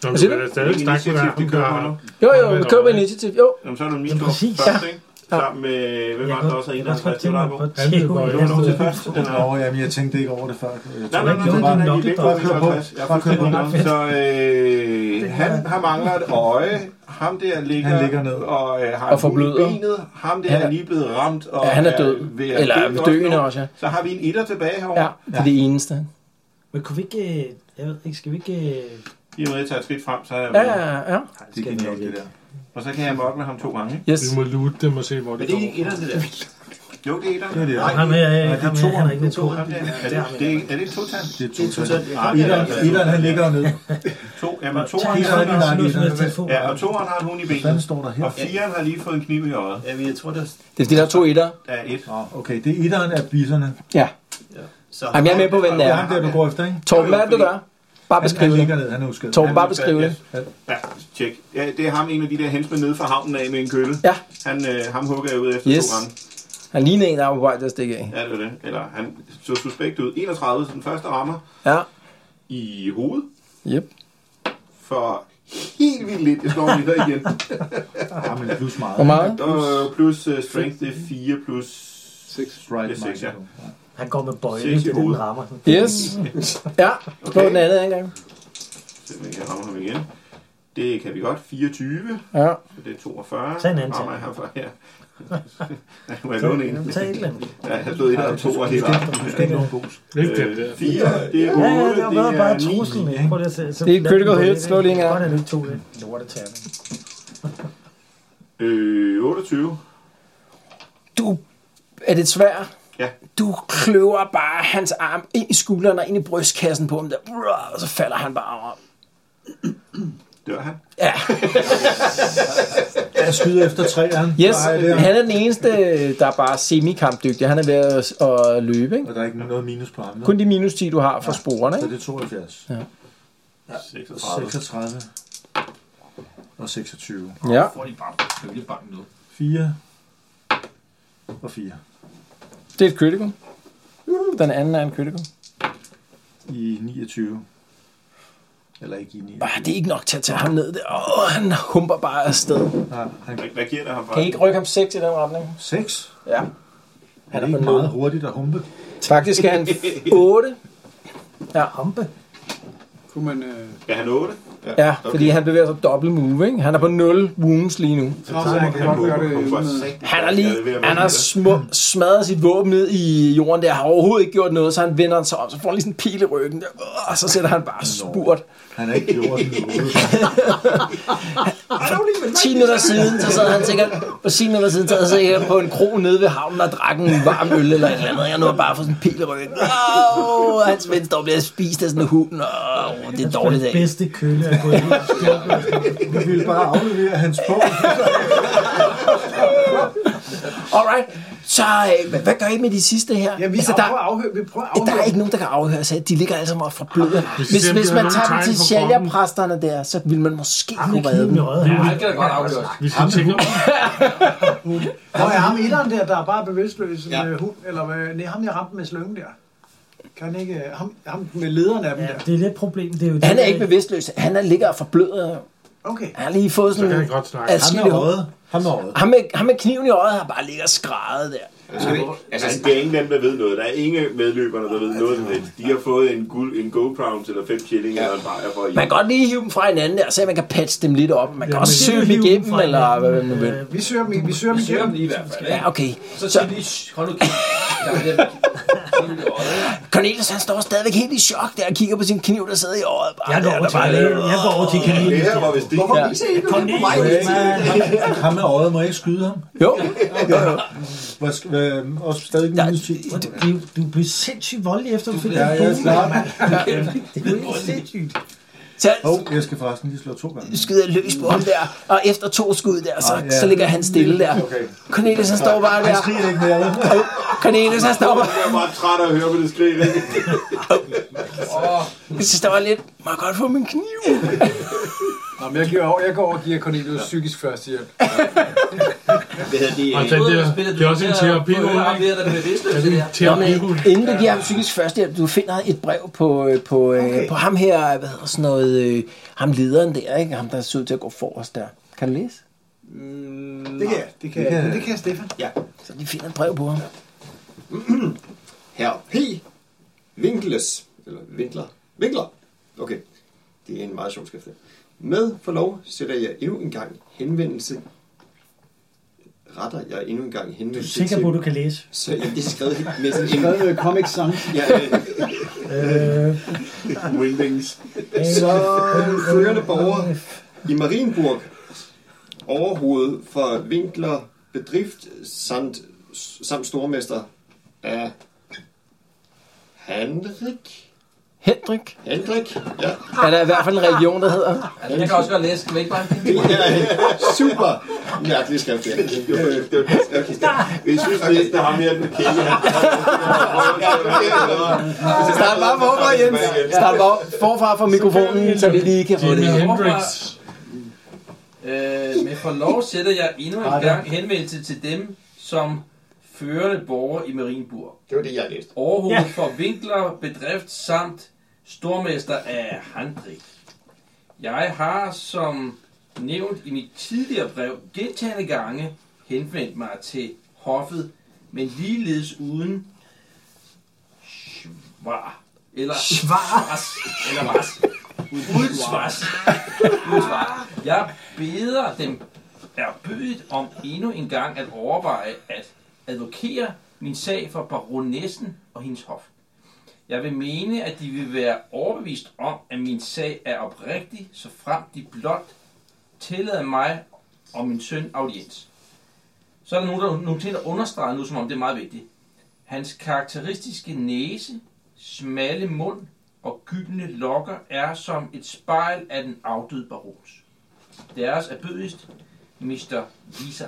[SPEAKER 2] Hvad
[SPEAKER 1] vi
[SPEAKER 2] siger
[SPEAKER 1] kan da
[SPEAKER 2] du?
[SPEAKER 1] stadig
[SPEAKER 6] Hvilken
[SPEAKER 1] snakke med
[SPEAKER 6] initiativ,
[SPEAKER 1] ham,
[SPEAKER 6] de kører på
[SPEAKER 1] der...
[SPEAKER 6] nu?
[SPEAKER 2] Jo, jo, vi køber initiativ. Jo,
[SPEAKER 6] Jamen, så er det min tur
[SPEAKER 3] præcis,
[SPEAKER 6] først,
[SPEAKER 2] ja.
[SPEAKER 6] ikke? Sammen med, hvem var det, der også er
[SPEAKER 3] Jeg kan godt
[SPEAKER 6] 51? Det
[SPEAKER 3] tænke
[SPEAKER 6] var
[SPEAKER 3] mig at
[SPEAKER 6] der
[SPEAKER 1] var jo
[SPEAKER 3] få tjekket, om
[SPEAKER 6] på.
[SPEAKER 3] jeg
[SPEAKER 6] Nå,
[SPEAKER 3] ved-
[SPEAKER 6] det er først. Den er
[SPEAKER 5] Nå, jamen, jeg tænkte ikke over det før. Jeg
[SPEAKER 6] Nej,
[SPEAKER 5] tror
[SPEAKER 6] nej,
[SPEAKER 5] ikke,
[SPEAKER 6] nej,
[SPEAKER 5] det var bare...
[SPEAKER 6] nej, nej, nej,
[SPEAKER 3] nok
[SPEAKER 6] vi er
[SPEAKER 3] lidt dårligt.
[SPEAKER 6] ikke bare 50. Jeg er fuldstændig nok. Så øh, han, han mangler et øje, ham der ligger,
[SPEAKER 5] Han ligger ned.
[SPEAKER 6] og øh, har
[SPEAKER 2] Og
[SPEAKER 6] en hul i
[SPEAKER 2] forbløder.
[SPEAKER 6] benet, ham der ja. er lige blevet ramt, og
[SPEAKER 2] Ja, han er død.
[SPEAKER 6] ved at
[SPEAKER 2] Eller
[SPEAKER 6] dø
[SPEAKER 2] døende
[SPEAKER 6] nu.
[SPEAKER 2] også, ja.
[SPEAKER 6] Så har vi en etter tilbage herovre.
[SPEAKER 2] Ja, det er det eneste.
[SPEAKER 3] Men kunne vi ikke... øh, Jeg ved ikke, skal vi ikke... øh,
[SPEAKER 6] I og med, at jeg tager et skridt frem, så er jeg
[SPEAKER 2] Ja,
[SPEAKER 6] med.
[SPEAKER 2] ja, ja.
[SPEAKER 3] Nej, det
[SPEAKER 5] Det er
[SPEAKER 3] skal vi nok
[SPEAKER 5] genialt, det
[SPEAKER 3] ikke.
[SPEAKER 5] der.
[SPEAKER 6] Og så kan jeg mokke med ham to gange. ikke?
[SPEAKER 2] Yes.
[SPEAKER 1] Vi må lute dem og se, hvor
[SPEAKER 6] Men
[SPEAKER 1] det
[SPEAKER 6] det er
[SPEAKER 1] kommer
[SPEAKER 6] ikke
[SPEAKER 1] fra.
[SPEAKER 6] etter, det der. Jo, det er etter.
[SPEAKER 5] Det er det.
[SPEAKER 3] Nej, ham her, øh,
[SPEAKER 5] Nej, det er
[SPEAKER 3] ham her, han er ikke med
[SPEAKER 6] To,
[SPEAKER 3] to.
[SPEAKER 6] ham der. Er det, det, er- er det to tal?
[SPEAKER 5] Det er to tal.
[SPEAKER 18] Nej,
[SPEAKER 5] Etteren, etteren, han ligger nede.
[SPEAKER 6] To, jamen to,
[SPEAKER 3] Tag
[SPEAKER 5] lige
[SPEAKER 3] en
[SPEAKER 5] sådan,
[SPEAKER 3] anden,
[SPEAKER 5] lige sådan,
[SPEAKER 3] sådan
[SPEAKER 5] lige
[SPEAKER 3] noget
[SPEAKER 5] sådan.
[SPEAKER 3] telefon.
[SPEAKER 6] ja, og toeren har en hund i
[SPEAKER 5] Hvad
[SPEAKER 6] benet.
[SPEAKER 5] står der her?
[SPEAKER 6] Og fireren har lige fået en kniv i øjet.
[SPEAKER 18] Jamen, jeg tror, der...
[SPEAKER 2] Det er fordi, der er to etter.
[SPEAKER 6] Ja, et.
[SPEAKER 5] Nå, okay, det er etteren af bisserne.
[SPEAKER 2] Ja.
[SPEAKER 18] Så
[SPEAKER 2] Jamen, jeg er med på, hvem det
[SPEAKER 5] Det er
[SPEAKER 2] er.
[SPEAKER 5] ham der, du går efter, ikke?
[SPEAKER 2] Torben, hvad er det, du gør? Bare
[SPEAKER 5] Han, han
[SPEAKER 2] beskriv det.
[SPEAKER 5] ligger ned, han er uskadet.
[SPEAKER 2] Torben, bare beskriv det.
[SPEAKER 6] Ja, tjek. Ja, det er ham, en af de der hensmænd nede fra havnen af med en kølle.
[SPEAKER 2] Ja.
[SPEAKER 6] Han, øh, ham hugger jeg ud efter
[SPEAKER 2] Yes.
[SPEAKER 6] to gange.
[SPEAKER 2] Han ligner en, der er på vej til at stikke af.
[SPEAKER 6] Ja, det var det. Eller han så suspekt ud. 31, så den første rammer
[SPEAKER 2] Ja.
[SPEAKER 6] i hovedet.
[SPEAKER 2] Yep.
[SPEAKER 6] For helt vildt lidt. Jeg slår mig
[SPEAKER 2] [LAUGHS]
[SPEAKER 6] der igen.
[SPEAKER 5] Ja, men plus meget.
[SPEAKER 2] Hvor meget?
[SPEAKER 6] Og plus øh, strength, det er 4 plus...
[SPEAKER 5] 6. Right,
[SPEAKER 6] Det er seks, ja.
[SPEAKER 5] minus.
[SPEAKER 3] Han går med bøjle,
[SPEAKER 6] Ses i
[SPEAKER 3] det er det, den
[SPEAKER 6] hovedet.
[SPEAKER 3] rammer. Sådan.
[SPEAKER 2] Yes. Ja, på
[SPEAKER 6] Okay.
[SPEAKER 2] den anden engang.
[SPEAKER 6] Se, om jeg kan ramme ham igen. Det kan vi godt. 24,
[SPEAKER 2] Ja.
[SPEAKER 6] så det er 42.
[SPEAKER 3] Tag en anden
[SPEAKER 6] Rammer
[SPEAKER 3] tag.
[SPEAKER 6] jeg ham fra
[SPEAKER 3] [LAUGHS]
[SPEAKER 6] her. [LAUGHS] Må jeg låne en?
[SPEAKER 3] Jamen, Tag et eller andet.
[SPEAKER 6] Ja, jeg har stået i der og to og hele
[SPEAKER 5] Du skal ikke låne bus.
[SPEAKER 1] Ikke den der.
[SPEAKER 6] Øh, 4, det er 8,
[SPEAKER 3] Ja, ja, det var bare, bare
[SPEAKER 6] ni.
[SPEAKER 3] truslen. ikke? Prøv lige at se. Så
[SPEAKER 2] Det er et
[SPEAKER 3] lad
[SPEAKER 2] critical
[SPEAKER 3] den gå
[SPEAKER 2] hit.
[SPEAKER 3] lidt,
[SPEAKER 2] Slå
[SPEAKER 3] ikke?
[SPEAKER 2] lige en gang.
[SPEAKER 3] Godt, at du ikke tog det. Lortetærne.
[SPEAKER 6] Øh, 28.
[SPEAKER 2] Du, er det svært?
[SPEAKER 6] Ja.
[SPEAKER 2] Du kløver bare hans arm ind i skulderen og ind i brystkassen på ham der. Brrr, Og så falder han bare om.
[SPEAKER 6] Dør han?
[SPEAKER 2] Ja,
[SPEAKER 5] Jeg skyder efter træeren.
[SPEAKER 2] yes.
[SPEAKER 5] Nej, det er...
[SPEAKER 2] Han er den eneste, der er bare semi-kampdygtig. Han er ved at, at løbe, ikke?
[SPEAKER 5] Og der er ikke noget minus på ham.
[SPEAKER 2] Kun de minus 10, du har for sporene,
[SPEAKER 5] Så
[SPEAKER 2] ikke?
[SPEAKER 5] det er 72.
[SPEAKER 6] 36.
[SPEAKER 5] 36. Og 26.
[SPEAKER 2] Ja.
[SPEAKER 4] Får de bare kølebank nu.
[SPEAKER 5] 4. Og 4.
[SPEAKER 2] Det er et critical. Den anden er en critical.
[SPEAKER 5] I 29. Eller ikke i 29.
[SPEAKER 2] Ah, det er ikke nok til at tage ham ned. Der. Oh, han humper bare afsted.
[SPEAKER 5] Nej, han
[SPEAKER 6] Hvad- Hvad giver det ham fra?
[SPEAKER 2] Kan I ikke rykke ham 6 i den retning?
[SPEAKER 5] 6.
[SPEAKER 2] Ja.
[SPEAKER 5] Han
[SPEAKER 2] Han er
[SPEAKER 5] er ikke
[SPEAKER 2] på
[SPEAKER 5] meget
[SPEAKER 2] nul.
[SPEAKER 5] hurtigt at humpe.
[SPEAKER 2] Faktisk er han 8. Ja,
[SPEAKER 3] Hampe.
[SPEAKER 9] Kunne man... Øh...
[SPEAKER 6] Er han 8?
[SPEAKER 2] ja fordi han bevæger sig dobbelt move, ikke? Han er på 0 wounds lige nu.
[SPEAKER 9] Nå, så han kan godt gøre det uden at-
[SPEAKER 2] Han har lige han har sm- smadret sit våben ned i jorden der, har overhovedet ikke gjort noget, så han vender sig om, så får han lige sådan en pil i ryggen der, Åh, og så sætter han bare spurt.
[SPEAKER 5] Han har ikke gjort noget.
[SPEAKER 2] 10 minutter siden, så sad han sikkert, for 10 minutter siden, så sad han sikkert på en kro nede ved havnen og drak en varm øl eller et eller andet, og nu har bare fået sådan en pil i ryggen. Åh, oh, hans ven står bliver spist af sådan en hund, og oh, det er dårligt
[SPEAKER 3] Den
[SPEAKER 2] dag.
[SPEAKER 3] bedste kølle at gå i.
[SPEAKER 5] Vi ville bare aflevere hans bog.
[SPEAKER 2] Alright, så øh, hvad, hvad gør I med de sidste her?
[SPEAKER 9] Ja, vi
[SPEAKER 2] altså,
[SPEAKER 9] prøver at
[SPEAKER 2] der,
[SPEAKER 9] afhøre. Vi prøver at
[SPEAKER 2] der er
[SPEAKER 9] afhøre.
[SPEAKER 2] ikke nogen, der kan afhøre sig. De ligger alle sammen og forbløder. Hvis,
[SPEAKER 1] ser,
[SPEAKER 2] hvis
[SPEAKER 1] om der er
[SPEAKER 2] man
[SPEAKER 1] nogen
[SPEAKER 2] tager
[SPEAKER 1] tegn på
[SPEAKER 2] dem til
[SPEAKER 1] kroppen.
[SPEAKER 2] sjælgerpræsterne der, så vil man måske
[SPEAKER 3] Ham med
[SPEAKER 2] kunne redde
[SPEAKER 3] kniven i
[SPEAKER 2] dem.
[SPEAKER 3] øjet. Han
[SPEAKER 4] Ja, altså, det kan da godt afgøres.
[SPEAKER 1] Vi skal tjekke om
[SPEAKER 9] Nå, jeg ham etteren der, der er bare bevidstløs
[SPEAKER 18] Ja.
[SPEAKER 9] ja. med hund, eller med, nej, ham jeg ramte med slyngen der. Kan han ikke, øh, ham, ham med lederen af dem
[SPEAKER 3] Ja,
[SPEAKER 9] der.
[SPEAKER 3] det er det problem. Det er jo det,
[SPEAKER 2] Han er
[SPEAKER 3] med-
[SPEAKER 2] ikke bevidstløs. Han er ligger og forbløder.
[SPEAKER 9] Okay.
[SPEAKER 2] Han har lige fået
[SPEAKER 1] Så kan
[SPEAKER 2] sådan
[SPEAKER 1] jeg godt snakke.
[SPEAKER 5] Han
[SPEAKER 2] adskillige
[SPEAKER 5] er
[SPEAKER 2] hår.
[SPEAKER 5] røget. Han er røget.
[SPEAKER 2] Ham med, ham med kniven i øjet har bare ligget og skrædet der.
[SPEAKER 6] Altså, det er ingen dem, der ved noget. Der er ingen medløberne, der ved noget som helst. De har fået en, guld, en gold crown eller fem shilling eller en bajer for i.
[SPEAKER 2] Man kan godt lige hive dem fra hinanden der, så man kan patche dem lidt op. Man kan også
[SPEAKER 3] Det er
[SPEAKER 2] søge
[SPEAKER 3] jo
[SPEAKER 2] dem
[SPEAKER 3] hive
[SPEAKER 2] igennem,
[SPEAKER 3] fra
[SPEAKER 2] eller
[SPEAKER 3] hinanden,
[SPEAKER 2] hvad man nu
[SPEAKER 3] men,
[SPEAKER 2] vil.
[SPEAKER 3] øh,
[SPEAKER 9] Vi søger dem, i- vi søger dem
[SPEAKER 4] Søger
[SPEAKER 9] igennem.
[SPEAKER 4] dem i hvert fald, ikke?
[SPEAKER 2] Ja, okay.
[SPEAKER 4] Så siger de, "Shh, hold nu kæft."
[SPEAKER 2] Cornelius, han står stadigvæk helt i chok der og kigger på sin kniv, der sidder i øjet. Bare,
[SPEAKER 3] Jeg går
[SPEAKER 2] der,
[SPEAKER 3] over
[SPEAKER 2] der
[SPEAKER 3] til-
[SPEAKER 2] bare ligger-
[SPEAKER 3] jeg går over til Cornelius. Det her var vist ikke- Hvorfor
[SPEAKER 2] Ja.
[SPEAKER 3] viser I ikke
[SPEAKER 2] Cornelius.
[SPEAKER 3] noget på mig?
[SPEAKER 5] Ham- Ham med øjet må jeg ikke skyde ham?
[SPEAKER 19] Jo.
[SPEAKER 5] jo, jo. Hvor skal, hvad, også stadig minus 10.
[SPEAKER 3] Du, du blev sindssygt voldelig efter, du fik
[SPEAKER 5] Ja,
[SPEAKER 3] den
[SPEAKER 5] jeg er
[SPEAKER 3] bue,
[SPEAKER 5] klar.
[SPEAKER 3] mand.
[SPEAKER 5] Ja.
[SPEAKER 3] Det er jo sindssygt.
[SPEAKER 5] Hov, oh, jeg skal forresten lige slå to gange.
[SPEAKER 2] skyder løs på ham der, og efter to skud der, så,
[SPEAKER 5] Ah,
[SPEAKER 2] ah,
[SPEAKER 5] ja.
[SPEAKER 2] ja. så ligger han stille der.
[SPEAKER 5] Okay.
[SPEAKER 2] Cornelius, han står bare der.
[SPEAKER 5] Han skriger ikke mere. vel?
[SPEAKER 2] Åh, Cornelius, han står bare...
[SPEAKER 6] Jeg er bare træt af at høre på det skrig.
[SPEAKER 2] Jeg synes, der var lidt, må jeg godt få min kniv?
[SPEAKER 20] Nå, men jeg, giver over, jeg går over og giver Cornelius psykisk førstehjælp.
[SPEAKER 8] Hvad hedder det?
[SPEAKER 1] Og den der, det er også en terapi. Er det en
[SPEAKER 2] Nå, men,
[SPEAKER 1] terapi?
[SPEAKER 2] inden du giver ham psykisk førstehjælp, du finder et brev på, øh, på, okay. på ham her, hvad hedder sådan noget, øh, ham lederen der, ikke? ham der ser ud til at gå forrest der. Kan du læse?
[SPEAKER 9] Det kan jeg. Det kan,
[SPEAKER 2] Det
[SPEAKER 9] jeg.
[SPEAKER 2] kan-
[SPEAKER 9] Men det kan Stefan.
[SPEAKER 8] Ja.
[SPEAKER 2] Så de finder et brev på ham.
[SPEAKER 8] Herr P. Vinkles. Eller Vinkler. Vinkler. Okay. Det er en meget sjov skrift. det. Med forlov sætter jeg endnu en gang henvendelse. Retter jeg endnu en gang
[SPEAKER 3] Du er
[SPEAKER 8] henvendelse
[SPEAKER 3] sikker på, at du kan læse.
[SPEAKER 8] Så ja, det er skrevet helt med sådan
[SPEAKER 9] Jeg
[SPEAKER 8] en...
[SPEAKER 9] skrev Comic Sans.
[SPEAKER 8] Ja,
[SPEAKER 3] Øh,
[SPEAKER 6] øh, Wingdings.
[SPEAKER 8] Så førende borger i Marienburg, overhovedet for Winkler Bedrift samt, samt stormester af Henrik.
[SPEAKER 2] Hendrik.
[SPEAKER 8] Henrik, ja.
[SPEAKER 2] Er der i hvert fald en religion, der hedder?
[SPEAKER 4] Jeg kan også godt læse. Skal vi ikke bare
[SPEAKER 8] Det er super mærkelig skrift, ja. Øh, okay.
[SPEAKER 6] Vi synes, det er ham her, den kæde.
[SPEAKER 2] Start bare forfra, Jens. Start bare forfra fra mikrofonen, så vi lige kan få det.
[SPEAKER 1] Jimi
[SPEAKER 2] igennem.
[SPEAKER 1] Hendrix.
[SPEAKER 4] Øh, med forlov sætter jeg endnu en gang henvendelse til dem, som førende borger i Marienburg.
[SPEAKER 8] Det var det, jeg læste.
[SPEAKER 4] Overhovedet ja. for vinkler, bedrift samt stormester af Handrik. Jeg har som nævnt i mit tidligere brev gentagende gange henvendt mig til hoffet, men ligeledes uden svar. Eller svars. Eller vars. Uden svars. Uden svar. Jeg beder dem erbødigt om endnu en gang at overveje at advokere min sag for baronessen og hendes hof. Jeg vil mene, at de vil være overbevist om, at min sag er oprigtig, så frem de blot tillader mig og min søn audiens. Så er der nogen, der, nogle ting, der understreger nu, som om det er meget vigtigt. Hans karakteristiske næse, smalle mund og gyldne lokker er som et spejl af den afdøde barons. Deres er bødigst, Mr. Visa.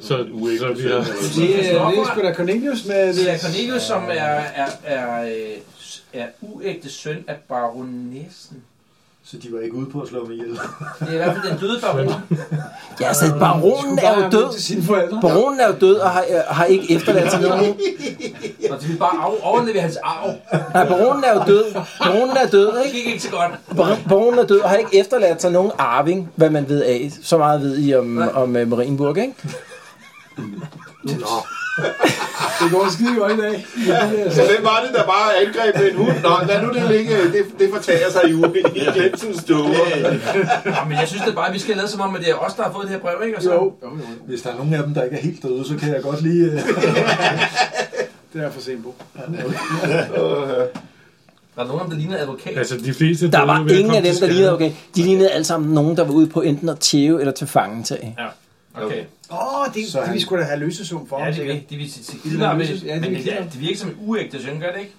[SPEAKER 1] Så, så vi har...
[SPEAKER 9] Det er, det er sgu da Cornelius med...
[SPEAKER 4] Det er Cornelius, som er, er, er, øh, er uægte søn af baronessen.
[SPEAKER 5] Så de var ikke ude på at slå mig ihjel.
[SPEAKER 4] Det er i hvert fald den døde baron.
[SPEAKER 2] Ja, så baronen
[SPEAKER 9] Skulle
[SPEAKER 2] er jo
[SPEAKER 9] bare have mødt til
[SPEAKER 2] død.
[SPEAKER 9] sine forældre.
[SPEAKER 2] Baronen er jo død og har, øh, har ikke efterladt sig nogen.
[SPEAKER 4] Og de vil bare af, overleve hans arv.
[SPEAKER 2] Nej, baronen er jo død. Baronen er død,
[SPEAKER 4] Det
[SPEAKER 2] ikke?
[SPEAKER 4] gik ikke så godt.
[SPEAKER 2] Bar- Baronen er død og har ikke efterladt sig nogen arving, hvad man ved af. Så meget ved I om, om uh, Marienburg, ikke?
[SPEAKER 9] Det går skide godt i dag.
[SPEAKER 6] Så hvem var det, der bare angreb med en hund? Nå, lad nu det ligge. Det, det fortager sig i uge. I Jensens støver.
[SPEAKER 4] Ja, men jeg synes det bare, at vi skal lade som om, at det er os, der har fået det her brev, ikke? Og så,
[SPEAKER 9] Jo,
[SPEAKER 5] Hvis der er nogen af dem, der ikke er helt døde, så kan jeg godt lige... øh,
[SPEAKER 9] det er jeg for sent på.
[SPEAKER 4] Der er nogen, af dem, der ligner advokat.
[SPEAKER 1] Altså, de fleste...
[SPEAKER 2] Der
[SPEAKER 1] døde
[SPEAKER 2] var
[SPEAKER 1] ved at
[SPEAKER 2] ingen
[SPEAKER 1] komme
[SPEAKER 2] af dem,
[SPEAKER 1] til
[SPEAKER 2] der
[SPEAKER 1] skade.
[SPEAKER 2] lignede, okay. De lignede alle sammen nogen, der var ude på enten at tæve eller til fangetag.
[SPEAKER 4] Ja, okay.
[SPEAKER 9] Åh, oh, det,
[SPEAKER 5] Så
[SPEAKER 9] det, vi
[SPEAKER 5] han-
[SPEAKER 9] skulle da have løsesum for
[SPEAKER 4] Ja,
[SPEAKER 9] ham,
[SPEAKER 4] det
[SPEAKER 9] sikkert.
[SPEAKER 4] vil, de vil til til kidnappe,
[SPEAKER 9] Ja, de
[SPEAKER 4] men
[SPEAKER 9] vil
[SPEAKER 4] det,
[SPEAKER 9] kidnappe.
[SPEAKER 4] det virker som en uægte søn, gør det ikke?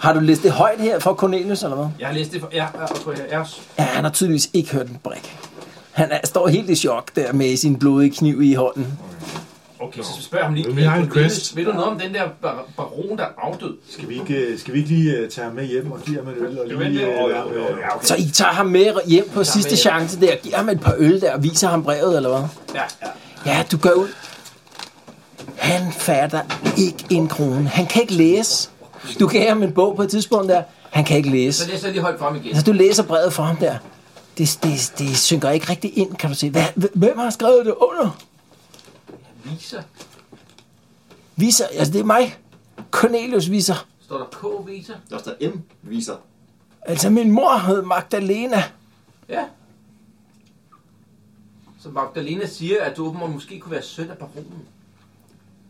[SPEAKER 2] Har du læst det højt her for Cornelius, eller hvad?
[SPEAKER 4] Jeg har læst det for... Ja, ja, okay, ja, ja.
[SPEAKER 2] Ja, han har tydeligvis ikke hørt en brik. Han er, står helt i chok der med sin blodige kniv i hånden.
[SPEAKER 4] Okay, så spørg ham lige.
[SPEAKER 1] Vi har en
[SPEAKER 4] Cornelius,
[SPEAKER 1] quest.
[SPEAKER 4] Ved du noget om den der bar- baron, der er afdød?
[SPEAKER 5] Skal vi ikke, øh, skal vi ikke lige øh, tage ham med hjem og give ham en øl? Og
[SPEAKER 4] Jo,
[SPEAKER 5] lige,
[SPEAKER 4] men det-
[SPEAKER 5] øh,
[SPEAKER 4] jo,
[SPEAKER 5] lade ham, øh,
[SPEAKER 4] Ja, okay.
[SPEAKER 2] Så I tager ham med hjem på sidste
[SPEAKER 4] med hjem.
[SPEAKER 2] chance der, giver ham et par øl der og viser ham brevet, eller hvad?
[SPEAKER 4] Ja, ja.
[SPEAKER 2] Ja, du gør ud. Han fatter ikke en krone. Han kan ikke læse. Du gav ham en bog på et tidspunkt der. Han kan ikke læse.
[SPEAKER 4] Så læser jeg lige højt frem igen.
[SPEAKER 2] Så du læser brevet for ham der. Det, det, det synker ikke rigtig ind, kan du se. Hvad, hvem har skrevet det under?
[SPEAKER 4] Viser.
[SPEAKER 2] Viser, altså det er mig. Cornelius viser.
[SPEAKER 4] Står der K-viser?
[SPEAKER 8] Der står M. Viser.
[SPEAKER 2] Altså min mor hed Magdalena.
[SPEAKER 4] Ja. Så Magdalena siger, at du åbenbart måske kunne være søn af baronen.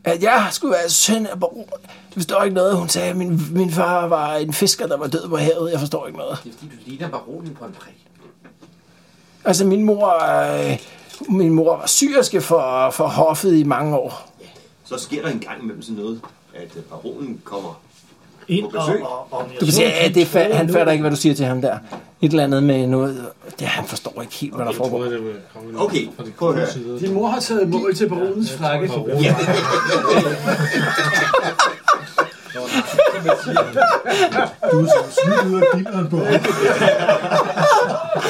[SPEAKER 2] at jeg skulle være søn af baron. Jeg forstår ikke noget, hun sagde. Min, min far var en fisker, der var død på havet. Jeg forstår ikke noget.
[SPEAKER 4] Det er fordi, du ligner baronen på en prik.
[SPEAKER 2] Altså, min mor, øh, min mor var syrske for, for hoffet i mange år.
[SPEAKER 8] Så sker der en gang imellem sådan noget, at øh, baronen kommer
[SPEAKER 3] Ind
[SPEAKER 8] på
[SPEAKER 3] og-
[SPEAKER 8] besøg.
[SPEAKER 3] og- og-
[SPEAKER 2] Du kan sige, ja, det fa- han fatter ikke, hvad du siger til ham der. Et eller andet med noget. Det, han forstår ikke helt, hvad der foregår.
[SPEAKER 8] Okay, prøv at høre.
[SPEAKER 9] Din mor har taget mål til baronens frakke.
[SPEAKER 8] Ja.
[SPEAKER 5] Du er sådan snydt ud af dilleren på.
[SPEAKER 6] Hun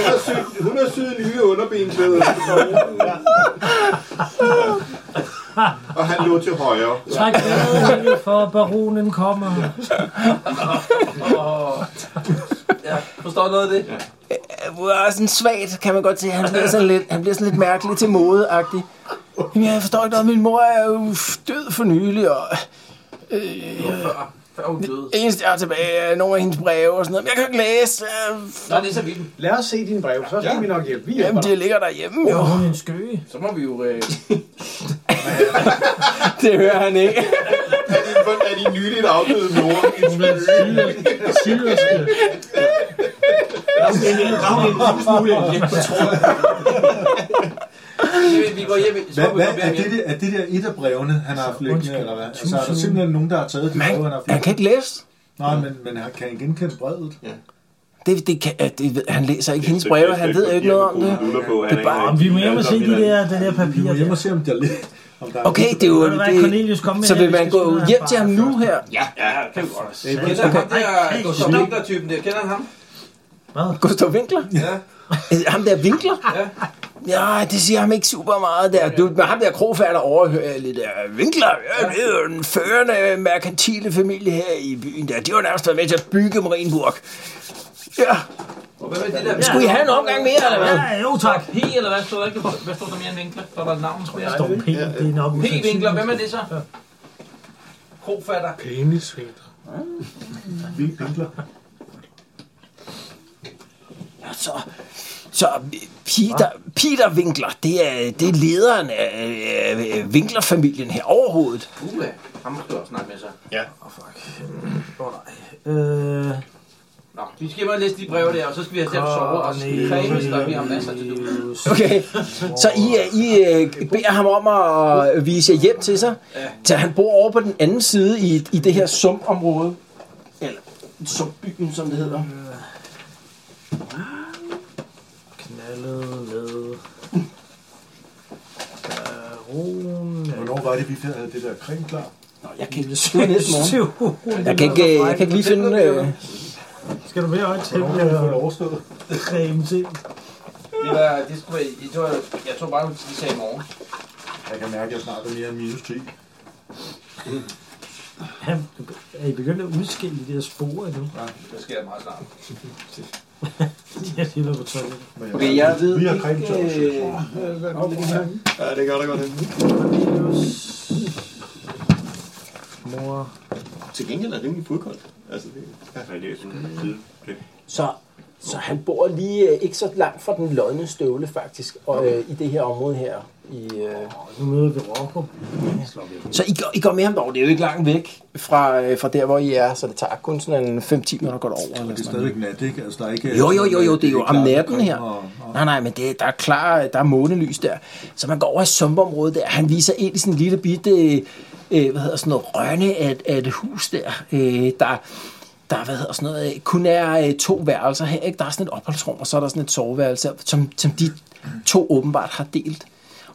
[SPEAKER 6] har syet, hun har syet nye underbenklæder. Og han lå til højre.
[SPEAKER 3] Træk vejret, for baronen kommer.
[SPEAKER 4] Ja, forstår noget af det? Ja.
[SPEAKER 2] Øh, sådan svagt, kan man godt se. Han bliver sådan lidt, han bliver sådan lidt mærkelig til modeagtig. Jamen, jeg forstår ikke noget. Min mor er jo død for nylig, og... Øh,
[SPEAKER 4] Før, før hun døde.
[SPEAKER 2] det eneste, jeg har tilbage, er nogle af hendes breve og sådan noget. Men jeg kan ikke læse. Øh,
[SPEAKER 4] Nå, det er så vildt.
[SPEAKER 9] Lad os se dine brev, så skal
[SPEAKER 4] Ja.
[SPEAKER 9] vi nok hjælpe. Vi
[SPEAKER 2] Jamen,
[SPEAKER 9] hjælper
[SPEAKER 2] de
[SPEAKER 9] dig.
[SPEAKER 2] ligger derhjemme, jo.
[SPEAKER 3] Hun er en skøge.
[SPEAKER 4] Så må vi jo... Øh...
[SPEAKER 2] [LAUGHS] Det hører han ikke.
[SPEAKER 4] [LAUGHS]
[SPEAKER 6] Er de, er de nyligt afdøde mor?
[SPEAKER 21] Hun er syrske.
[SPEAKER 4] Vi går hjem, i- så
[SPEAKER 5] Hvad,
[SPEAKER 4] må vi
[SPEAKER 5] hvad,
[SPEAKER 4] gå
[SPEAKER 5] er,
[SPEAKER 4] hjem.
[SPEAKER 5] det,
[SPEAKER 4] hjem.
[SPEAKER 5] der, er det der et af brevene, han har haft liggende, eller hvad? Altså, er der simpelthen nogen, der har taget de breve, han har haft
[SPEAKER 2] Han kan
[SPEAKER 5] liggende?
[SPEAKER 2] ikke læse.
[SPEAKER 5] Nej, men, men han kan han genkende brevet?
[SPEAKER 2] Det, det kan, øh, det, ved- han læser ikke hendes
[SPEAKER 6] Det-
[SPEAKER 2] breve.
[SPEAKER 6] det-
[SPEAKER 2] Han
[SPEAKER 6] det-
[SPEAKER 2] ved jo ikke noget om det.
[SPEAKER 6] luller på, han
[SPEAKER 2] Det er bare,
[SPEAKER 6] ikke
[SPEAKER 3] Om vi må
[SPEAKER 6] rigtig
[SPEAKER 3] hjem og se
[SPEAKER 6] glad
[SPEAKER 3] de
[SPEAKER 6] for hinanden.
[SPEAKER 3] der, det der
[SPEAKER 5] Vi
[SPEAKER 3] papir
[SPEAKER 5] må hjem
[SPEAKER 3] der.
[SPEAKER 5] og se, om der, er- om der er...
[SPEAKER 2] Okay, det er jo...
[SPEAKER 3] Ved du hvad,
[SPEAKER 2] Det,
[SPEAKER 3] Cornelius, kom med
[SPEAKER 2] så
[SPEAKER 3] her,
[SPEAKER 2] vil
[SPEAKER 3] vi
[SPEAKER 2] man
[SPEAKER 3] skal
[SPEAKER 2] gå
[SPEAKER 3] skyde
[SPEAKER 2] hjem
[SPEAKER 3] ham
[SPEAKER 2] til ham
[SPEAKER 3] bare
[SPEAKER 2] nu her.
[SPEAKER 4] Ja, ja, kan vi godt.
[SPEAKER 5] Abel,
[SPEAKER 4] Kender ham der,
[SPEAKER 3] Okay.
[SPEAKER 4] gå som vintertypen der, kender han ham?
[SPEAKER 2] [LAUGHS] Gustav Winkler?
[SPEAKER 4] Ja.
[SPEAKER 2] Øh, Ham der Winkler?
[SPEAKER 4] Ja.
[SPEAKER 2] Ja, det siger ham ikke super meget der. Du, men ham der krogfærd, der overhører jeg lidt der. Winkler, ja, det er jo den førende merkantile familie her i byen der. De har jo nærmest været med til at bygge Marienburg. Ja,
[SPEAKER 4] Og hvad med det der?
[SPEAKER 2] skulle I have en omgang mere, eller hvad?
[SPEAKER 3] Ja, jo tak.
[SPEAKER 4] P, eller hvad? Står der ikke, hvad står der mere end vinkler? Står der et navn, tror jeg?
[SPEAKER 3] Står P, det er nok
[SPEAKER 4] P-vinkler, hvem er det så? Krofatter.
[SPEAKER 21] Penisvinkler.
[SPEAKER 5] Vildt vinkler.
[SPEAKER 2] Ja, så... Så øh, Peter, Peter Winkler, det er, det er lederen af øh, øh, Winkler-familien her overhovedet.
[SPEAKER 4] Uha, ham skal jeg også snakke med så.
[SPEAKER 3] Øh,
[SPEAKER 4] Nå, vi skal bare læse de breve der, og så skal vi have til at sove og kræmes, der vi har masser til du.
[SPEAKER 2] Okay, så I, øh, I øh, beder ham om at øh, vise jer hjem til sig. Så han bor over på den anden side i, i det her sumpområde. Eller sumpbyen, som det hedder.
[SPEAKER 3] knaldet med... Baron...
[SPEAKER 5] Hvornår var det, vi havde det der creme klar?
[SPEAKER 2] Nå, jeg kan ikke det var næste morgen.
[SPEAKER 3] Syv.
[SPEAKER 2] Jeg kan ikke, øh, jeg kan ikke lige finde... Øh,
[SPEAKER 3] Skal du mere øje til
[SPEAKER 5] Hvornår har vi fået det
[SPEAKER 3] at
[SPEAKER 5] overstået?
[SPEAKER 3] creme til?
[SPEAKER 4] Det var, det skulle være, jeg tror, jeg tror bare, vi sagde i morgen.
[SPEAKER 5] Jeg kan mærke, at jeg snart er mere end minus 10.
[SPEAKER 3] Ja, Er I begyndt at udskille de der spor endnu?
[SPEAKER 4] Det sker meget snart.
[SPEAKER 3] De har lige været på toilet.
[SPEAKER 5] Men jeg-
[SPEAKER 2] okay, jeg ved
[SPEAKER 5] Vi har creme klar.
[SPEAKER 2] ikke... Øh,
[SPEAKER 8] Ja, det gør det godt.
[SPEAKER 3] Mor...
[SPEAKER 8] Til gengæld er det rimelig fodkoldt. Altså, det,
[SPEAKER 6] Ja, det er sådan en tid.
[SPEAKER 2] Så, så han bor lige øh, ikke så langt fra den lodne støvle, faktisk, og, øh, i det her område her. I, øh.
[SPEAKER 3] Nu møder vi Rocco.
[SPEAKER 2] Så I går, I går med ham dog, det er jo ikke langt væk fra, øh, fra der, hvor I er, så det tager kun sådan en 5-10 minutter at gå derover. Eller
[SPEAKER 5] Det er
[SPEAKER 2] sådan noget.
[SPEAKER 5] stadigvæk nat, ikke? Altså, der er ikke...
[SPEAKER 2] Jo, jo, jo, jo, det er jo
[SPEAKER 5] ikke
[SPEAKER 2] om
[SPEAKER 5] klart,
[SPEAKER 2] natten
[SPEAKER 5] creme
[SPEAKER 2] her.
[SPEAKER 5] og- og-
[SPEAKER 2] Nej, nej, men det, der er klar, der er månelys der. Så man går over i sumpområdet der. Han viser ind i sådan en lille bitte, øh, hvad hedder sådan noget, rønne af, et- af et hus der, øh, der der hvad hedder sådan noget, øh, kun er øh, to værelser her. Ikke? Der er sådan et opholdsrum, og så er der sådan et soveværelse, som, som de to åbenbart har delt.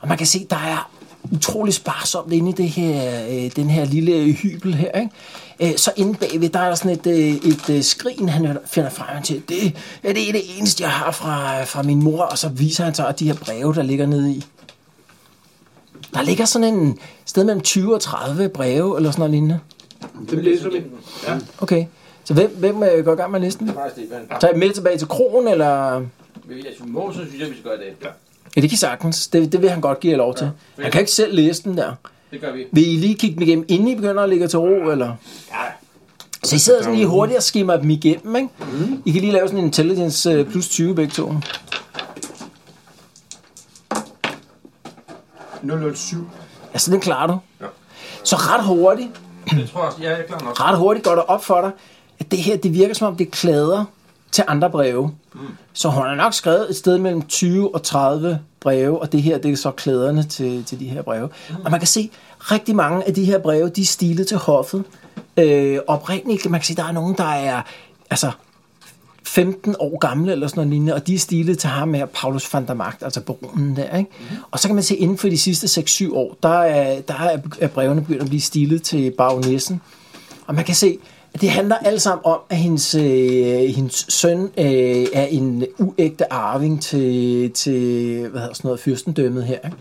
[SPEAKER 2] Og man kan se, der er utrolig sparsomt inde i det her, øh, den her lille hybel her. Ikke? Øh, så inde bagved, der er der sådan et, øh, et øh, skrin, han finder frem til. Det, ja, det er det eneste, jeg har fra, fra min mor. Og så viser han så de her breve, der ligger nede i. Der ligger sådan en sted mellem 20 og 30 breve, eller sådan noget lignende.
[SPEAKER 4] Det læser vi. Ja,
[SPEAKER 2] Okay. Så hvem, hvem øh, går i gang med listen?
[SPEAKER 4] faktisk det, men
[SPEAKER 2] Tager I med tilbage til kronen, eller...
[SPEAKER 4] vi er må, så synes jeg, vi skal gøre det. Ja.
[SPEAKER 2] Ja, det kan I sagtens. Det, det vil han godt give jer lov til.
[SPEAKER 4] Ja.
[SPEAKER 2] Han kan ikke selv læse den der.
[SPEAKER 4] Det gør vi.
[SPEAKER 2] Vil I lige kigge dem igennem, inden I begynder at lægge jer til ro, eller? Ja. Så I sidder sådan lige hurtigt og skimmer dem igennem, ikke? Mm. I kan lige lave sådan en intelligence øh, plus 20 begge to.
[SPEAKER 8] 007.
[SPEAKER 2] Ja, så den klarer du. Ja. Så ret hurtigt,
[SPEAKER 4] Jeg tror også, ja, jeg er klar nok.
[SPEAKER 2] ret hurtigt går det op for dig, at det her, det virker som om, det klæder til andre breve. Mm. Så hun har nok skrevet et sted mellem 20 og 30 breve, og det her, det er så klæderne til, til de her breve. Mm. Og man kan se, rigtig mange af de her breve, de er stilet til hoffet. Øh, oprindeligt, man kan se, der er nogen, der er altså 15 år gamle eller sådan noget lignende, og de er stilet til ham her, Paulus van der Magt, altså baronen der, ikke? Mm. Og så kan man se, inden for de sidste 6-7 år, der er, der er, er brevene begyndt at blive stilet til baronessen. Og man kan se, at det handler alt sammen om, at hendes, øh, hendes søn øh, er en uægte arving til, til hvad hedder sådan noget, fyrstendømmet her. Ikke?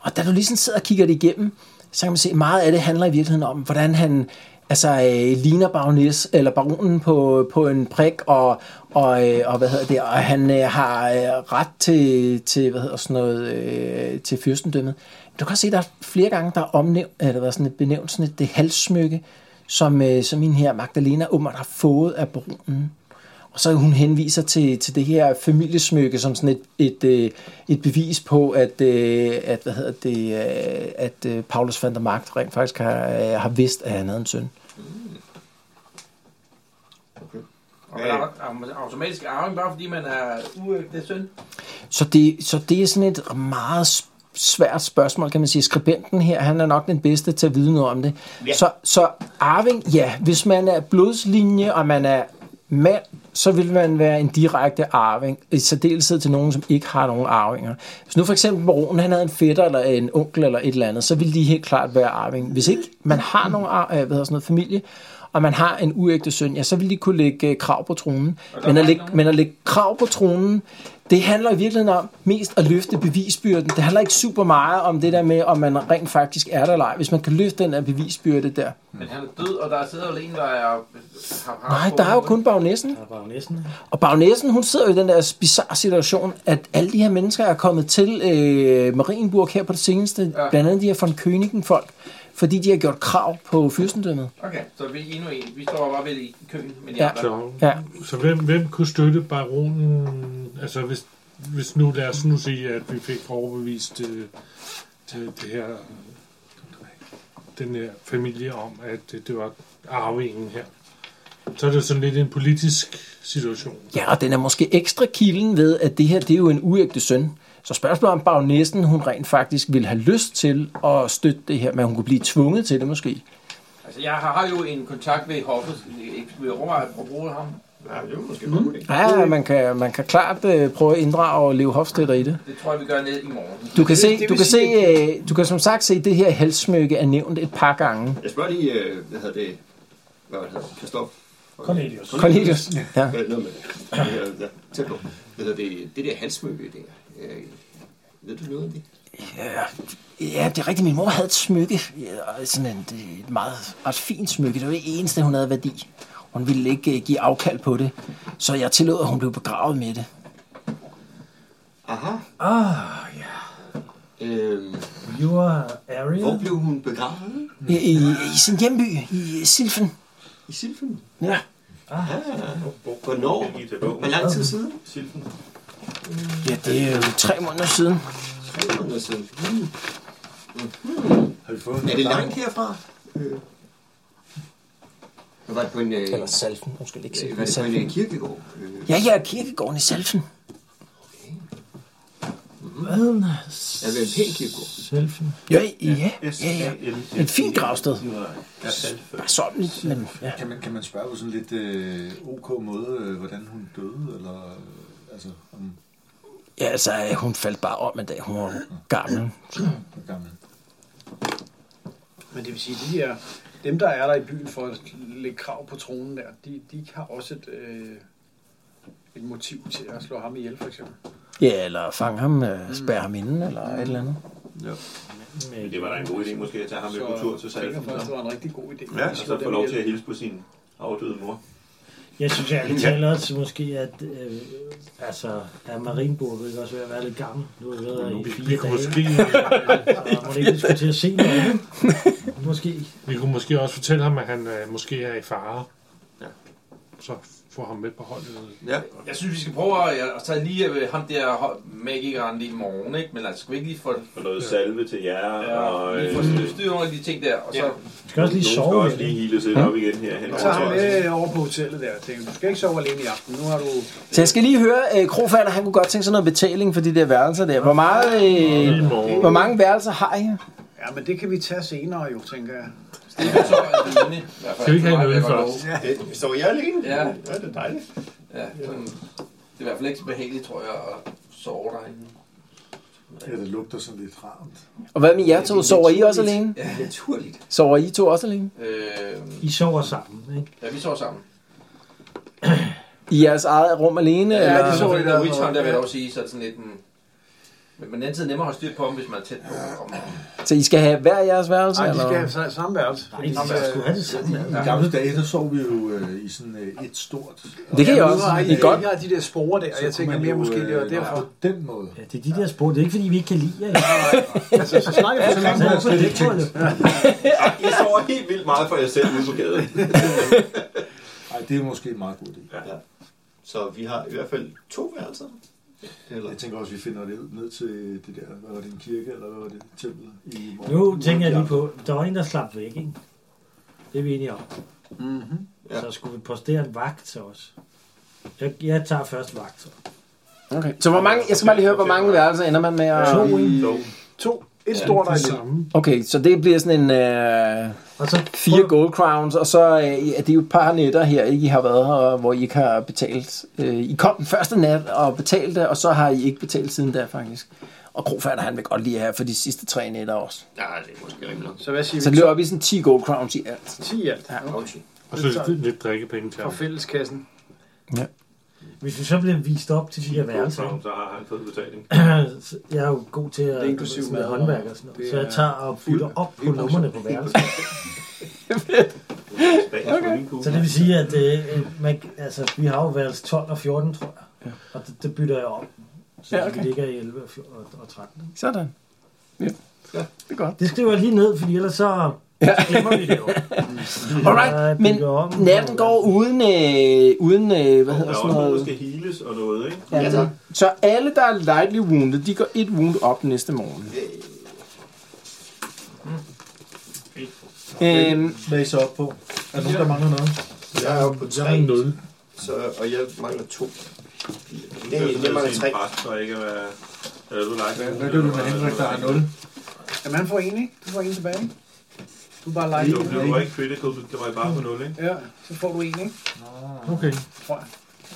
[SPEAKER 2] Og da du ligesom sidder og kigger det igennem, så kan man se, at meget af det handler i virkeligheden om, hvordan han altså, øh, ligner baroness, eller baronen på, på en prik, og, og, øh, og, hvad hedder det, og han øh, har øh, ret til, til, hvad hedder sådan noget, øh, til fyrstendømmet. Du kan også se, at der er flere gange, der er omnævnt, eller hvad sådan et benævnt sådan et det halssmykke, som, øh, som min her Magdalena åbenbart har fået af baronen. Og så hun henviser til, til det her familiesmykke som sådan et, et, øh, et bevis på, at, øh, at, hvad hedder det, øh, at øh, Paulus van der Magt rent faktisk har, øh, har vidst, at han havde en søn.
[SPEAKER 4] Og man er au- automatisk arving, bare fordi man er uægte søn.
[SPEAKER 2] Så det, så det er sådan et meget s- svært spørgsmål, kan man sige. Skribenten her, han er nok den bedste til at vide noget om det. Ja. Så, så arving, ja, hvis man er blodslinje, og man er mand, så vil man være en direkte arving, i særdeleshed til nogen, som ikke har nogen arvinger. Hvis nu for eksempel baronen, han havde en fætter eller en onkel eller et eller andet, så ville de helt klart være arving. Hvis ikke man har nogen ar- øh, hvad hedder sådan noget, familie, og man har en uægte søn, ja, så vil de kunne lægge øh, krav på tronen. Men at lægge, men at lægge krav på tronen, det handler i virkeligheden om mest at løfte bevisbyrden. Det handler ikke super meget om det der med, om man rent faktisk er der eller ej. Hvis man kan løfte den der bevisbyrde der.
[SPEAKER 4] Men han er død, og der sidder jo en, der er... Har, har
[SPEAKER 2] Nej, der er jo kun bagnessen. Og bagnessen, hun sidder jo i den der bizarre situation, at alle de her mennesker er kommet til øh, Marienburg her på det seneste. Ja. Blandt andet de her von Königen folk. Fordi de har gjort krav på fyrstendømmet.
[SPEAKER 4] Okay, så vi er endnu en. Vi står bare ved i køen med de
[SPEAKER 2] Ja.
[SPEAKER 4] andre.
[SPEAKER 3] Så,
[SPEAKER 2] ja.
[SPEAKER 3] så hvem, hvem kunne støtte baronen? Altså hvis, hvis nu, lad os nu sige, at vi fik overbevist øh, til det her, den her familie om, at øh, det var arvingen her. Så er det jo sådan lidt en politisk situation.
[SPEAKER 2] Ja, og den er måske ekstra kilden ved, at det her det er jo en uægte søn. Så spørgsmålet er, om bagnessen, hun rent faktisk ville have lyst til at støtte det her, men hun kunne blive tvunget til det måske.
[SPEAKER 4] Altså, jeg har, har jo en kontakt ved hoffet. Jeg vil overveje at bruge ham. Ja, det er måske mm. det.
[SPEAKER 2] Ja, man kan, man kan klart øh, prøve at inddrage og leve hofstøtter i det.
[SPEAKER 4] Det tror jeg, vi gør ned i morgen.
[SPEAKER 2] Du kan, se, du, kan se, øh, du kan som sagt se, at det her halssmykke er nævnt et par gange.
[SPEAKER 8] Jeg spørger lige, øh, hvad hedder det? Hvad var det, han hed? Christoph?
[SPEAKER 22] Cornelius.
[SPEAKER 2] Cornelius, ja.
[SPEAKER 8] ja. Noget med det. Ja, ja, tæt på. Hvad hedder det? Det der halsmykke, det der. Øh, ved du noget om det?
[SPEAKER 2] Ja, Ja, det er rigtigt. Min mor havde et smykke. Ja, sådan en, det er et meget ret fint smykke. Det var det eneste, hun havde værdi. Hun ville ikke øh, give afkald på det. Så jeg tillod, at hun blev begravet med det.
[SPEAKER 8] Aha.
[SPEAKER 22] Ah,
[SPEAKER 8] Øhm,
[SPEAKER 22] you are area.
[SPEAKER 8] hvor blev hun begravet?
[SPEAKER 2] I, i, i sin hjemby, i Silfen.
[SPEAKER 8] I Silfen?
[SPEAKER 2] Ja.
[SPEAKER 8] Aha. Hvornår? Hvor lang tid siden? Silfen.
[SPEAKER 2] Ja, det er jo tre måneder siden.
[SPEAKER 8] Tre måneder siden.
[SPEAKER 5] Mm-hmm. Har vi fået
[SPEAKER 8] Er det langt herfra? Øh. Var det på en... Øh, Eller
[SPEAKER 2] Salfen, hun skal ikke
[SPEAKER 8] sige. Var det på en øh, kirkegård? Øh,
[SPEAKER 2] Ja, jeg er kirkegården i Salfen. Hvad?
[SPEAKER 8] Er det en pæn kirkegård?
[SPEAKER 22] Selfie.
[SPEAKER 2] Ja, ja, ja, ja. Et fint gravsted. Sådan lidt, men ja.
[SPEAKER 5] Kan man, kan man spørge på sådan lidt øh, ok måde, øh, hvordan hun døde, eller øh, altså, om
[SPEAKER 2] Ja, altså, øh, hun faldt bare om en dag. Hun var gammel.
[SPEAKER 5] hvor gammel?
[SPEAKER 9] Men det vil sige, de her, dem der er der i byen for at lægge krav på tronen der, de, de har også et, øh, et motiv til at slå ham ihjel, for eksempel.
[SPEAKER 2] Ja, eller fange ham, øh, spærre ham inden, eller et eller andet.
[SPEAKER 6] Ja. Men det var da en god idé måske at tage ham med på tur til
[SPEAKER 9] Jeg
[SPEAKER 6] Salfen.
[SPEAKER 9] tænker faktisk, det
[SPEAKER 6] så.
[SPEAKER 9] var en rigtig god idé.
[SPEAKER 6] Ja, og så få lov til at hilse på sin afdøde mor.
[SPEAKER 22] Jeg synes, jeg taler også måske, at øh, altså, er Marienburg ikke også ved at være lidt gammel. Nu har vi været her i
[SPEAKER 3] Vi
[SPEAKER 22] fire
[SPEAKER 3] kunne
[SPEAKER 22] dage.
[SPEAKER 3] måske-
[SPEAKER 22] [LAUGHS] Så må det ikke vi skulle til at se noget. andet. Måske.
[SPEAKER 3] Vi kunne måske også fortælle ham, at han øh, måske er i fare.
[SPEAKER 8] Ja.
[SPEAKER 3] Så
[SPEAKER 23] få ham med på holdet.
[SPEAKER 4] Ja. Jeg synes, vi skal prøve at, at tage lige øh, ham der hold- magikeren i morgen, ikke? Men altså, skal vi ikke lige få...
[SPEAKER 6] Og noget salve til jer,
[SPEAKER 4] Ja,
[SPEAKER 6] og...
[SPEAKER 4] lige få styr under de ting der, og så...
[SPEAKER 6] Du skal også lige
[SPEAKER 4] sove
[SPEAKER 6] skal
[SPEAKER 4] lidt.
[SPEAKER 6] også lige hele lidt op igen her. hen
[SPEAKER 9] Jeg tager ham
[SPEAKER 6] over til os.
[SPEAKER 9] med over på hotellet der. Tænker, du skal ikke sove alene i aften. Nu har du...
[SPEAKER 2] Så jeg skal lige høre, øh, Krofatter, han kunne godt tænke sig noget betaling for de der værelser der. Hvor, meget, øh, hvor mange værelser har I her?
[SPEAKER 9] Ja, men det kan vi tage senere jo, tænker jeg.
[SPEAKER 23] Skal vi ikke have en øl først?
[SPEAKER 8] Ja, så jeg alene?
[SPEAKER 4] Ja.
[SPEAKER 8] ja, det er dejligt.
[SPEAKER 4] Ja, sådan, det er i hvert fald ikke så behageligt, tror jeg, at sove derinde.
[SPEAKER 5] Ja, det lugter sådan lidt rart.
[SPEAKER 2] Og hvad med jer to? Sover I også alene?
[SPEAKER 4] Ja, naturligt.
[SPEAKER 2] Sover I to også alene?
[SPEAKER 4] Øh,
[SPEAKER 3] I sover sammen, ikke?
[SPEAKER 4] ja, vi sover sammen.
[SPEAKER 2] I jeres eget rum alene?
[SPEAKER 4] Ja,
[SPEAKER 2] eller?
[SPEAKER 4] det så jeg der. Witchhunt, der vil jeg dog sige, så er det sådan lidt en... Men men den tid er nemmere at holde styr på dem, hvis man er tæt på. Om,
[SPEAKER 2] Så I skal have hver jeres værelse?
[SPEAKER 9] Nej, de
[SPEAKER 2] eller?
[SPEAKER 9] skal have sa- samme værelse. Nej,
[SPEAKER 3] de skal sgu have det samme værelse.
[SPEAKER 5] I gamle dage, der sov vi jo øh, i sådan øh, et stort...
[SPEAKER 2] Det kan jeg
[SPEAKER 5] nu
[SPEAKER 2] også.
[SPEAKER 5] har
[SPEAKER 2] Det er godt.
[SPEAKER 9] Jeg har øh, de der sporer der,
[SPEAKER 5] Så
[SPEAKER 9] og jeg
[SPEAKER 5] kunne
[SPEAKER 9] tænker
[SPEAKER 5] man
[SPEAKER 9] mere
[SPEAKER 5] jo,
[SPEAKER 9] måske, det var
[SPEAKER 5] øh,
[SPEAKER 9] derfor.
[SPEAKER 5] På den måde.
[SPEAKER 3] Ja, det er de der spor. Det er ikke, fordi vi ikke kan lide jer.
[SPEAKER 9] Altså, så snakker vi så længe,
[SPEAKER 3] Så er det
[SPEAKER 9] så er det ikke
[SPEAKER 3] tænkt.
[SPEAKER 9] tænkt.
[SPEAKER 6] Ej, I sover helt vildt meget for jer selv ude på gaden.
[SPEAKER 5] Ej, det er måske en meget god idé.
[SPEAKER 6] Ja.
[SPEAKER 8] Så vi har i hvert fald to værelser. Eller,
[SPEAKER 5] Jeg tænker også, vi finder det ud ned til det der, hvad var det, en kirke, eller hvad var det, tempel i morgen?
[SPEAKER 3] Nu tænker jeg lige på, der var en, der slap væk, ikke? Det er vi enige om.
[SPEAKER 9] Mhm.
[SPEAKER 8] Ja.
[SPEAKER 3] Så skulle vi postere en vagt til os. Jeg, jeg tager først vagt. Så.
[SPEAKER 2] Okay. Så hvor mange, jeg skal bare lige høre, hvor mange værelser ender man med at...
[SPEAKER 3] To, ikke?
[SPEAKER 9] To. Et stort og et lille.
[SPEAKER 2] Okay, så det bliver sådan en øh,
[SPEAKER 3] Og så
[SPEAKER 2] fire gold crowns, og så øh, er det jo et par nætter her, ikke? I har været her, og hvor I ikke har betalt. Øh, I kom den første nat og betalte, og så har I ikke betalt siden da, faktisk. Og Krofatter, han vil godt lige have for de sidste tre nætter også.
[SPEAKER 8] nej, det er måske rimeligt.
[SPEAKER 9] Så hvad siger
[SPEAKER 2] Så
[SPEAKER 9] vi?
[SPEAKER 2] det løber op i sådan 10 gold crowns i alt.
[SPEAKER 9] 10 i alt.
[SPEAKER 8] Okay.
[SPEAKER 23] Og så lidt, lidt drikkepenge til
[SPEAKER 9] Fra
[SPEAKER 23] ham.
[SPEAKER 9] fælleskassen.
[SPEAKER 3] Hvis vi så bliver vist op til de her værelser,
[SPEAKER 6] Så- Så har han fået betaling.
[SPEAKER 3] ikke? [CLEARS THROAT] Så jeg er jo god til
[SPEAKER 9] Det er
[SPEAKER 3] at
[SPEAKER 9] inklusiv
[SPEAKER 3] med
[SPEAKER 9] mad og-
[SPEAKER 3] håndværk og sådan noget.
[SPEAKER 9] det
[SPEAKER 3] Så jeg
[SPEAKER 9] er-
[SPEAKER 3] tager og putter op på lommerne på værelset.
[SPEAKER 6] Okay.
[SPEAKER 3] Så det vil sige, at øh, øh, man, altså, vi har jo værelse 12 og 14, tror jeg. Og det, det bytter jeg om. Så
[SPEAKER 2] Ja,
[SPEAKER 3] ja,
[SPEAKER 2] okay.
[SPEAKER 3] okay. vi ligger i 11 og, 14 og- og 13. ikke?
[SPEAKER 2] Sådan. Ja, det er godt.
[SPEAKER 3] Det skriver jeg lige ned, fordi ellers så, så glemmer
[SPEAKER 2] [LAUGHS]
[SPEAKER 3] vi det jo. Jeg
[SPEAKER 2] Alright, men
[SPEAKER 3] bygger om.
[SPEAKER 2] natten går uden, øh, uden øh, hvad hedder
[SPEAKER 6] Der er
[SPEAKER 2] sådan
[SPEAKER 6] også noget, der
[SPEAKER 2] noget?
[SPEAKER 6] skal heales og noget, ikke?
[SPEAKER 2] Ja, tak. Så alle, der er lightly wounded, de går et wound op næste morgen. Øhm,
[SPEAKER 5] Hvad er I så op på? Er der nogen, der mangler noget?
[SPEAKER 8] Jeg er jo på
[SPEAKER 23] Jeg har
[SPEAKER 8] tre,
[SPEAKER 23] en nul.
[SPEAKER 8] så, og jeg mangler to.
[SPEAKER 6] Det
[SPEAKER 8] Nej, jeg mangler tre.
[SPEAKER 6] Præst, for ikke at være... Eller du lagt
[SPEAKER 5] Hvad gør du med Henrik, der har 0?
[SPEAKER 9] Jamen, han får en, ikke? Du får en tilbage. Du er bare
[SPEAKER 6] Jo,
[SPEAKER 9] lejlig.
[SPEAKER 6] det var ikke critical, så det var bare på 0, ikke?
[SPEAKER 9] Ja, så får du en, ikke?
[SPEAKER 23] Okay.
[SPEAKER 9] Tror jeg.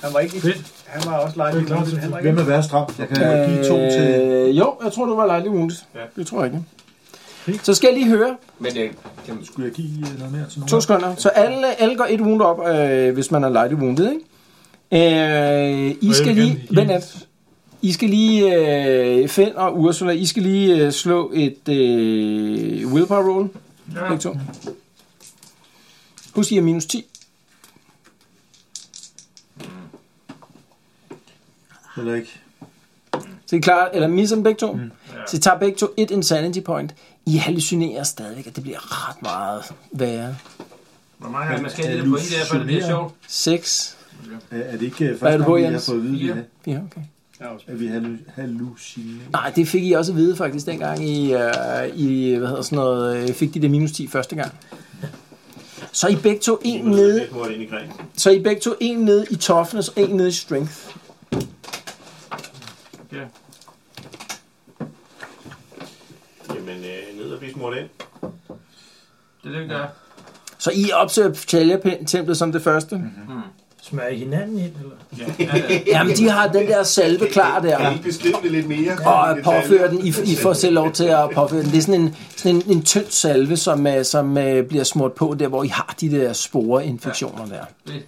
[SPEAKER 9] Han var ikke...
[SPEAKER 23] Fedt.
[SPEAKER 9] Han var også lejlig.
[SPEAKER 23] Det er klart,
[SPEAKER 9] Men Henrik,
[SPEAKER 5] Hvem er værst ramt? Jeg kan jo give to til...
[SPEAKER 2] øh, jo, jeg tror, du var lightly wounded.
[SPEAKER 6] Ja.
[SPEAKER 2] Det tror jeg ikke. Så skal jeg lige høre.
[SPEAKER 4] øh,
[SPEAKER 8] Men jeg kan
[SPEAKER 5] Skulle jeg give øh, noget mere til nogen?
[SPEAKER 2] To sekunder. Så alle, alle går et wound op, øh, hvis man er lightly wounded, ikke? Øh, I
[SPEAKER 23] vil
[SPEAKER 2] skal
[SPEAKER 23] gerne
[SPEAKER 2] lige...
[SPEAKER 23] heals.
[SPEAKER 2] Vent lidt. I skal lige... Øh, Finn og Ursula, I skal lige øh, slå et øh, willpower roll. Ja. To. Husk, I er minus 10.
[SPEAKER 5] Eller ikke?
[SPEAKER 2] Så I klarer, eller misser dem begge to. Mm. Så I tager begge to et insanity point. I hallucinerer stadigvæk, at det bliver ret meget værre.
[SPEAKER 4] hvor mange gange man skal
[SPEAKER 5] er
[SPEAKER 4] have det
[SPEAKER 5] du
[SPEAKER 4] point der, for det bliver
[SPEAKER 5] generet?
[SPEAKER 4] sjovt.
[SPEAKER 2] 6.
[SPEAKER 5] Øh, Er er det ikke øh,
[SPEAKER 2] Hvad er
[SPEAKER 5] første
[SPEAKER 2] du på,
[SPEAKER 5] gang, vi har
[SPEAKER 2] Jens?
[SPEAKER 5] fået at vide,
[SPEAKER 4] Fire.
[SPEAKER 5] at vi har-
[SPEAKER 2] Ja, okay.
[SPEAKER 5] at vi hallu- hallucinerer?
[SPEAKER 2] Nej, det fik I også at vide faktisk dengang I, uh, I hvad hedder sådan noget, øh, fik de det minus 10 første gang. Så er I begge to en nede,
[SPEAKER 6] Det var ind i gren.
[SPEAKER 2] så er I begge to en nede i toughness og en nede i strength.
[SPEAKER 6] Jamen, øh, ned og blive smurt ind.
[SPEAKER 4] Det er det, vi gør.
[SPEAKER 2] Så I opsøger Ptalepind-templet som det første.
[SPEAKER 3] smører I hinanden ind, eller?
[SPEAKER 2] Jamen, de har den der salve klar der.
[SPEAKER 6] Kan I beskrive det lidt mere?
[SPEAKER 2] og påføre den. I, I får selv lov til at påføre den. Det er sådan en, sådan en, en tynd salve, som, øh, som øh, bliver smurt på der, hvor I har de der sporeinfektioner der.
[SPEAKER 4] Det-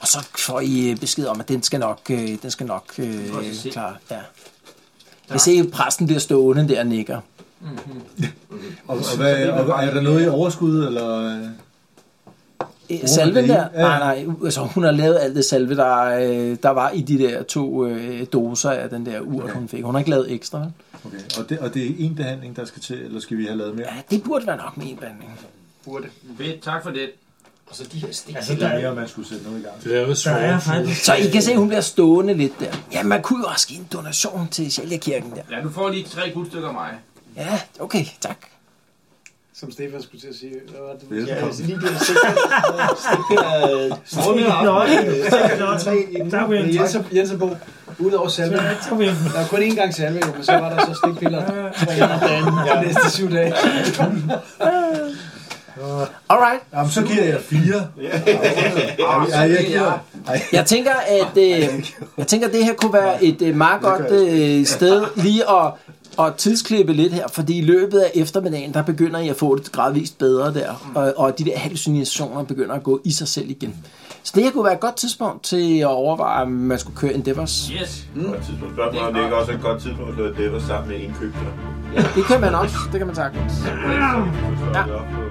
[SPEAKER 2] Og så får I øh, besked om, at den skal nok, øh, den skal nok øh,
[SPEAKER 4] tror, jeg skal se.
[SPEAKER 2] klare. Ja. Jeg ser, at præsten bliver stående der og nikker.
[SPEAKER 5] Og, og, hvad, og er der noget i overskud, eller... øh?
[SPEAKER 2] Øh, Salven
[SPEAKER 5] det
[SPEAKER 2] der?
[SPEAKER 5] er i.
[SPEAKER 2] Nej, nej. Altså, hun har lavet alt det salve, der, øh, der var i de der to øh, doser af den der ur,
[SPEAKER 5] Okay.
[SPEAKER 2] hun fik. Hun har ikke lavet ekstra. vel?
[SPEAKER 5] Okay, og det, og det er en behandling, der skal til, eller skal vi have lavet mere?
[SPEAKER 2] Ja, det burde være nok med en blanding.
[SPEAKER 4] Fedt, tak for det.
[SPEAKER 3] Og så de her sten.
[SPEAKER 5] Altså, der er mere, man skulle sætte noget i gang.
[SPEAKER 2] Så I kan se, at hun bliver stående lidt der. Ja, man kunne jo også give en donation til Sjælgerkirken der.
[SPEAKER 4] Ja, du får lige tre guldstykker af mig.
[SPEAKER 2] Ja, okay, tak.
[SPEAKER 9] Som Stefan skulle til at sige. Hvad var det, du
[SPEAKER 3] Ja,
[SPEAKER 9] sagde?
[SPEAKER 3] altså lige der sikkert. Sikkert.
[SPEAKER 9] Men Jens og, Jens og Bo, udover salve, der var kun én gang salve, jo, men så var der så stikpiller tre gange om dagen de næste syv dage.
[SPEAKER 2] Alright.
[SPEAKER 5] Jamen, så giver jeg fire. Ja, jeg giver...
[SPEAKER 2] Jeg tænker, at øh, jeg tænker, at det her kunne være et øh, meget godt øh, sted lige at, at tidsklippe lidt her, fordi i løbet af eftermiddagen, der begynder I at få det gradvist bedre der, og, og de der hallucinationer begynder at gå i sig selv igen. Så det her kunne være et godt tidspunkt til at overveje, om man skulle køre Endeavors.
[SPEAKER 4] Yes.
[SPEAKER 6] Mm. Godt tidspunkt. Spørgsmålet er, om det ikke også er et godt tidspunkt at slå det sammen med indkøberne.
[SPEAKER 2] Det kan man også, det kan man sagtens.
[SPEAKER 6] Ja.